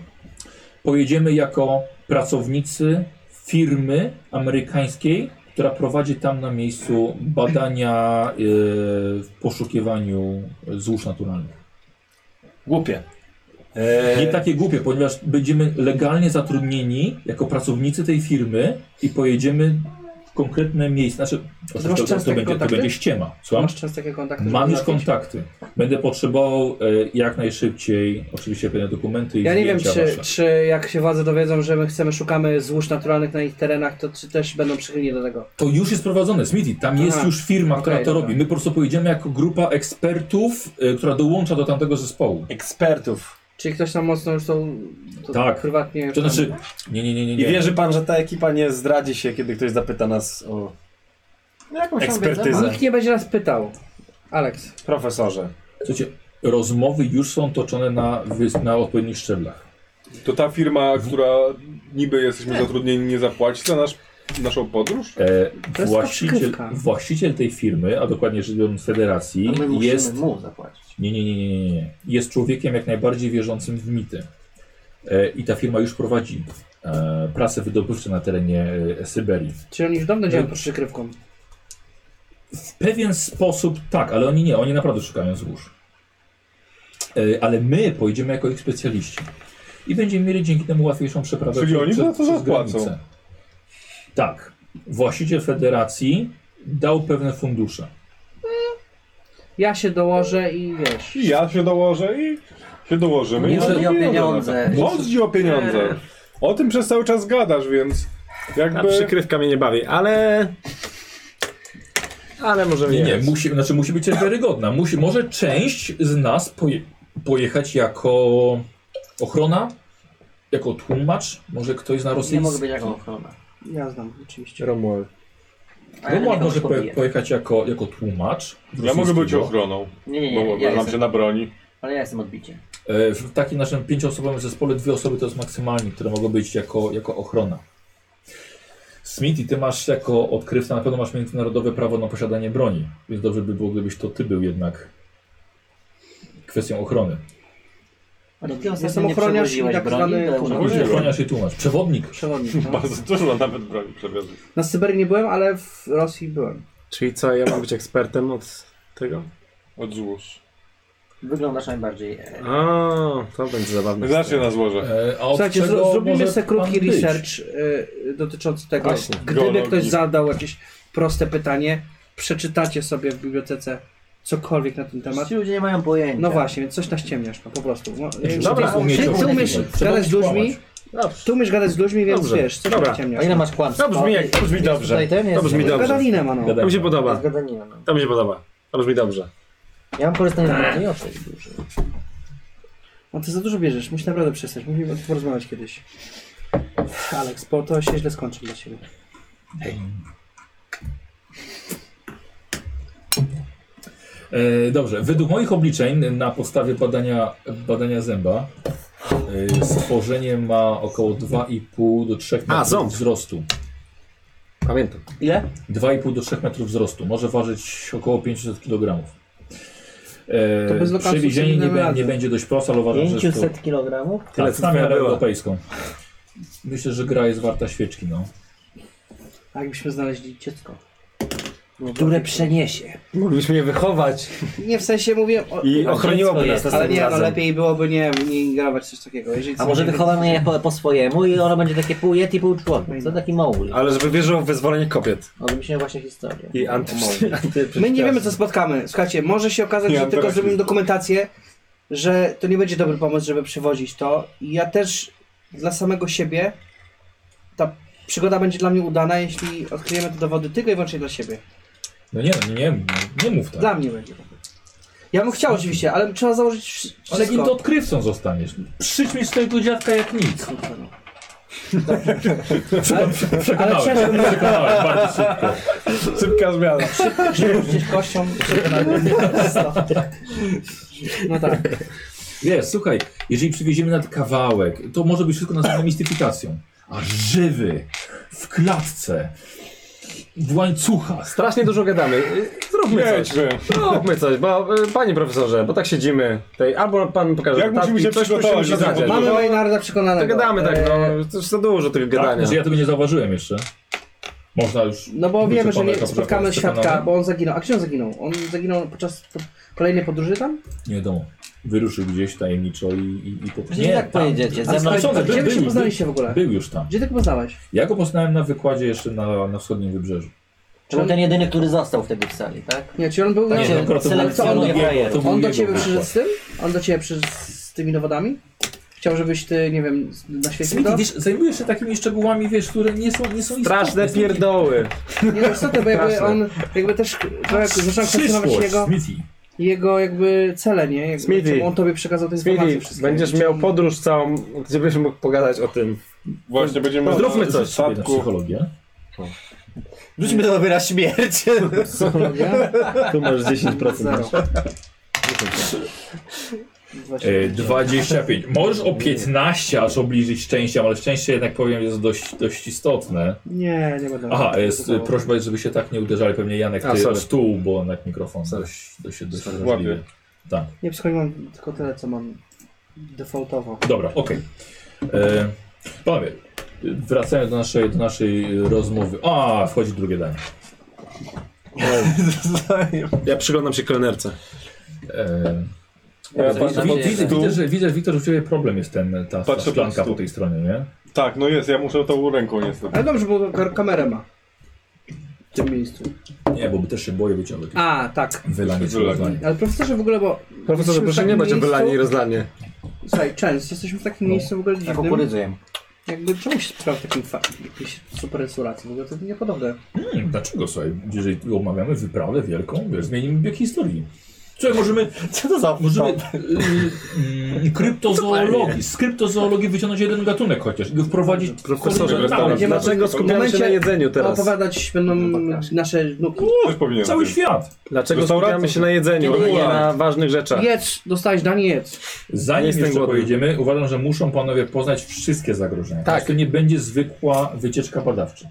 [SPEAKER 1] Pojedziemy jako pracownicy firmy amerykańskiej, która prowadzi tam na miejscu badania e, w poszukiwaniu złóż naturalnych.
[SPEAKER 2] Głupie. E, tak-
[SPEAKER 1] Nie takie głupie, ponieważ będziemy legalnie zatrudnieni jako pracownicy tej firmy i pojedziemy w konkretne miejsce. Znaczy, to,
[SPEAKER 4] masz
[SPEAKER 1] to, to,
[SPEAKER 4] często
[SPEAKER 1] będzie, to
[SPEAKER 4] kontakty?
[SPEAKER 1] będzie ściema. Słucham?
[SPEAKER 4] Masz często takie kontakty? żeby
[SPEAKER 1] Mam już
[SPEAKER 4] załatwić?
[SPEAKER 1] kontakty. Będę potrzebował e, jak najszybciej oczywiście pewne dokumenty i
[SPEAKER 4] Ja nie wiem,
[SPEAKER 1] zdjęcia
[SPEAKER 4] czy,
[SPEAKER 1] wasze.
[SPEAKER 4] czy jak się władze dowiedzą, że my chcemy, szukamy złóż naturalnych na ich terenach, to czy też będą przychylni do tego.
[SPEAKER 1] To już jest prowadzone, Smithy. Tam jest
[SPEAKER 4] Aha,
[SPEAKER 1] już firma, która
[SPEAKER 4] okej,
[SPEAKER 1] to
[SPEAKER 4] dobra.
[SPEAKER 1] robi. My po prostu pojedziemy jako grupa ekspertów, y, która dołącza do tamtego zespołu.
[SPEAKER 2] Ekspertów.
[SPEAKER 4] Czyli ktoś tam mocno już to, to
[SPEAKER 1] Tak.
[SPEAKER 4] prywatnie...
[SPEAKER 1] To znaczy, nie, nie, nie, nie.
[SPEAKER 2] I
[SPEAKER 1] nie.
[SPEAKER 2] wierzy pan, że ta ekipa nie zdradzi się, kiedy ktoś zapyta nas o
[SPEAKER 3] No jakąś tam
[SPEAKER 2] Ekspertyza.
[SPEAKER 3] wiedzę ma.
[SPEAKER 4] Nikt nie będzie nas pytał. Alex.
[SPEAKER 2] profesorze.
[SPEAKER 1] Słuchajcie, rozmowy już są toczone na, wys- na odpowiednich szczeblach.
[SPEAKER 5] To ta firma, która niby jesteśmy zatrudnieni, nie zapłaci za nasz, naszą podróż?
[SPEAKER 1] E,
[SPEAKER 4] To jest
[SPEAKER 1] właściciel,
[SPEAKER 4] podkrywka.
[SPEAKER 1] właściciel tej firmy, a dokładnie rzecz biorąc federacji,
[SPEAKER 3] A my musimy
[SPEAKER 1] jest
[SPEAKER 3] mu zapłacić.
[SPEAKER 1] Nie, nie, nie, nie, nie, nie. Jest człowiekiem jak najbardziej wierzącym w mity. E, I ta firma już prowadzi e, pracę wydobywcze na terenie e, Syberii.
[SPEAKER 4] Czyli oni już dawno działają pod przykrywką.
[SPEAKER 1] W pewien sposób tak, ale oni nie, oni naprawdę szukają złóż. E, ale my pojedziemy jako ich specjaliści. I będziemy mieli dzięki temu łatwiejszą przeprawę
[SPEAKER 5] Czyli
[SPEAKER 1] prze-
[SPEAKER 5] oni
[SPEAKER 1] prze-
[SPEAKER 5] za to
[SPEAKER 1] przez
[SPEAKER 5] zapłacą.
[SPEAKER 1] granicę. Tak. Właściciel federacji dał pewne fundusze.
[SPEAKER 4] Ja się dołożę i wiesz.
[SPEAKER 5] I ja się dołożę i się dołożymy.
[SPEAKER 1] Nie
[SPEAKER 5] I
[SPEAKER 1] chodzi
[SPEAKER 5] mamy
[SPEAKER 3] o
[SPEAKER 5] pieniądze na to.
[SPEAKER 3] pieniądze.
[SPEAKER 5] Chodzi o pieniądze. O tym przez cały czas gadasz, więc
[SPEAKER 6] A
[SPEAKER 5] jakby...
[SPEAKER 6] przykrywka mnie nie bawi, ale... Ale możemy
[SPEAKER 1] Nie, nie,
[SPEAKER 6] jechać.
[SPEAKER 1] musi, znaczy musi być też wiarygodna. Musi, może część z nas poje, pojechać jako ochrona, jako tłumacz, może ktoś zna
[SPEAKER 3] Nie mogę
[SPEAKER 1] rosyjski.
[SPEAKER 3] być jako ochrona.
[SPEAKER 4] Ja znam, oczywiście.
[SPEAKER 2] Romuald.
[SPEAKER 4] No,
[SPEAKER 3] A ja
[SPEAKER 1] Romuald
[SPEAKER 3] nikogo
[SPEAKER 1] No, może
[SPEAKER 3] nie
[SPEAKER 1] poje,
[SPEAKER 3] pobiję.
[SPEAKER 1] pojechać jako, jako tłumacz.
[SPEAKER 5] Ja mogę być
[SPEAKER 1] rosyjskiego.
[SPEAKER 5] ochroną,
[SPEAKER 3] Nie, nie,
[SPEAKER 5] bo
[SPEAKER 3] nie. Ja
[SPEAKER 5] nam się
[SPEAKER 3] jestem,
[SPEAKER 5] na broni.
[SPEAKER 3] ale ja jestem odbiciem.
[SPEAKER 1] E, W takim naszym pięcioosobowym zespole dwie osoby to jest maksymalnie, które mogą być jako, jako ochrona. Smithy, ty masz jako odkrywca, na pewno masz międzynarodowe prawo na posiadanie broni, więc dobrze by było, gdybyś to ty był jednak kwestią ochrony.
[SPEAKER 3] Ale ty
[SPEAKER 4] Jestem
[SPEAKER 3] ostatnio nie
[SPEAKER 4] ochroniarz i
[SPEAKER 3] przewoziłeś
[SPEAKER 4] tak
[SPEAKER 3] broni,
[SPEAKER 4] zwany
[SPEAKER 3] to
[SPEAKER 4] tłumacz.
[SPEAKER 1] Później ochroniarz i tłumacz. Przewodnik.
[SPEAKER 4] Przewodnik. No.
[SPEAKER 5] Bardzo dużo nawet broni przewiozłem.
[SPEAKER 4] Na Syberii nie byłem, ale w Rosji byłem.
[SPEAKER 6] Czyli co, ja mam być ekspertem od tego?
[SPEAKER 5] Od złóż.
[SPEAKER 3] wyglądasz najbardziej...
[SPEAKER 4] No
[SPEAKER 3] e,
[SPEAKER 6] A, to będzie zabawne.
[SPEAKER 5] Znacznie na złoże.
[SPEAKER 1] E, A od
[SPEAKER 4] Słuchajcie,
[SPEAKER 1] czego
[SPEAKER 4] zro-
[SPEAKER 1] może
[SPEAKER 4] zrobimy sobie krótki
[SPEAKER 1] pan być?
[SPEAKER 4] research y, dotyczący tego.
[SPEAKER 6] Właśnie.
[SPEAKER 4] Gdyby
[SPEAKER 5] Geologii.
[SPEAKER 4] ktoś zadał jakieś proste pytanie, przeczytacie sobie w bibliotece cokolwiek na ten temat.
[SPEAKER 3] Ci ludzie nie mają pojęcia.
[SPEAKER 4] No właśnie, więc coś naściemniasz, no, po prostu. No,
[SPEAKER 1] Znaczy,
[SPEAKER 4] y,
[SPEAKER 1] trzeba
[SPEAKER 4] dobra,
[SPEAKER 1] umieć
[SPEAKER 4] ty, ty
[SPEAKER 1] okłamywać.
[SPEAKER 4] umiesz
[SPEAKER 1] Trzeba
[SPEAKER 4] gadać z
[SPEAKER 1] umieć
[SPEAKER 4] ludźmi,
[SPEAKER 1] kłamać.
[SPEAKER 2] Dobrze.
[SPEAKER 4] Tu umiesz gadać z ludźmi, więc
[SPEAKER 2] Dobrze.
[SPEAKER 4] wiesz, coś
[SPEAKER 2] Dobra.
[SPEAKER 4] tam ciemniasz.
[SPEAKER 3] A ile masz kłamstw?
[SPEAKER 2] To brzmi, jak, to brzmi dobrze.
[SPEAKER 3] Tutaj ten jest.
[SPEAKER 2] To brzmi
[SPEAKER 3] jest
[SPEAKER 2] dobrze.
[SPEAKER 4] Gadaninę ma, no.
[SPEAKER 1] Gadaj.
[SPEAKER 2] To mi się podoba.
[SPEAKER 3] gadanina, no.
[SPEAKER 2] To mi się podoba. To brzmi dobrze.
[SPEAKER 3] Ja mam korzystanie z broni oczej dużo.
[SPEAKER 4] No ty za dużo bierzesz, musisz naprawdę przestać, musimy porozmawiać kiedyś. Aleks, bo to się źle skończy dla ciebie.
[SPEAKER 1] E, dobrze, według moich obliczeń na podstawie badania, badania zęba e, stworzenie ma około 2,5 do 3 metrów
[SPEAKER 2] ząb.
[SPEAKER 1] wzrostu.
[SPEAKER 2] Pamiętam.
[SPEAKER 4] Ile?
[SPEAKER 1] 2,5 do 3 metrów wzrostu. Może ważyć około 500 kg.
[SPEAKER 4] To bez
[SPEAKER 1] E,
[SPEAKER 4] lokacji
[SPEAKER 1] Przewiezienie nie,
[SPEAKER 4] sobie damy
[SPEAKER 1] bę- nie
[SPEAKER 4] radę.
[SPEAKER 1] będzie dość proste, ale uważam, że jest to
[SPEAKER 3] 500 kg?
[SPEAKER 2] Tyle,
[SPEAKER 1] tak,
[SPEAKER 2] co
[SPEAKER 1] stawia
[SPEAKER 2] była.
[SPEAKER 1] europejską. Myślę, że gra jest warta świeczki, no.
[SPEAKER 4] A jakbyśmy znaleźli dziecko.
[SPEAKER 3] Które przeniesie.
[SPEAKER 2] Mogliśmy je wychować
[SPEAKER 4] Nie, w sensie mówię... O...
[SPEAKER 2] i
[SPEAKER 3] A dziecko
[SPEAKER 2] ochroniłoby nas
[SPEAKER 3] jest,
[SPEAKER 4] Ale
[SPEAKER 2] następnym
[SPEAKER 4] nie, no
[SPEAKER 2] razem.
[SPEAKER 4] lepiej byłoby nie, nie ingerować w coś takiego. Jeżeli
[SPEAKER 3] A może wychowamy je po, po swojemu i ono będzie takie pół yeti, pół człowiek. Co taki mały. No,
[SPEAKER 2] Ale żeby wierzył w wyzwolenie kobiet
[SPEAKER 3] Odmyśliłem właśnie historię.
[SPEAKER 2] i anty... anty-
[SPEAKER 4] My nie wiemy, co spotkamy. Słuchajcie, może się okazać,
[SPEAKER 2] Nie,
[SPEAKER 4] że tylko
[SPEAKER 2] teraz-
[SPEAKER 4] zrobimy dokumentację, że to nie będzie dobry pomysł, żeby przywozić to. I ja też dla samego siebie ta przygoda będzie dla mnie udana, jeśli odkryjemy te dowody tylko i wyłącznie dla siebie.
[SPEAKER 1] No nie, nie, nie, nie mów tak.
[SPEAKER 4] Dla mnie będzie. Ja bym chciał oczywiście, ale trzeba założyć wszy- wszystko.
[SPEAKER 1] Ale kim to odkrywcą zostaniesz? Przyćmisz swojego dziadka jak nic.
[SPEAKER 4] Kurczę, no.
[SPEAKER 1] Przekonałem,
[SPEAKER 4] ale ciężko było.
[SPEAKER 1] przekonałem bardzo szybko.
[SPEAKER 2] Szybka zmiana.
[SPEAKER 4] Przerzucić kością. No tak.
[SPEAKER 1] Wiesz, słuchaj, jeżeli przywieziemy nawet kawałek, to może być wszystko nazwane mistyfikacją. A żywy, w klatce, w łańcuchach.
[SPEAKER 2] Strasznie dużo gadamy. Y, Zróbmy coś.
[SPEAKER 5] Jedźmy.
[SPEAKER 2] Zróbmy coś, bo y, panie professorze, bo tak siedzimy. Tutaj, albo pan pokaże.
[SPEAKER 5] Jak musimy
[SPEAKER 2] notatki,
[SPEAKER 5] się
[SPEAKER 2] coś
[SPEAKER 5] przygotować
[SPEAKER 2] musimy się
[SPEAKER 5] do
[SPEAKER 2] znaleźć.
[SPEAKER 5] zawodu?
[SPEAKER 4] Mamy
[SPEAKER 2] Mamy
[SPEAKER 4] Maynarda przekonanego.
[SPEAKER 2] to gadamy tak, no.
[SPEAKER 4] Eee,
[SPEAKER 2] To jest za dużo tego
[SPEAKER 1] Tak,
[SPEAKER 2] gadania.
[SPEAKER 1] znaczy ja tego nie zauważyłem jeszcze. Można już...
[SPEAKER 4] No bo wiemy, że
[SPEAKER 1] Wyczerpane
[SPEAKER 4] nie
[SPEAKER 1] kaprze-
[SPEAKER 4] spotkamy
[SPEAKER 1] przekonane?
[SPEAKER 4] świadka, bo on zaginął. A gdzie on zaginął? On zaginął podczas po- kolejnej podróży tam?
[SPEAKER 1] Nie wiadomo. Wyruszył gdzieś tajemniczo i, i, i po prostu...
[SPEAKER 3] Nie, tak pojedziecie.
[SPEAKER 1] A
[SPEAKER 3] Ze mną
[SPEAKER 1] słuchaj,
[SPEAKER 4] A
[SPEAKER 1] sądzę,
[SPEAKER 4] gdzie wy
[SPEAKER 1] był-
[SPEAKER 4] się poznaliście w ogóle?
[SPEAKER 1] Był już tam.
[SPEAKER 4] Gdzie ty go poznałeś?
[SPEAKER 1] Ja go poznałem na wykładzie jeszcze na, na wschodnim wybrzeżu.
[SPEAKER 3] Czy był ten jedyny, który został wtedy w sali, tak?
[SPEAKER 4] Nie, czy on był...
[SPEAKER 3] Tak
[SPEAKER 4] Nie,
[SPEAKER 3] się
[SPEAKER 1] no, akurat to był-
[SPEAKER 3] selekcjonuje
[SPEAKER 1] to był jego- to
[SPEAKER 3] frajerów.
[SPEAKER 1] był
[SPEAKER 4] on do
[SPEAKER 1] jego
[SPEAKER 4] ciebie
[SPEAKER 1] wykład.
[SPEAKER 4] przyszedł z tym? On do ciebie przyszedł z tymi dowodami? Chciał, żebyś ty, nie wiem, z- na świecie
[SPEAKER 1] Smithy,
[SPEAKER 4] to?
[SPEAKER 1] wiesz, zajmujesz się takimi szczegółami, wiesz, które nie są, nie są istotne.
[SPEAKER 2] Straszne pierdoły.
[SPEAKER 4] Nie, no istotne, bo jakby
[SPEAKER 2] Straszne.
[SPEAKER 4] on jakby też trochę zaczął kwestionować
[SPEAKER 1] Przyszłość,
[SPEAKER 4] jego,
[SPEAKER 1] Smithy.
[SPEAKER 4] jego jakby cele, nie? Jakby,
[SPEAKER 2] Smithy.
[SPEAKER 4] czemu on tobie przekazał te informacje
[SPEAKER 2] Smithy,
[SPEAKER 4] wszystkie.
[SPEAKER 2] będziesz
[SPEAKER 4] Czy
[SPEAKER 2] miał
[SPEAKER 4] on-
[SPEAKER 2] podróż całą, gdzie byś mógł pogadać o tym.
[SPEAKER 5] Właśnie będziemy...
[SPEAKER 2] Zróbmy
[SPEAKER 5] na
[SPEAKER 2] coś.
[SPEAKER 1] Sobie na
[SPEAKER 5] Statku.
[SPEAKER 1] psychologię.
[SPEAKER 3] Wróćmy do wyra śmierć.
[SPEAKER 4] Psychologia?
[SPEAKER 2] Tu masz 10%.
[SPEAKER 4] Zero.
[SPEAKER 1] E, 25. Możesz o 15 aż obniżyć szczęściem, ale szczęście jednak powiem jest dość, dość istotne.
[SPEAKER 4] Nie, nie będę.
[SPEAKER 1] Aha, jest e, prośba, jest, żeby się tak nie uderzali. Pewnie Janek,
[SPEAKER 2] A,
[SPEAKER 1] ty
[SPEAKER 2] sorry.
[SPEAKER 1] o stół, bo jednak mikrofon dość, dość, dość wrażliwy.
[SPEAKER 5] Łapie.
[SPEAKER 1] Tak,
[SPEAKER 4] Nie, przychodzi mam tylko tyle, co mam defaultowo.
[SPEAKER 1] dobra, okej. E, Panowie, e, wracając do naszej, do naszej rozmowy. A, wchodzi drugie danie.
[SPEAKER 2] Ja przyglądam się kelnerce.
[SPEAKER 1] E,
[SPEAKER 5] Ja
[SPEAKER 1] Wi-
[SPEAKER 5] patrzę
[SPEAKER 1] wi-
[SPEAKER 5] pod
[SPEAKER 1] widzę,
[SPEAKER 5] stół.
[SPEAKER 1] widzę, że, widzę, że Wiktor, u Ciebie problem jest ten, ta, ta
[SPEAKER 5] Patrzę pod
[SPEAKER 1] szklanka po
[SPEAKER 5] stół.
[SPEAKER 1] tej stronie, nie?
[SPEAKER 5] Tak, no jest, ja muszę tą ręką niestety.
[SPEAKER 4] Ale dobrze, bo kar- kamerę ma. W tym miejscu.
[SPEAKER 1] Nie, bo by też się boję wyciągnąć.
[SPEAKER 4] A, tak.
[SPEAKER 1] Wylanie czy
[SPEAKER 5] Wylanie.
[SPEAKER 1] rozlanie.
[SPEAKER 4] Ale profesorze w ogóle, bo...
[SPEAKER 2] Profesorze,
[SPEAKER 4] jesteśmy
[SPEAKER 2] proszę
[SPEAKER 4] w
[SPEAKER 2] nie
[SPEAKER 4] takim
[SPEAKER 2] dać o
[SPEAKER 4] miejscu-
[SPEAKER 2] wylanie i rozlanie.
[SPEAKER 4] Słuchaj, często jesteśmy w
[SPEAKER 2] No.
[SPEAKER 4] takim miejscu w ogóle
[SPEAKER 3] Ja
[SPEAKER 4] dziwnym.
[SPEAKER 3] kukurydzuję.
[SPEAKER 4] Jakby czemu się spotkał w takim fa- jakiejś super restauracji? W ogóle to niepodobne.
[SPEAKER 1] Hmm, dlaczego, słuchaj, jeżeli tu omawiamy wyprawę wielką, wiesz, zmienimy bieg historii. No. Słuchaj, możemy,
[SPEAKER 3] Co to za...
[SPEAKER 1] możemy y, y, kryptozoologii, z kryptozoologii wyciągnąć jeden gatunek chociaż i go wprowadzić...
[SPEAKER 2] Profesorze,
[SPEAKER 1] kurde,
[SPEAKER 5] restauracja.
[SPEAKER 1] dalej.
[SPEAKER 4] Nie ma-
[SPEAKER 2] Dlaczego skupiamy się na jedzeniu teraz?
[SPEAKER 4] Opowiadać będą
[SPEAKER 1] No, tak.
[SPEAKER 4] nasze no, wnuki.
[SPEAKER 5] Coś powinienem
[SPEAKER 1] Cały
[SPEAKER 5] zrobić.
[SPEAKER 1] świat!
[SPEAKER 2] Dlaczego
[SPEAKER 5] Restauracja.
[SPEAKER 2] skupiamy się na jedzeniu, a nie na ważnych rzeczach?
[SPEAKER 4] Jedz, dostałeś danie, jedz.
[SPEAKER 1] Zanim
[SPEAKER 2] Jestem
[SPEAKER 1] jeszcze
[SPEAKER 2] głodny.
[SPEAKER 1] pojedziemy, uważam, że muszą panowie poznać wszystkie zagrożenia.
[SPEAKER 2] Tak.
[SPEAKER 1] Tak. To nie będzie zwykła wycieczka badawcza.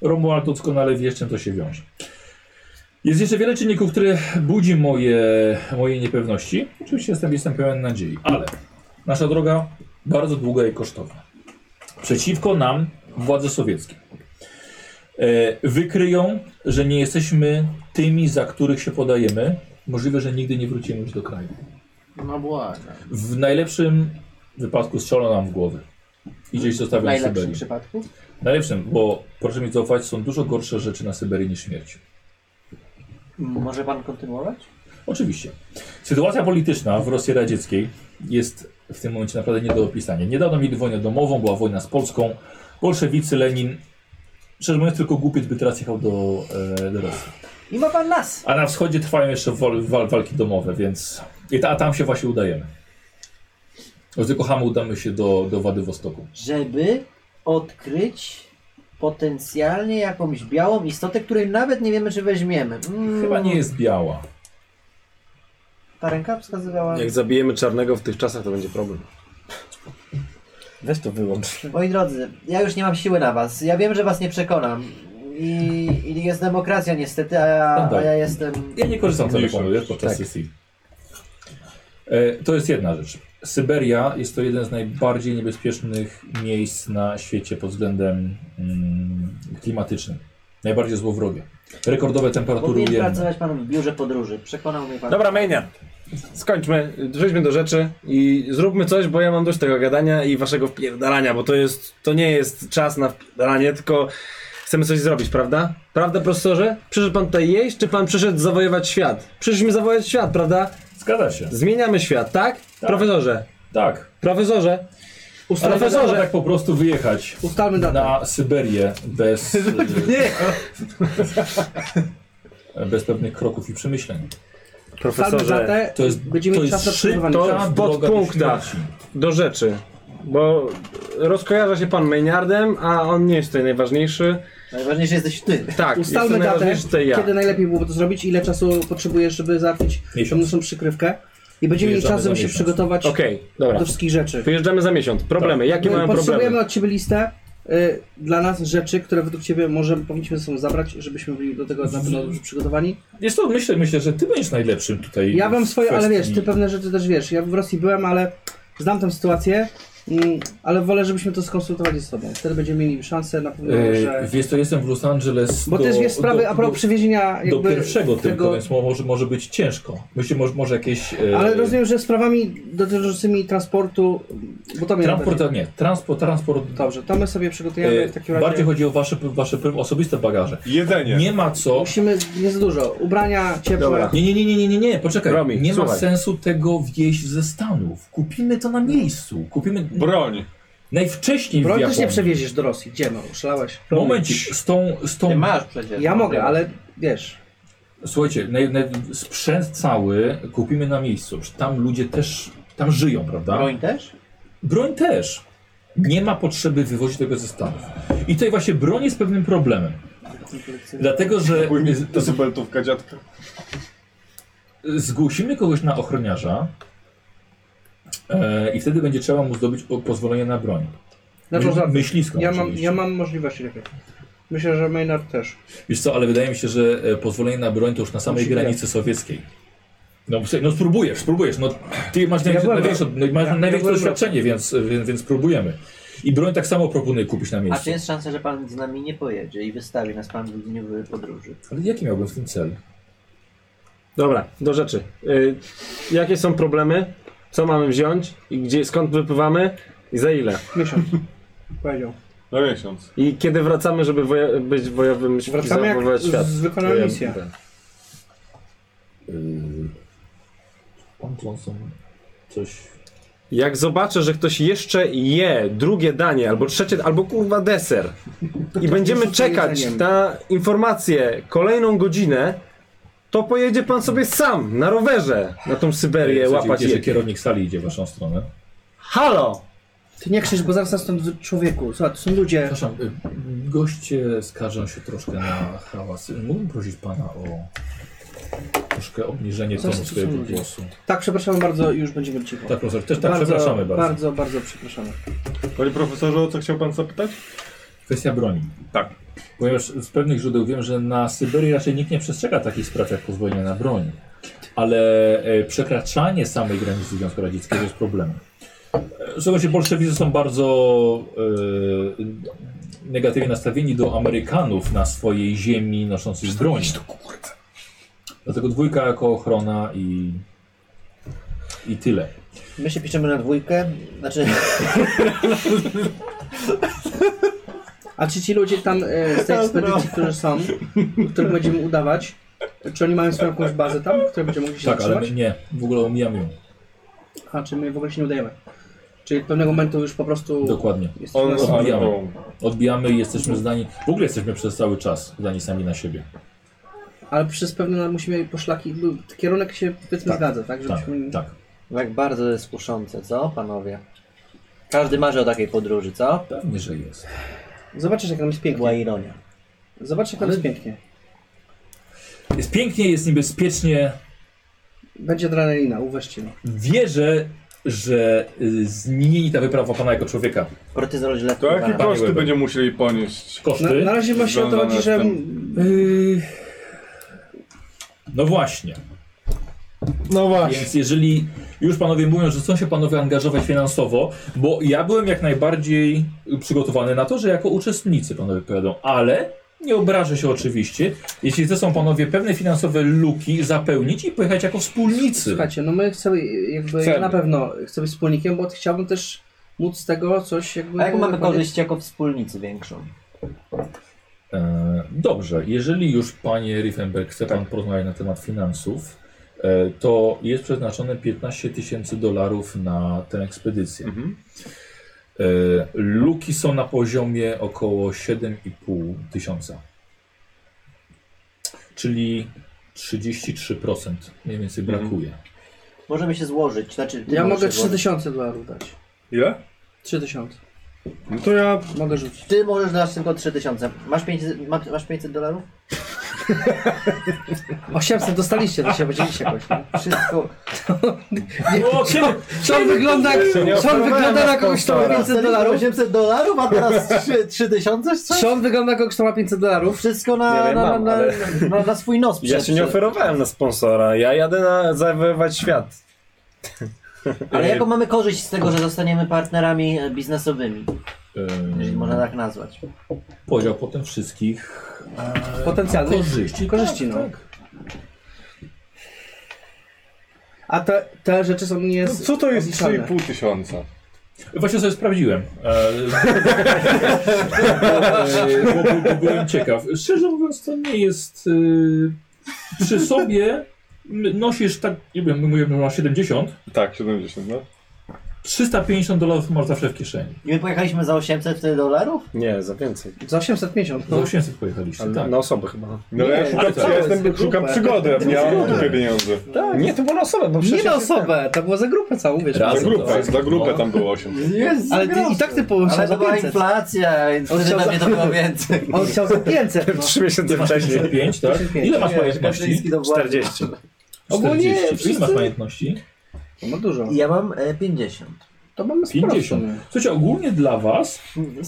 [SPEAKER 1] Romuald doskonale wie, z czym to się wiąże. Jest jeszcze wiele czynników, które budzi moje, moje niepewności. Oczywiście jestem, jestem pełen nadziei, ale nasza droga bardzo długa i kosztowna. Przeciwko nam władze sowieckie. E, wykryją, że nie jesteśmy tymi, za których się podajemy. Możliwe, że nigdy nie wrócimy już do kraju.
[SPEAKER 3] No błagam.
[SPEAKER 1] W najlepszym wypadku strzelą nam w głowę. I gdzieś
[SPEAKER 3] W
[SPEAKER 1] zostawią w
[SPEAKER 3] najlepszym
[SPEAKER 1] Syberii.
[SPEAKER 3] przypadku?
[SPEAKER 1] Najlepszym, bo proszę mi zaufać, są dużo gorsze rzeczy na Syberii niż śmierć.
[SPEAKER 3] Może pan kontynuować?
[SPEAKER 1] Oczywiście. Sytuacja polityczna w Rosji Radzieckiej jest w tym momencie naprawdę nie do opisania. Niedawno mieli wojnę domową, była wojna z Polską. Bolszewicy, Lenin. Szczerze mówiąc, tylko głupiec by teraz jechał do, e, do Rosji.
[SPEAKER 3] I ma pan nas!
[SPEAKER 1] A na wschodzie trwają jeszcze wal, wal, walki domowe, więc. I ta, a tam się właśnie udajemy. Z Yokohamy udamy się do, do Władywostoku.
[SPEAKER 3] Żeby odkryć potencjalnie jakąś białą istotę, której nawet nie wiemy, czy weźmiemy. Mm,
[SPEAKER 1] Chyba nie jest biała.
[SPEAKER 3] Ta ręka wskazywała.
[SPEAKER 2] Jak zabijemy czarnego w tych czasach, to będzie problem. Weź to wyłącz.
[SPEAKER 3] Moi drodzy, ja już nie mam siły na was. Ja wiem, że was nie przekonam. I, i jest demokracja niestety, a ja, a ja jestem...
[SPEAKER 1] Ja nie korzystam z
[SPEAKER 5] Mniejsza.
[SPEAKER 1] telefonu wiesz, podczas
[SPEAKER 2] Tak.
[SPEAKER 1] sesji. E, to jest jedna rzecz. Syberia jest to jeden z najbardziej niebezpiecznych miejsc na świecie pod względem mm, klimatycznym. Najbardziej złowrogie. Rekordowe temperatury
[SPEAKER 3] Powinien
[SPEAKER 1] ujemne.
[SPEAKER 3] pracować pan w biurze podróży. Przekonał mnie pan.
[SPEAKER 2] Dobra, Menia. Skończmy, przejdźmy do rzeczy i zróbmy coś, bo ja mam dość tego gadania i waszego wpierdalania, bo to jest, to nie jest czas na wpierdalanie, tylko chcemy coś zrobić, prawda? Prawda, profesorze? Przyszedł pan tutaj jeść, czy pan przyszedł zawojować świat? Przyszliśmy zawojować świat, prawda?
[SPEAKER 1] Zgadza się.
[SPEAKER 2] Zmieniamy świat, tak? Profesorze,
[SPEAKER 1] Tak.
[SPEAKER 2] profesorze,
[SPEAKER 1] Ale nie
[SPEAKER 2] profesorze. No,
[SPEAKER 1] można tak po prostu wyjechać
[SPEAKER 4] Ustalmy datę.
[SPEAKER 1] na Syberię bez, e, bez pewnych kroków i przemyśleń.
[SPEAKER 4] Ustalmy
[SPEAKER 2] profesorze,
[SPEAKER 4] datę.
[SPEAKER 1] To jest,
[SPEAKER 4] Będziemy
[SPEAKER 1] to
[SPEAKER 4] mieć
[SPEAKER 1] jest
[SPEAKER 4] czas na
[SPEAKER 1] szybka
[SPEAKER 4] przygotowanie
[SPEAKER 2] się. To w
[SPEAKER 1] droga do
[SPEAKER 2] podpunktach.
[SPEAKER 1] śmierci.
[SPEAKER 2] do rzeczy, bo rozkojarza się pan Maynardem, a on nie jest tutaj najważniejszy.
[SPEAKER 3] Najważniejszy jesteś ty.
[SPEAKER 2] Tak,
[SPEAKER 4] Ustalmy
[SPEAKER 2] jestem
[SPEAKER 4] datę,
[SPEAKER 2] najważniejszy tutaj ja.
[SPEAKER 4] kiedy najlepiej byłoby to zrobić, ile czasu potrzebujesz, żeby załatwić
[SPEAKER 1] Miesiąc.
[SPEAKER 4] naszą przykrywkę. I będziemy mieli
[SPEAKER 1] Wyjeżdżamy
[SPEAKER 4] czas, żeby
[SPEAKER 1] za
[SPEAKER 4] się
[SPEAKER 1] miesiąc.
[SPEAKER 4] przygotować
[SPEAKER 2] Okej, dobra.
[SPEAKER 4] do wszystkich rzeczy.
[SPEAKER 2] Wyjeżdżamy za miesiąc. Problemy. Jakie
[SPEAKER 4] My
[SPEAKER 2] mamy
[SPEAKER 4] Tak. E, Potrzebujemy
[SPEAKER 2] problemy?
[SPEAKER 4] od Ciebie listę y, dla nas rzeczy, które według Ciebie może powinniśmy ze sobą zabrać, żebyśmy byli do tego na pewno dobrze przygotowani.
[SPEAKER 1] Jest to, myślę, myślę, że ty będziesz najlepszym tutaj.
[SPEAKER 4] Ja wiem
[SPEAKER 1] w
[SPEAKER 4] swoje, ale
[SPEAKER 1] kwestii-
[SPEAKER 4] wiesz, Ty pewne rzeczy też wiesz. Ja w Rosji byłem, ale znam tę sytuację, mm, ale wolę, żebyśmy to skonsultowali ze sobą. Wtedy będziemy mieli szansę na pewno,
[SPEAKER 1] Yy,
[SPEAKER 4] że...
[SPEAKER 1] wiesz, to jestem w Los Angeles.
[SPEAKER 4] Bo
[SPEAKER 1] do,
[SPEAKER 4] też wiesz sprawy
[SPEAKER 1] do,
[SPEAKER 4] a propos
[SPEAKER 1] do-
[SPEAKER 4] przywiezienia
[SPEAKER 1] do
[SPEAKER 4] jakby
[SPEAKER 1] pierwszego
[SPEAKER 4] tego-
[SPEAKER 1] tylko, więc mo- może, może być ciężko. Myślę, może, może jakieś. e,
[SPEAKER 4] Ale rozumiem, że sprawami dotyczącymi transportu, bo to mnie
[SPEAKER 1] Transport,
[SPEAKER 4] nawet-
[SPEAKER 1] nie, transport, transport.
[SPEAKER 4] Dobrze, to my sobie przygotujemy
[SPEAKER 1] e,
[SPEAKER 4] w takim razie.
[SPEAKER 1] Bardziej chodzi o wasze, wasze osobiste bagaże.
[SPEAKER 5] Jedzenie.
[SPEAKER 1] Nie ma co.
[SPEAKER 4] Musimy, nie za dużo, ubrania ciepłe.
[SPEAKER 2] Dobra.
[SPEAKER 1] Nie, nie, nie, nie, nie, nie, nie. poczekaj.
[SPEAKER 2] Romi,
[SPEAKER 1] nie ma
[SPEAKER 2] słuchaj.
[SPEAKER 1] sensu tego wieść ze Stanów. Kupimy to na miejscu. Kupimy
[SPEAKER 5] Broń.
[SPEAKER 1] najwcześniej w
[SPEAKER 4] Broń też nie
[SPEAKER 1] Japonii.
[SPEAKER 4] przewieziesz do Rosji, gdzie mam, szalałeś.
[SPEAKER 1] Moment, z tą, z tą
[SPEAKER 3] Ty masz przecież.
[SPEAKER 4] Ja mogę, ale wiesz,
[SPEAKER 1] Słuchajcie, naj, naj, sprzęt cały kupimy na miejscu. Tam ludzie też, tam żyją, prawda?
[SPEAKER 3] Broń też?
[SPEAKER 1] Broń też. Nie ma potrzeby wywozić tego ze Stanów. I tutaj właśnie broń jest pewnym problemem. Dlatego, że
[SPEAKER 5] To subeltówka dziadka.
[SPEAKER 1] zgłosimy kogoś na ochroniarza e, i wtedy będzie trzeba mu zdobyć o- pozwolenie na broń.
[SPEAKER 4] znaczy,
[SPEAKER 1] My,
[SPEAKER 4] że
[SPEAKER 1] myśliską
[SPEAKER 4] ja mam,
[SPEAKER 1] oczywiście.
[SPEAKER 4] ja mam możliwości takie. Myślę, że Maynard też.
[SPEAKER 1] Wiesz co, ale wydaje mi się, że e, pozwolenie na broń to już na samej
[SPEAKER 4] Musi
[SPEAKER 1] granicy sowieckiej. No, słuchaj, no spróbujesz, spróbujesz. No, ty masz największe,
[SPEAKER 4] byłem-
[SPEAKER 1] największe, no, masz
[SPEAKER 4] ja
[SPEAKER 1] największe
[SPEAKER 4] byłem-
[SPEAKER 1] doświadczenie, więc, e, więc, więc spróbujemy. I broń tak samo proponuję kupić na
[SPEAKER 3] A
[SPEAKER 1] miejscu.
[SPEAKER 3] czy jest szansa, że pan z nami nie pojedzie i wystawi nas pan w dniu podróży?
[SPEAKER 1] Ale jaki miałbym w tym cel?
[SPEAKER 2] Dobra, do rzeczy. Y, jakie są problemy? Co mamy wziąć? I gdzie, skąd wypływamy? I za ile?
[SPEAKER 4] Miesiąc. Powiedział.
[SPEAKER 5] Na miesiąc.
[SPEAKER 2] I kiedy wracamy, żeby woja- być wojowym i
[SPEAKER 4] Wracamy jak
[SPEAKER 2] zawojować świat?
[SPEAKER 4] z wykonaną
[SPEAKER 2] Ja-
[SPEAKER 4] misję.
[SPEAKER 1] Yy, pan Johnson coś...
[SPEAKER 2] Jak zobaczę, że ktoś jeszcze je drugie danie, albo trzecie, albo kurwa deser i będziemy
[SPEAKER 4] jest rzucenie
[SPEAKER 2] czekać
[SPEAKER 4] jedzeniem.
[SPEAKER 2] na informację kolejną godzinę, to pojedzie pan sobie sam na rowerze na tą Syberię
[SPEAKER 1] Słuchajcie,
[SPEAKER 2] łapać
[SPEAKER 1] widzicie, że
[SPEAKER 2] je.
[SPEAKER 1] kierownik sali idzie w waszą stronę.
[SPEAKER 2] Halo!
[SPEAKER 4] Ty nie krzycz, bo zaraz nas stąd wy- człowieku. Słuchaj, to są ludzie.
[SPEAKER 1] Przepraszam, y, goście skarżą się troszkę na hałas. Mógłbym prosić pana o troszkę obniżenie
[SPEAKER 4] Zaraz
[SPEAKER 1] tonu
[SPEAKER 4] tu są
[SPEAKER 1] swojego
[SPEAKER 4] ludzie.
[SPEAKER 1] głosu.
[SPEAKER 4] Tak, przepraszamy bardzo, już będziemy cicho.
[SPEAKER 1] Tak, profesor, też tak, przepraszamy bardzo.
[SPEAKER 4] Bardzo, bardzo przepraszamy.
[SPEAKER 5] Panie profesorze, o co chciał pan zapytać?
[SPEAKER 1] Kwestia broni.
[SPEAKER 5] Tak.
[SPEAKER 1] Ponieważ z pewnych źródeł wiem, że na Syberii raczej nikt nie przestrzega takich spraw jak pozwolenie na broń. Ale e, przekraczanie samej granicy Związku Radzieckiego jest problemem. E, Słuchajcie, bolszewicy są bardzo e, negatywnie nastawieni do Amerykanów na swojej ziemi noszących broń. Dlatego dwójka jako ochrona i, i tyle.
[SPEAKER 3] My się piszemy na dwójkę, znaczy
[SPEAKER 4] A czy ci ludzie tam e, z tej ekspedycji, którzy są, których będziemy udawać, czy oni mają swoją jakąś bazę tam, które będziemy mogli się
[SPEAKER 1] Tak, ale
[SPEAKER 4] zatrzymać?
[SPEAKER 1] my nie, w ogóle omijam ją.
[SPEAKER 4] A czy my w ogóle się nie udajemy? Czyli od pewnego momentu już po prostu
[SPEAKER 1] Dokładnie.
[SPEAKER 4] jest
[SPEAKER 5] On
[SPEAKER 4] nas-
[SPEAKER 5] z armią.
[SPEAKER 1] Odbijamy i jesteśmy zdani. W ogóle jesteśmy przez cały czas zdani sami na siebie.
[SPEAKER 4] Ale przez pewne musimy poszlaki, był- kierunek się powiedzmy
[SPEAKER 1] Tak.
[SPEAKER 4] zgadza, tak?
[SPEAKER 1] Tak,
[SPEAKER 4] Żebyśmy
[SPEAKER 1] tak.
[SPEAKER 3] Jak bardzo jest kuszące, co panowie? Każdy marzy o takiej podróży, co?
[SPEAKER 1] Pewnie, że jest.
[SPEAKER 4] Zobaczysz jak nam jest
[SPEAKER 3] Była
[SPEAKER 4] pięknie.
[SPEAKER 3] ironia.
[SPEAKER 4] Zobaczysz jak nam jest pięknie.
[SPEAKER 1] Jest pięknie, jest niebezpiecznie.
[SPEAKER 4] Będzie adrenalina, uwierzcie mi.
[SPEAKER 1] Wierzę, że y, zmieni ta wyprawa pana jako człowieka.
[SPEAKER 3] Kortyzol źle
[SPEAKER 5] To jakie
[SPEAKER 3] wpływa.
[SPEAKER 5] koszty
[SPEAKER 1] Łebem.
[SPEAKER 5] będziemy musieli ponieść?
[SPEAKER 4] Na,
[SPEAKER 1] Koszty?
[SPEAKER 4] na razie właśnie o to chodzi, że
[SPEAKER 1] Y, No właśnie.
[SPEAKER 2] No właśnie.
[SPEAKER 1] Więc jeżeli już panowie mówią, że chcą się panowie angażować finansowo, bo ja byłem jak najbardziej przygotowany na to, że jako uczestnicy panowie pojadą, ale nie obrażę się oczywiście, jeśli zechcą panowie pewne finansowe luki zapełnić i pojechać jako wspólnicy.
[SPEAKER 4] Słuchajcie, no my chcemy, jakby
[SPEAKER 5] Chcemy.
[SPEAKER 4] ja na pewno chcę być wspólnikiem, bo chciałbym też móc z tego coś jakby...
[SPEAKER 3] A jaką mamy
[SPEAKER 4] panie-
[SPEAKER 3] korzyść jako wspólnicy większą?
[SPEAKER 1] E, dobrze, jeżeli już panie Riefenberg chce
[SPEAKER 5] Tak.
[SPEAKER 1] pan porozmawiać na temat finansów, e, to jest przeznaczone 15 tysięcy dolarów na tę ekspedycję.
[SPEAKER 5] Mhm.
[SPEAKER 1] E, luki są na poziomie około 7,5 tysiąca. Czyli 33% mniej więcej
[SPEAKER 5] Mhm.
[SPEAKER 1] brakuje.
[SPEAKER 3] Możemy się złożyć, znaczy... ty
[SPEAKER 4] Ja
[SPEAKER 3] możesz się
[SPEAKER 4] mogę
[SPEAKER 3] złożyć.
[SPEAKER 4] 3000 dolarów dać.
[SPEAKER 5] Ile?
[SPEAKER 4] 3000.
[SPEAKER 5] No to ja
[SPEAKER 4] Mogę rzucić.
[SPEAKER 3] Ty możesz dać tylko 3000. Masz 500, ma- masz 500 dolarów?
[SPEAKER 4] 800 dostaliście, to się podzieliście jakoś. nie?
[SPEAKER 3] Wszystko.
[SPEAKER 1] O, kiedy?
[SPEAKER 4] Czy on wygląda, jak,
[SPEAKER 2] nie
[SPEAKER 4] czy on
[SPEAKER 2] oferowałem
[SPEAKER 4] wygląda na
[SPEAKER 2] na
[SPEAKER 4] kogoś, kto ma
[SPEAKER 2] sponsora.
[SPEAKER 4] 500 dolarów?
[SPEAKER 3] 800 dolarów, a teraz 3, 3000? Co?
[SPEAKER 4] Czy on wygląda na kogoś, kto ma 500 dolarów?
[SPEAKER 3] Wszystko na,
[SPEAKER 2] Nie wiem,
[SPEAKER 3] na,
[SPEAKER 2] mam,
[SPEAKER 3] na,
[SPEAKER 2] ale-
[SPEAKER 3] na, na, na swój nos
[SPEAKER 2] Ja się nie oferowałem na sponsora. Ja jadę na zawoływać świat.
[SPEAKER 3] Ale jaką mamy korzyść z tego, że zostaniemy partnerami e, biznesowymi, jeżeli można tak nazwać?
[SPEAKER 1] E, Podział potem wszystkich
[SPEAKER 4] Potencjalny.
[SPEAKER 1] korzyści.
[SPEAKER 4] korzyści, no.
[SPEAKER 1] tak.
[SPEAKER 4] A te, te rzeczy są nie
[SPEAKER 5] No co to jest
[SPEAKER 4] odliczalne.
[SPEAKER 5] 3,5 tysiąca?
[SPEAKER 1] Właśnie sobie sprawdziłem. E, bo, bo, bo byłem ciekaw. Szczerze mówiąc, to nie jest. E, przy sobie m- nosisz tak, nie wiem, mówię, że masz 70.
[SPEAKER 5] Tak, 70, no.
[SPEAKER 1] 350 dolarów masz zawsze w kieszeni.
[SPEAKER 3] I my pojechaliśmy za 800 wtedy dolarów?
[SPEAKER 2] Nie, za więcej.
[SPEAKER 4] Za 850.
[SPEAKER 1] Za
[SPEAKER 4] No.
[SPEAKER 1] 800 pojechaliście.
[SPEAKER 2] Ale
[SPEAKER 1] Tak.
[SPEAKER 2] Na osobę chyba.
[SPEAKER 5] No
[SPEAKER 4] Nie,
[SPEAKER 5] ja
[SPEAKER 1] ale
[SPEAKER 5] szukam,
[SPEAKER 1] to
[SPEAKER 5] ja
[SPEAKER 4] jest
[SPEAKER 5] jestem,
[SPEAKER 4] grupa.
[SPEAKER 5] szukam przygody, ja mam
[SPEAKER 1] Przygody.
[SPEAKER 5] dupie pieniądze.
[SPEAKER 2] Nie, to było na osobę, bo
[SPEAKER 4] Nie
[SPEAKER 2] przecież...
[SPEAKER 4] na osobę, to było za grupę całą, wiesz.
[SPEAKER 1] Raz.
[SPEAKER 5] Za
[SPEAKER 1] Razem
[SPEAKER 5] grupę,
[SPEAKER 1] to-
[SPEAKER 5] za grupę
[SPEAKER 1] no.
[SPEAKER 5] tam było 8.
[SPEAKER 3] Jest
[SPEAKER 4] Ale ty, i tak ty
[SPEAKER 3] Ale
[SPEAKER 4] połączyłeś
[SPEAKER 3] to
[SPEAKER 4] za
[SPEAKER 3] była
[SPEAKER 4] 500.
[SPEAKER 3] inflacja, więc
[SPEAKER 4] On
[SPEAKER 3] wtedy
[SPEAKER 4] chciał
[SPEAKER 3] na mnie
[SPEAKER 4] za-
[SPEAKER 3] to było więcej.
[SPEAKER 4] On chciał za 500. No.
[SPEAKER 2] Trzy miesiące wcześniej.
[SPEAKER 1] 5, tak?
[SPEAKER 4] 55.
[SPEAKER 1] Ile masz
[SPEAKER 3] Nie,
[SPEAKER 1] pamiętności?
[SPEAKER 3] Kaczyński do władzy.
[SPEAKER 2] 40.
[SPEAKER 1] 40.
[SPEAKER 4] Ogólnie
[SPEAKER 1] Ile masz
[SPEAKER 4] wszyscy-
[SPEAKER 1] pamiętności?
[SPEAKER 4] To ma dużo.
[SPEAKER 3] Ja mam e, 50.
[SPEAKER 4] To mamy sporo.
[SPEAKER 1] 50. Słuchajcie, ogólnie dla was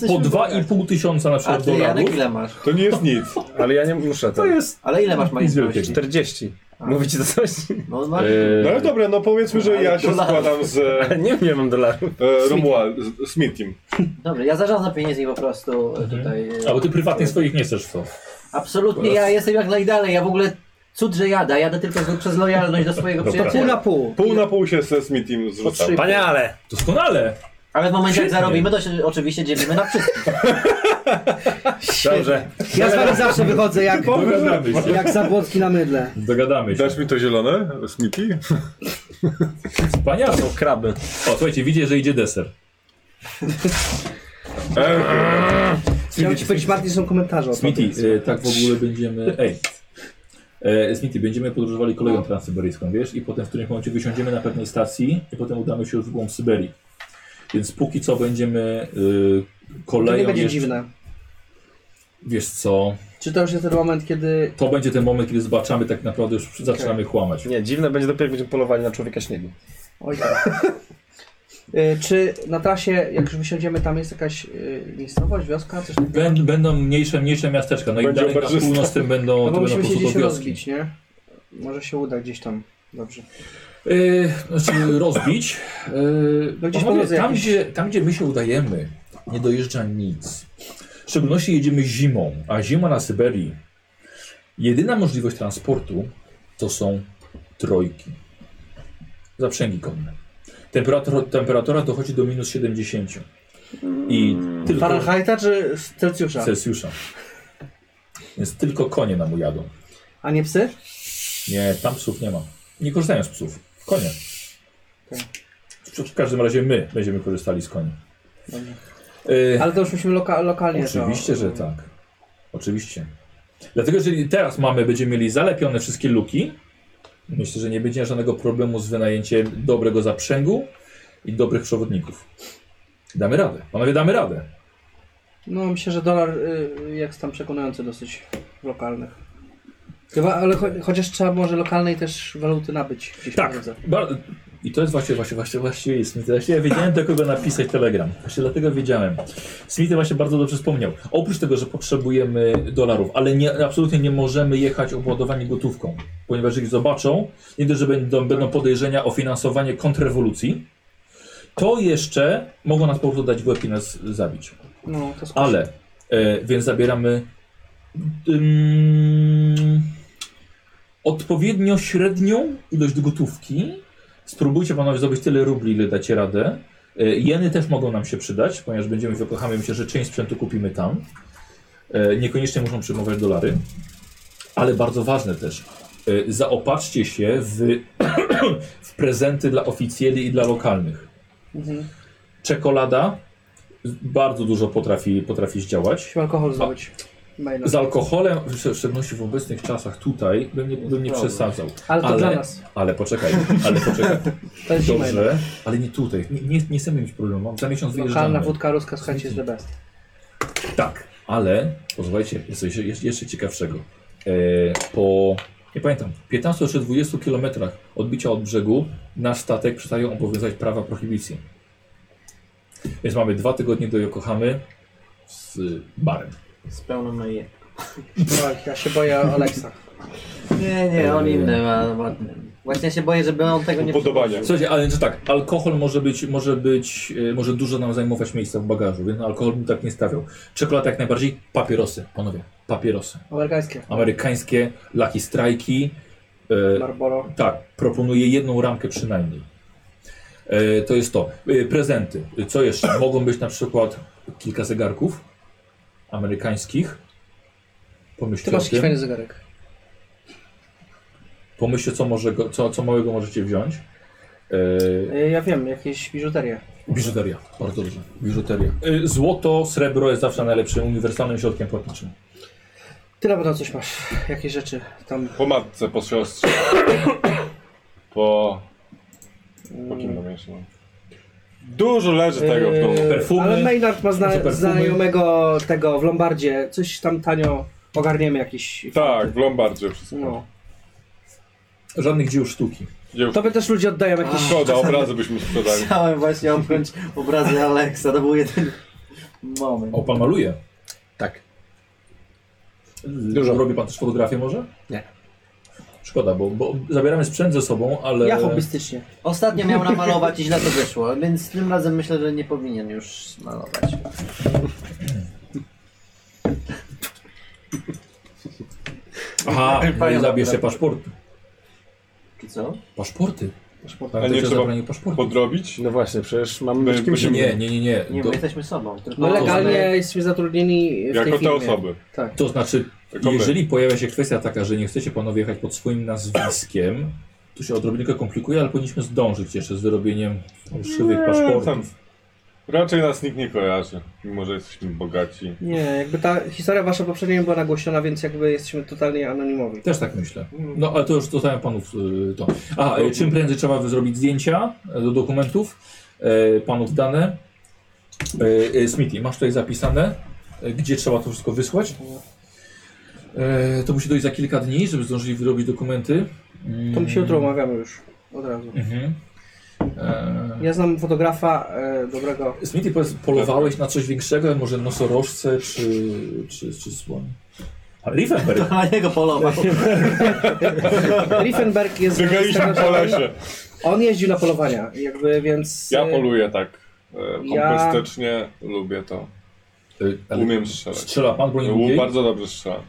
[SPEAKER 1] po 2,5 tysiąca na
[SPEAKER 3] A
[SPEAKER 1] przykład
[SPEAKER 3] ty Janek
[SPEAKER 1] dolarów.
[SPEAKER 3] ile masz?
[SPEAKER 5] To nie jest nic.
[SPEAKER 2] Ale ja nie muszę to.
[SPEAKER 1] To jest
[SPEAKER 3] Ale ile masz majątności?
[SPEAKER 2] 40. Mówicie to coś?
[SPEAKER 3] No masz...
[SPEAKER 1] E,
[SPEAKER 5] No ale dobra, no powiedzmy, że ja się
[SPEAKER 3] Dolarów.
[SPEAKER 5] składam z e,
[SPEAKER 2] Nie, nie mam dolarów.
[SPEAKER 5] Romuald, z Smithim.
[SPEAKER 3] Dobra, ja zarządzam pieniędzmi po prostu e, tutaj. e,
[SPEAKER 1] Mhm. A bo ty prywatnie swoich nie chcesz w to.
[SPEAKER 3] Absolutnie, ja jestem jak najdalej, ja w ogóle cud, że jadę, jadę tylko z- przez lojalność do swojego
[SPEAKER 4] Pół na
[SPEAKER 3] przyjaciela.
[SPEAKER 4] pół.
[SPEAKER 5] Pół na pół się ze Smithim zrzucam.
[SPEAKER 4] trzy.
[SPEAKER 2] Paniale!
[SPEAKER 1] Doskonale!
[SPEAKER 3] Ale w momencie jak
[SPEAKER 1] Świetnie.
[SPEAKER 3] zarobimy, to się oczywiście dzielimy na wszystkich.
[SPEAKER 2] Dobrze.
[SPEAKER 4] Ja z wami zawsze wychodzę jak,
[SPEAKER 1] Dogadamy się.
[SPEAKER 4] jak zabłotki na mydle.
[SPEAKER 1] Dogadamy się.
[SPEAKER 5] Dasz mi to zielone, Smithy?
[SPEAKER 1] Wspaniale.
[SPEAKER 2] Są kraby.
[SPEAKER 1] O, słuchajcie, widzę, że idzie deser.
[SPEAKER 5] E,
[SPEAKER 4] Chciałem ci powiedzieć, Martin, są komentarze o tym.
[SPEAKER 1] Smithy, e, tak w ogóle będziemy. Ej. E, Smithy, będziemy podróżowali koleją transsyberyjską, wiesz? I potem w którymś momencie wysiądziemy na pewnej stacji i potem udamy się już w głąb Syberii. Więc póki co będziemy e,
[SPEAKER 4] To
[SPEAKER 1] koleją.
[SPEAKER 4] nie będzie
[SPEAKER 1] jeszcze-
[SPEAKER 4] dziwne.
[SPEAKER 1] Wiesz co?
[SPEAKER 4] Czy to już jest ten moment, kiedy
[SPEAKER 1] To będzie ten moment, kiedy zobaczamy tak naprawdę już zaczynamy chłamać.
[SPEAKER 2] Nie, dziwne będzie dopiero, jak będziemy polowali na człowieka śniegu.
[SPEAKER 4] Oj tak. Y, Czy na trasie, jak już wysiądziemy, tam jest jakaś y, miejscowość, wioska, coś takiego?
[SPEAKER 1] Będ, będą mniejsze, mniejsze miasteczka. No
[SPEAKER 5] Będzie
[SPEAKER 1] i dalej na
[SPEAKER 5] oberżysta.
[SPEAKER 1] północ tym będą,
[SPEAKER 4] No
[SPEAKER 1] to
[SPEAKER 4] bo
[SPEAKER 1] będą po
[SPEAKER 4] musimy się
[SPEAKER 1] prostu
[SPEAKER 4] gdzieś
[SPEAKER 1] to wioski.
[SPEAKER 4] rozbić, nie? Może się uda gdzieś tam. Dobrze.
[SPEAKER 1] Yy, znaczy rozbić. Yy,
[SPEAKER 4] No gdzieś po
[SPEAKER 1] panowie,
[SPEAKER 4] drodze
[SPEAKER 1] tam,
[SPEAKER 4] jakieś-
[SPEAKER 1] gdzie, tam, gdzie my się udajemy, nie dojeżdża nic. W szczególności jedziemy zimą, a zima na Syberii. Jedyna możliwość transportu to są trojki. Zaprzęgi konne. Temperatura, temperatura dochodzi do minus 70. I tylko
[SPEAKER 4] Fahrenheita czy z Celsjusza?
[SPEAKER 1] Celsjusza. Więc tylko konie nam ujadą.
[SPEAKER 4] A nie psy? Tak.
[SPEAKER 1] Nie, tam psów nie ma. Nie korzystają z psów. Konie. w w każdym razie my będziemy korzystali z koni. Y,
[SPEAKER 4] Ale to już musimy loka lokalnie to-
[SPEAKER 1] Oczywiście, że tak. Oczywiście. Dlatego, jeżeli teraz mamy, będziemy mieli zalepione wszystkie luki, myślę, że nie będzie żadnego problemu z wynajęciem dobrego zaprzęgu i dobrych przewodników. Damy radę. Panowie, damy radę.
[SPEAKER 4] No myślę, że dolar y, jest tam przekonujący dosyć w lokalnych. Chyba, ale cho chociaż trzeba może lokalnej też waluty nabyć gdzieś
[SPEAKER 1] Tak.
[SPEAKER 4] po drodze.
[SPEAKER 1] Bar- I to jest właśnie, właśnie, właśnie, właśnie jest Smith. Właśnie ja wiedziałem do kogo napisać telegram. Właśnie dlatego wiedziałem. Smith właśnie bardzo dobrze wspomniał. Oprócz tego, że potrzebujemy dolarów, ale nie, absolutnie nie możemy jechać obładowani gotówką, ponieważ ich zobaczą, nie dość, że będą, będą podejrzenia o finansowanie kontrrewolucji, to jeszcze mogą nas po prostu dać w łeb i nas zabić.
[SPEAKER 4] No, to skusi.
[SPEAKER 1] Ale, e, więc zabieramy ym, odpowiednio średnią ilość gotówki. Spróbujcie panowie zdobyć tyle rubli, ile dacie radę. E, jeny też mogą nam się przydać, ponieważ będziemy wykochamy się, że część sprzętu kupimy tam. E, niekoniecznie muszą przyjmować dolary. Ale bardzo ważne też, e, zaopatrzcie się w, w prezenty dla oficjeli i dla lokalnych.
[SPEAKER 4] Mhm.
[SPEAKER 1] Czekolada bardzo dużo potrafi, potrafi zdziałać.
[SPEAKER 4] Musimy alkohol zdobyć. Maila.
[SPEAKER 1] Z alkoholem, w w szczególności w obecnych czasach tutaj, bym nie, bym nie przesadzał.
[SPEAKER 4] Ale to dla nas.
[SPEAKER 1] Ale poczekaj, ale poczekaj.
[SPEAKER 4] To jest zima. jednak.
[SPEAKER 1] Dobrze, ale nie tutaj. Nie, nie, nie chcemy mieć problemu. Mam za miesiąc
[SPEAKER 4] Lokalna
[SPEAKER 1] wyjeżdżamy.
[SPEAKER 4] wódka ruska, słuchajcie, jest the best.
[SPEAKER 1] Tak, ale posłuchajcie, jest coś jeszcze, jeszcze ciekawszego. E, po, nie pamiętam, 15 czy 20 kilometrach odbicia od brzegu nasz statek przestaje obowiązywać prawa prohibicji. Więc mamy dwa tygodnie do Yokohamy z barem.
[SPEAKER 3] Z pełną na je.
[SPEAKER 4] No, ja się boję Aleksa.
[SPEAKER 3] Nie, nie, on inny ma ładny. Właśnie się boję, żeby on tego nie
[SPEAKER 5] Upodobania.
[SPEAKER 1] Słuchajcie, ale znaczy tak, alkohol może być, może być, e, może dużo nam zajmować miejsca w bagażu, więc na alkohol bym tak nie stawiał. Czekolada jak najbardziej, papierosy, panowie, papierosy.
[SPEAKER 4] Amerykańskie.
[SPEAKER 1] Amerykańskie, Lucky Strike'i, e,
[SPEAKER 4] Marlboro.
[SPEAKER 1] tak, proponuję jedną ramkę przynajmniej. E, to jest to. E, prezenty. E, Co jeszcze? Mogą być na przykład kilka zegarków amerykańskich.
[SPEAKER 4] Ty
[SPEAKER 1] Pomyślcie o
[SPEAKER 4] masz jakiś fajny
[SPEAKER 1] tym.
[SPEAKER 4] zegarek.
[SPEAKER 1] Pomyślcie, co, może go, co, co małego możecie wziąć. E,
[SPEAKER 4] Y, Ja wiem, jakieś biżuterie.
[SPEAKER 1] Biżuteria, bardzo dobrze. Biżuteria. Y, Złoto, srebro jest zawsze najlepszym uniwersalnym środkiem płatniczym.
[SPEAKER 4] Ty na pewno coś masz. Jakieś rzeczy tam.
[SPEAKER 5] Po matce, po siostrze. Po... Po kim tam jeszcze? mam? Dużo leży tego no, w domu.
[SPEAKER 4] Yy,
[SPEAKER 1] Perfumy.
[SPEAKER 4] Ale Maynard ma
[SPEAKER 1] Może
[SPEAKER 4] zna
[SPEAKER 1] perfumy?
[SPEAKER 4] znajomego tego w Lombardzie. Coś tam tanio ogarniemy jakiś.
[SPEAKER 5] Tak, w Lombardzie wszystko.
[SPEAKER 4] No.
[SPEAKER 1] Żadnych dzieł sztuki.
[SPEAKER 5] Dzieł...
[SPEAKER 4] To by też ludzie oddają jakieś.
[SPEAKER 5] Szkoda, obrazy byśmy sprzedali.
[SPEAKER 3] Chciałem właśnie omknąć obrazy Aleksa, to był jeden moment.
[SPEAKER 1] O, pan maluje.
[SPEAKER 2] Tak.
[SPEAKER 1] Dużo. Robi pan też fotografię może?
[SPEAKER 2] Nie.
[SPEAKER 1] Szkoda, bo, bo zabieramy sprzęt ze sobą, ale...
[SPEAKER 4] Ja hobbystycznie.
[SPEAKER 3] Ostatnio miał namalować i źle to wyszło, więc tym razem myślę, że nie powinien już malować.
[SPEAKER 1] Aha, nie
[SPEAKER 3] Panie
[SPEAKER 1] zabierz się
[SPEAKER 3] dobra.
[SPEAKER 1] paszportu.
[SPEAKER 3] Czy co?
[SPEAKER 1] Paszporty.
[SPEAKER 5] A
[SPEAKER 1] nie
[SPEAKER 5] nie trzeba
[SPEAKER 1] zabranie paszportu.
[SPEAKER 5] podrobić?
[SPEAKER 2] No właśnie, przecież mamy być
[SPEAKER 5] By-
[SPEAKER 2] kimś
[SPEAKER 5] by-
[SPEAKER 2] innym.
[SPEAKER 1] Nie, nie, nie, nie.
[SPEAKER 3] Nie,
[SPEAKER 1] Do,
[SPEAKER 3] my jesteśmy sobą. Tylko
[SPEAKER 4] No legalnie
[SPEAKER 3] Mamy-
[SPEAKER 4] jesteśmy zatrudnieni w
[SPEAKER 5] Jako
[SPEAKER 4] tej
[SPEAKER 5] te
[SPEAKER 4] firmie.
[SPEAKER 5] osoby.
[SPEAKER 4] Tak.
[SPEAKER 1] to znaczy,
[SPEAKER 5] Tylko my.
[SPEAKER 1] jeżeli pojawia się kwestia taka, że nie chcecie panowie jechać pod swoim nazwiskiem, to się odrobinkę komplikuje, ale powinniśmy zdążyć jeszcze z wyrobieniem fałszywych paszportów.
[SPEAKER 5] No, tam- Raczej nas nikt nie kojarzy, mimo że jesteśmy bogaci.
[SPEAKER 4] Nie, jakby ta historia wasza poprzednia nie była nagłośniona, więc jakby jesteśmy totalnie anonimowi.
[SPEAKER 1] Też tak myślę. No ale to już zostawiam panów y, to. A, y, czym prędzej trzeba wy- zrobić zdjęcia y, do dokumentów, y, panów dane. Y, y, Smithy, masz tutaj zapisane, y, gdzie trzeba to wszystko wysłać. Y, to musi dojść za kilka dni, żeby zdążyli wyrobić dokumenty. Mm.
[SPEAKER 4] To my się jutro umawiamy już. Od razu.
[SPEAKER 1] Mhm. E,
[SPEAKER 4] Ja znam fotografa e, dobrego.
[SPEAKER 1] Smithy, powiedz, polowałeś na coś większego, może nosorożce czy, czy, czy słoń? Riefenberg.
[SPEAKER 3] To na niego polował.
[SPEAKER 4] Riefenberg jest
[SPEAKER 5] Biegaliśmy po lesie.
[SPEAKER 4] On jeździł na polowania, jakby więc.
[SPEAKER 5] Ja
[SPEAKER 4] e,
[SPEAKER 5] poluję tak e,
[SPEAKER 4] Ja-
[SPEAKER 5] kompetycznie, lubię to.
[SPEAKER 1] Y, ale
[SPEAKER 5] Umiem strzelać.
[SPEAKER 1] Strzela pan broń
[SPEAKER 5] Łuk
[SPEAKER 1] długiej?
[SPEAKER 5] bardzo dobrze strzelam.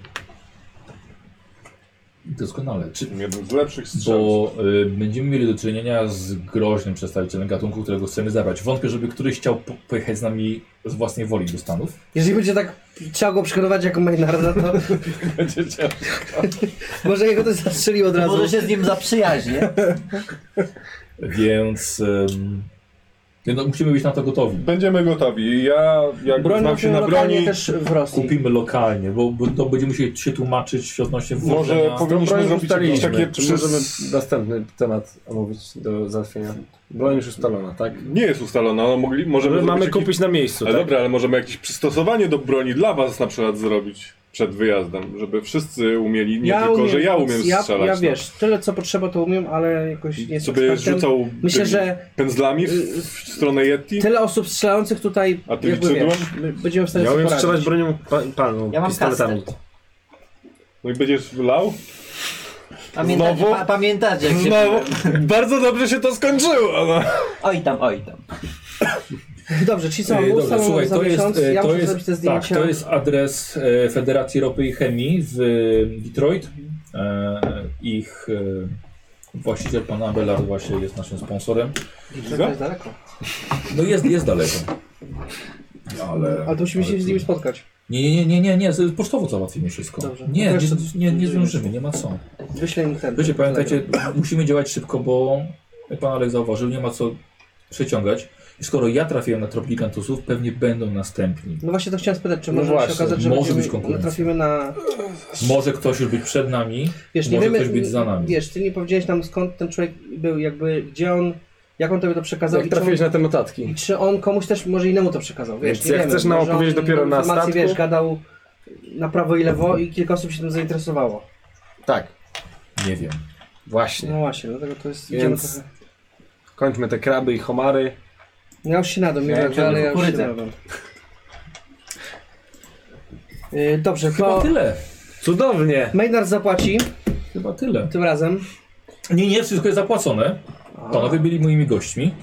[SPEAKER 1] Doskonale. Czy,
[SPEAKER 5] Jeden z lepszych strzałów.
[SPEAKER 1] Bo y, będziemy mieli do czynienia z groźnym przedstawicielem gatunku, którego chcemy zabrać. Wątpię, żeby któryś chciał po pojechać z nami z własnej woli do Stanów.
[SPEAKER 4] Jeżeli będzie tak trzeba go przygotować jako Maynarda, to
[SPEAKER 5] Będzie ciężko.
[SPEAKER 4] może jego też zastrzelił od razu.
[SPEAKER 3] Może się z nim zaprzyjaźnię.
[SPEAKER 1] Więc ym, No, musimy być na to gotowi.
[SPEAKER 5] Będziemy gotowi. Ja, jak
[SPEAKER 4] Broń
[SPEAKER 5] znam się
[SPEAKER 4] robimy
[SPEAKER 5] na
[SPEAKER 4] lokalnie
[SPEAKER 5] broni,
[SPEAKER 4] też w Rosji.
[SPEAKER 1] Kupimy lokalnie, bo, bo to będziemy musieli się tłumaczyć w światłości
[SPEAKER 5] może powinniśmy
[SPEAKER 2] Broń już
[SPEAKER 5] zrobić jakieś
[SPEAKER 2] ustaliliśmy.
[SPEAKER 5] takie
[SPEAKER 2] Czy
[SPEAKER 5] przy...
[SPEAKER 2] możemy następny temat omówić do załatwienia? Broń już ustalona, tak?
[SPEAKER 5] Nie jest ustalona, no, mogli, możemy
[SPEAKER 2] Żeby
[SPEAKER 5] zrobić
[SPEAKER 2] mamy
[SPEAKER 5] jakiś-
[SPEAKER 2] kupić na miejscu,
[SPEAKER 5] Ale
[SPEAKER 2] tak?
[SPEAKER 5] dobra, ale możemy jakieś przystosowanie do broni dla was na przykład zrobić przed wyjazdem, żeby wszyscy umieli, nie tylko, że ja umiem strzelać.
[SPEAKER 4] Ja,
[SPEAKER 5] no.
[SPEAKER 4] wiesz, tyle co potrzeba to umiem, ale jakoś nie jestem
[SPEAKER 5] Sobie
[SPEAKER 4] ekspertem.
[SPEAKER 5] rzucał
[SPEAKER 4] Myślę,
[SPEAKER 5] tymi
[SPEAKER 4] że
[SPEAKER 5] pędzlami w, w stronę Yeti?
[SPEAKER 4] tyle osób strzelających tutaj
[SPEAKER 5] A ty
[SPEAKER 4] jakby,
[SPEAKER 5] liczyłem?
[SPEAKER 4] wiesz, my będziemy w stanie
[SPEAKER 2] Ja
[SPEAKER 4] sobie
[SPEAKER 2] umiem
[SPEAKER 4] poradzić.
[SPEAKER 2] strzelać bronią pa, panu,
[SPEAKER 3] Ja mam
[SPEAKER 2] pistoletami.
[SPEAKER 5] No i będziesz lał?
[SPEAKER 3] Pamiętacie,
[SPEAKER 5] Znowu?
[SPEAKER 3] pa, pamiętacie jak się...
[SPEAKER 5] Bardzo dobrze się to skończyło! No.
[SPEAKER 3] Oj tam, oj tam.
[SPEAKER 4] Dobrze, ci co,
[SPEAKER 1] Ej,
[SPEAKER 4] ustalą
[SPEAKER 1] E, Dobra, słuchaj,
[SPEAKER 4] za
[SPEAKER 1] to jest,
[SPEAKER 4] miesiąc,
[SPEAKER 1] e,
[SPEAKER 4] ja
[SPEAKER 1] to
[SPEAKER 4] muszę
[SPEAKER 1] jest,
[SPEAKER 4] zrobić te
[SPEAKER 1] tak,
[SPEAKER 4] zdjęcia.
[SPEAKER 1] to jest adres e, Federacji Ropy i Chemii w e, Detroit. E, Ich e, właściciel, pan Abelard właśnie jest naszym sponsorem.
[SPEAKER 4] To jest daleko.
[SPEAKER 1] No jest, jest daleko. Ale...
[SPEAKER 4] Ale to musimy się z nimi spotkać.
[SPEAKER 1] Nie, nie, nie, nie, nie, z- pocztowo załatwimy wszystko.
[SPEAKER 4] Dobrze.
[SPEAKER 1] Nie,
[SPEAKER 4] Też
[SPEAKER 1] nie,
[SPEAKER 4] to-
[SPEAKER 1] nie, nie zdążymy, nie ma co.
[SPEAKER 4] Wyślę im ten.
[SPEAKER 1] Wiecie, pamiętajcie, musimy działać szybko, bo jak pan Alek zauważył, nie ma co przeciągać. I skoro ja trafiłem na trop gigantusów, pewnie będą następni.
[SPEAKER 4] No właśnie to chciałem spytać, czy
[SPEAKER 2] No
[SPEAKER 4] może się
[SPEAKER 2] właśnie,
[SPEAKER 4] okazać, że
[SPEAKER 1] może
[SPEAKER 4] będziemy-
[SPEAKER 1] być konkurencja.
[SPEAKER 4] natrafimy na...
[SPEAKER 1] Może ktoś już być przed nami,
[SPEAKER 4] Wiesz, nie
[SPEAKER 1] może
[SPEAKER 4] wiemy,
[SPEAKER 1] ktoś być za nami.
[SPEAKER 4] wiesz, ty nie powiedziałeś nam skąd ten człowiek był, jakby, gdzie on, jak on tobie to przekazał
[SPEAKER 2] Jak
[SPEAKER 4] i, czy on,
[SPEAKER 2] trafiłeś na te notatki?
[SPEAKER 4] i czy on komuś też, może innemu to przekazał, wiesz,
[SPEAKER 2] Więc
[SPEAKER 4] nie
[SPEAKER 2] jak
[SPEAKER 4] wiemy,
[SPEAKER 2] chcesz nam
[SPEAKER 4] może
[SPEAKER 2] opowiedzieć
[SPEAKER 4] on
[SPEAKER 2] dopiero na
[SPEAKER 4] informacje,
[SPEAKER 2] statku?
[SPEAKER 4] wiesz, gadał na prawo i lewo i kilka osób się tym zainteresowało.
[SPEAKER 2] Tak,
[SPEAKER 1] Nie wiem.
[SPEAKER 2] właśnie.
[SPEAKER 4] No właśnie, dlatego to jest,
[SPEAKER 2] Więc-
[SPEAKER 4] idziemy trochę...
[SPEAKER 2] Kończmy te kraby i homary.
[SPEAKER 4] No ja już się nadam, nie
[SPEAKER 3] Ja
[SPEAKER 4] wiem,
[SPEAKER 3] jak
[SPEAKER 4] ale ja już się
[SPEAKER 3] kukurydzę.
[SPEAKER 4] nadam. Yy, dobrze,
[SPEAKER 1] Chyba
[SPEAKER 4] to
[SPEAKER 1] tyle.
[SPEAKER 2] Cudownie!
[SPEAKER 4] Maynard zapłaci
[SPEAKER 1] Chyba tyle.
[SPEAKER 4] tym razem.
[SPEAKER 1] Nie, nie, wszystko jest zapłacone. Panowie byli moimi gośćmi,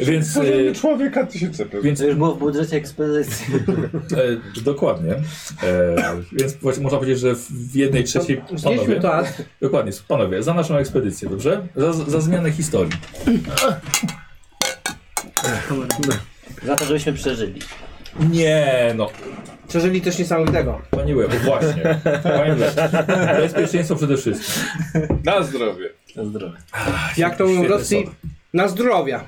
[SPEAKER 1] więc, e,
[SPEAKER 5] Poziomie człowieka tysięcy pewnie.
[SPEAKER 1] więc
[SPEAKER 3] To już było w budżecie ekspedycji.
[SPEAKER 1] e, dokładnie. E, więc właśnie można powiedzieć, że w jednej trzeciej
[SPEAKER 4] Znieśmy
[SPEAKER 1] panowie.
[SPEAKER 4] to, a
[SPEAKER 1] Dokładnie, panowie, za naszą ekspedycję, dobrze? Za, za zmianę historii.
[SPEAKER 3] Za to, żebyśmy przeżyli.
[SPEAKER 1] Nie, no,
[SPEAKER 4] przeżyli też niesamowitego.
[SPEAKER 1] panie Łeb, właśnie. Panie Łeb, bezpieczeństwo przede wszystkim.
[SPEAKER 5] Na zdrowie.
[SPEAKER 3] Na zdrowie.
[SPEAKER 4] Jak to mówią w
[SPEAKER 1] Świetne
[SPEAKER 4] Rosji, na zdrowia.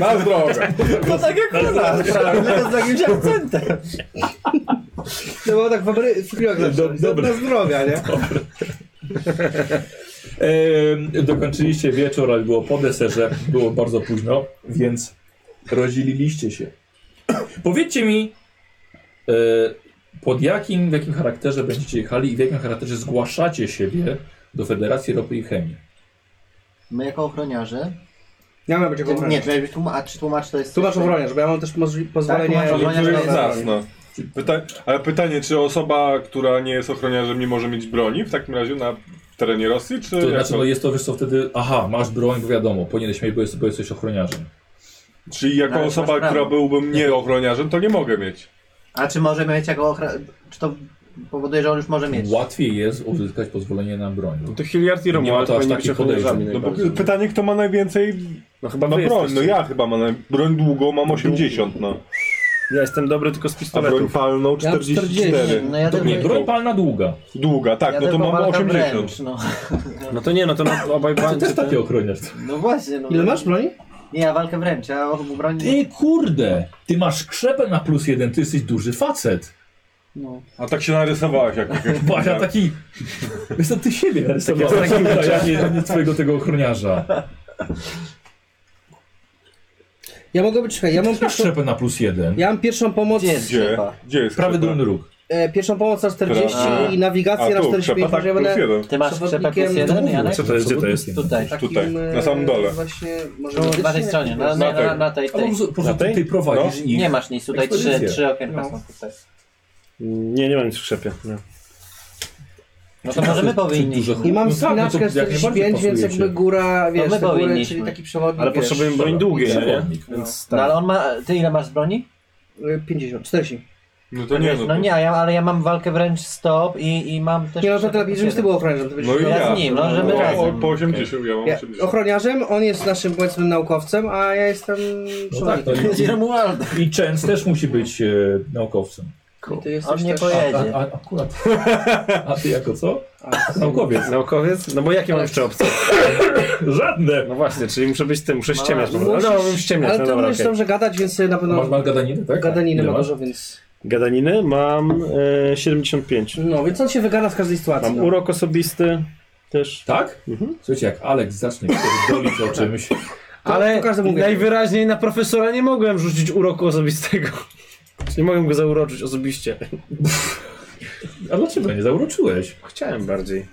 [SPEAKER 5] Na zdrowie.
[SPEAKER 3] No tak jak u nas, tylko z jakimś akcentem.
[SPEAKER 4] No bo tak w Amery- w filmach zawsze, na-
[SPEAKER 1] dobra.
[SPEAKER 4] na zdrowia, nie?
[SPEAKER 1] E, dokończyliście wieczór, ale było po deserze, było bardzo późno, więc rozdzieliliście się. Powiedzcie mi, e, pod jakim, w jakim charakterze będziecie jechali i w jakim charakterze zgłaszacie siebie do Federacji Ropy i Chemii?
[SPEAKER 3] My jako ochroniarze...
[SPEAKER 4] Ja mam być jako
[SPEAKER 3] Nie,
[SPEAKER 4] ochroniarz.
[SPEAKER 3] to miałeś być tłumacz, a czy tłumacz to jest...
[SPEAKER 4] Tłumacz ochroniarz, bo ja mam też pozwoli- pozwolenie...
[SPEAKER 3] tłumacz ochroniarz
[SPEAKER 5] Który z
[SPEAKER 3] na
[SPEAKER 5] nas, no. Pyta ale pytanie, czy osoba, która nie jest ochroniarzem, nie może mieć broni w takim razie na terenie Rosji, czy...
[SPEAKER 1] To
[SPEAKER 5] jak
[SPEAKER 1] znaczy,
[SPEAKER 5] to-
[SPEAKER 1] no jest to, wiesz co, wtedy, aha, masz broń, bo wiadomo, powinieneś mieć, bo jesteś, bo jesteś ochroniarzem.
[SPEAKER 5] Czyli jako
[SPEAKER 3] Ale No masz
[SPEAKER 5] osoba,
[SPEAKER 3] prawo.
[SPEAKER 5] która byłbym nie ochroniarzem, to nie mogę mieć.
[SPEAKER 3] A czy może mieć jako ochroniarz... Czy to powoduje, że on już może mieć?
[SPEAKER 1] Łatwiej jest uzyskać pozwolenie na broń.
[SPEAKER 2] To Hilliard i
[SPEAKER 1] Nie ma
[SPEAKER 2] Romuald
[SPEAKER 1] to aż
[SPEAKER 2] powinni być
[SPEAKER 1] takich
[SPEAKER 2] ochroniarzami
[SPEAKER 1] podejrzeń.
[SPEAKER 5] No bo
[SPEAKER 2] najbardziej.
[SPEAKER 5] pytanie, kto ma najwięcej
[SPEAKER 2] No chyba
[SPEAKER 5] ma
[SPEAKER 2] wy
[SPEAKER 5] broń. No
[SPEAKER 2] jesteście.
[SPEAKER 5] ja chyba mam naj... broń długą, mam 80, no.
[SPEAKER 2] Ja jestem dobry tylko z
[SPEAKER 5] A broń
[SPEAKER 2] pistoletów.
[SPEAKER 5] palną
[SPEAKER 4] Ja mam
[SPEAKER 5] 44.
[SPEAKER 3] No ja
[SPEAKER 1] To nie, broń palna długa.
[SPEAKER 5] Długa, tak,
[SPEAKER 3] ja
[SPEAKER 5] no to
[SPEAKER 3] tylko
[SPEAKER 5] mam
[SPEAKER 3] walkam
[SPEAKER 5] 80.
[SPEAKER 3] wręcz, no.
[SPEAKER 2] No to nie, no to na obaj
[SPEAKER 1] To
[SPEAKER 2] bańcy.
[SPEAKER 1] jest taki ochroniarz.
[SPEAKER 3] no właśnie, no.
[SPEAKER 4] Ile masz broni?
[SPEAKER 3] Nie, ja walkę wręcz, ja obu broni...
[SPEAKER 1] Ty kurde, ty masz krzepę na plus jeden, ty jesteś duży facet.
[SPEAKER 3] No.
[SPEAKER 5] A tak się narysowałeś jak jakaś
[SPEAKER 1] Bo ja taki... Wiesz co, ty siebie narysowałeś, a ja nie, nie twojego tego ochroniarza.
[SPEAKER 4] Ja mogę być, czekaj, ja mam
[SPEAKER 1] Masz
[SPEAKER 4] pierwszą,
[SPEAKER 1] krzepę na plus jeden.
[SPEAKER 4] ja mam pierwszą pomoc,
[SPEAKER 3] Gdzie jest
[SPEAKER 5] Gdzie?
[SPEAKER 3] szefa?
[SPEAKER 5] Gdzie jest
[SPEAKER 1] Prawy
[SPEAKER 5] szefa?
[SPEAKER 1] dolny róg.
[SPEAKER 4] e, pierwszą pomoc na 40
[SPEAKER 3] Dobra.
[SPEAKER 4] i
[SPEAKER 5] A
[SPEAKER 4] nawigację na
[SPEAKER 5] tu, szefa,
[SPEAKER 4] 45,
[SPEAKER 5] tak,
[SPEAKER 4] może ja
[SPEAKER 5] plus
[SPEAKER 4] będę
[SPEAKER 5] jeden.
[SPEAKER 3] Ty masz krzepę plus
[SPEAKER 4] Przewodnikiem- Tak,
[SPEAKER 3] jeden, Janek?
[SPEAKER 6] Co to jest, gdzie to jest?
[SPEAKER 3] Tutaj.
[SPEAKER 4] takim...
[SPEAKER 5] Tutaj, na samym
[SPEAKER 4] e,
[SPEAKER 5] dole.
[SPEAKER 4] Właśnie, może...
[SPEAKER 3] Tu,
[SPEAKER 4] medycznym,
[SPEAKER 3] Po tej stronie, No, na,
[SPEAKER 4] wiesz,
[SPEAKER 3] na,
[SPEAKER 5] tej.
[SPEAKER 3] na, na tej,
[SPEAKER 1] A po
[SPEAKER 3] tej.
[SPEAKER 1] prostu, po prostu ty, ty prowadzisz ich.
[SPEAKER 3] Nie masz nic, tutaj trzy,
[SPEAKER 1] ekspozycję.
[SPEAKER 3] trzy okienka
[SPEAKER 4] No.
[SPEAKER 3] są tutaj.
[SPEAKER 6] Nie, nie mam nic w krzepie. No.
[SPEAKER 3] No to może my powinniśmy.
[SPEAKER 1] duże
[SPEAKER 4] I mam
[SPEAKER 1] No tak, no to
[SPEAKER 4] spinaczkę
[SPEAKER 1] jak najbardziej
[SPEAKER 4] 45, więc
[SPEAKER 1] pasujecie.
[SPEAKER 4] jakby góra, wiesz,
[SPEAKER 3] my
[SPEAKER 4] te góry,
[SPEAKER 3] powinniśmy.
[SPEAKER 4] czyli taki przewodnik,
[SPEAKER 2] Ale
[SPEAKER 4] wiesz,
[SPEAKER 2] potrzebujemy broń długiej, nie?
[SPEAKER 1] Przewodnik.
[SPEAKER 2] Więc
[SPEAKER 3] No ale
[SPEAKER 2] tak.
[SPEAKER 3] on ma... Ty ile masz broni?
[SPEAKER 4] e, 50, 40.
[SPEAKER 5] No to nie, no,
[SPEAKER 3] No
[SPEAKER 5] to...
[SPEAKER 3] nie, a ja, ale ja mam walkę wręcz stop i, i mam też...
[SPEAKER 4] Nie, no to
[SPEAKER 3] krzepę
[SPEAKER 4] teraz,
[SPEAKER 3] plus
[SPEAKER 4] żebyś ty
[SPEAKER 3] jeden.
[SPEAKER 4] był ochroniarzem, to byś...
[SPEAKER 5] No i
[SPEAKER 3] Ja
[SPEAKER 5] ja.
[SPEAKER 3] z nim, no, że my
[SPEAKER 5] No,
[SPEAKER 3] razem.
[SPEAKER 5] o, po 80, ja mam
[SPEAKER 4] Ja,
[SPEAKER 5] 80.
[SPEAKER 4] ochroniarzem, on jest naszym powiedzmy naukowcem, a ja jestem
[SPEAKER 1] No tak, no
[SPEAKER 4] przewodnikiem.
[SPEAKER 1] i,
[SPEAKER 3] Romualdo.
[SPEAKER 1] i Częs też musi być e, naukowcem.
[SPEAKER 4] I ty
[SPEAKER 3] On
[SPEAKER 4] jesteś
[SPEAKER 3] nie
[SPEAKER 4] też...
[SPEAKER 1] A,
[SPEAKER 3] pojedzie.
[SPEAKER 1] a, akurat. A ty jako co? Naukowiec.
[SPEAKER 2] Naukowiec? No bo jakie mam jeszcze opcje?
[SPEAKER 1] Żadne.
[SPEAKER 2] No właśnie, czyli muszę być tym, muszę ściemniać. No, no,
[SPEAKER 4] musisz-
[SPEAKER 2] mam ściemniać,
[SPEAKER 4] Ale
[SPEAKER 2] no
[SPEAKER 4] ty
[SPEAKER 2] dobra,
[SPEAKER 4] umiesz
[SPEAKER 2] okej.
[SPEAKER 4] dobrze gadać, więc sobie na
[SPEAKER 1] Masz,
[SPEAKER 4] pewno
[SPEAKER 1] masz gadaniny, tak?
[SPEAKER 4] No. gadaniny
[SPEAKER 1] Ile
[SPEAKER 4] ma
[SPEAKER 1] masz?
[SPEAKER 4] dużo, więc...
[SPEAKER 6] Gadaniny mam e, 75.
[SPEAKER 4] No, więc on się wygada z każdej sytuacji.
[SPEAKER 6] Mam
[SPEAKER 4] no.
[SPEAKER 6] urok osobisty też.
[SPEAKER 1] Tak? Słuchajcie, jak Alex zacznie pierdolić o czymś,
[SPEAKER 2] Ale
[SPEAKER 4] to każdy mówi.
[SPEAKER 2] najwyraźniej na profesora nie mogłem rzucić uroku osobistego. Nie mogłem go zauroczyć osobiście.
[SPEAKER 1] a dlaczego nie zauroczyłeś?
[SPEAKER 2] Chciałem bardziej.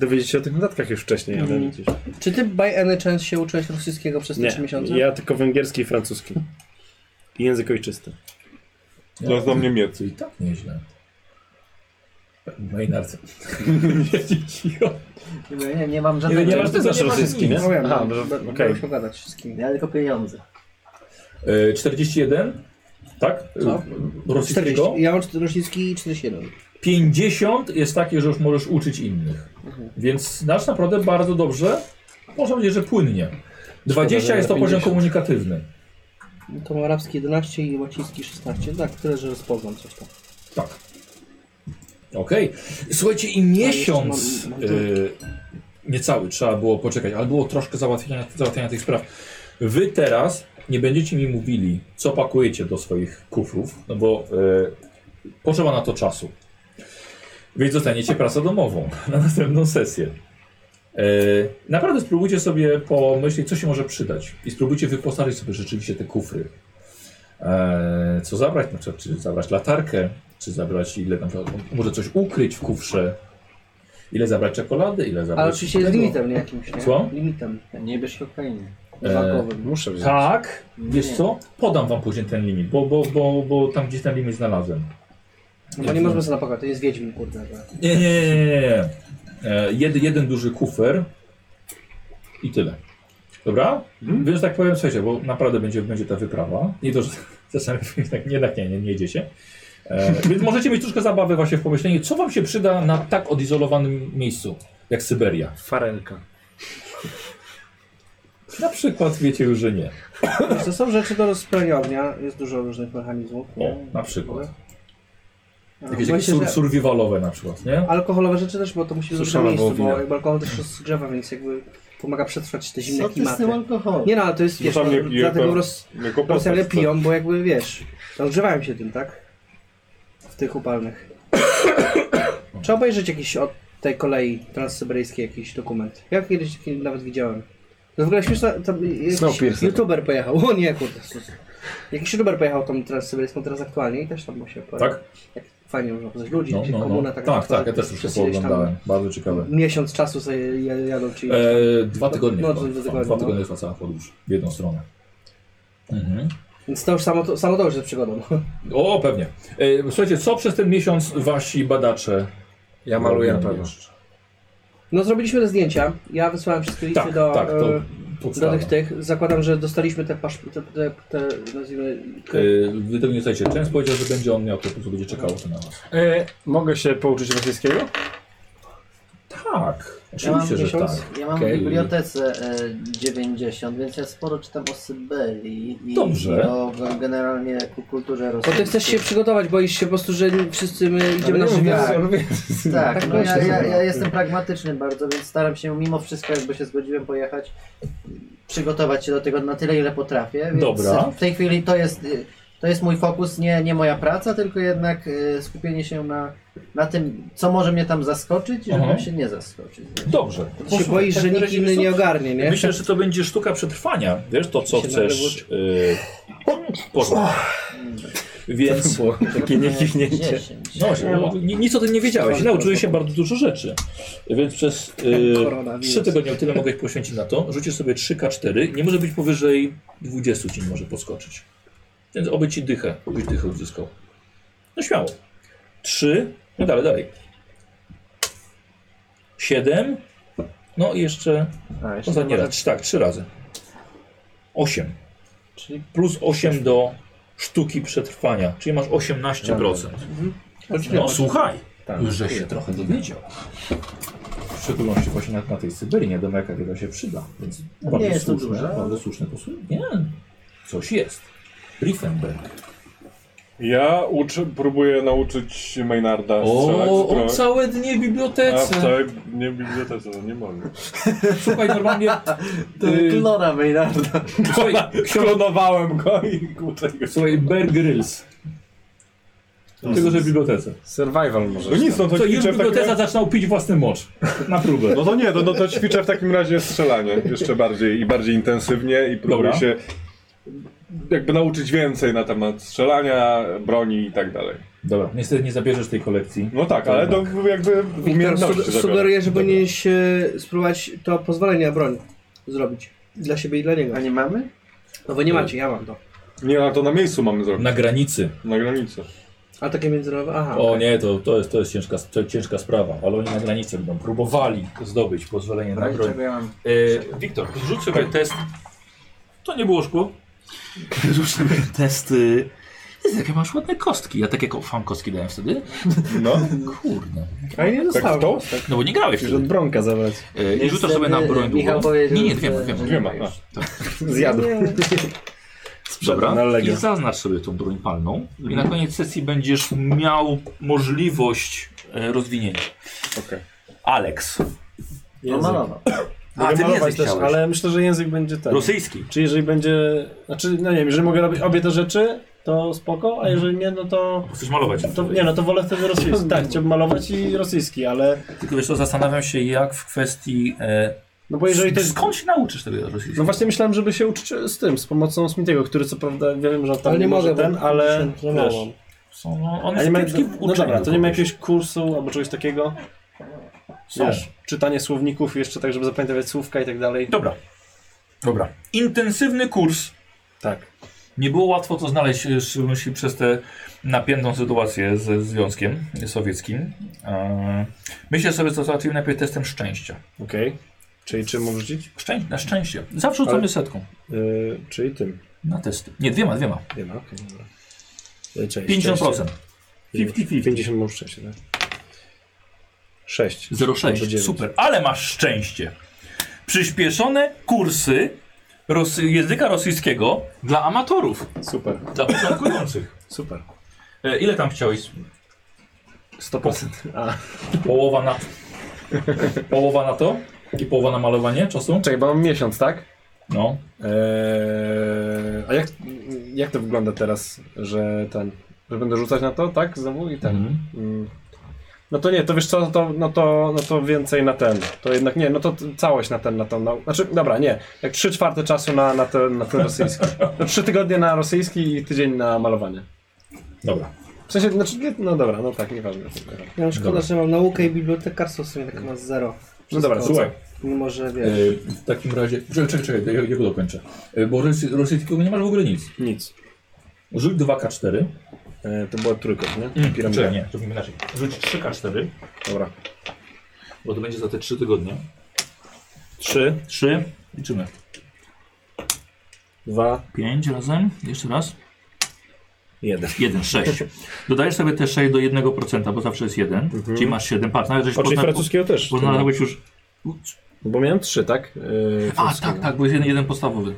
[SPEAKER 2] Dowiedzieć się o tych notatkach już wcześniej, ale
[SPEAKER 4] Mhm.
[SPEAKER 2] gdzieś.
[SPEAKER 4] Czy ty by any chance się uczyłeś rosyjskiego przez te trzy miesiące?
[SPEAKER 6] ja tylko węgierski i francuski. I język ojczysty.
[SPEAKER 5] Ja znam Niemiec.
[SPEAKER 1] I tak nieźle. Maynard.
[SPEAKER 3] Nie, nie, nie mam
[SPEAKER 1] Nie,
[SPEAKER 3] żadnego...
[SPEAKER 1] nie masz ty zawsze rosyjski, nie?
[SPEAKER 4] No wiem,
[SPEAKER 2] Aha,
[SPEAKER 4] no,
[SPEAKER 2] dobrze,
[SPEAKER 4] b-
[SPEAKER 2] okej.
[SPEAKER 4] będę się gadać z kimś.
[SPEAKER 3] Ja tylko pieniądze.
[SPEAKER 1] E, 41? Tak?
[SPEAKER 4] Co?
[SPEAKER 1] E, Rosyjskiego?
[SPEAKER 4] 40. Ja mam czty- rosyjski i 47.
[SPEAKER 1] 50 jest takie, że już możesz uczyć innych. Więc znasz naprawdę bardzo dobrze. Można powiedzieć, że płynnie. 20 jest to poziom komunikatywny.
[SPEAKER 4] To mam arabski 11 i łaciński 16. Tak, tyle, że rozpoznam coś tam.
[SPEAKER 1] Tak. Okej. Słuchajcie, i miesiąc
[SPEAKER 4] mam- mam
[SPEAKER 1] y, niecały trzeba było poczekać, ale było troszkę załatwienia, załatwienia tych spraw. Wy teraz nie będziecie mi mówili, co pakujecie do swoich kufrów, no bo y, potrzeba na to czasu. Więc dostaniecie pracę domową na następną sesję. Y, naprawdę spróbujcie sobie pomyśleć, co się może przydać i spróbujcie wyposażyć sobie rzeczywiście te kufry. E, co zabrać, na przykład, czy zabrać latarkę, czy zabrać ile tam, może coś ukryć w kufrze, ile zabrać czekolady, ile zabrać...
[SPEAKER 4] Ale oczywiście jest
[SPEAKER 1] tego.
[SPEAKER 4] limitem, nie jakimś, nie?
[SPEAKER 1] Co?
[SPEAKER 4] Limitem
[SPEAKER 3] Nie bierz kokainy.
[SPEAKER 4] wakowym.
[SPEAKER 2] Muszę wziąć.
[SPEAKER 1] Tak, wiesz
[SPEAKER 3] Nie.
[SPEAKER 1] co, podam wam później ten limit, bo, bo, bo, bo tam gdzieś ten limit znalazłem.
[SPEAKER 4] No bo nie można sobie napakować, to jest Wiedźmin, kurde. że-
[SPEAKER 1] Nie, nie, nie, nie, nie, nie. E, jed, jeden duży kufer i tyle. Dobra?
[SPEAKER 4] Mhm.
[SPEAKER 1] Więc tak powiem, słuchajcie, bo naprawdę będzie, będzie ta wyprawa. Nie to, że czasami tak nie, tak nie, nie, nie jedziecie. E, więc możecie mieć troszkę zabawy właśnie w pomyśleniu, co wam się przyda na tak odizolowanym miejscu, jak Syberia.
[SPEAKER 2] Farelka.
[SPEAKER 1] Na przykład wiecie już, że nie.
[SPEAKER 4] Wiesz, To są rzeczy do rozprania ognia, jest dużo różnych mechanizmów.
[SPEAKER 1] O,
[SPEAKER 4] nie?
[SPEAKER 1] na przykład.
[SPEAKER 4] No,
[SPEAKER 1] Jakieś
[SPEAKER 4] boję
[SPEAKER 1] takie
[SPEAKER 4] się,
[SPEAKER 1] sur,
[SPEAKER 4] że
[SPEAKER 1] survivalowe na przykład, nie?
[SPEAKER 4] Alkoholowe rzeczy też, bo to musi być na
[SPEAKER 2] Suszona
[SPEAKER 4] miejscu, bo
[SPEAKER 2] wołowina.
[SPEAKER 4] jakby alkohol też rozgrzewa, więc jakby pomaga przetrwać te zimne
[SPEAKER 3] Co ty z tym
[SPEAKER 4] klimaty.
[SPEAKER 3] alkoholem?
[SPEAKER 4] Nie no, ale to jest,
[SPEAKER 5] No
[SPEAKER 4] wiesz,
[SPEAKER 5] tam
[SPEAKER 4] no,
[SPEAKER 5] je- je-
[SPEAKER 4] dlatego
[SPEAKER 5] to-
[SPEAKER 4] roz,
[SPEAKER 5] Jako
[SPEAKER 4] Rosjanie
[SPEAKER 5] postać,
[SPEAKER 4] piją, bo jakby wiesz, rozgrzewają się tym, tak? W tych upalnych. Trzeba obejrzeć jakiś od tej kolei transsyberyjskiej jakiś dokument. Ja kiedyś taki nawet widziałem. To w ogóle śmieszne, tam jakiś
[SPEAKER 2] Snowpiercer.
[SPEAKER 4] youtuber pojechał, o nie kurde, sus. Jakiś youtuber pojechał tą transsyberyjską teraz aktualnie i też tam mu się pojechał.
[SPEAKER 1] Tak?
[SPEAKER 4] Jak fajnie można poznać ludzi,
[SPEAKER 1] No,
[SPEAKER 4] no,
[SPEAKER 1] no, no.
[SPEAKER 4] komuna, tak
[SPEAKER 1] Tak, tak, ja
[SPEAKER 4] jak
[SPEAKER 1] też już to
[SPEAKER 4] przez ileś tam
[SPEAKER 1] pooglądałem. Bardzo ciekawe.
[SPEAKER 4] Miesiąc czasu sobie je- jadą, czy ileś tam.
[SPEAKER 1] E, dwa tygodnie.
[SPEAKER 4] No,
[SPEAKER 1] No,
[SPEAKER 4] to dwa tygodnie,
[SPEAKER 1] dwa
[SPEAKER 4] no.
[SPEAKER 1] tygodnie trwa cała podróż w jedną stronę.
[SPEAKER 4] Więc to już samo to, samo to już jest przygodą.
[SPEAKER 1] O, pewnie. E, słuchajcie, co przez ten miesiąc wasi badacze.
[SPEAKER 2] Ja maluję na
[SPEAKER 1] robią
[SPEAKER 2] pewno.
[SPEAKER 1] jeszcze?
[SPEAKER 4] No zrobiliśmy te zdjęcia, ja wysłałem wszystkie listy
[SPEAKER 1] Tak,
[SPEAKER 4] do...
[SPEAKER 1] tak, to
[SPEAKER 4] e, Do
[SPEAKER 1] podstawa.
[SPEAKER 4] tych, tych, zakładam, że dostaliśmy te, pasz, te, te, te nazwijmy,
[SPEAKER 1] E, Wy tego nie słuchajcie. Często powiedział, że będzie on miał, to po prostu będzie czekało to na was.
[SPEAKER 2] E, mogę się pouczyć rosyjskiego?
[SPEAKER 1] Tak,
[SPEAKER 3] Ja mam,
[SPEAKER 1] oczywiście, że
[SPEAKER 4] miesiąc?
[SPEAKER 1] tak.
[SPEAKER 3] ja mam
[SPEAKER 1] Okej.
[SPEAKER 3] w bibliotece e, 90, więc ja sporo czytam o Syberii i
[SPEAKER 1] Dobrze.
[SPEAKER 3] i o g- generalnie ku- kulturze
[SPEAKER 4] bo
[SPEAKER 3] rosyjskiej.
[SPEAKER 4] ty chcesz się przygotować, boisz się po prostu, że wszyscy my idziemy na żywioł.
[SPEAKER 3] Tak,
[SPEAKER 4] Tak
[SPEAKER 3] no ja,
[SPEAKER 4] myślę,
[SPEAKER 3] ja,
[SPEAKER 4] że-
[SPEAKER 3] ja jestem pragmatyczny bardzo, więc staram się mimo wszystko, jakby się zgodziłem pojechać, przygotować się do tego na tyle, ile potrafię. Więc
[SPEAKER 1] Dobra.
[SPEAKER 3] W tej chwili to jest, y, to jest mój fokus, nie, nie moja praca, tylko jednak y, skupienie się na, na tym, co może mnie tam zaskoczyć, żebym
[SPEAKER 1] Aha.
[SPEAKER 3] się nie zaskoczyć.
[SPEAKER 1] Dobrze.
[SPEAKER 4] Się boisz, że nikt inny nie ogarnie, nie?
[SPEAKER 1] Myślę, że to będzie sztuka przetrwania. Wiesz, to co
[SPEAKER 4] Się
[SPEAKER 1] chcesz. Yy, poszło.
[SPEAKER 4] Mm.
[SPEAKER 1] Więc.
[SPEAKER 2] Takie niekichnięcie.
[SPEAKER 3] 10.
[SPEAKER 1] No, właśnie, no, ni- nic o tym nie wiedziałeś. Nauczyłeś się bardzo dużo rzeczy. Więc przez yy,
[SPEAKER 4] Koronawirus.
[SPEAKER 1] 3 tygodnie tyle mogłeś poświęcić na to. Rzucisz sobie 3K4. Nie może być powyżej 20 ci nie może podskoczyć. Więc oby ci dychę, byś dychę uzyskał. No śmiało. 3, no dalej, dalej. 7, no i jeszcze
[SPEAKER 3] A, jeszcze
[SPEAKER 1] Ostatni
[SPEAKER 3] może-
[SPEAKER 1] raz, tak, trzy razy. Osiem.
[SPEAKER 3] Czyli-
[SPEAKER 1] Plus 8 do sztuki przetrwania, czyli masz 18%. No słuchaj, już że się trochę dowiedział. W szczególności właśnie na, na tej Syberii, nie wiadomo jaka wiedza się przyda. Więc bardzo
[SPEAKER 3] jest to
[SPEAKER 1] słuszne,
[SPEAKER 3] dużo.
[SPEAKER 1] bardzo słuszne posunięcie. Nie, coś jest. Riefenberg.
[SPEAKER 5] Ja uczę, próbuję nauczyć Maynarda strzelać
[SPEAKER 8] O,
[SPEAKER 5] zbroję.
[SPEAKER 8] on całe dnie w
[SPEAKER 5] A
[SPEAKER 1] Tak,
[SPEAKER 5] w
[SPEAKER 8] bibliotece.
[SPEAKER 5] całej nie, bibliotece, no nie mogę.
[SPEAKER 8] Słuchaj, normalnie...
[SPEAKER 3] To
[SPEAKER 1] No
[SPEAKER 8] y,
[SPEAKER 3] klona Maynarda.
[SPEAKER 8] Słuchaj,
[SPEAKER 5] Klonowałem go i kłócę go.
[SPEAKER 8] słuchaj, Bear Grylls. Tylko, że w bibliotece.
[SPEAKER 9] Survival może.
[SPEAKER 5] No nic, no to
[SPEAKER 8] Co, już
[SPEAKER 5] ćwiczę w takim
[SPEAKER 8] biblioteka
[SPEAKER 5] razie...
[SPEAKER 8] zaczynał pić własny mocz. Na próbę.
[SPEAKER 5] No to nie, no, no to ćwiczę w takim razie strzelanie jeszcze bardziej i bardziej intensywnie i próbuję
[SPEAKER 8] Dobra.
[SPEAKER 5] się jakby nauczyć więcej na temat strzelania, broni i tak dalej.
[SPEAKER 8] Dobra, niestety nie zabierzesz tej kolekcji.
[SPEAKER 5] No tak, ale to jakby w
[SPEAKER 4] Wiktor
[SPEAKER 5] umiejętności
[SPEAKER 4] su-
[SPEAKER 5] zabiorę.
[SPEAKER 4] sugeruje, że
[SPEAKER 5] Dobra.
[SPEAKER 4] powinieneś e, spróbować to pozwolenie na broń zrobić. Dla siebie i dla niego.
[SPEAKER 3] A nie mamy?
[SPEAKER 4] No bo nie macie, ja mam to.
[SPEAKER 5] Nie, ale to na miejscu mamy zrobić,
[SPEAKER 8] Na granicy.
[SPEAKER 5] na granicy.
[SPEAKER 4] A takie międzynarodowe? Aha.
[SPEAKER 8] O nie, to, to jest, to jest ciężka, to ciężka sprawa, ale oni na granicy będą próbowali zdobyć pozwolenie na broń.
[SPEAKER 3] Tak, Czego ja mam?
[SPEAKER 1] E, Wiktor, rzuć sobie test. To nie było szkło. Rzuć sobie test. y, Jest, jakie masz ładne kostki. Ja tak jak wam kostki dałem wtedy.
[SPEAKER 5] No,
[SPEAKER 1] Kurde.
[SPEAKER 9] A ja nie
[SPEAKER 5] tak w
[SPEAKER 9] dostałem.
[SPEAKER 5] to?
[SPEAKER 1] No bo nie grałeś
[SPEAKER 9] Musisz od
[SPEAKER 1] wtedy.
[SPEAKER 9] Bronka zabrać.
[SPEAKER 1] E, I rzucasz sobie na broń
[SPEAKER 3] Michał
[SPEAKER 1] długą.
[SPEAKER 3] powiedział,
[SPEAKER 1] Nie, nie,
[SPEAKER 3] że-
[SPEAKER 1] wiem, wiem.
[SPEAKER 5] Nie ma. A.
[SPEAKER 9] Zjadł.
[SPEAKER 1] Dobra,
[SPEAKER 9] Na Allegro.
[SPEAKER 1] i zaznacz sobie tą broń palną i na koniec sesji będziesz miał możliwość e, rozwinięcia.
[SPEAKER 5] Okej.
[SPEAKER 1] Alex.
[SPEAKER 3] No malował.
[SPEAKER 1] A, ty nie
[SPEAKER 2] malować też,
[SPEAKER 1] chciałeś.
[SPEAKER 2] ale myślę, że język będzie ten.
[SPEAKER 1] Rosyjski.
[SPEAKER 2] Czy jeżeli będzie. Znaczy, no nie wiem, jeżeli mogę robić obie te rzeczy, to spoko, a jeżeli nie, no to.
[SPEAKER 1] Chcesz malować.
[SPEAKER 2] to nie, no to wolę wtedy rosyjski. Tak, chciałbym malować i rosyjski, ale.
[SPEAKER 1] Tylko wiesz co, zastanawiam się jak w kwestii... E,
[SPEAKER 2] No bo jeżeli też.
[SPEAKER 1] Skąd się nauczysz tego rosyjskiego?
[SPEAKER 2] No właśnie myślałem, żeby się uczyć z tym, z pomocą Smithiego, który co prawda wiem, że on tam
[SPEAKER 4] Ale nie mogę, bo
[SPEAKER 2] ten, ale.
[SPEAKER 4] się nie
[SPEAKER 2] wiesz,
[SPEAKER 4] mam.
[SPEAKER 1] Są, no, on
[SPEAKER 2] a
[SPEAKER 1] jest
[SPEAKER 2] nie ma,
[SPEAKER 1] kiepski w
[SPEAKER 2] no
[SPEAKER 1] uczeniu
[SPEAKER 2] dobra, to nie ma
[SPEAKER 1] kogoś.
[SPEAKER 2] jakiegoś kursu albo czegoś takiego.
[SPEAKER 1] Są.
[SPEAKER 2] Wiesz, czytanie słowników jeszcze tak, żeby zapamiętywać słówka i tak dalej.
[SPEAKER 1] Dobra. Dobra. Intensywny kurs.
[SPEAKER 2] Tak.
[SPEAKER 1] Nie było łatwo to znaleźć, w szczególności przez tę napiętą sytuację ze Związkiem Sowieckim. Eee, Myślę sobie, co załatwimy najpierw testem szczęścia.
[SPEAKER 2] Okej. Czyli czym mam rzucić?
[SPEAKER 1] Szczę na szczęście. Zawsze rzucamy
[SPEAKER 2] Ale-
[SPEAKER 1] setką
[SPEAKER 2] Yy, czyli tym.
[SPEAKER 1] na testy. Nie, dwiema, dwiema.
[SPEAKER 2] Nie ma, okej, dobra. Yy, Cześć,
[SPEAKER 1] 50%.
[SPEAKER 2] 50-50. 50 mam szczęście, tak? 6.
[SPEAKER 1] 0,6. Super. Ale masz szczęście. Przyspieszone kursy rosy języka rosyjskiego dla amatorów,
[SPEAKER 2] Super,
[SPEAKER 1] dla początkujących.
[SPEAKER 2] super.
[SPEAKER 1] E, ile tam chciałeś?
[SPEAKER 2] 100%. A,
[SPEAKER 1] Połowa na... Połowa na to? I połowa na malowanie czasu?
[SPEAKER 9] Czekaj, bo mam miesiąc, tak?
[SPEAKER 1] No.
[SPEAKER 9] Eee, a jak, jak to wygląda teraz, że ten, że będę rzucać na to, tak? Znowu i ten.
[SPEAKER 1] Mhm.
[SPEAKER 9] Mm. No to nie, to wiesz co, no to, no to, no to więcej na ten. To jednak nie, no to t- całość na ten, na tą. Na, znaczy, dobra, nie. Jak 3 czwarte czasu na, na, ten, na ten rosyjski. No, 3 tygodnie na rosyjski i tydzień na malowanie.
[SPEAKER 8] Dobra.
[SPEAKER 9] W sensie, znaczy, nie, no dobra, no tak, nieważne.
[SPEAKER 4] Ja mam szkoda,
[SPEAKER 8] Dobra.
[SPEAKER 4] że mam naukę i bibliotekarstwo w sumie tak ma zero.
[SPEAKER 9] No dobra,
[SPEAKER 4] Wszystko,
[SPEAKER 8] Słuchaj,
[SPEAKER 4] Mimo, że
[SPEAKER 8] e,
[SPEAKER 4] wiesz.
[SPEAKER 8] w takim razie... Czekaj, czekaj, czekaj, ja, ja go dokończę. E, Bo rosy- rosyjskiego nie masz w ogóle nic.
[SPEAKER 2] nic.
[SPEAKER 8] Rzuć 2K4.
[SPEAKER 2] E, to była trójkąt, nie?
[SPEAKER 1] Mm,
[SPEAKER 8] Piramida.
[SPEAKER 1] Czekaj, nie, zrobimy inaczej. Rzuć 3K4,
[SPEAKER 9] Dobra.
[SPEAKER 1] bo to będzie za te 3 tygodnie.
[SPEAKER 2] 3,
[SPEAKER 1] 3, liczymy.
[SPEAKER 2] 2,
[SPEAKER 1] 5 razem, jeszcze raz.
[SPEAKER 2] 1.
[SPEAKER 1] 1, 6. Dodajesz sobie te 6 do 1%, bo zawsze jest 1, czyli masz 7 par. Nawet żeś
[SPEAKER 2] O, czyli
[SPEAKER 1] pozna-
[SPEAKER 2] francuskiego też. No.
[SPEAKER 1] poznałeś już...
[SPEAKER 2] Bo miałem 3, tak? Yy,
[SPEAKER 1] A,
[SPEAKER 2] francuskiego.
[SPEAKER 1] tak, tak, bo jest jeden, jeden podstawowy.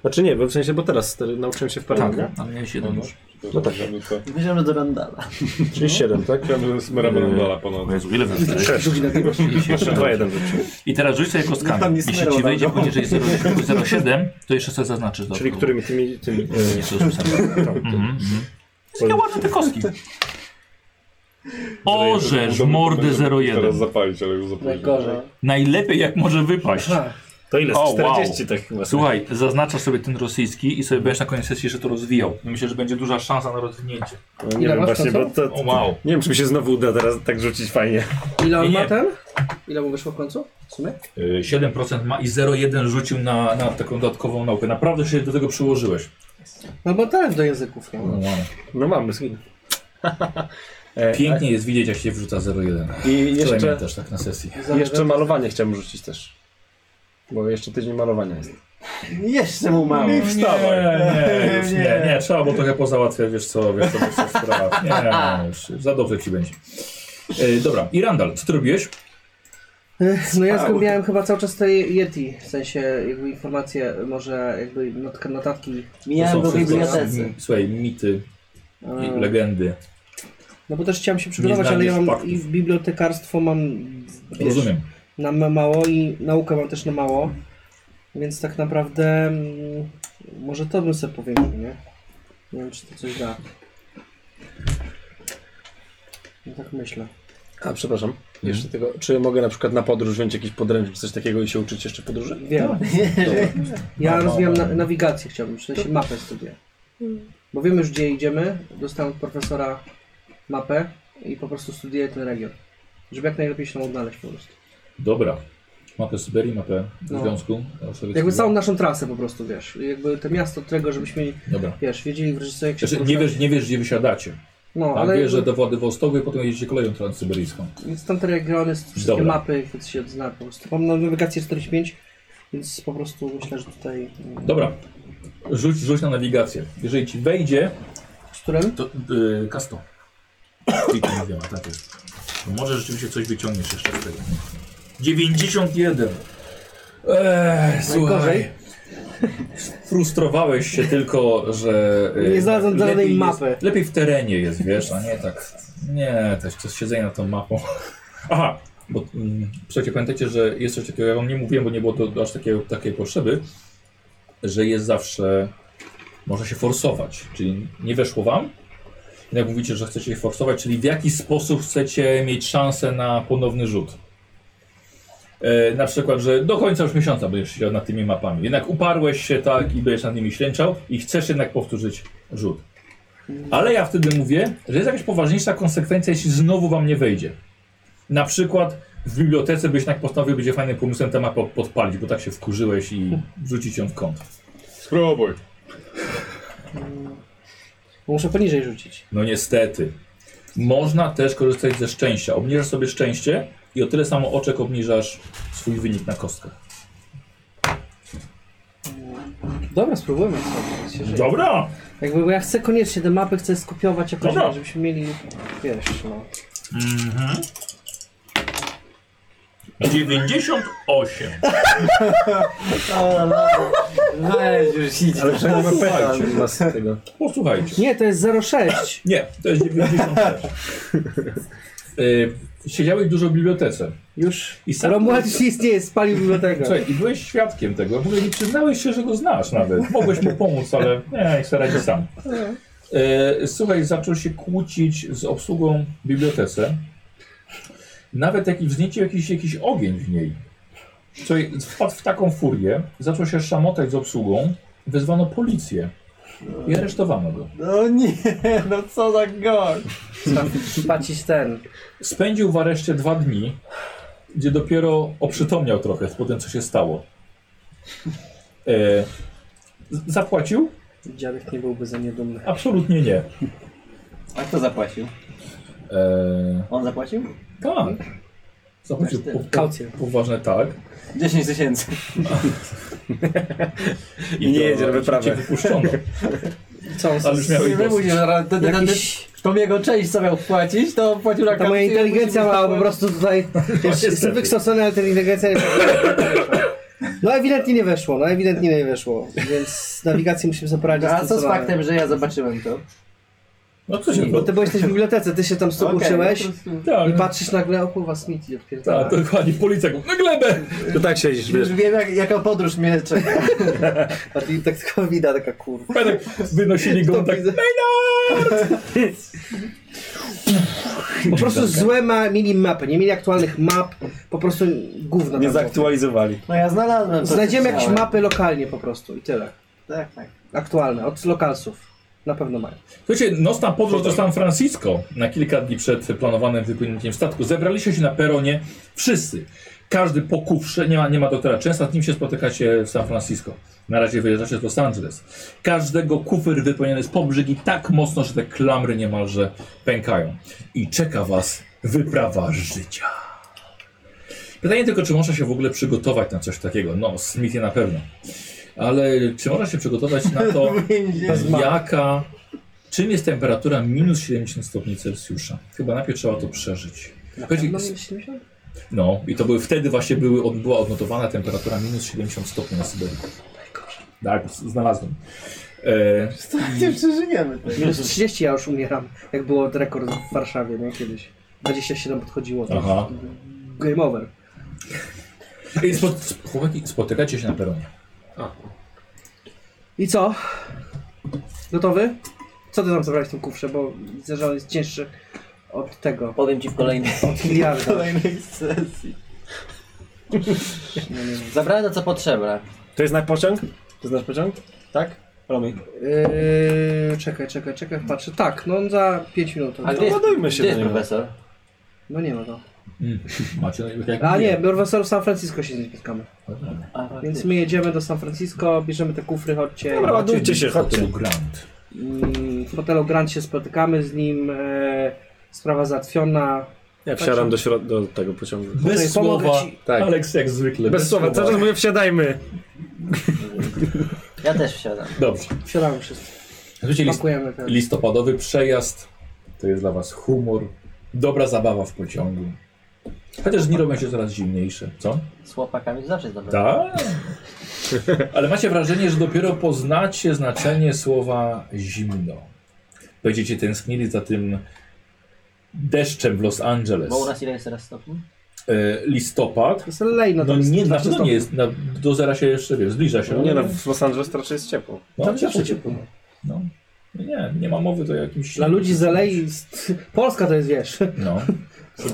[SPEAKER 2] Znaczy nie, bo w sensie, bo teraz te- nauczyłem się w Paryżu,
[SPEAKER 1] Tak,
[SPEAKER 2] tak.
[SPEAKER 1] a miałeś jeden już.
[SPEAKER 5] To tak, żeby to...
[SPEAKER 3] Bierzemy do Randala.
[SPEAKER 2] Czyli 7, tak?
[SPEAKER 5] Chciałem z Merabandala
[SPEAKER 1] O
[SPEAKER 5] ponad.
[SPEAKER 1] Jezu, ile wyszło?
[SPEAKER 2] 2-1 rzuciłem.
[SPEAKER 1] I teraz rzuć sobie
[SPEAKER 3] No
[SPEAKER 1] kostkami.
[SPEAKER 3] tam nie
[SPEAKER 1] Jeśli ci
[SPEAKER 3] smerał,
[SPEAKER 1] wyjdzie
[SPEAKER 3] no.
[SPEAKER 1] poniżej 0,7, to jeszcze sobie zaznaczysz. do
[SPEAKER 2] Czyli
[SPEAKER 1] przodu.
[SPEAKER 2] którymi tymi... tymi e,
[SPEAKER 1] Nie, to już pisałem. Mhm, mhm. Jakie ładne te kostki. Orzesz mordę
[SPEAKER 5] Teraz
[SPEAKER 1] 01.
[SPEAKER 5] zapalić, ale już zapaliłem.
[SPEAKER 4] Najgorzej.
[SPEAKER 1] Najlepiej jak może wypaść.
[SPEAKER 2] to ile?
[SPEAKER 1] O,
[SPEAKER 2] Z
[SPEAKER 1] wow.
[SPEAKER 2] 40 tak chyba.
[SPEAKER 1] Słuchaj, zaznaczasz sobie ten rosyjski i sobie będziesz na koniec sesji jeszcze to rozwijał. No, Myślę, że będzie duża szansa na rozwinięcie.
[SPEAKER 2] No, nie
[SPEAKER 4] Ile
[SPEAKER 2] wiem
[SPEAKER 4] masz
[SPEAKER 2] właśnie, bo
[SPEAKER 4] czasu?
[SPEAKER 2] to...
[SPEAKER 1] O wow.
[SPEAKER 2] Nie wiem, czy mi się znowu uda teraz tak rzucić fajnie.
[SPEAKER 4] Ile on
[SPEAKER 1] Nie,
[SPEAKER 4] ma
[SPEAKER 1] nie.
[SPEAKER 4] ten? Ile mu wyszło w końcu? W sumie?
[SPEAKER 1] Y, 7% ma i 0,1 rzucił na, na taką dodatkową naukę. Naprawdę się do tego przyłożyłeś.
[SPEAKER 4] No bo talent do języków nie ma.
[SPEAKER 2] No mamy. skin.
[SPEAKER 8] Pięknie jest widzieć, jak się wrzuca 0,1.
[SPEAKER 2] I
[SPEAKER 8] Wczoraj
[SPEAKER 2] jeszcze,
[SPEAKER 8] miałem też tak na sesji.
[SPEAKER 2] jeszcze malowanie chciałem rzucić też. Bo jeszcze tydzień malowania jest.
[SPEAKER 3] Jeszcze mu mało.
[SPEAKER 8] No, Wstawaj. Nie, już nie, nie, trzeba było trochę pozałatwiać, wiesz co, wiesz co, wiesz co spraw. Nie, nie, już za dobrze ci będzie. E, dobra, i Randall, co ty robiłeś?
[SPEAKER 4] No ja zgubiłem chyba cały czas te Yeti, w sensie jakby informacje, może jakby notka- notatki.
[SPEAKER 8] To
[SPEAKER 3] Mijałem
[SPEAKER 8] są
[SPEAKER 3] go w
[SPEAKER 8] wszystko-
[SPEAKER 3] bibliotece.
[SPEAKER 8] m- Słuchaj, mity
[SPEAKER 1] I
[SPEAKER 4] Mm.
[SPEAKER 1] legendy.
[SPEAKER 4] E, No bo też chciałem się przygotować, ale ja
[SPEAKER 1] znajdziesz
[SPEAKER 4] mam
[SPEAKER 1] faktów.
[SPEAKER 4] i w bibliotekarstwo mam wiesz,
[SPEAKER 1] Rozumiem.
[SPEAKER 4] na ma- mało i naukę mam też na mało. Więc tak naprawdę mm, może to bym sobie powiedział, nie? Nie wiem, czy to coś da. No tak myślę.
[SPEAKER 2] A przepraszam,
[SPEAKER 1] Mhm.
[SPEAKER 2] jeszcze tego. Czy mogę na przykład na podróż wziąć jakiś podręcznik, coś takiego i się uczyć jeszcze podróży?
[SPEAKER 4] Wiem. No, Ja rozwijam na, nawigację chciałbym, w sensie mapę studiuję. Bo wiemy już gdzie idziemy, dostałem od profesora mapę i po prostu studiuję ten region. Żeby jak najlepiej się tam odnaleźć po prostu.
[SPEAKER 1] Dobra. Mapę Syberii, mapę
[SPEAKER 4] No.
[SPEAKER 1] Związku Sowieckiego.
[SPEAKER 4] Jakby całą naszą trasę po prostu, wiesz. Jakby to miasto, którego żebyśmy,
[SPEAKER 1] Dobra.
[SPEAKER 4] wiesz, wiedzieli wreszcie jak się
[SPEAKER 1] Znaczy, nie,
[SPEAKER 4] poruszać.
[SPEAKER 1] wiesz, nie wiesz, gdzie wysiadacie.
[SPEAKER 4] No,
[SPEAKER 1] Tak,
[SPEAKER 4] ale
[SPEAKER 1] wiesz, że
[SPEAKER 4] jakby-
[SPEAKER 1] do Władywostoku i potem jedziecie koleją transsyberyjską.
[SPEAKER 4] więc tam te regiony, wszystkie
[SPEAKER 1] Dobra.
[SPEAKER 4] mapy, które się zna po prostu. Mam na nawigację 45, więc po prostu myślę, że tutaj... mm,
[SPEAKER 1] Dobra. Rzuć, rzuć na nawigację. Jeżeli ci wejdzie,
[SPEAKER 4] Z którym?
[SPEAKER 7] To y, kasto. I to mówiła, tak jest. To może rzeczywiście coś wyciągniesz jeszcze z tego. 91.
[SPEAKER 1] Eee, słuchaj.
[SPEAKER 4] Najgorzej.
[SPEAKER 1] Frustrowałeś się tylko, że. e,
[SPEAKER 4] Nie znalazłem
[SPEAKER 1] lepiej
[SPEAKER 4] żadnej
[SPEAKER 1] jest-
[SPEAKER 4] mapy.
[SPEAKER 1] Lepiej w terenie jest, wiesz, a nie tak. Nie, też to siedzenie nad tą mapą. Aha, bo mm, słuchajcie, pamiętajcie, że jest coś takiego, ja wam nie mówiłem, bo nie było to aż takiego, takiej potrzeby, że jest zawsze. Można się forsować, czyli nie weszło wam. i Jak mówicie, że chcecie się forsować, czyli w jaki sposób chcecie mieć szansę na ponowny rzut. E, na przykład, że do końca już miesiąca będziesz siedział nad tymi mapami. Jednak uparłeś się tak i będziesz nad nimi ślęczał i chcesz jednak powtórzyć rzut. Ale ja wtedy mówię, że jest jakaś poważniejsza konsekwencja, jeśli znowu wam nie wejdzie. Na przykład w bibliotece byś jednak postanowił, będzie fajnym pomysłem tę mapę podpalić, bo tak się wkurzyłeś i rzucić ją w kąt.
[SPEAKER 5] Spróbuj.
[SPEAKER 4] Muszę poniżej rzucić.
[SPEAKER 1] No niestety. Można też korzystać ze szczęścia. Obniżasz sobie szczęście i o tyle samo oczek obniżasz swój wynik na kostkach.
[SPEAKER 4] Dobra, spróbujmy sobie. się żyje.
[SPEAKER 1] Dobra!
[SPEAKER 4] Jakby, bo ja chcę koniecznie te mapy, chcę skopiować
[SPEAKER 1] No
[SPEAKER 4] jakoś,
[SPEAKER 1] Dobra.
[SPEAKER 4] żebyśmy mieli, wiesz, no.
[SPEAKER 7] 98.
[SPEAKER 3] Weź już idź.
[SPEAKER 2] Ale przynajmniej ma pecha na z tego.
[SPEAKER 1] Posłuchajcie.
[SPEAKER 4] Nie, to jest 06.
[SPEAKER 1] Nie, to jest 96. y, siedziałeś dużo w bibliotece.
[SPEAKER 4] Już.
[SPEAKER 1] I sam...
[SPEAKER 4] Romuald już istnieje, spalił bibliotekę.
[SPEAKER 1] Słuchaj, i byłeś świadkiem tego. W ogóle nie przyznałeś się, że go znasz nawet. Mogłeś mu pomóc, ale nie, niech sobie radzi sam. E, słuchaj, zaczął się kłócić z obsługą w bibliotece. Nawet jak i wzniecił jakiś, jakiś ogień w niej. Słuchaj, wpadł w taką furię, zaczął się szamotać z obsługą, wezwano policję i aresztowano go.
[SPEAKER 3] No nie, no co za gość.
[SPEAKER 4] Pacić ten.
[SPEAKER 1] Spędził w areszcie dwa dni, gdzie dopiero oprzytomniał trochę po tym, co się stało. E, z- zapłacił?
[SPEAKER 4] Dziadek nie byłby za niedumny.
[SPEAKER 1] Absolutnie nie.
[SPEAKER 3] A kto zapłacił?
[SPEAKER 1] E,
[SPEAKER 3] On zapłacił?
[SPEAKER 1] tak. Zapłacił po, po,
[SPEAKER 4] Kaucję.
[SPEAKER 1] poważne tak.
[SPEAKER 3] 10 tysięcy.
[SPEAKER 2] I nie
[SPEAKER 1] to
[SPEAKER 2] jedzie na
[SPEAKER 1] Cię
[SPEAKER 2] wyprawę.
[SPEAKER 1] wypuszczono.
[SPEAKER 4] Co on
[SPEAKER 1] Ale już miałeś
[SPEAKER 3] Nie
[SPEAKER 1] dosyć.
[SPEAKER 3] mówisz, że ten, ten,
[SPEAKER 4] Jakiś...
[SPEAKER 3] tą jego część, co miał płacić, to płacił na
[SPEAKER 4] Ta moja
[SPEAKER 3] kaucję,
[SPEAKER 4] inteligencja
[SPEAKER 3] musi być
[SPEAKER 4] ma po
[SPEAKER 3] tam-
[SPEAKER 4] prostu tutaj... Wiesz, jestem wykształcony, ale ta inteligencja nie No ewidentnie nie weszło, no ewidentnie nie weszło. Więc z nawigacją musimy zaporadzić.
[SPEAKER 3] No, A co z
[SPEAKER 4] zdecydowanie.
[SPEAKER 3] faktem, że ja zobaczyłem to?
[SPEAKER 1] No co się
[SPEAKER 4] Bo ty byłeś też w bibliotece, ty się tam stóp
[SPEAKER 3] Okej,
[SPEAKER 4] uczyłeś
[SPEAKER 10] no
[SPEAKER 3] po prostu-
[SPEAKER 1] Tak,
[SPEAKER 4] i patrzysz nagle, o kurwa, Smith i
[SPEAKER 1] tak,
[SPEAKER 4] odpierdala.
[SPEAKER 1] dokładnie. Policja go na glebę!
[SPEAKER 2] To tak siedzisz, wiesz.
[SPEAKER 3] Już wiem, jak, jaka podróż mnie czeka.
[SPEAKER 4] A ty tak tylko widać, taka kurwa.
[SPEAKER 1] Pedek wynosili go
[SPEAKER 4] To
[SPEAKER 1] on tak.
[SPEAKER 4] widzę. Po prostu złe ma, mieli mapy, nie mieli aktualnych map, po prostu gówno.
[SPEAKER 2] Nie
[SPEAKER 4] tam było.
[SPEAKER 2] zaktualizowali.
[SPEAKER 3] No ja znalazłem to.
[SPEAKER 4] Znajdziemy jakieś
[SPEAKER 3] mapę.
[SPEAKER 4] mapy lokalnie po prostu i tyle.
[SPEAKER 3] Tak, tak.
[SPEAKER 4] Aktualne, od lokalsów. Na pewno mają.
[SPEAKER 1] Słuchajcie, nocna podróż do San Francisco na kilka dni przed planowanym wypłynięciem statku. Zebraliście się na peronie wszyscy. Każdy po kufrze, nie ma, nie ma doktora Często z nim się spotykacie w San Francisco. Na razie wyjeżdżacie z Los Angeles. Każdego kufer wypełniony z pobrzegi tak mocno, że te klamry niemalże pękają. I czeka was wyprawa życia. Pytanie tylko, czy można się w ogóle przygotować na coś takiego. No, Smithie na pewno. Ale czy można się przygotować na to, jaka Czym jest temperatura minus 70 stopni Celsjusza? Chyba najpierw trzeba to przeżyć. Chodzi,
[SPEAKER 4] No, myślimy?
[SPEAKER 1] no i to były wtedy właśnie były, od, była odnotowana temperatura minus 70 stopni na Syberii. Tak, z- znalazłem. E,
[SPEAKER 4] Nie przeżyjemy. Minus 30 ja już umieram, jak było rekord w Warszawie, nie? Kiedyś. 27 podchodziło. To
[SPEAKER 1] Aha.
[SPEAKER 4] już Game over.
[SPEAKER 1] i spo, sp- chłopaki, spotykacie się na peronie.
[SPEAKER 4] I co? Gotowy? Co ty tam zabrałeś w tym kufrze, bo widzę, że on jest cięższy od tego,
[SPEAKER 3] Powiem ci w kolejnej,
[SPEAKER 4] od miliarda.
[SPEAKER 3] kolejnej sesji.
[SPEAKER 4] No, nie wiem.
[SPEAKER 3] Zabrałem to co potrzeba.
[SPEAKER 6] To jest nasz pociąg? To jest nasz pociąg? Tak? Romy.
[SPEAKER 4] Yy, czekaj, czekaj, czekaj, patrzę. Tak, no za 5 minut.
[SPEAKER 3] A gdzie jest,
[SPEAKER 6] Dogadujmy się
[SPEAKER 3] gdzie jest
[SPEAKER 6] do niego.
[SPEAKER 3] profesor?
[SPEAKER 4] No nie ma go.
[SPEAKER 1] Macie no, jak
[SPEAKER 4] A nie, profesor w San Francisco się z nim spotkamy.
[SPEAKER 3] A,
[SPEAKER 4] Więc
[SPEAKER 3] faktycznie.
[SPEAKER 4] my jedziemy do San Francisco, bierzemy te kufry, chodźcie.
[SPEAKER 6] Dobra, ładujcie się,
[SPEAKER 1] Hotelu
[SPEAKER 6] chodźcie.
[SPEAKER 1] Grand.
[SPEAKER 4] Mm, W hotelu Grand się spotykamy z nim. E, sprawa załatwiona.
[SPEAKER 6] Ja wsiadam do, środ- do tego pociągu.
[SPEAKER 1] Bez
[SPEAKER 4] pomogę
[SPEAKER 1] słowa,
[SPEAKER 4] ci.
[SPEAKER 6] Tak.
[SPEAKER 1] Aleks jak zwykle.
[SPEAKER 6] Bez słowa, cały czas mówię wsiadajmy.
[SPEAKER 3] ja też wsiadam.
[SPEAKER 1] Dobrze.
[SPEAKER 4] Wsiadamy wszyscy.
[SPEAKER 1] Słuchajcie, list,
[SPEAKER 4] Pakujemy ten.
[SPEAKER 1] listopadowy przejazd to jest dla was humor, dobra zabawa w pociągu. Chociaż dni robią się coraz zimniejsze, co?
[SPEAKER 3] Z chłopakami to zawsze jest dobre.
[SPEAKER 1] Tak. Ale macie wrażenie, że dopiero poznacie znaczenie słowa zimno. Będziecie tęsknili za tym deszczem w Los Angeles.
[SPEAKER 3] Bo u nas ile jest teraz stopni?
[SPEAKER 1] E, listopad.
[SPEAKER 4] To jest lejno,
[SPEAKER 1] No
[SPEAKER 4] to jest
[SPEAKER 1] nie, na
[SPEAKER 4] 12
[SPEAKER 1] pewno nie jest. Na, do zera się jeszcze wiesz, zbliża się.
[SPEAKER 6] Nie no, w Los Angeles raczej jest ciepło.
[SPEAKER 1] no, zawsze ciepło. No. Nie, nie ma mowy to jakimś.
[SPEAKER 4] Dla ludzi z LA, jest- Polska to jest, wiesz,
[SPEAKER 1] No.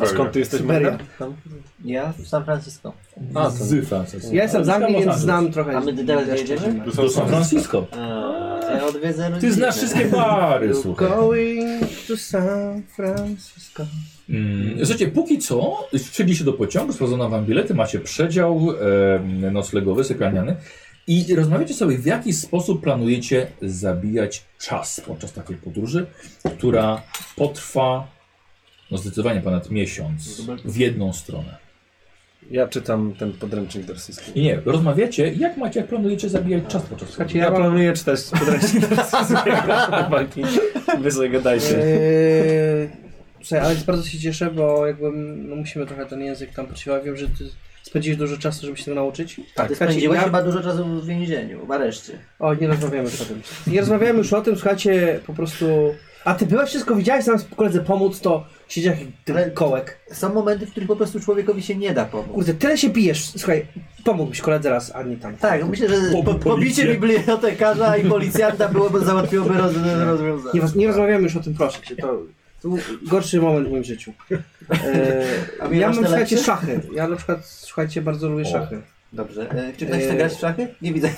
[SPEAKER 6] A skąd ty jesteś?
[SPEAKER 4] Syberia.
[SPEAKER 6] Magda? Tam?
[SPEAKER 3] Ja w San Francisco.
[SPEAKER 1] A, z Francji.
[SPEAKER 4] Ja jestem z Anglii,
[SPEAKER 1] Los
[SPEAKER 4] więc
[SPEAKER 1] Angeles.
[SPEAKER 4] znam trochę.
[SPEAKER 3] A my teraz
[SPEAKER 4] deszczu.
[SPEAKER 3] jedziemy?
[SPEAKER 5] Do
[SPEAKER 1] Do San Francisco.
[SPEAKER 3] A, to ja odwiedzę rodzinę.
[SPEAKER 1] Ty znasz wszystkie bary, słuchaj.
[SPEAKER 4] Going to San Francisco.
[SPEAKER 1] Mm, Słuchajcie, póki co wsiedliście do pociągu, sprawdzono wam bilety, macie przedział em, noclegowy, sypialniany i rozmawiacie sobie, w jaki sposób planujecie zabijać czas podczas takiej podróży, która potrwa no zdecydowanie ponad miesiąc w jedną stronę.
[SPEAKER 6] Ja czytam ten podręcznik do rosyjskiego.
[SPEAKER 1] I nie, rozmawiacie, jak macie, jak planujecie zabijać czas podczas podróży.
[SPEAKER 4] Słuchajcie, ja
[SPEAKER 6] Ja
[SPEAKER 4] mam...
[SPEAKER 6] planuję czytać podręcznik do rosyjskiego. Walki. Wy sobie gadajcie.
[SPEAKER 4] Eee, Słuchaj, ale bardzo się cieszę, bo jakbym, no musimy trochę ten język tam potrzebować. Wiem, że ty spędziłeś dużo czasu, żeby się tego nauczyć.
[SPEAKER 3] Tak, Ty spędziłeś chyba dużo czasu w więzieniu, w areszcie.
[SPEAKER 4] O, nie rozmawiamy już o tym. Nie rozmawiamy już o tym, słuchajcie, po prostu... A ty byłeś wszystko, widziałeś, sam koledze pomóc, to siedziałeś jak tyle kołek.
[SPEAKER 3] Są momenty, w których po prostu człowiekowi się nie da pomóc.
[SPEAKER 4] Kurde, tyle się pijesz, słuchaj, pomógłbyś koledze raz, a nie tam.
[SPEAKER 3] Tak, myślę, że
[SPEAKER 1] Po-
[SPEAKER 3] po, pobicie
[SPEAKER 1] policję.
[SPEAKER 3] bibliotekarza i policjanta byłoby załatwiłoby roz, rozwiązanie.
[SPEAKER 4] Nie, roz- nie rozmawiamy już o tym, proszę cię, to, to był gorszy moment w moim życiu.
[SPEAKER 3] A
[SPEAKER 4] Eee,
[SPEAKER 3] miałeś
[SPEAKER 4] ja mam,
[SPEAKER 3] te
[SPEAKER 4] słuchajcie,
[SPEAKER 3] lekcje?
[SPEAKER 4] szachy. Ja na przykład, słuchajcie, bardzo lubię szachy.
[SPEAKER 3] Dobrze. E, czy ktoś chce
[SPEAKER 4] Eee.
[SPEAKER 3] grać w szachy? Nie widzę.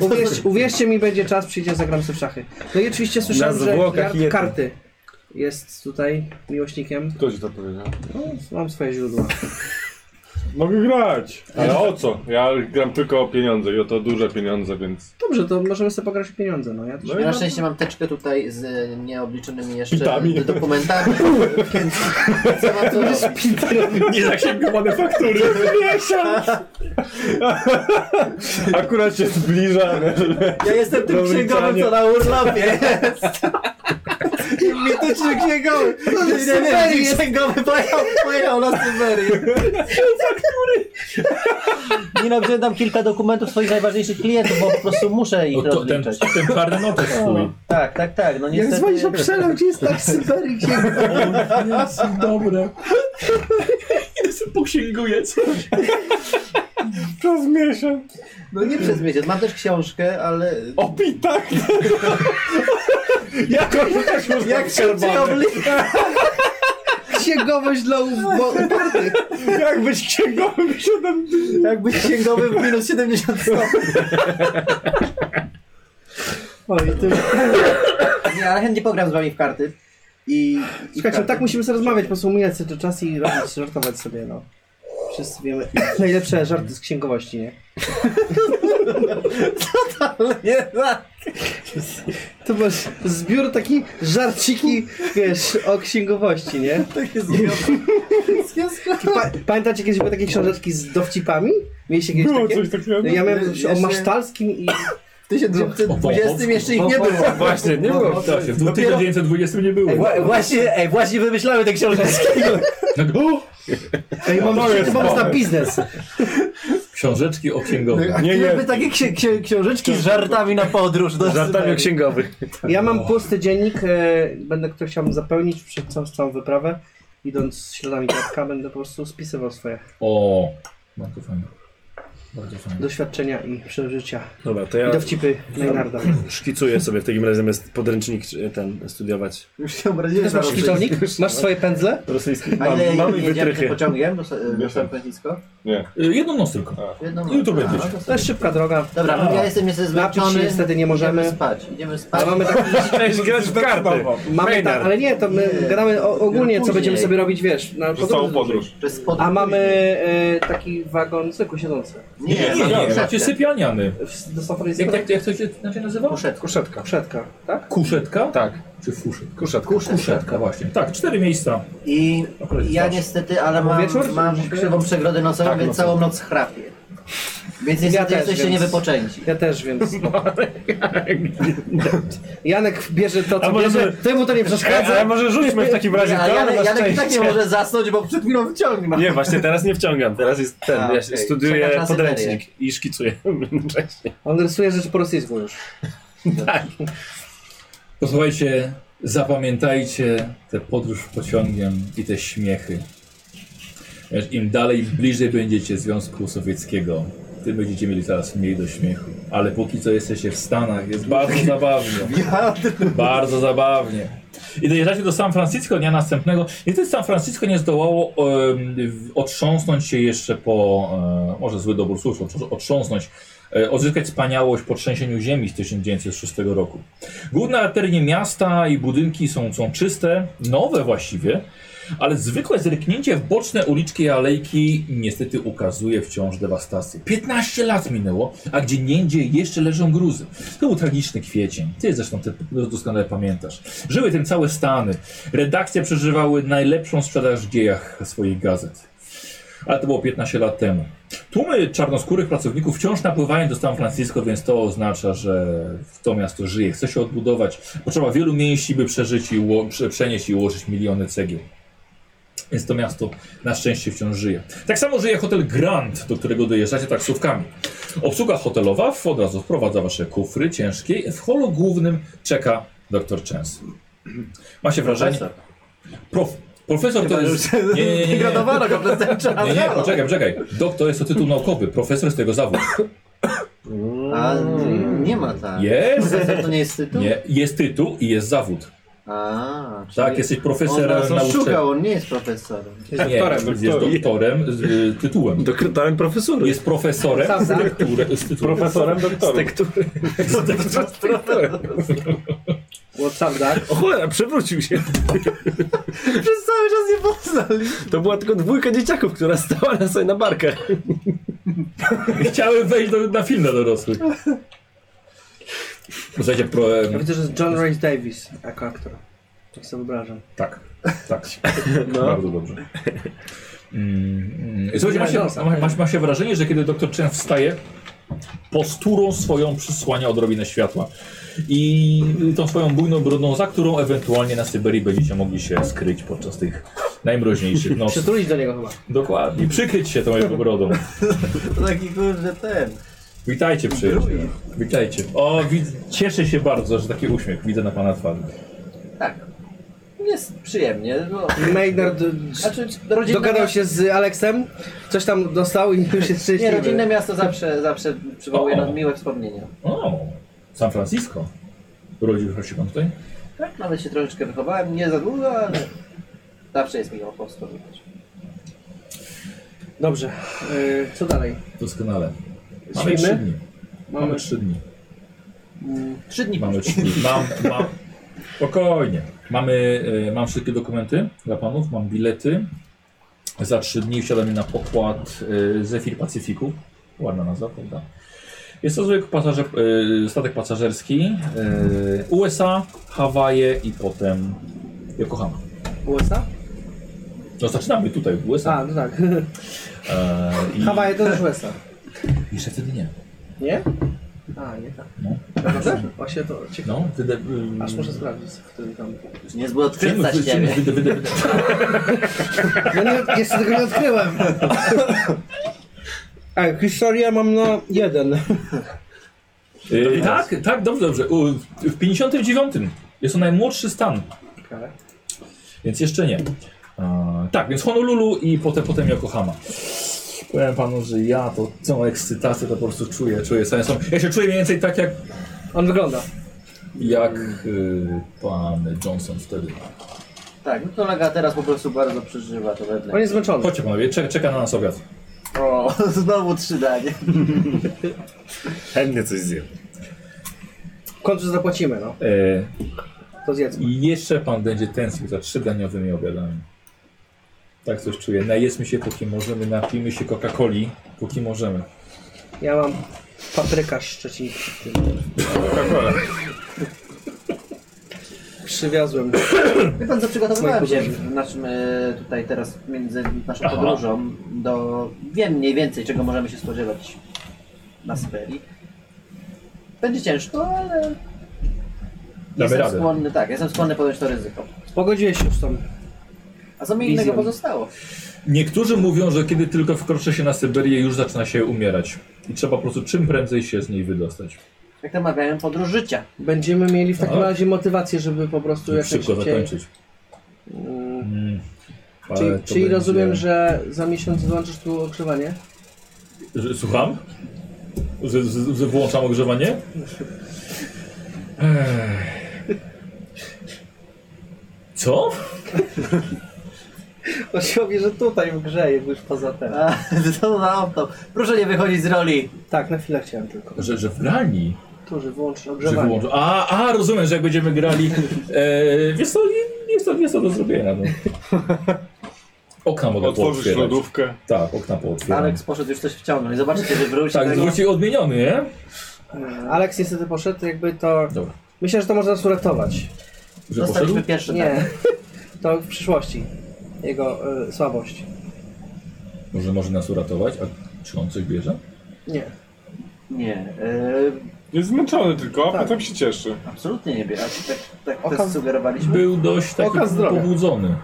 [SPEAKER 4] Uwierz, uwierzcie mi, będzie czas, przyjdzie, zagram sobie w szachy. No i oczywiście słyszałem,
[SPEAKER 6] Na
[SPEAKER 4] że
[SPEAKER 6] zwłokach
[SPEAKER 4] Jad
[SPEAKER 6] jeden.
[SPEAKER 4] Karty jest tutaj miłośnikiem.
[SPEAKER 5] Kto ci to powiedział?
[SPEAKER 4] Mam swoje źródła.
[SPEAKER 5] Mogę grać. Ale o co? Ja gram tylko o pieniądze i o to duże pieniądze, więc...
[SPEAKER 4] Dobrze, to możemy sobie pograć o pieniądze, no ja też.
[SPEAKER 5] No i
[SPEAKER 3] Ja na
[SPEAKER 5] na
[SPEAKER 3] szczęście mam teczkę tutaj z e, nieobliczonymi jeszcze
[SPEAKER 5] Pitami.
[SPEAKER 3] dokumentami, więc co ma co robić.
[SPEAKER 1] Nie zaksięgowane faktury.
[SPEAKER 5] Akurat się zbliża.
[SPEAKER 3] Ja jestem tym
[SPEAKER 5] Dobry
[SPEAKER 3] księgowym,
[SPEAKER 5] Janio.
[SPEAKER 3] co na urlopie jest. Mityczny księgowy.
[SPEAKER 4] No,
[SPEAKER 3] Nie, nie, nie, nie, księgowy pojechał, pojechał na Syberię. Nie no, wziąłem tam kilka dokumentów swoich najważniejszych klientów, bo po prostu muszę ich
[SPEAKER 1] No to ten,
[SPEAKER 3] rozliczać.
[SPEAKER 1] ten parny notes twój.
[SPEAKER 3] Tak, tak, tak, no
[SPEAKER 4] Jak
[SPEAKER 3] niestety...
[SPEAKER 4] dzwonisz o przelew, gdzie jest tak Syberii, gdzie
[SPEAKER 1] Jezu, dobre. Ile sobie poksięguję, co?
[SPEAKER 6] Przez miesiąc.
[SPEAKER 3] No nie przez miesiąc, mam też książkę, ale...
[SPEAKER 6] O pitach! Jak on też można
[SPEAKER 3] Jak szybciej obli-
[SPEAKER 4] księgowość dla upartych.
[SPEAKER 6] Jak być księgowym 7 dni?
[SPEAKER 3] Jak być księgowym w minus 70 stopni.
[SPEAKER 4] Oj, ty...
[SPEAKER 3] Nie, ale chętnie pogram z wami w karty. I... i
[SPEAKER 4] Słuchajcie,
[SPEAKER 3] karty.
[SPEAKER 4] no tak musimy sobie rozmawiać, po prostu umijać sobie ten czas i robić, żartować sobie, no. Wszyscy wiemy najlepsze żarty z księgowości, nie?
[SPEAKER 3] Nie, tak.
[SPEAKER 4] To masz zbiór taki żarciki, wiesz, o księgowości, nie?
[SPEAKER 3] Takie związki. Związki.
[SPEAKER 4] Pa- pamiętacie kiedyś były takie książeczki z dowcipami? Mieliście kiedyś
[SPEAKER 5] Było
[SPEAKER 4] takie?
[SPEAKER 5] coś takiego.
[SPEAKER 4] Ja miałem coś
[SPEAKER 3] Jeszcze-
[SPEAKER 4] o masztalskim i...
[SPEAKER 3] W 1920 jeszcze ich nie było.
[SPEAKER 6] Właśnie, nie było.
[SPEAKER 1] Tak, w 1920 nie było.
[SPEAKER 3] Wła- właśnie, ej, właśnie wymyślały te książeczki.
[SPEAKER 4] Ej, mam
[SPEAKER 5] to
[SPEAKER 4] to
[SPEAKER 5] jest
[SPEAKER 4] pomysł na
[SPEAKER 5] pomysł.
[SPEAKER 4] biznes.
[SPEAKER 1] Książeczki o księgowych.
[SPEAKER 2] Nie,
[SPEAKER 3] Jakby
[SPEAKER 2] nie.
[SPEAKER 3] takie księ, księ, książeczki z żartami na podróż. Do
[SPEAKER 2] Żartami o
[SPEAKER 3] Syberii.
[SPEAKER 2] księgowych.
[SPEAKER 4] Ja mam pusty dziennik, e, będę który chciałbym zapełnić przed całą, całą wyprawę. Idąc śladami dziadka, będę po prostu spisywał swoje
[SPEAKER 1] O, bardzo fajne. Bardzo fajne.
[SPEAKER 4] doświadczenia i przeżycia.
[SPEAKER 6] Dobra, to
[SPEAKER 4] I
[SPEAKER 6] ja
[SPEAKER 4] dowcipy Leonarda.
[SPEAKER 6] szkicuję sobie w takim razie zamiast podręcznik czy ten studiować.
[SPEAKER 3] Już się
[SPEAKER 4] Ty
[SPEAKER 3] obraziłem.
[SPEAKER 4] też masz
[SPEAKER 3] za
[SPEAKER 4] szkicownik? Masz swoje pędzle?
[SPEAKER 6] Rosyjski.
[SPEAKER 3] A
[SPEAKER 6] Mam,
[SPEAKER 3] ile
[SPEAKER 6] mam i
[SPEAKER 3] jedziemy tym
[SPEAKER 6] wytrychy.
[SPEAKER 3] pociągiem do, Sa- do
[SPEAKER 5] Wiem.
[SPEAKER 3] San Francisco?
[SPEAKER 5] Nie.
[SPEAKER 1] Y, Jedną noc tylko.
[SPEAKER 3] Jedną
[SPEAKER 1] I tu
[SPEAKER 3] noc.
[SPEAKER 1] będziecie.
[SPEAKER 3] A, tak. no to
[SPEAKER 4] To
[SPEAKER 3] sobie-
[SPEAKER 4] jest szybka droga.
[SPEAKER 3] Dobra, no, ja jestem jeszcze zmęczony.
[SPEAKER 4] No. się niestety nie możemy.
[SPEAKER 3] Idziemy spać. Idziemy spać.
[SPEAKER 4] Ale mamy tak,
[SPEAKER 6] Cześć, grasz w karty.
[SPEAKER 4] mamy tak,
[SPEAKER 6] Maynard.
[SPEAKER 4] ale nie, to my gadamy o, ogólnie, co
[SPEAKER 3] Później.
[SPEAKER 4] będziemy sobie robić, wiesz, na
[SPEAKER 5] Przez całą
[SPEAKER 4] podróży dłużej.
[SPEAKER 5] podróż.
[SPEAKER 3] To jest pod-
[SPEAKER 4] A mamy e, taki wagon zwykły siedzący.
[SPEAKER 3] Nie, nie,
[SPEAKER 1] Nie, nie,
[SPEAKER 3] nie.
[SPEAKER 1] macie sypialniany.
[SPEAKER 4] W- Do San
[SPEAKER 1] Jak,
[SPEAKER 4] Francisco.
[SPEAKER 1] jak, jak to się inaczej nazywa?
[SPEAKER 3] Poszedł.
[SPEAKER 2] Kuszetka.
[SPEAKER 4] Przedka, tak?
[SPEAKER 1] Kuszetka?
[SPEAKER 2] Tak,
[SPEAKER 1] Czy fuszetka?
[SPEAKER 2] kuszetka.
[SPEAKER 1] Kuszetka, właśnie. Tak, cztery miejsca.
[SPEAKER 3] I
[SPEAKER 1] Akurat
[SPEAKER 3] ja
[SPEAKER 1] zawsze.
[SPEAKER 3] niestety, ale mam,
[SPEAKER 4] tak. wieczór? Tak, no
[SPEAKER 3] mam krzywą przegrodę nocową, więc całą noc chrapię. Więc niestety
[SPEAKER 4] też,
[SPEAKER 3] jesteście
[SPEAKER 4] więc-
[SPEAKER 3] niewypoczęci.
[SPEAKER 4] Ja też, więc... no. Janek bierze to, co
[SPEAKER 6] A może
[SPEAKER 4] bierze,
[SPEAKER 6] sobie-
[SPEAKER 4] ty mu to nie przeszkadza.
[SPEAKER 6] Ale może rzućmy w takim razie
[SPEAKER 3] Nie,
[SPEAKER 6] to
[SPEAKER 3] a Janek,
[SPEAKER 6] na
[SPEAKER 3] Janek i tak nie
[SPEAKER 6] szczęście.
[SPEAKER 3] może zasnąć, bo przed chwilą wyciągnął.
[SPEAKER 6] Nie, właśnie teraz nie wciągam. Teraz jest ten.
[SPEAKER 3] A,
[SPEAKER 6] ja
[SPEAKER 3] okej. Czeka
[SPEAKER 6] studiuję
[SPEAKER 3] na Syberię.
[SPEAKER 6] podręcznik i szkicuję jednocześnie.
[SPEAKER 4] On rysuje rzeczy po rosyjsku już.
[SPEAKER 1] Posłuchajcie, zapamiętajcie tę podróż pociągiem i te śmiechy. Wiesz, Im dalej bliżej będziecie Związku Sowieckiego, tym będziecie mieli teraz mniej do śmiechu. Ale póki co jesteście w Stanach, jest bardzo zabawnie. Bardzo zabawnie. I dojeżdżacie do San Francisco dnia następnego. Niestety San Francisco nie zdołało em, w- otrząsnąć się jeszcze po, e, może zły dobór słów, otrząs- otrząsnąć, e, odzyskać wspaniałość po trzęsieniu ziemi z 1906 roku. Główne arterie miasta i budynki są, są czyste, nowe właściwie, ale zwykłe zerknięcie w boczne uliczki i alejki niestety ukazuje wciąż dewastację. 15 lat minęło, a gdzie niendziej jeszcze leżą gruzy. To był tragiczny kwiecień. Ty zresztą te doskonale pamiętasz. Żyły tym całe Stany. Redakcje przeżywały najlepszą sprzedaż w dziejach swoich gazet. Ale to było 15 lat temu. Tłumy czarnoskórych pracowników wciąż napływają do San Francisco, więc to oznacza, że to miasto żyje, chce się odbudować. Potrzeba wielu mięśni, by przeżyć i uło- prze- przenieść i ułożyć miliony cegieł. Więc to miasto na szczęście wciąż żyje. Tak samo żyje hotel Grand, do którego dojeżdżacie taksówkami. Obsługa hotelowa w- od razu wprowadza wasze kufry ciężkie. W holu głównym czeka dr Chance. Ma się wrażenie... Prof, profesor to jest... Nie, nie, nie, nie, nie.
[SPEAKER 3] Degradowano go przez ten czas.
[SPEAKER 1] Nie, nie, poczekaj, poczekaj. Doktor jest to tytuł naukowy, profesor jest tego zawodu.
[SPEAKER 3] A n- nie ma tak.
[SPEAKER 1] Jest!
[SPEAKER 3] Profesor to nie jest tytuł?
[SPEAKER 1] Nie, jest tytuł i jest zawód.
[SPEAKER 3] A, czyli
[SPEAKER 1] Tak, jesteś
[SPEAKER 3] on
[SPEAKER 1] profesorem
[SPEAKER 3] nas
[SPEAKER 1] na uczelni.
[SPEAKER 3] oszukał, on nie jest profesorem.
[SPEAKER 1] Jest doktorem. Jest doktorem z y, tytułem.
[SPEAKER 6] Doktorem profesorem.
[SPEAKER 1] Jest profesorem z, tekturę, z tytułem.
[SPEAKER 5] Profesorem doktorem.
[SPEAKER 6] tektury.
[SPEAKER 4] What's up, Dark?
[SPEAKER 6] O cholera, przewrócił się.
[SPEAKER 3] Przez cały czas nie poznali.
[SPEAKER 6] To była tylko dwójka dzieciaków, która stała na sobie na barkach.
[SPEAKER 1] Chciałem wejść do, na film dla dorosłych. Słuchajcie, pro,
[SPEAKER 4] Ja
[SPEAKER 1] em,
[SPEAKER 4] widzę, że jest John Rhys Davis jako aktor. Tak sobie wyobrażam.
[SPEAKER 1] tak, tak.
[SPEAKER 3] No.
[SPEAKER 1] Bardzo dobrze. Mm, mm. Słuchajcie, ma się, ma, ma, ma się wrażenie, że kiedy doktor Chen wstaje, posturą swoją przysłania odrobinę światła. I tą swoją bujną brodną, za którą ewentualnie na Syberii będziecie mogli się skryć podczas tych najmroźniejszych nocy.
[SPEAKER 4] Przytulić do niego chyba.
[SPEAKER 1] Dokładnie, przykryć się tą jego brodą.
[SPEAKER 3] To taki kurde ten.
[SPEAKER 1] Witajcie przyjaciele. Witajcie. O, widz, cieszę się bardzo, że taki uśmiech widzę na pana twarzy.
[SPEAKER 3] Tak. Jest przyjemnie. Bo...
[SPEAKER 4] Maynard y,
[SPEAKER 3] Znaczy, rodzinne...
[SPEAKER 4] dogadał się z Aleksem, coś tam dostał i już jest
[SPEAKER 3] Nie, rodzinne
[SPEAKER 4] szczęśliwy.
[SPEAKER 3] miasto zawsze, zawsze przywołuje
[SPEAKER 1] O.
[SPEAKER 3] nam miłe wspomnienia.
[SPEAKER 1] O, San Francisco. Urodził się pan tutaj?
[SPEAKER 3] Tak, nawet się troszeczkę wychowałem, nie za długo, ale zawsze jest miło wspominać.
[SPEAKER 4] Dobrze, y, co dalej?
[SPEAKER 1] Doskonale. Mamy trzy dni. Mamy
[SPEAKER 4] Mamy-
[SPEAKER 1] trzy dni.
[SPEAKER 3] Trzy dni
[SPEAKER 1] Mamy trzy dni. Mam, mam. Spokojnie. Mamy, e, mam wszystkie dokumenty dla panów, mam bilety. Za trzy dni wsiadamy na pokład e, Zephyr Pacyfiku. Ładna nazwa, prawda? Jest to zwykły pasażer, e, statek pasażerski. e, USA, Hawaje i potem Yokohama.
[SPEAKER 4] USA?
[SPEAKER 1] No zaczynamy tutaj w USA.
[SPEAKER 4] A, no tak.
[SPEAKER 1] E, i...
[SPEAKER 4] Hawaje to też USA.
[SPEAKER 1] Jeszcze wtedy nie.
[SPEAKER 4] Nie? A, nie tak.
[SPEAKER 1] No.
[SPEAKER 4] Dobrze? Właśnie to ciekawe.
[SPEAKER 1] No, mm, wyde... ym,
[SPEAKER 4] Aż muszę sprawdzić, wtedy tam.
[SPEAKER 3] Nie
[SPEAKER 1] czym-
[SPEAKER 3] było odkręcać
[SPEAKER 1] czym-
[SPEAKER 3] ciebie.
[SPEAKER 1] wyde- wyde- wyde-
[SPEAKER 4] No nie, jeszcze tego nie odkryłem. A, historię mam na jeden.
[SPEAKER 1] Yy, tak, tak, dobrze, dobrze. U, w 59 jest to najmłodszy stan. Więc jeszcze nie. E, tak, więc Honolulu i potem, potem Yokohama. Powiem panu, że ja to całą ekscytację to po prostu czuję, czuję samym sobą. Ja się czuję mniej więcej tak jak,
[SPEAKER 4] On wygląda.
[SPEAKER 1] jak y, pan Johnson wtedy.
[SPEAKER 3] Tak, no to Lega teraz po prostu bardzo przeżywa to wedle.
[SPEAKER 4] On jest zmęczony.
[SPEAKER 1] Chodźcie panowie, czek, czeka na nas obiad.
[SPEAKER 3] O, znowu trzy danie.
[SPEAKER 6] Chętnie coś zjem.
[SPEAKER 4] W końcu zapłacimy, no.
[SPEAKER 1] E,
[SPEAKER 4] To zjedzmy.
[SPEAKER 1] I jeszcze pan będzie tęsknił za trzydaniowymi obiadami. Tak coś czuję. Najedzmy się póki możemy, napijmy się Coca-Coli póki możemy.
[SPEAKER 4] Ja mam paprykarz szczeciński. w tym. Przywiozłem.
[SPEAKER 3] Wie pan, co przygotowywałem
[SPEAKER 4] Moje
[SPEAKER 3] się
[SPEAKER 4] podróże.
[SPEAKER 3] w naszym e, tutaj teraz między naszą podróżą do. Wiem mniej więcej, czego możemy się spodziewać na Syberii. Będzie ciężko, ale. jestem
[SPEAKER 1] radę.
[SPEAKER 3] skłonny, tak, jestem skłonny podjąć to ryzyko.
[SPEAKER 4] Pogodziłeś się z tą.
[SPEAKER 3] A co mi
[SPEAKER 4] Wizją.
[SPEAKER 3] innego pozostało?
[SPEAKER 1] Niektórzy mówią, że kiedy tylko wkroczy się na Syberię, już zaczyna się umierać. I trzeba po prostu czym prędzej się z niej wydostać.
[SPEAKER 3] Jak to mawiają, podróż życia.
[SPEAKER 4] Będziemy mieli w takim
[SPEAKER 1] No.
[SPEAKER 4] razie motywację, żeby po prostu jak
[SPEAKER 1] Szybko
[SPEAKER 4] najszybciej...
[SPEAKER 1] zakończyć.
[SPEAKER 4] Mm,
[SPEAKER 1] Mm. Ale
[SPEAKER 4] Czyli,
[SPEAKER 1] to
[SPEAKER 4] czyli
[SPEAKER 1] będzie-
[SPEAKER 4] rozumiem, że za miesiąc włączysz tu ogrzewanie?
[SPEAKER 1] że słucham? Że, że, że włączam ogrzewanie? Ech. Co?
[SPEAKER 4] On się mówi, że tutaj grzeje, bo już poza ten.
[SPEAKER 3] A, to na opto. Proszę nie wychodzić z roli.
[SPEAKER 4] Tak, na chwilę chciałem tylko.
[SPEAKER 1] Że, że w grani?
[SPEAKER 4] Tu, że wyłączysz
[SPEAKER 1] Że
[SPEAKER 4] ogrzewanie.
[SPEAKER 1] wyłączam. A, a, rozumiem, że jak będziemy grali. E, wiesz co, nie jest to, nie jest to do zrobienia. No. Okna mogę
[SPEAKER 5] Otworzysz
[SPEAKER 1] pootwierać.
[SPEAKER 5] lodówkę.
[SPEAKER 1] Tak, okna pootwieram.
[SPEAKER 3] Alex poszedł już coś wciągnąć. Zobaczycie, że wróci.
[SPEAKER 1] Tak,
[SPEAKER 3] tego.
[SPEAKER 1] zwrócił odmieniony, nie?
[SPEAKER 4] Aleks niestety poszedł, jakby to...
[SPEAKER 1] Dobra.
[SPEAKER 4] Myślę, że to można nas uratować.
[SPEAKER 1] Że poszedł?
[SPEAKER 3] Dostaliśmy pierwszy
[SPEAKER 4] Nie, to w przyszłości. Jego y, słabość.
[SPEAKER 1] Może może nas uratować, a czy on coś bierze?
[SPEAKER 4] Nie.
[SPEAKER 3] Nie, e,
[SPEAKER 5] Jest zmęczony tylko, a
[SPEAKER 4] Tak.
[SPEAKER 5] potem się cieszy.
[SPEAKER 3] absolutnie nie biera. Tak, tak
[SPEAKER 4] Oka-
[SPEAKER 3] też sugerowaliśmy.
[SPEAKER 1] Był dość taki
[SPEAKER 4] Oka zdrowia.
[SPEAKER 1] pobudzony.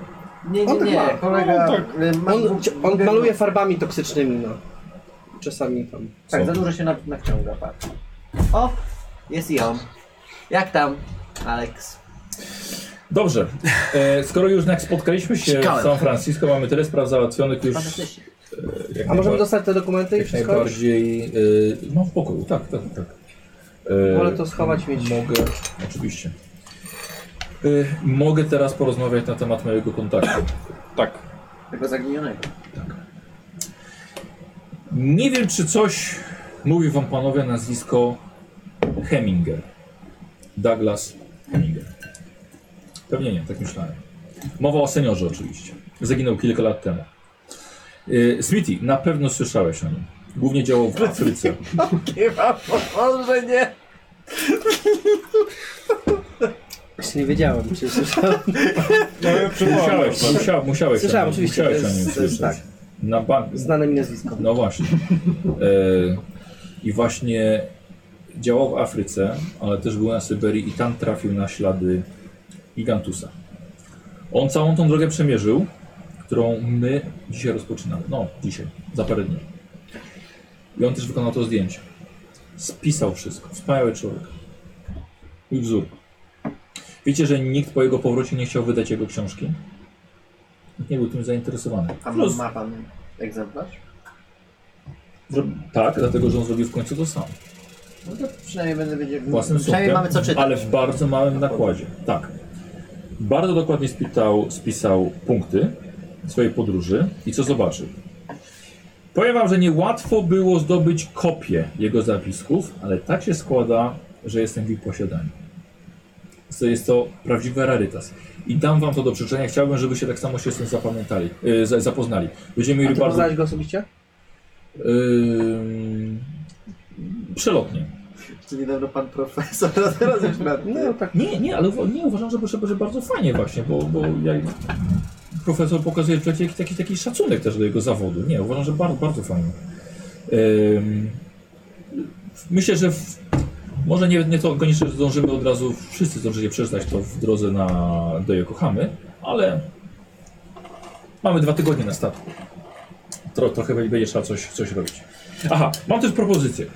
[SPEAKER 3] Nie, nie,
[SPEAKER 4] On tak ma.
[SPEAKER 3] nie, kolega.
[SPEAKER 5] No, tak.
[SPEAKER 3] y, ma-
[SPEAKER 4] On,
[SPEAKER 3] w-
[SPEAKER 4] on
[SPEAKER 3] w-
[SPEAKER 4] maluje farbami toksycznymi, no. Czasami tam.
[SPEAKER 3] Tak,
[SPEAKER 1] Co?
[SPEAKER 3] za dużo się na- naciąga, patrz. O, jest i on. Jak tam, Alex?
[SPEAKER 1] Dobrze, e, skoro już jak spotkaliśmy się w San Francisco, mamy tyle spraw załatwionych już
[SPEAKER 3] Fantastycznie.
[SPEAKER 1] jak,
[SPEAKER 4] A możemy
[SPEAKER 1] najba-
[SPEAKER 4] dostać te dokumenty i
[SPEAKER 1] jak
[SPEAKER 4] wszystko?
[SPEAKER 1] najbardziej... E, no w pokoju, tak, tak, tak. E,
[SPEAKER 4] Wolę No, to schować, mieć.
[SPEAKER 1] Mogę, oczywiście. E, mogę teraz porozmawiać na temat mojego kontaktu.
[SPEAKER 5] Tak.
[SPEAKER 3] Tego zaginionego.
[SPEAKER 1] Nie wiem, czy coś mówi wam panowie nazwisko Heminger. Douglas Heminger. Pewnie nie, tak myślałem. Mowa o seniorze oczywiście. Zaginął kilka lat temu. Y, Smithy, na pewno słyszałeś o nim. Głównie działał w Afryce.
[SPEAKER 3] Chyba, może nie.
[SPEAKER 4] Właśnie nie wiedziałem, czy słyszałem.
[SPEAKER 5] No, przywołałem.
[SPEAKER 1] Musiałeś, musiał, musiałeś,
[SPEAKER 4] Słyszałem,
[SPEAKER 1] o nim-
[SPEAKER 4] oczywiście,
[SPEAKER 1] musiałeś
[SPEAKER 4] to
[SPEAKER 1] o nim
[SPEAKER 4] jest-
[SPEAKER 1] słyszeć.
[SPEAKER 4] tak.
[SPEAKER 1] Na bank,
[SPEAKER 4] Znane mi nazwisko.
[SPEAKER 1] No właśnie. E, I właśnie działał w Afryce, ale też był na Syberii i tam trafił na ślady Gigantusa. On całą tą drogę przemierzył, którą my dzisiaj rozpoczynamy. No, dzisiaj, za parę dni. I on też wykonał to zdjęcie. Spisał wszystko. Wspaniały człowiek. I wzór. Wiecie, że nikt po jego powrocie nie chciał wydać jego książki? Nikt nie był tym zainteresowany.
[SPEAKER 3] A ma,
[SPEAKER 1] Plus-
[SPEAKER 3] ma pan egzemplarz?
[SPEAKER 1] Zro- Tak, dlatego że on zrobił w końcu to sam.
[SPEAKER 3] No to przynajmniej będę wiedział.
[SPEAKER 1] Własnym
[SPEAKER 3] Przynajmniej
[SPEAKER 1] sumptem,
[SPEAKER 3] mamy co czytać.
[SPEAKER 1] ale w bardzo małym nakładzie. Tak. Bardzo dokładnie spisał, spisał punkty swojej podróży i co zobaczył. Powiem wam, że niełatwo było zdobyć kopię jego zapisków, ale tak się składa, że jestem w ich posiadaniu. Jest to- Jest to prawdziwy rarytas. I dam wam to do przeczytania. Chciałbym, żebyście tak samo się z tym zapamiętali, yy, za- zapoznali. Będziemy
[SPEAKER 4] A
[SPEAKER 1] mieli
[SPEAKER 4] ty
[SPEAKER 1] bardzo...
[SPEAKER 4] poznałeś go osobiście?
[SPEAKER 1] Yy, przelotnie.
[SPEAKER 3] Czy niedawno pan profesor, a teraz już na
[SPEAKER 4] No tak.
[SPEAKER 1] Nie, nie, ale uwa- nie uważam, że, że, że bardzo fajnie właśnie, bo, bo jak profesor pokazuje człowiek jakiś taki, taki szacunek też do jego zawodu. Nie, uważam, że bardzo, bardzo fajnie. Ym, myślę, że w, może nie, nie to koniecznie zdążymy od razu, wszyscy zdążycie przeczytać to w drodze na, do Yokohamy, ale mamy dwa tygodnie na statku. Tro, trochę będzie trzeba coś, coś robić. Aha, mam też propozycję.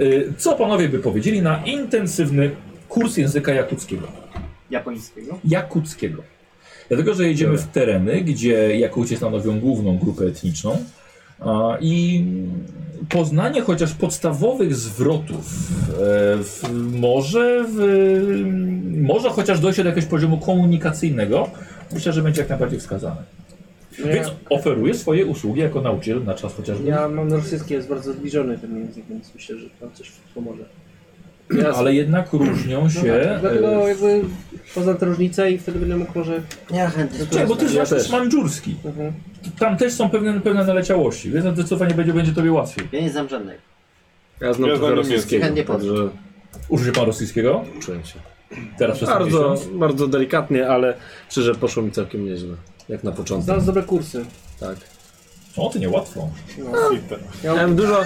[SPEAKER 1] Y, Co panowie by powiedzieli na intensywny kurs języka jakuckiego?
[SPEAKER 3] Japońskiego.
[SPEAKER 1] Jakuckiego. Dlatego, że jedziemy w tereny, gdzie Jakucie stanowią główną grupę etniczną a, i poznanie chociaż podstawowych zwrotów e, w, może, w, może chociaż dojść do jakiegoś poziomu komunikacyjnego, myślę, że będzie jak najbardziej wskazane. Więc oferuję swoje usługi jako nauczyciel na czas chociażby.
[SPEAKER 4] Ja mam na rosyjski, jest bardzo zbliżony ten język, więc myślę, że tam coś pomoże.
[SPEAKER 1] Ale jednak różnią się.
[SPEAKER 4] No tak,
[SPEAKER 3] Tak,
[SPEAKER 4] Dlatego
[SPEAKER 1] e,
[SPEAKER 4] jakby poznam tę różnicę i wtedy będę mógł może...
[SPEAKER 3] Ja chętnie.
[SPEAKER 1] Czekaj, bo ty
[SPEAKER 2] Ja
[SPEAKER 1] znasz też
[SPEAKER 2] też.
[SPEAKER 1] mandżurski.
[SPEAKER 4] Mhm.
[SPEAKER 1] Tam też są pewne, pewne naleciałości, więc zdecydowanie będzie, będzie tobie łatwiej.
[SPEAKER 3] Ja nie znam żadnej.
[SPEAKER 2] Ja znam
[SPEAKER 5] Ja
[SPEAKER 2] tylko
[SPEAKER 5] znam
[SPEAKER 2] rosyjskiego.
[SPEAKER 3] niemiecki.
[SPEAKER 2] Także
[SPEAKER 1] Użyje pan rosyjskiego?
[SPEAKER 2] uczyłem się.
[SPEAKER 1] Teraz przez ten
[SPEAKER 2] Bardzo,
[SPEAKER 1] miesiąc.
[SPEAKER 2] bardzo delikatnie, ale szczerze poszło mi całkiem nieźle. Jak na początek.
[SPEAKER 4] Znalazł dobre kursy.
[SPEAKER 2] Tak.
[SPEAKER 1] O, to niełatwo.
[SPEAKER 2] Miałem dużo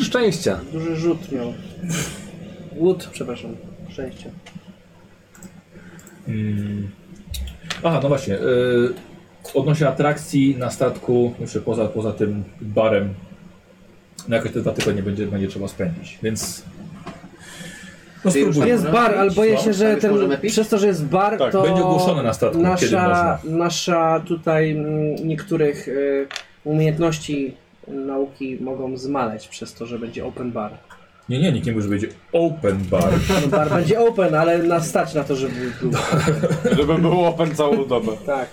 [SPEAKER 2] szczęścia.
[SPEAKER 4] Duży rzut miał. Łód, przepraszam. Szczęście.
[SPEAKER 1] Mm. Aha, no właśnie. Yy, odnośnie atrakcji na statku, jeszcze poza, poza tym barem, no jakoś te dwa tygodnie będzie, będzie trzeba spędzić, więc... No
[SPEAKER 3] Czyli już
[SPEAKER 1] spróbuj.
[SPEAKER 4] Jest bar, ale boję się, że
[SPEAKER 3] Już Tak,
[SPEAKER 4] ten,
[SPEAKER 3] możemy pić?
[SPEAKER 4] przez to, że jest bar,
[SPEAKER 5] Tak,
[SPEAKER 4] to
[SPEAKER 1] będzie ogłoszone na statku, kiedy
[SPEAKER 4] nasza,
[SPEAKER 1] można.
[SPEAKER 4] nasza tutaj mm, niektórych y, umiejętności nauki mogą zmaleć przez to, że będzie open bar.
[SPEAKER 1] Nie, nie, nikt nie mówi, że będzie open bar.
[SPEAKER 4] No, bar będzie open, ale nas stać na to, żeby był.
[SPEAKER 5] Żeby było open całą dobę.
[SPEAKER 4] Tak.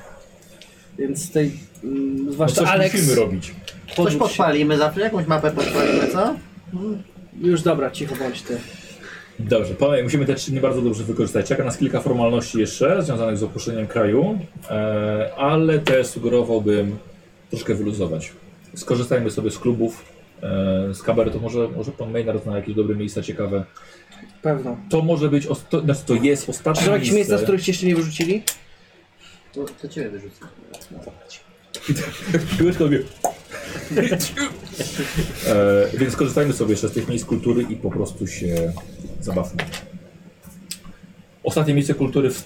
[SPEAKER 4] Więc tej, mm,
[SPEAKER 1] No
[SPEAKER 4] zwłaszcza
[SPEAKER 1] coś
[SPEAKER 4] Alex,
[SPEAKER 1] musimy robić.
[SPEAKER 3] Coś
[SPEAKER 4] podrzuć się.
[SPEAKER 3] podpalimy zawsze, jakąś mapę podpalimy, co?
[SPEAKER 4] Już dobra, cicho bądź ty.
[SPEAKER 1] Dobrze, panowie, musimy te trzy dni bardzo dobrze wykorzystać. Czeka nas kilka formalności jeszcze związanych z opuszczeniem kraju, e, ale też sugerowałbym troszkę wyluzować. Skorzystajmy sobie z klubów, e, z kabaretu. Może, może pan Maynard zna jakieś dobre miejsca ciekawe.
[SPEAKER 4] Pewno.
[SPEAKER 1] To może być, osto- znaczy to jest
[SPEAKER 4] Czy są
[SPEAKER 1] ostatnie
[SPEAKER 4] jakieś miejsca, z
[SPEAKER 1] miejsce.
[SPEAKER 4] których cię jeszcze nie wyrzucili?
[SPEAKER 3] To, to ciebie wyrzucę.
[SPEAKER 1] Piłeczka robię. e, więc skorzystajmy sobie jeszcze z tych miejsc kultury i po prostu się zabawmy. Ostatnie miejsce kultury w...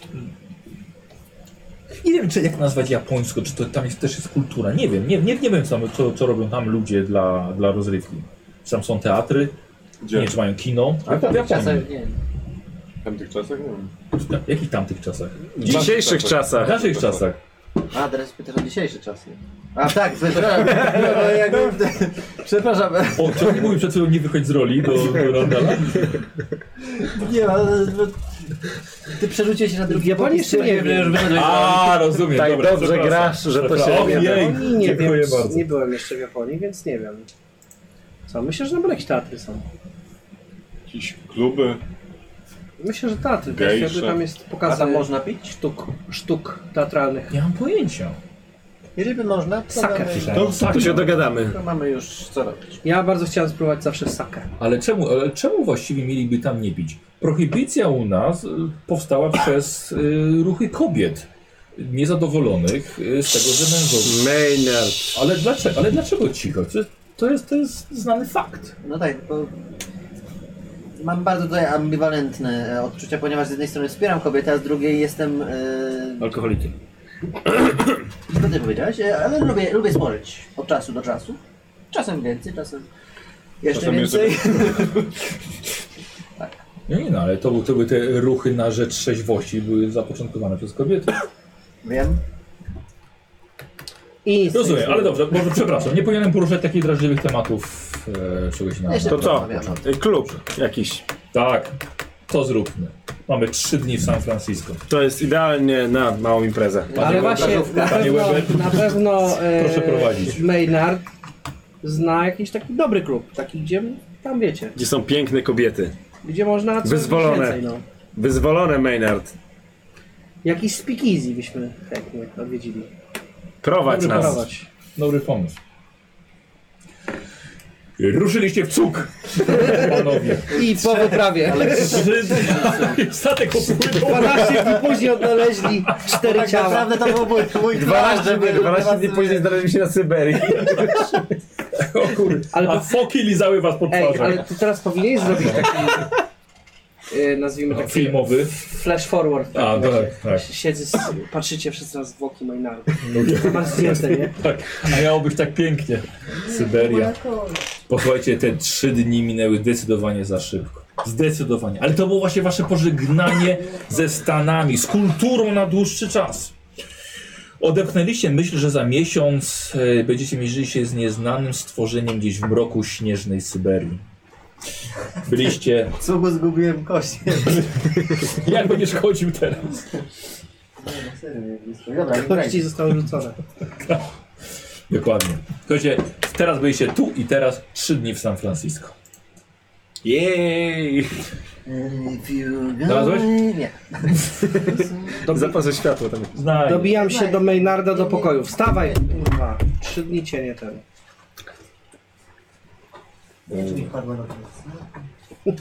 [SPEAKER 1] Nie wiem, czy jak nazwać japońsko, czy to tam jest, też jest kultura. Nie wiem, nie, nie, nie wiem, co, co, co robią tam ludzie dla, dla rozrywki. Czy tam są teatry, nie
[SPEAKER 5] Gdzie?
[SPEAKER 1] wiem, czy mają kino.
[SPEAKER 3] A
[SPEAKER 1] Jak, w
[SPEAKER 3] w
[SPEAKER 1] Japonii.
[SPEAKER 3] czasach, nie wiem.
[SPEAKER 5] W tamtych czasach? Nie wiem.
[SPEAKER 1] W jakich tamtych czasach?
[SPEAKER 2] W dzisiejszych
[SPEAKER 1] W
[SPEAKER 2] czasach.
[SPEAKER 1] naszych czasach.
[SPEAKER 3] A, teraz pytasz o dzisiejsze czasy. A tak, przepraszam. No, no, jakby, przepraszam.
[SPEAKER 1] O, czy oni mówił przed chwilą nie wychodź z roli do, do Randala?
[SPEAKER 3] Nie ma. no, Ty przerzuciłeś się na drugi
[SPEAKER 4] W Japonii jeszcze nie wiem.
[SPEAKER 1] A, rozumiem.
[SPEAKER 2] Tak
[SPEAKER 1] dobra,
[SPEAKER 2] dobrze
[SPEAKER 1] przepraszam.
[SPEAKER 2] grasz, że to
[SPEAKER 1] Przepraszam.
[SPEAKER 2] się
[SPEAKER 1] Ojej,
[SPEAKER 2] nie
[SPEAKER 4] Japonii nie wiem.
[SPEAKER 1] dziękuję bardzo.
[SPEAKER 4] Nie byłem jeszcze w Japonii, więc nie wiem. Co, myślę, że tam jakieś teatry są.
[SPEAKER 5] Jakieś kluby.
[SPEAKER 4] Myślę, że teatry. To
[SPEAKER 5] Gejsze.
[SPEAKER 4] jest, jakby tam jest
[SPEAKER 3] A
[SPEAKER 4] pokazane
[SPEAKER 3] tam można pić?
[SPEAKER 4] sztuk, sztuk teatralnych.
[SPEAKER 1] Nie mam pojęcia. Tak,
[SPEAKER 3] Jeżeli by można, to
[SPEAKER 4] Sakę.
[SPEAKER 3] mamy,
[SPEAKER 1] To,
[SPEAKER 2] Tu się dogadamy.
[SPEAKER 3] to mamy już co robić.
[SPEAKER 4] Ja bardzo chciałem spróbować zawsze sakę.
[SPEAKER 1] Ale czemu, ale czemu właściwie mieliby tam nie pić? Prohibicja u nas y, powstała przez y, ruchy kobiet niezadowolonych y, z tego, że mężowie.
[SPEAKER 2] Maynard.
[SPEAKER 1] Ale dlaczego, ale dlaczego cicho? Czy to, jest, to jest znany fakt.
[SPEAKER 3] No tak, bo mam bardzo tutaj ambiwalentne e, odczucia, ponieważ z jednej strony wspieram kobietę, a z drugiej jestem. Yy,
[SPEAKER 2] Alkoholikiem.
[SPEAKER 3] co ty powiedziałeś? E, Ale lubię, lubię spożyć od czasu do czasu. Czasem więcej, czasem. Jeszcze
[SPEAKER 5] Czasem jeszcze
[SPEAKER 3] więcej.
[SPEAKER 1] Nie, nie no, ale to, były- to były te ruchy na rzecz trzeźwości były zapoczątkowane przez kobiety.
[SPEAKER 3] Wiem.
[SPEAKER 4] I nic nie
[SPEAKER 1] Rozumiem,
[SPEAKER 4] zrobię.
[SPEAKER 1] ale dobrze, może przepraszam, nie powinienem poruszać takich drażliwych tematów e, czegoś na
[SPEAKER 3] Jeszcze
[SPEAKER 2] To co?
[SPEAKER 3] porozmawiamy.
[SPEAKER 2] Klub jakiś.
[SPEAKER 1] Tak, to zróbmy. Mamy trzy dni w San Francisco.
[SPEAKER 2] To jest idealnie na małą imprezę.
[SPEAKER 4] Ale właśnie, na
[SPEAKER 1] Panie
[SPEAKER 4] pewno,
[SPEAKER 1] Weber.
[SPEAKER 4] na pewno e,
[SPEAKER 1] Proszę prowadzić.
[SPEAKER 4] Maynard zna jakiś taki dobry klub, taki gdzie, tam wiecie,
[SPEAKER 2] Gdzie są piękne kobiety.
[SPEAKER 4] gdzie można coś
[SPEAKER 2] Wyzwolone.
[SPEAKER 4] więcej, no.
[SPEAKER 2] Wyzwolone Maynard.
[SPEAKER 4] Jakiś speakeasy byśmy chętnie odwiedzili.
[SPEAKER 2] Prowadź nas.
[SPEAKER 4] Wyparować.
[SPEAKER 1] Dobry pomysł. Ruszyliście w cuk, panowie.
[SPEAKER 4] I po wyprawie.
[SPEAKER 1] Statek opływał.
[SPEAKER 4] 12 dni później odnaleźli cztery
[SPEAKER 3] Tak
[SPEAKER 4] ciała.
[SPEAKER 3] naprawdę to był mój, mój
[SPEAKER 2] 12 dni,
[SPEAKER 3] żeby-
[SPEAKER 2] 12 dni później znaleźliśmy się na Syberii.
[SPEAKER 1] O kur...
[SPEAKER 4] Ale
[SPEAKER 1] A
[SPEAKER 4] po-
[SPEAKER 1] foki lizały was po
[SPEAKER 4] Ej,
[SPEAKER 1] twarzach.
[SPEAKER 4] ale ty teraz powinieneś zrobić taki y, nazwijmy
[SPEAKER 1] No,
[SPEAKER 4] tak
[SPEAKER 1] filmowy.
[SPEAKER 4] flash forward.
[SPEAKER 1] A,
[SPEAKER 4] taki właśnie.
[SPEAKER 1] tak, tak.
[SPEAKER 4] Siedzę, z, patrzycie wszyscy na zwłoki Maynarda.
[SPEAKER 1] No,
[SPEAKER 4] Masz zdjęte, nie?
[SPEAKER 1] Tak, a miało być tak pięknie. Syberia. Posłuchajcie, te trzy dni minęły zdecydowanie za szybko. Zdecydowanie. Ale to było właśnie wasze pożegnanie ze Stanami, z kulturą na dłuższy czas. Odepchnęliście myśl, że za miesiąc e, będziecie mierzyli się z nieznanym stworzeniem gdzieś w mroku śnieżnej Syberii. Byliście...
[SPEAKER 3] Co go zgubiłem kości.
[SPEAKER 1] Jak będziesz chodził teraz?
[SPEAKER 3] Dobra,
[SPEAKER 4] Kości zostały rzucone.
[SPEAKER 1] Dokładnie. Słuchajcie, teraz byliście tu i teraz trzy dni w San Francisco.
[SPEAKER 6] Jej!
[SPEAKER 1] Znalazłeś?
[SPEAKER 3] Nie.
[SPEAKER 2] Zapasy światła tam.
[SPEAKER 1] Znaj.
[SPEAKER 4] Dobijam się do Maynarda do pokoju. Wstawaj, kurwa. Trzy dni cię nie ten.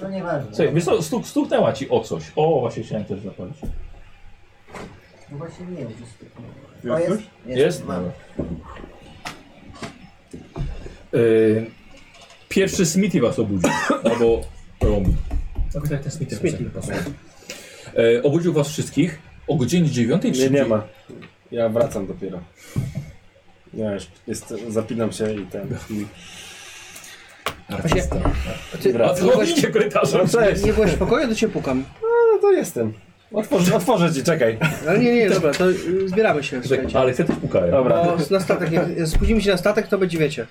[SPEAKER 3] To nieważne.
[SPEAKER 1] Słuchaj, wiesz co, stuk, stuknęła ci o coś. O, właśnie chciałem też zapalić.
[SPEAKER 3] No właśnie nie wiem, gdzie
[SPEAKER 5] Jest już?
[SPEAKER 1] Jest? No.
[SPEAKER 3] Mam.
[SPEAKER 1] Y, pierwszy Smithy was obudził. albo Romy. Tak, tak, ten Smithy.
[SPEAKER 4] Smithy.
[SPEAKER 1] napisany pasuje. Y, obudził was wszystkich o godzinie 9.30.
[SPEAKER 2] Nie, nie ma. Ja wracam dopiero. Ja już jest, zapinam się i ten. I...
[SPEAKER 1] Artysta.
[SPEAKER 4] Ty,
[SPEAKER 1] A
[SPEAKER 4] nie, byłeś,
[SPEAKER 1] Odchodzicie korytarzem.
[SPEAKER 2] No cześć!
[SPEAKER 4] nie byłeś w pokoju, to cię pukam.
[SPEAKER 2] No to jestem. Otworzę, otworzę ci, czekaj.
[SPEAKER 4] Ale nie, nie, dobra, to y, zbieramy się, słuchajcie.
[SPEAKER 1] Ale chcę też pukają.
[SPEAKER 2] Dobra.
[SPEAKER 4] Bo na statek, jak spóźnimy się na statek, to będzie wiecie.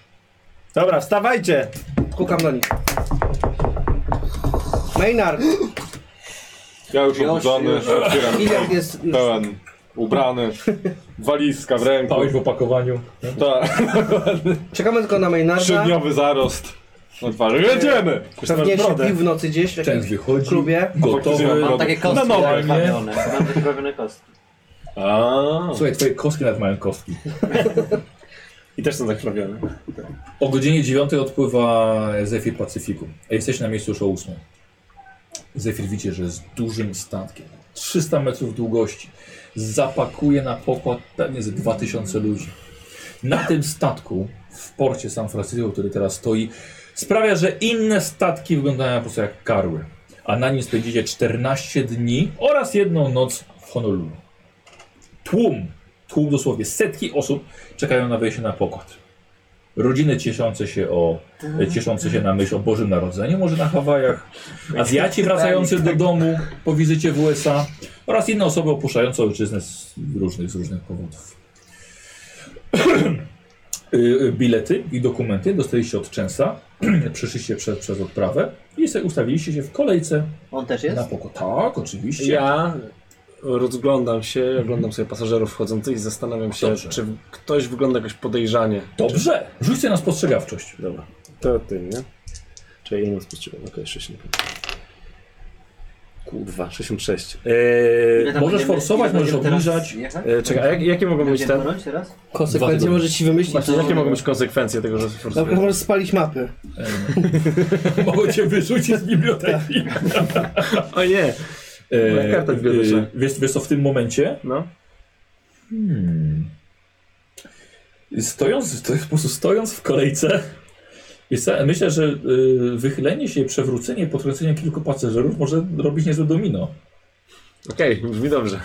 [SPEAKER 2] Dobra, wstawajcie!
[SPEAKER 4] Kukam do nich. Maynard,
[SPEAKER 5] Ja już
[SPEAKER 3] Już,
[SPEAKER 5] obudzony,
[SPEAKER 3] już.
[SPEAKER 5] otwieram
[SPEAKER 4] Iliard jest już...
[SPEAKER 5] pełen, ubrany, walizka w ręku.
[SPEAKER 1] Pałeś w opakowaniu.
[SPEAKER 5] Tak,
[SPEAKER 4] Czekamy tylko na Maynarda.
[SPEAKER 5] trzydniowy zarost na twarzy. Jedziemy!
[SPEAKER 4] Pewnie się
[SPEAKER 2] brodę.
[SPEAKER 4] pił w nocy gdzieś w
[SPEAKER 1] Część
[SPEAKER 4] jakimś
[SPEAKER 1] wychodzi.
[SPEAKER 4] klubie.
[SPEAKER 5] Faktycznie
[SPEAKER 1] Gotowy.
[SPEAKER 5] mam
[SPEAKER 3] Mam takie kostki
[SPEAKER 5] Na nowe.
[SPEAKER 3] zakrwawione. Mam zakrwawione kostki.
[SPEAKER 5] A.
[SPEAKER 1] Słuchaj, twoje kostki nawet mają kostki.
[SPEAKER 2] I też są zakrwawione.
[SPEAKER 1] O godzinie 9 odpływa Zefir Pacyfiku. A Jesteś na miejscu już o 8. Zefir widzicie, że z dużym statkiem, 300 metrów długości, zapakuje na pokład pewnie ze 2000 ludzi. Na tym statku w porcie San Francisco, który teraz stoi, sprawia, że inne statki wyglądają po prostu jak karły. A na nim spędzicie 14 dni oraz jedną noc w Honolulu. Tłum, tłum dosłownie setki osób czekają na wejście na pokład rodziny cieszące się o cieszące się na myśl o Bożym Narodzeniu, może na Hawajach, Azjaci wracający do domu po wizycie w USA oraz inne osoby opuszczające ojczyznę z różnych, z różnych powodów. Y, y, Bilety i dokumenty dostaliście od Częsa, przeszliście przez, przez odprawę i se ustawiliście się w kolejce
[SPEAKER 3] On też
[SPEAKER 1] na
[SPEAKER 3] jest?
[SPEAKER 1] pokład. Tak, oczywiście.
[SPEAKER 2] Ja rozglądam się, oglądam sobie pasażerów wchodzących i zastanawiam się,
[SPEAKER 1] Dobrze.
[SPEAKER 2] czy ktoś wygląda jakoś podejrzanie.
[SPEAKER 1] Dobrze, rzuć sobie na spostrzegawczość.
[SPEAKER 2] Dobra, to ty, nie? Czy ja nie spostrzegam? Okej, 65. Kurwa, 66.
[SPEAKER 3] Ile
[SPEAKER 2] Eee,
[SPEAKER 3] tam
[SPEAKER 1] możesz
[SPEAKER 3] będziemy-
[SPEAKER 1] forsować,
[SPEAKER 3] ile
[SPEAKER 1] możesz
[SPEAKER 3] będziemy teraz
[SPEAKER 1] obniżać.
[SPEAKER 3] jechać?
[SPEAKER 2] e, czekaj, a jak, jakie mogą być
[SPEAKER 3] Będziemy
[SPEAKER 2] te...
[SPEAKER 3] bronić teraz?
[SPEAKER 4] Konsekwencje możesz ci wymyślić.
[SPEAKER 2] Właśnie, jakie mogą być konsekwencje tego, że...
[SPEAKER 4] Dobra, możesz spalić mapy.
[SPEAKER 1] Mogą cię wyrzucić z biblioteki.
[SPEAKER 2] O nie! Moja karta w biurze.
[SPEAKER 1] e, wiesz, wiesz co, w tym momencie
[SPEAKER 2] No.
[SPEAKER 1] Hmm. Stojąc, to jest po prostu stojąc w kolejce, wiesz co, myślę, że y, wychylenie się, przewrócenie, potrącenie kilku pasażerów może robić niezłe domino.
[SPEAKER 2] Okej, brzmi dobrze.